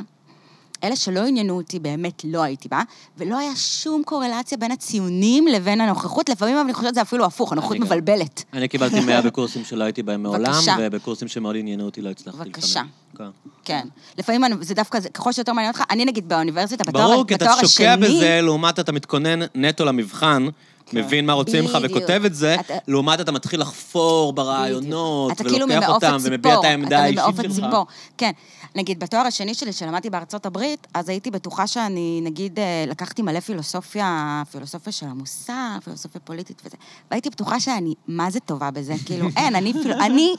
Speaker 2: אלה שלא עניינו אותי, באמת לא הייתי באה, ולא היה שום קורלציה בין הציונים לבין הנוכחות, לפעמים אבל אני חושבת שזה אפילו הפוך, הנוכחות
Speaker 1: גם.
Speaker 2: מבלבלת.
Speaker 1: אני קיבלתי 100 בקורסים שלא הייתי בהם מעולם,
Speaker 2: בבקשה.
Speaker 1: ובקורסים שמאוד עניינו אותי לא הצלחתי לפעמים.
Speaker 2: בבקשה.
Speaker 1: כן.
Speaker 2: כן. לפעמים אני- זה דווקא, זה- ככל שיותר מעניין אותך, אני נגיד באוניברסיטה, בתואר השני... כן.
Speaker 1: ברור, כי אתה שוקע בזה, לעומת אתה מתכונן נטו למבחן, מבין מה רוצים ממך
Speaker 2: בדיוק.
Speaker 1: וכותב את זה,
Speaker 2: אתה-
Speaker 1: לעומת אתה מתחיל לחפור ברעיונות,
Speaker 2: אתה כאילו
Speaker 1: ולוקח
Speaker 2: ממעוף
Speaker 1: אותם, ומביע את
Speaker 2: הציפור,
Speaker 1: העמדה
Speaker 2: אתה
Speaker 1: האישית
Speaker 2: ממעוף
Speaker 1: שלך.
Speaker 2: הציפור, כן. נגיד, בתואר השני שלי, שלמדתי בארצות הברית, אז הייתי בטוחה שאני, נגיד, אה, לקחתי מלא פילוסופיה, פילוסופיה של המוסר, פילוסופיה פוליטית וזה, והייתי בטוחה שאני, מה זה טובה בזה? כאילו, אין, אני, פילו- אני,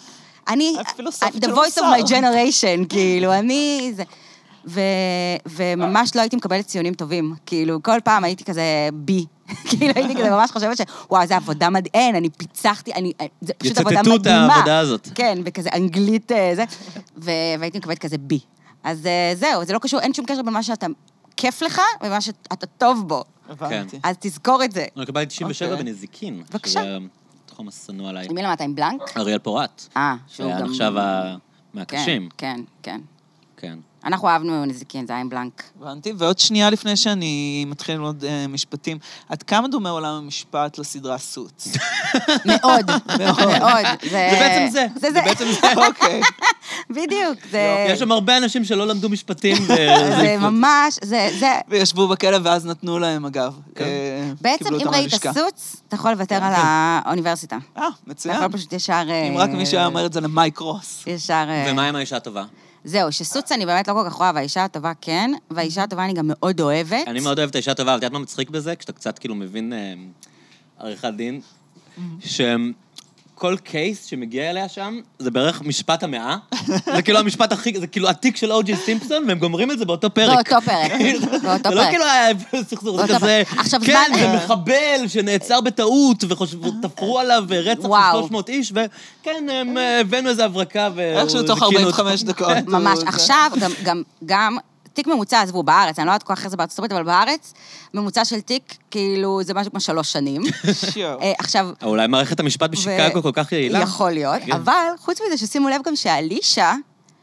Speaker 2: אני,
Speaker 3: את פילוסופית
Speaker 2: the
Speaker 3: של
Speaker 2: voice
Speaker 3: המוסר.
Speaker 2: of my
Speaker 1: כן.
Speaker 2: generation, כאילו, אני, זה... ו, וממש לא הייתי מקבלת ציונים טובים. כאילו, כל פעם הייתי כזה בי. כאילו, הייתי כזה ממש חושבת ש... וואו, איזה עבודה מדהים, אין, אני פיצחתי, אני... אה, זה פשוט עבודה מדהימה.
Speaker 1: יצטטו את העבודה הזאת.
Speaker 2: כן, בכזה אנגלית אה, זה, ו- והייתי מקבלת כזה בי. אז אה, זהו, זה לא קשור, אין שום קשר בין מה שאתה כיף לך ומה שאתה טוב בו.
Speaker 3: כן.
Speaker 1: כן.
Speaker 3: הבנתי.
Speaker 2: אז תזכור את זה.
Speaker 1: אני קיבלתי 97
Speaker 3: אוקיי.
Speaker 1: בנזיקין. אה,
Speaker 2: בבקשה.
Speaker 1: שזה התחום השנוא עליי.
Speaker 2: עם מי למדת? עם בלנק?
Speaker 1: אריאל פורת.
Speaker 2: אה, שהוא
Speaker 1: שהיה
Speaker 2: גם...
Speaker 1: עכשיו ה-
Speaker 2: כן,
Speaker 1: מהקשים.
Speaker 2: כן, כן.
Speaker 1: כן.
Speaker 2: אנחנו אהבנו נזיקין, זה היה עם בלנק.
Speaker 3: הבנתי. ועוד שנייה לפני שאני מתחיל ללמוד אה, משפטים, עד כמה דומה עולם המשפט לסדרה סוץ?
Speaker 2: מאוד, מאוד.
Speaker 1: זה בעצם זה.
Speaker 2: זה
Speaker 1: זה
Speaker 2: זה,
Speaker 1: בעצם זה.
Speaker 3: אוקיי.
Speaker 2: בדיוק. זה-
Speaker 1: יש שם הרבה אנשים שלא למדו משפטים. ו-
Speaker 2: זה ממש, זה, זה...
Speaker 3: וישבו בכלא ואז נתנו להם, אגב.
Speaker 1: כן.
Speaker 3: אה,
Speaker 2: בעצם,
Speaker 3: קיבלו
Speaker 2: אם
Speaker 3: אותם
Speaker 2: ראית
Speaker 3: ללשכה.
Speaker 2: סוץ, אתה יכול לוותר על האוניברסיטה.
Speaker 3: אה,
Speaker 2: אתה
Speaker 3: מצוין.
Speaker 1: כן.
Speaker 2: יכול פשוט ישר... אה,
Speaker 3: אם רק מישהו היה אומר את זה למייק רוס.
Speaker 2: ישר... אה,
Speaker 1: ומה עם האישה הטובה?
Speaker 2: זהו, שסוץ אני באמת לא כל כך רואה, והאישה הטובה כן, והאישה הטובה אני גם מאוד אוהבת.
Speaker 1: אני מאוד אוהב את האישה הטובה, אבל את יודעת
Speaker 2: Mm-hmm.
Speaker 1: מה מצחיק בזה? כשאתה קצת כאילו מבין אה, עריכת דין, שהם כל קייס שמגיע אליה שם, זה בערך משפט המאה. זה כאילו המשפט הכי, זה כאילו התיק של או.ג'י סימפסון, והם גומרים את זה באותו פרק.
Speaker 2: באותו פרק. לא, באותו
Speaker 1: זה לא
Speaker 2: פרק.
Speaker 1: כאילו היה סכסוך, זה
Speaker 2: באותו
Speaker 1: כזה,
Speaker 2: פרק. עכשיו,
Speaker 1: כן,
Speaker 2: זמן-
Speaker 1: זה מחבל שנעצר בטעות, ותפרו עליו רצח של
Speaker 2: אה, וואו.
Speaker 1: 300 איש, וכן, הם, אה, הבאנו איזה הברקה, כאילו- ו...
Speaker 3: איכשהו תוך 45 דקות.
Speaker 2: ממש.
Speaker 3: הוא-
Speaker 2: עכשיו, גם, גם, גם, תיק ממוצע, עזבו, בארץ, אני לא יודעת כל כך איך זה בארצות הברית, אבל בארץ, ממוצע של תיק, כאילו, זה משהו כמו שלוש שנים.
Speaker 3: שיו.
Speaker 2: אה, עכשיו...
Speaker 1: אולי מערכת המשפט בשיקגו
Speaker 2: ו-
Speaker 1: כל כך יעילה?
Speaker 2: יכול להיות,
Speaker 1: כן.
Speaker 2: אבל חוץ מזה ששימו לב גם שאלישע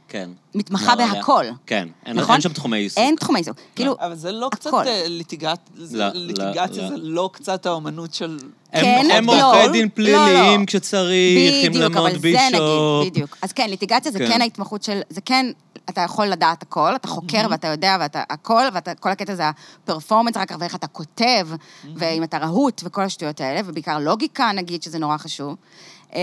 Speaker 1: כן.
Speaker 2: מתמחה
Speaker 1: נורא.
Speaker 2: בהכל.
Speaker 1: כן, אין
Speaker 2: נכון?
Speaker 1: אין שם תחומי עיסוק.
Speaker 2: אין תחומי עיסוק. כאילו,
Speaker 3: אבל זה לא קצת
Speaker 2: הכל.
Speaker 3: אה, ליטיגט- זה-
Speaker 1: לא, לא,
Speaker 3: ליטיגציה,
Speaker 1: לא.
Speaker 3: זה לא קצת האומנות של...
Speaker 1: הם-
Speaker 2: כן,
Speaker 1: הם
Speaker 2: לא,
Speaker 1: עורכי
Speaker 2: לא,
Speaker 1: דין
Speaker 2: לא.
Speaker 1: פליליים כשצריך, עם
Speaker 2: בדיוק,
Speaker 1: רמות
Speaker 2: אבל זה נגיד,
Speaker 1: בישופ.
Speaker 2: בדיוק. אז כן, ליטיגציה זה
Speaker 1: כן.
Speaker 2: כן ההתמחות של, זה כן, אתה יכול לדעת הכל, אתה חוקר ואתה יודע ואתה הכל, וכל הקטע זה הפרפורמנס אחר כך, ואיך אתה כותב, ואם אתה רהוט וכל השטויות האלה, ובעיקר לוגיקה נגיד, שזה נורא חשוב. אמ,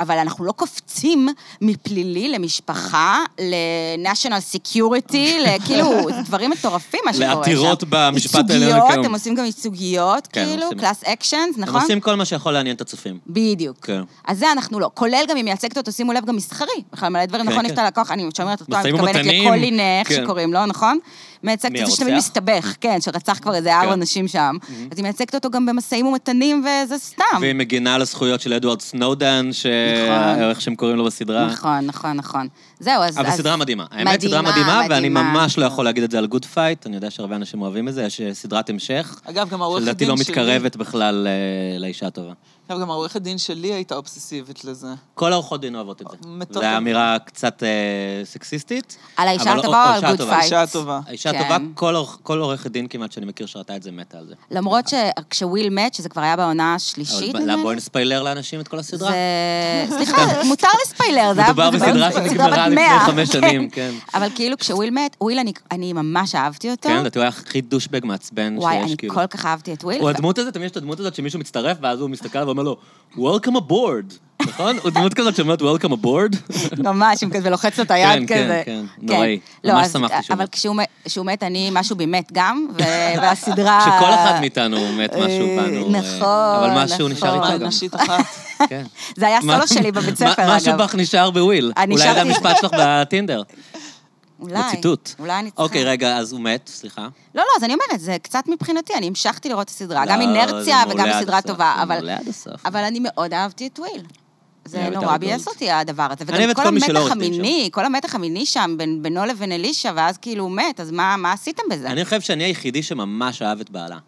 Speaker 2: אבל אנחנו לא קופצים מפלילי למשפחה, ל-national security, לכאילו, זה דברים מטורפים מה שקורה שם.
Speaker 1: לעתירות במשפט העליון,
Speaker 2: ייצוגיות,
Speaker 1: כן.
Speaker 2: הם עושים גם ייצוגיות,
Speaker 1: כן, הם
Speaker 2: כאילו,
Speaker 1: עושים.
Speaker 2: קלאס אקשנס,
Speaker 1: הם
Speaker 2: נכון?
Speaker 1: עושים כל מה שיכול לעניין את הצופים.
Speaker 2: בדיוק.
Speaker 1: כן.
Speaker 2: אז זה אנחנו לא. כולל גם אם מייצגת אותו, שימו לב, גם מסחרי. בכלל מלא דברים,
Speaker 1: כן,
Speaker 2: נכון?
Speaker 1: כן.
Speaker 2: יש את הלקוח, אני שומרת אותו, אני
Speaker 1: משאים
Speaker 2: מתכוונת
Speaker 1: ומתנים.
Speaker 2: לקולין, אה, איך
Speaker 1: כן.
Speaker 2: שקוראים לו, נכון? מייצגת
Speaker 1: מי,
Speaker 2: את זה שתמיד
Speaker 1: הרוצח?
Speaker 2: מסתבך, כן, שרצח כבר איזה ארבע נשים שם. אז היא מייצגת אותו גם במשאים ומתנים, וזה סתם.
Speaker 1: Mm-hmm. והיא מגינה על הזכויות של אדוארד סנודן, ש-
Speaker 2: נכון.
Speaker 1: איך שהם קוראים לו בסדרה.
Speaker 2: נכון, נכון, נכון. זהו, אז...
Speaker 1: אבל
Speaker 2: אז-
Speaker 1: סדרה מדהימה. האמת, סדרה מדהימה, ואני ממש לא יכול להגיד את זה על גוד פייט, אני יודע שהרבה אנשים אוהבים את זה, יש אה, סדרת המשך,
Speaker 3: אגב, גם העורכת דין
Speaker 1: שלדעתי
Speaker 3: שלי...
Speaker 1: לא מתקרבת בכלל אה, לאישה הטובה.
Speaker 3: אגב, גם העורכת דין שלי הייתה אובססיבית לזה.
Speaker 1: כל העורכות דין אוהבות את זה.
Speaker 3: מטורף.
Speaker 1: זו אמירה קצת אה, סקסיסטית.
Speaker 2: על האישה
Speaker 1: אבל
Speaker 2: הטובה או על
Speaker 1: האישה
Speaker 2: גוד
Speaker 1: הטובה.
Speaker 2: פייט?
Speaker 3: אישה טובה.
Speaker 1: האישה
Speaker 2: כן.
Speaker 1: הטובה, כל עורך- כל עורכת דין כמעט שאני מכיר שראתה את זה מתה על זה.
Speaker 2: למרות שכשוויל מת, שזה כבר היה בעונה השלישית,
Speaker 1: אבל
Speaker 2: נדמה לי,
Speaker 1: בואי נספיילר לאנשים את כל הסדרה.
Speaker 2: זה... סליחה, מותר לספיילר, זה היה...
Speaker 1: מדובר
Speaker 2: זה
Speaker 1: בסדרה
Speaker 2: סדרה בת
Speaker 1: שנגמרה לפני
Speaker 2: 100,
Speaker 1: חמש
Speaker 2: כן.
Speaker 1: שנים, כן.
Speaker 2: אבל כאילו כשוויל מת, וויל, אני- אני ממש אהבתי אותו.
Speaker 1: כן, לדעתי הוא היה הכי דושבג מעצבן
Speaker 2: וואי,
Speaker 1: שיש,
Speaker 2: אני
Speaker 1: כאילו.
Speaker 2: כל כך אהבתי את וויל.
Speaker 1: הוא
Speaker 2: ו-
Speaker 1: הדמות הזאת, תמיד יש את הדמות הזאת שמישהו מצטרף, ואז הוא מסתכל ואומר לו, Welcome aboard, נכון? הוא דמות כזאת שאומרת Welcome aboard.
Speaker 2: ממש, עם כזה, ולוחץ לו את היד
Speaker 1: כן,
Speaker 2: כזה.
Speaker 1: כן, נוראי.
Speaker 2: לא,
Speaker 1: ממש
Speaker 2: אז-
Speaker 1: שמחתי שהוא
Speaker 2: אבל
Speaker 1: מת.
Speaker 2: כשהוא מת- כשהוא מת, אני, משהו בי מת גם, ו- והסדרה...
Speaker 1: שכל אחד מאיתנו מת משהו
Speaker 2: אה,
Speaker 1: בנו. אה,
Speaker 2: נכון,
Speaker 1: אבל משהו
Speaker 2: נכון.
Speaker 1: נשאר
Speaker 3: אבל
Speaker 1: איתו גם.
Speaker 3: אה, נשית אחת.
Speaker 1: כן.
Speaker 2: זה היה
Speaker 1: מה-
Speaker 2: סולו שלי בבית
Speaker 1: מה-
Speaker 2: ספר, אגב.
Speaker 1: משהו בך נשאר בוויל.
Speaker 2: אני
Speaker 1: אולי זה
Speaker 2: נשארתי-
Speaker 1: המשפט שלך בטינדר.
Speaker 2: אולי.
Speaker 1: בציטוט.
Speaker 2: אולי אני צריכה...
Speaker 1: אוקיי, רגע, אז הוא מת, סליחה.
Speaker 2: לא, לא, אז אני אומרת, זה קצת מבחינתי, אני המשכתי לראות את הסדרה,
Speaker 1: לא,
Speaker 2: גם
Speaker 1: זה
Speaker 2: אינרציה
Speaker 1: מעולה
Speaker 2: וגם
Speaker 1: עד
Speaker 2: סדרה
Speaker 1: הסוף,
Speaker 2: טובה,
Speaker 1: זה
Speaker 2: אבל...
Speaker 1: מעולה עד הסוף.
Speaker 2: אבל אני מאוד אהבתי את וויל.
Speaker 1: אני
Speaker 2: זה
Speaker 1: אוהב את
Speaker 2: נורא
Speaker 1: ארדולט.
Speaker 2: ביאס אותי, הדבר הזה.
Speaker 1: אוהב
Speaker 2: וגם
Speaker 1: את
Speaker 2: כל
Speaker 1: כל מי שלא
Speaker 2: המתח
Speaker 1: עורך דין שם.
Speaker 2: המיני, כל המתח המיני שם, בין- בינו לבין אלישע, ואז כאילו הוא מת, אז מה מה עשיתם בזה?
Speaker 1: אני חושב שאני היחידי שממש אהב את בעלה.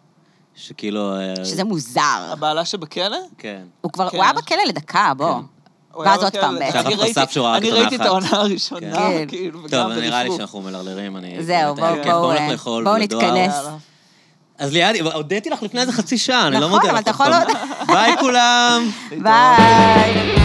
Speaker 1: שכאילו... אה,
Speaker 2: שזה מוזר.
Speaker 3: הבעלה שבכלא?
Speaker 1: כן.
Speaker 2: הוא כבר,
Speaker 3: כן.
Speaker 2: הוא היה בכלא לדקה, בוא.
Speaker 3: הוא היה
Speaker 2: ואז עוד
Speaker 3: בכלא.
Speaker 2: פעם, בעצם.
Speaker 1: שחף
Speaker 3: אוקיי, אני ראיתי-
Speaker 1: חשף שהוא ראה
Speaker 3: אני
Speaker 1: רק עונה
Speaker 3: ראיתי את
Speaker 1: אחת.
Speaker 3: העונה הראשונה,
Speaker 2: כן.
Speaker 3: כאילו, וגם
Speaker 1: טוב, נראה לי
Speaker 3: בלפלוף.
Speaker 1: שאנחנו מלרלרים, אני...
Speaker 2: זהו,
Speaker 1: באמת, היה
Speaker 2: בואו-
Speaker 1: כיף,
Speaker 2: בואו,
Speaker 1: לך
Speaker 2: אה,
Speaker 1: כן, לאכול
Speaker 2: בואו
Speaker 1: ולדואר.
Speaker 2: נתכנס.
Speaker 3: יאללה.
Speaker 1: אז ליעד, הודיתי לך לפני איזה חצי שעה, אני לא
Speaker 2: נכון,
Speaker 1: מודה לך.
Speaker 2: אבל אתה
Speaker 1: עוד
Speaker 2: יכול
Speaker 1: פעם. ביי כולם.
Speaker 2: ביי.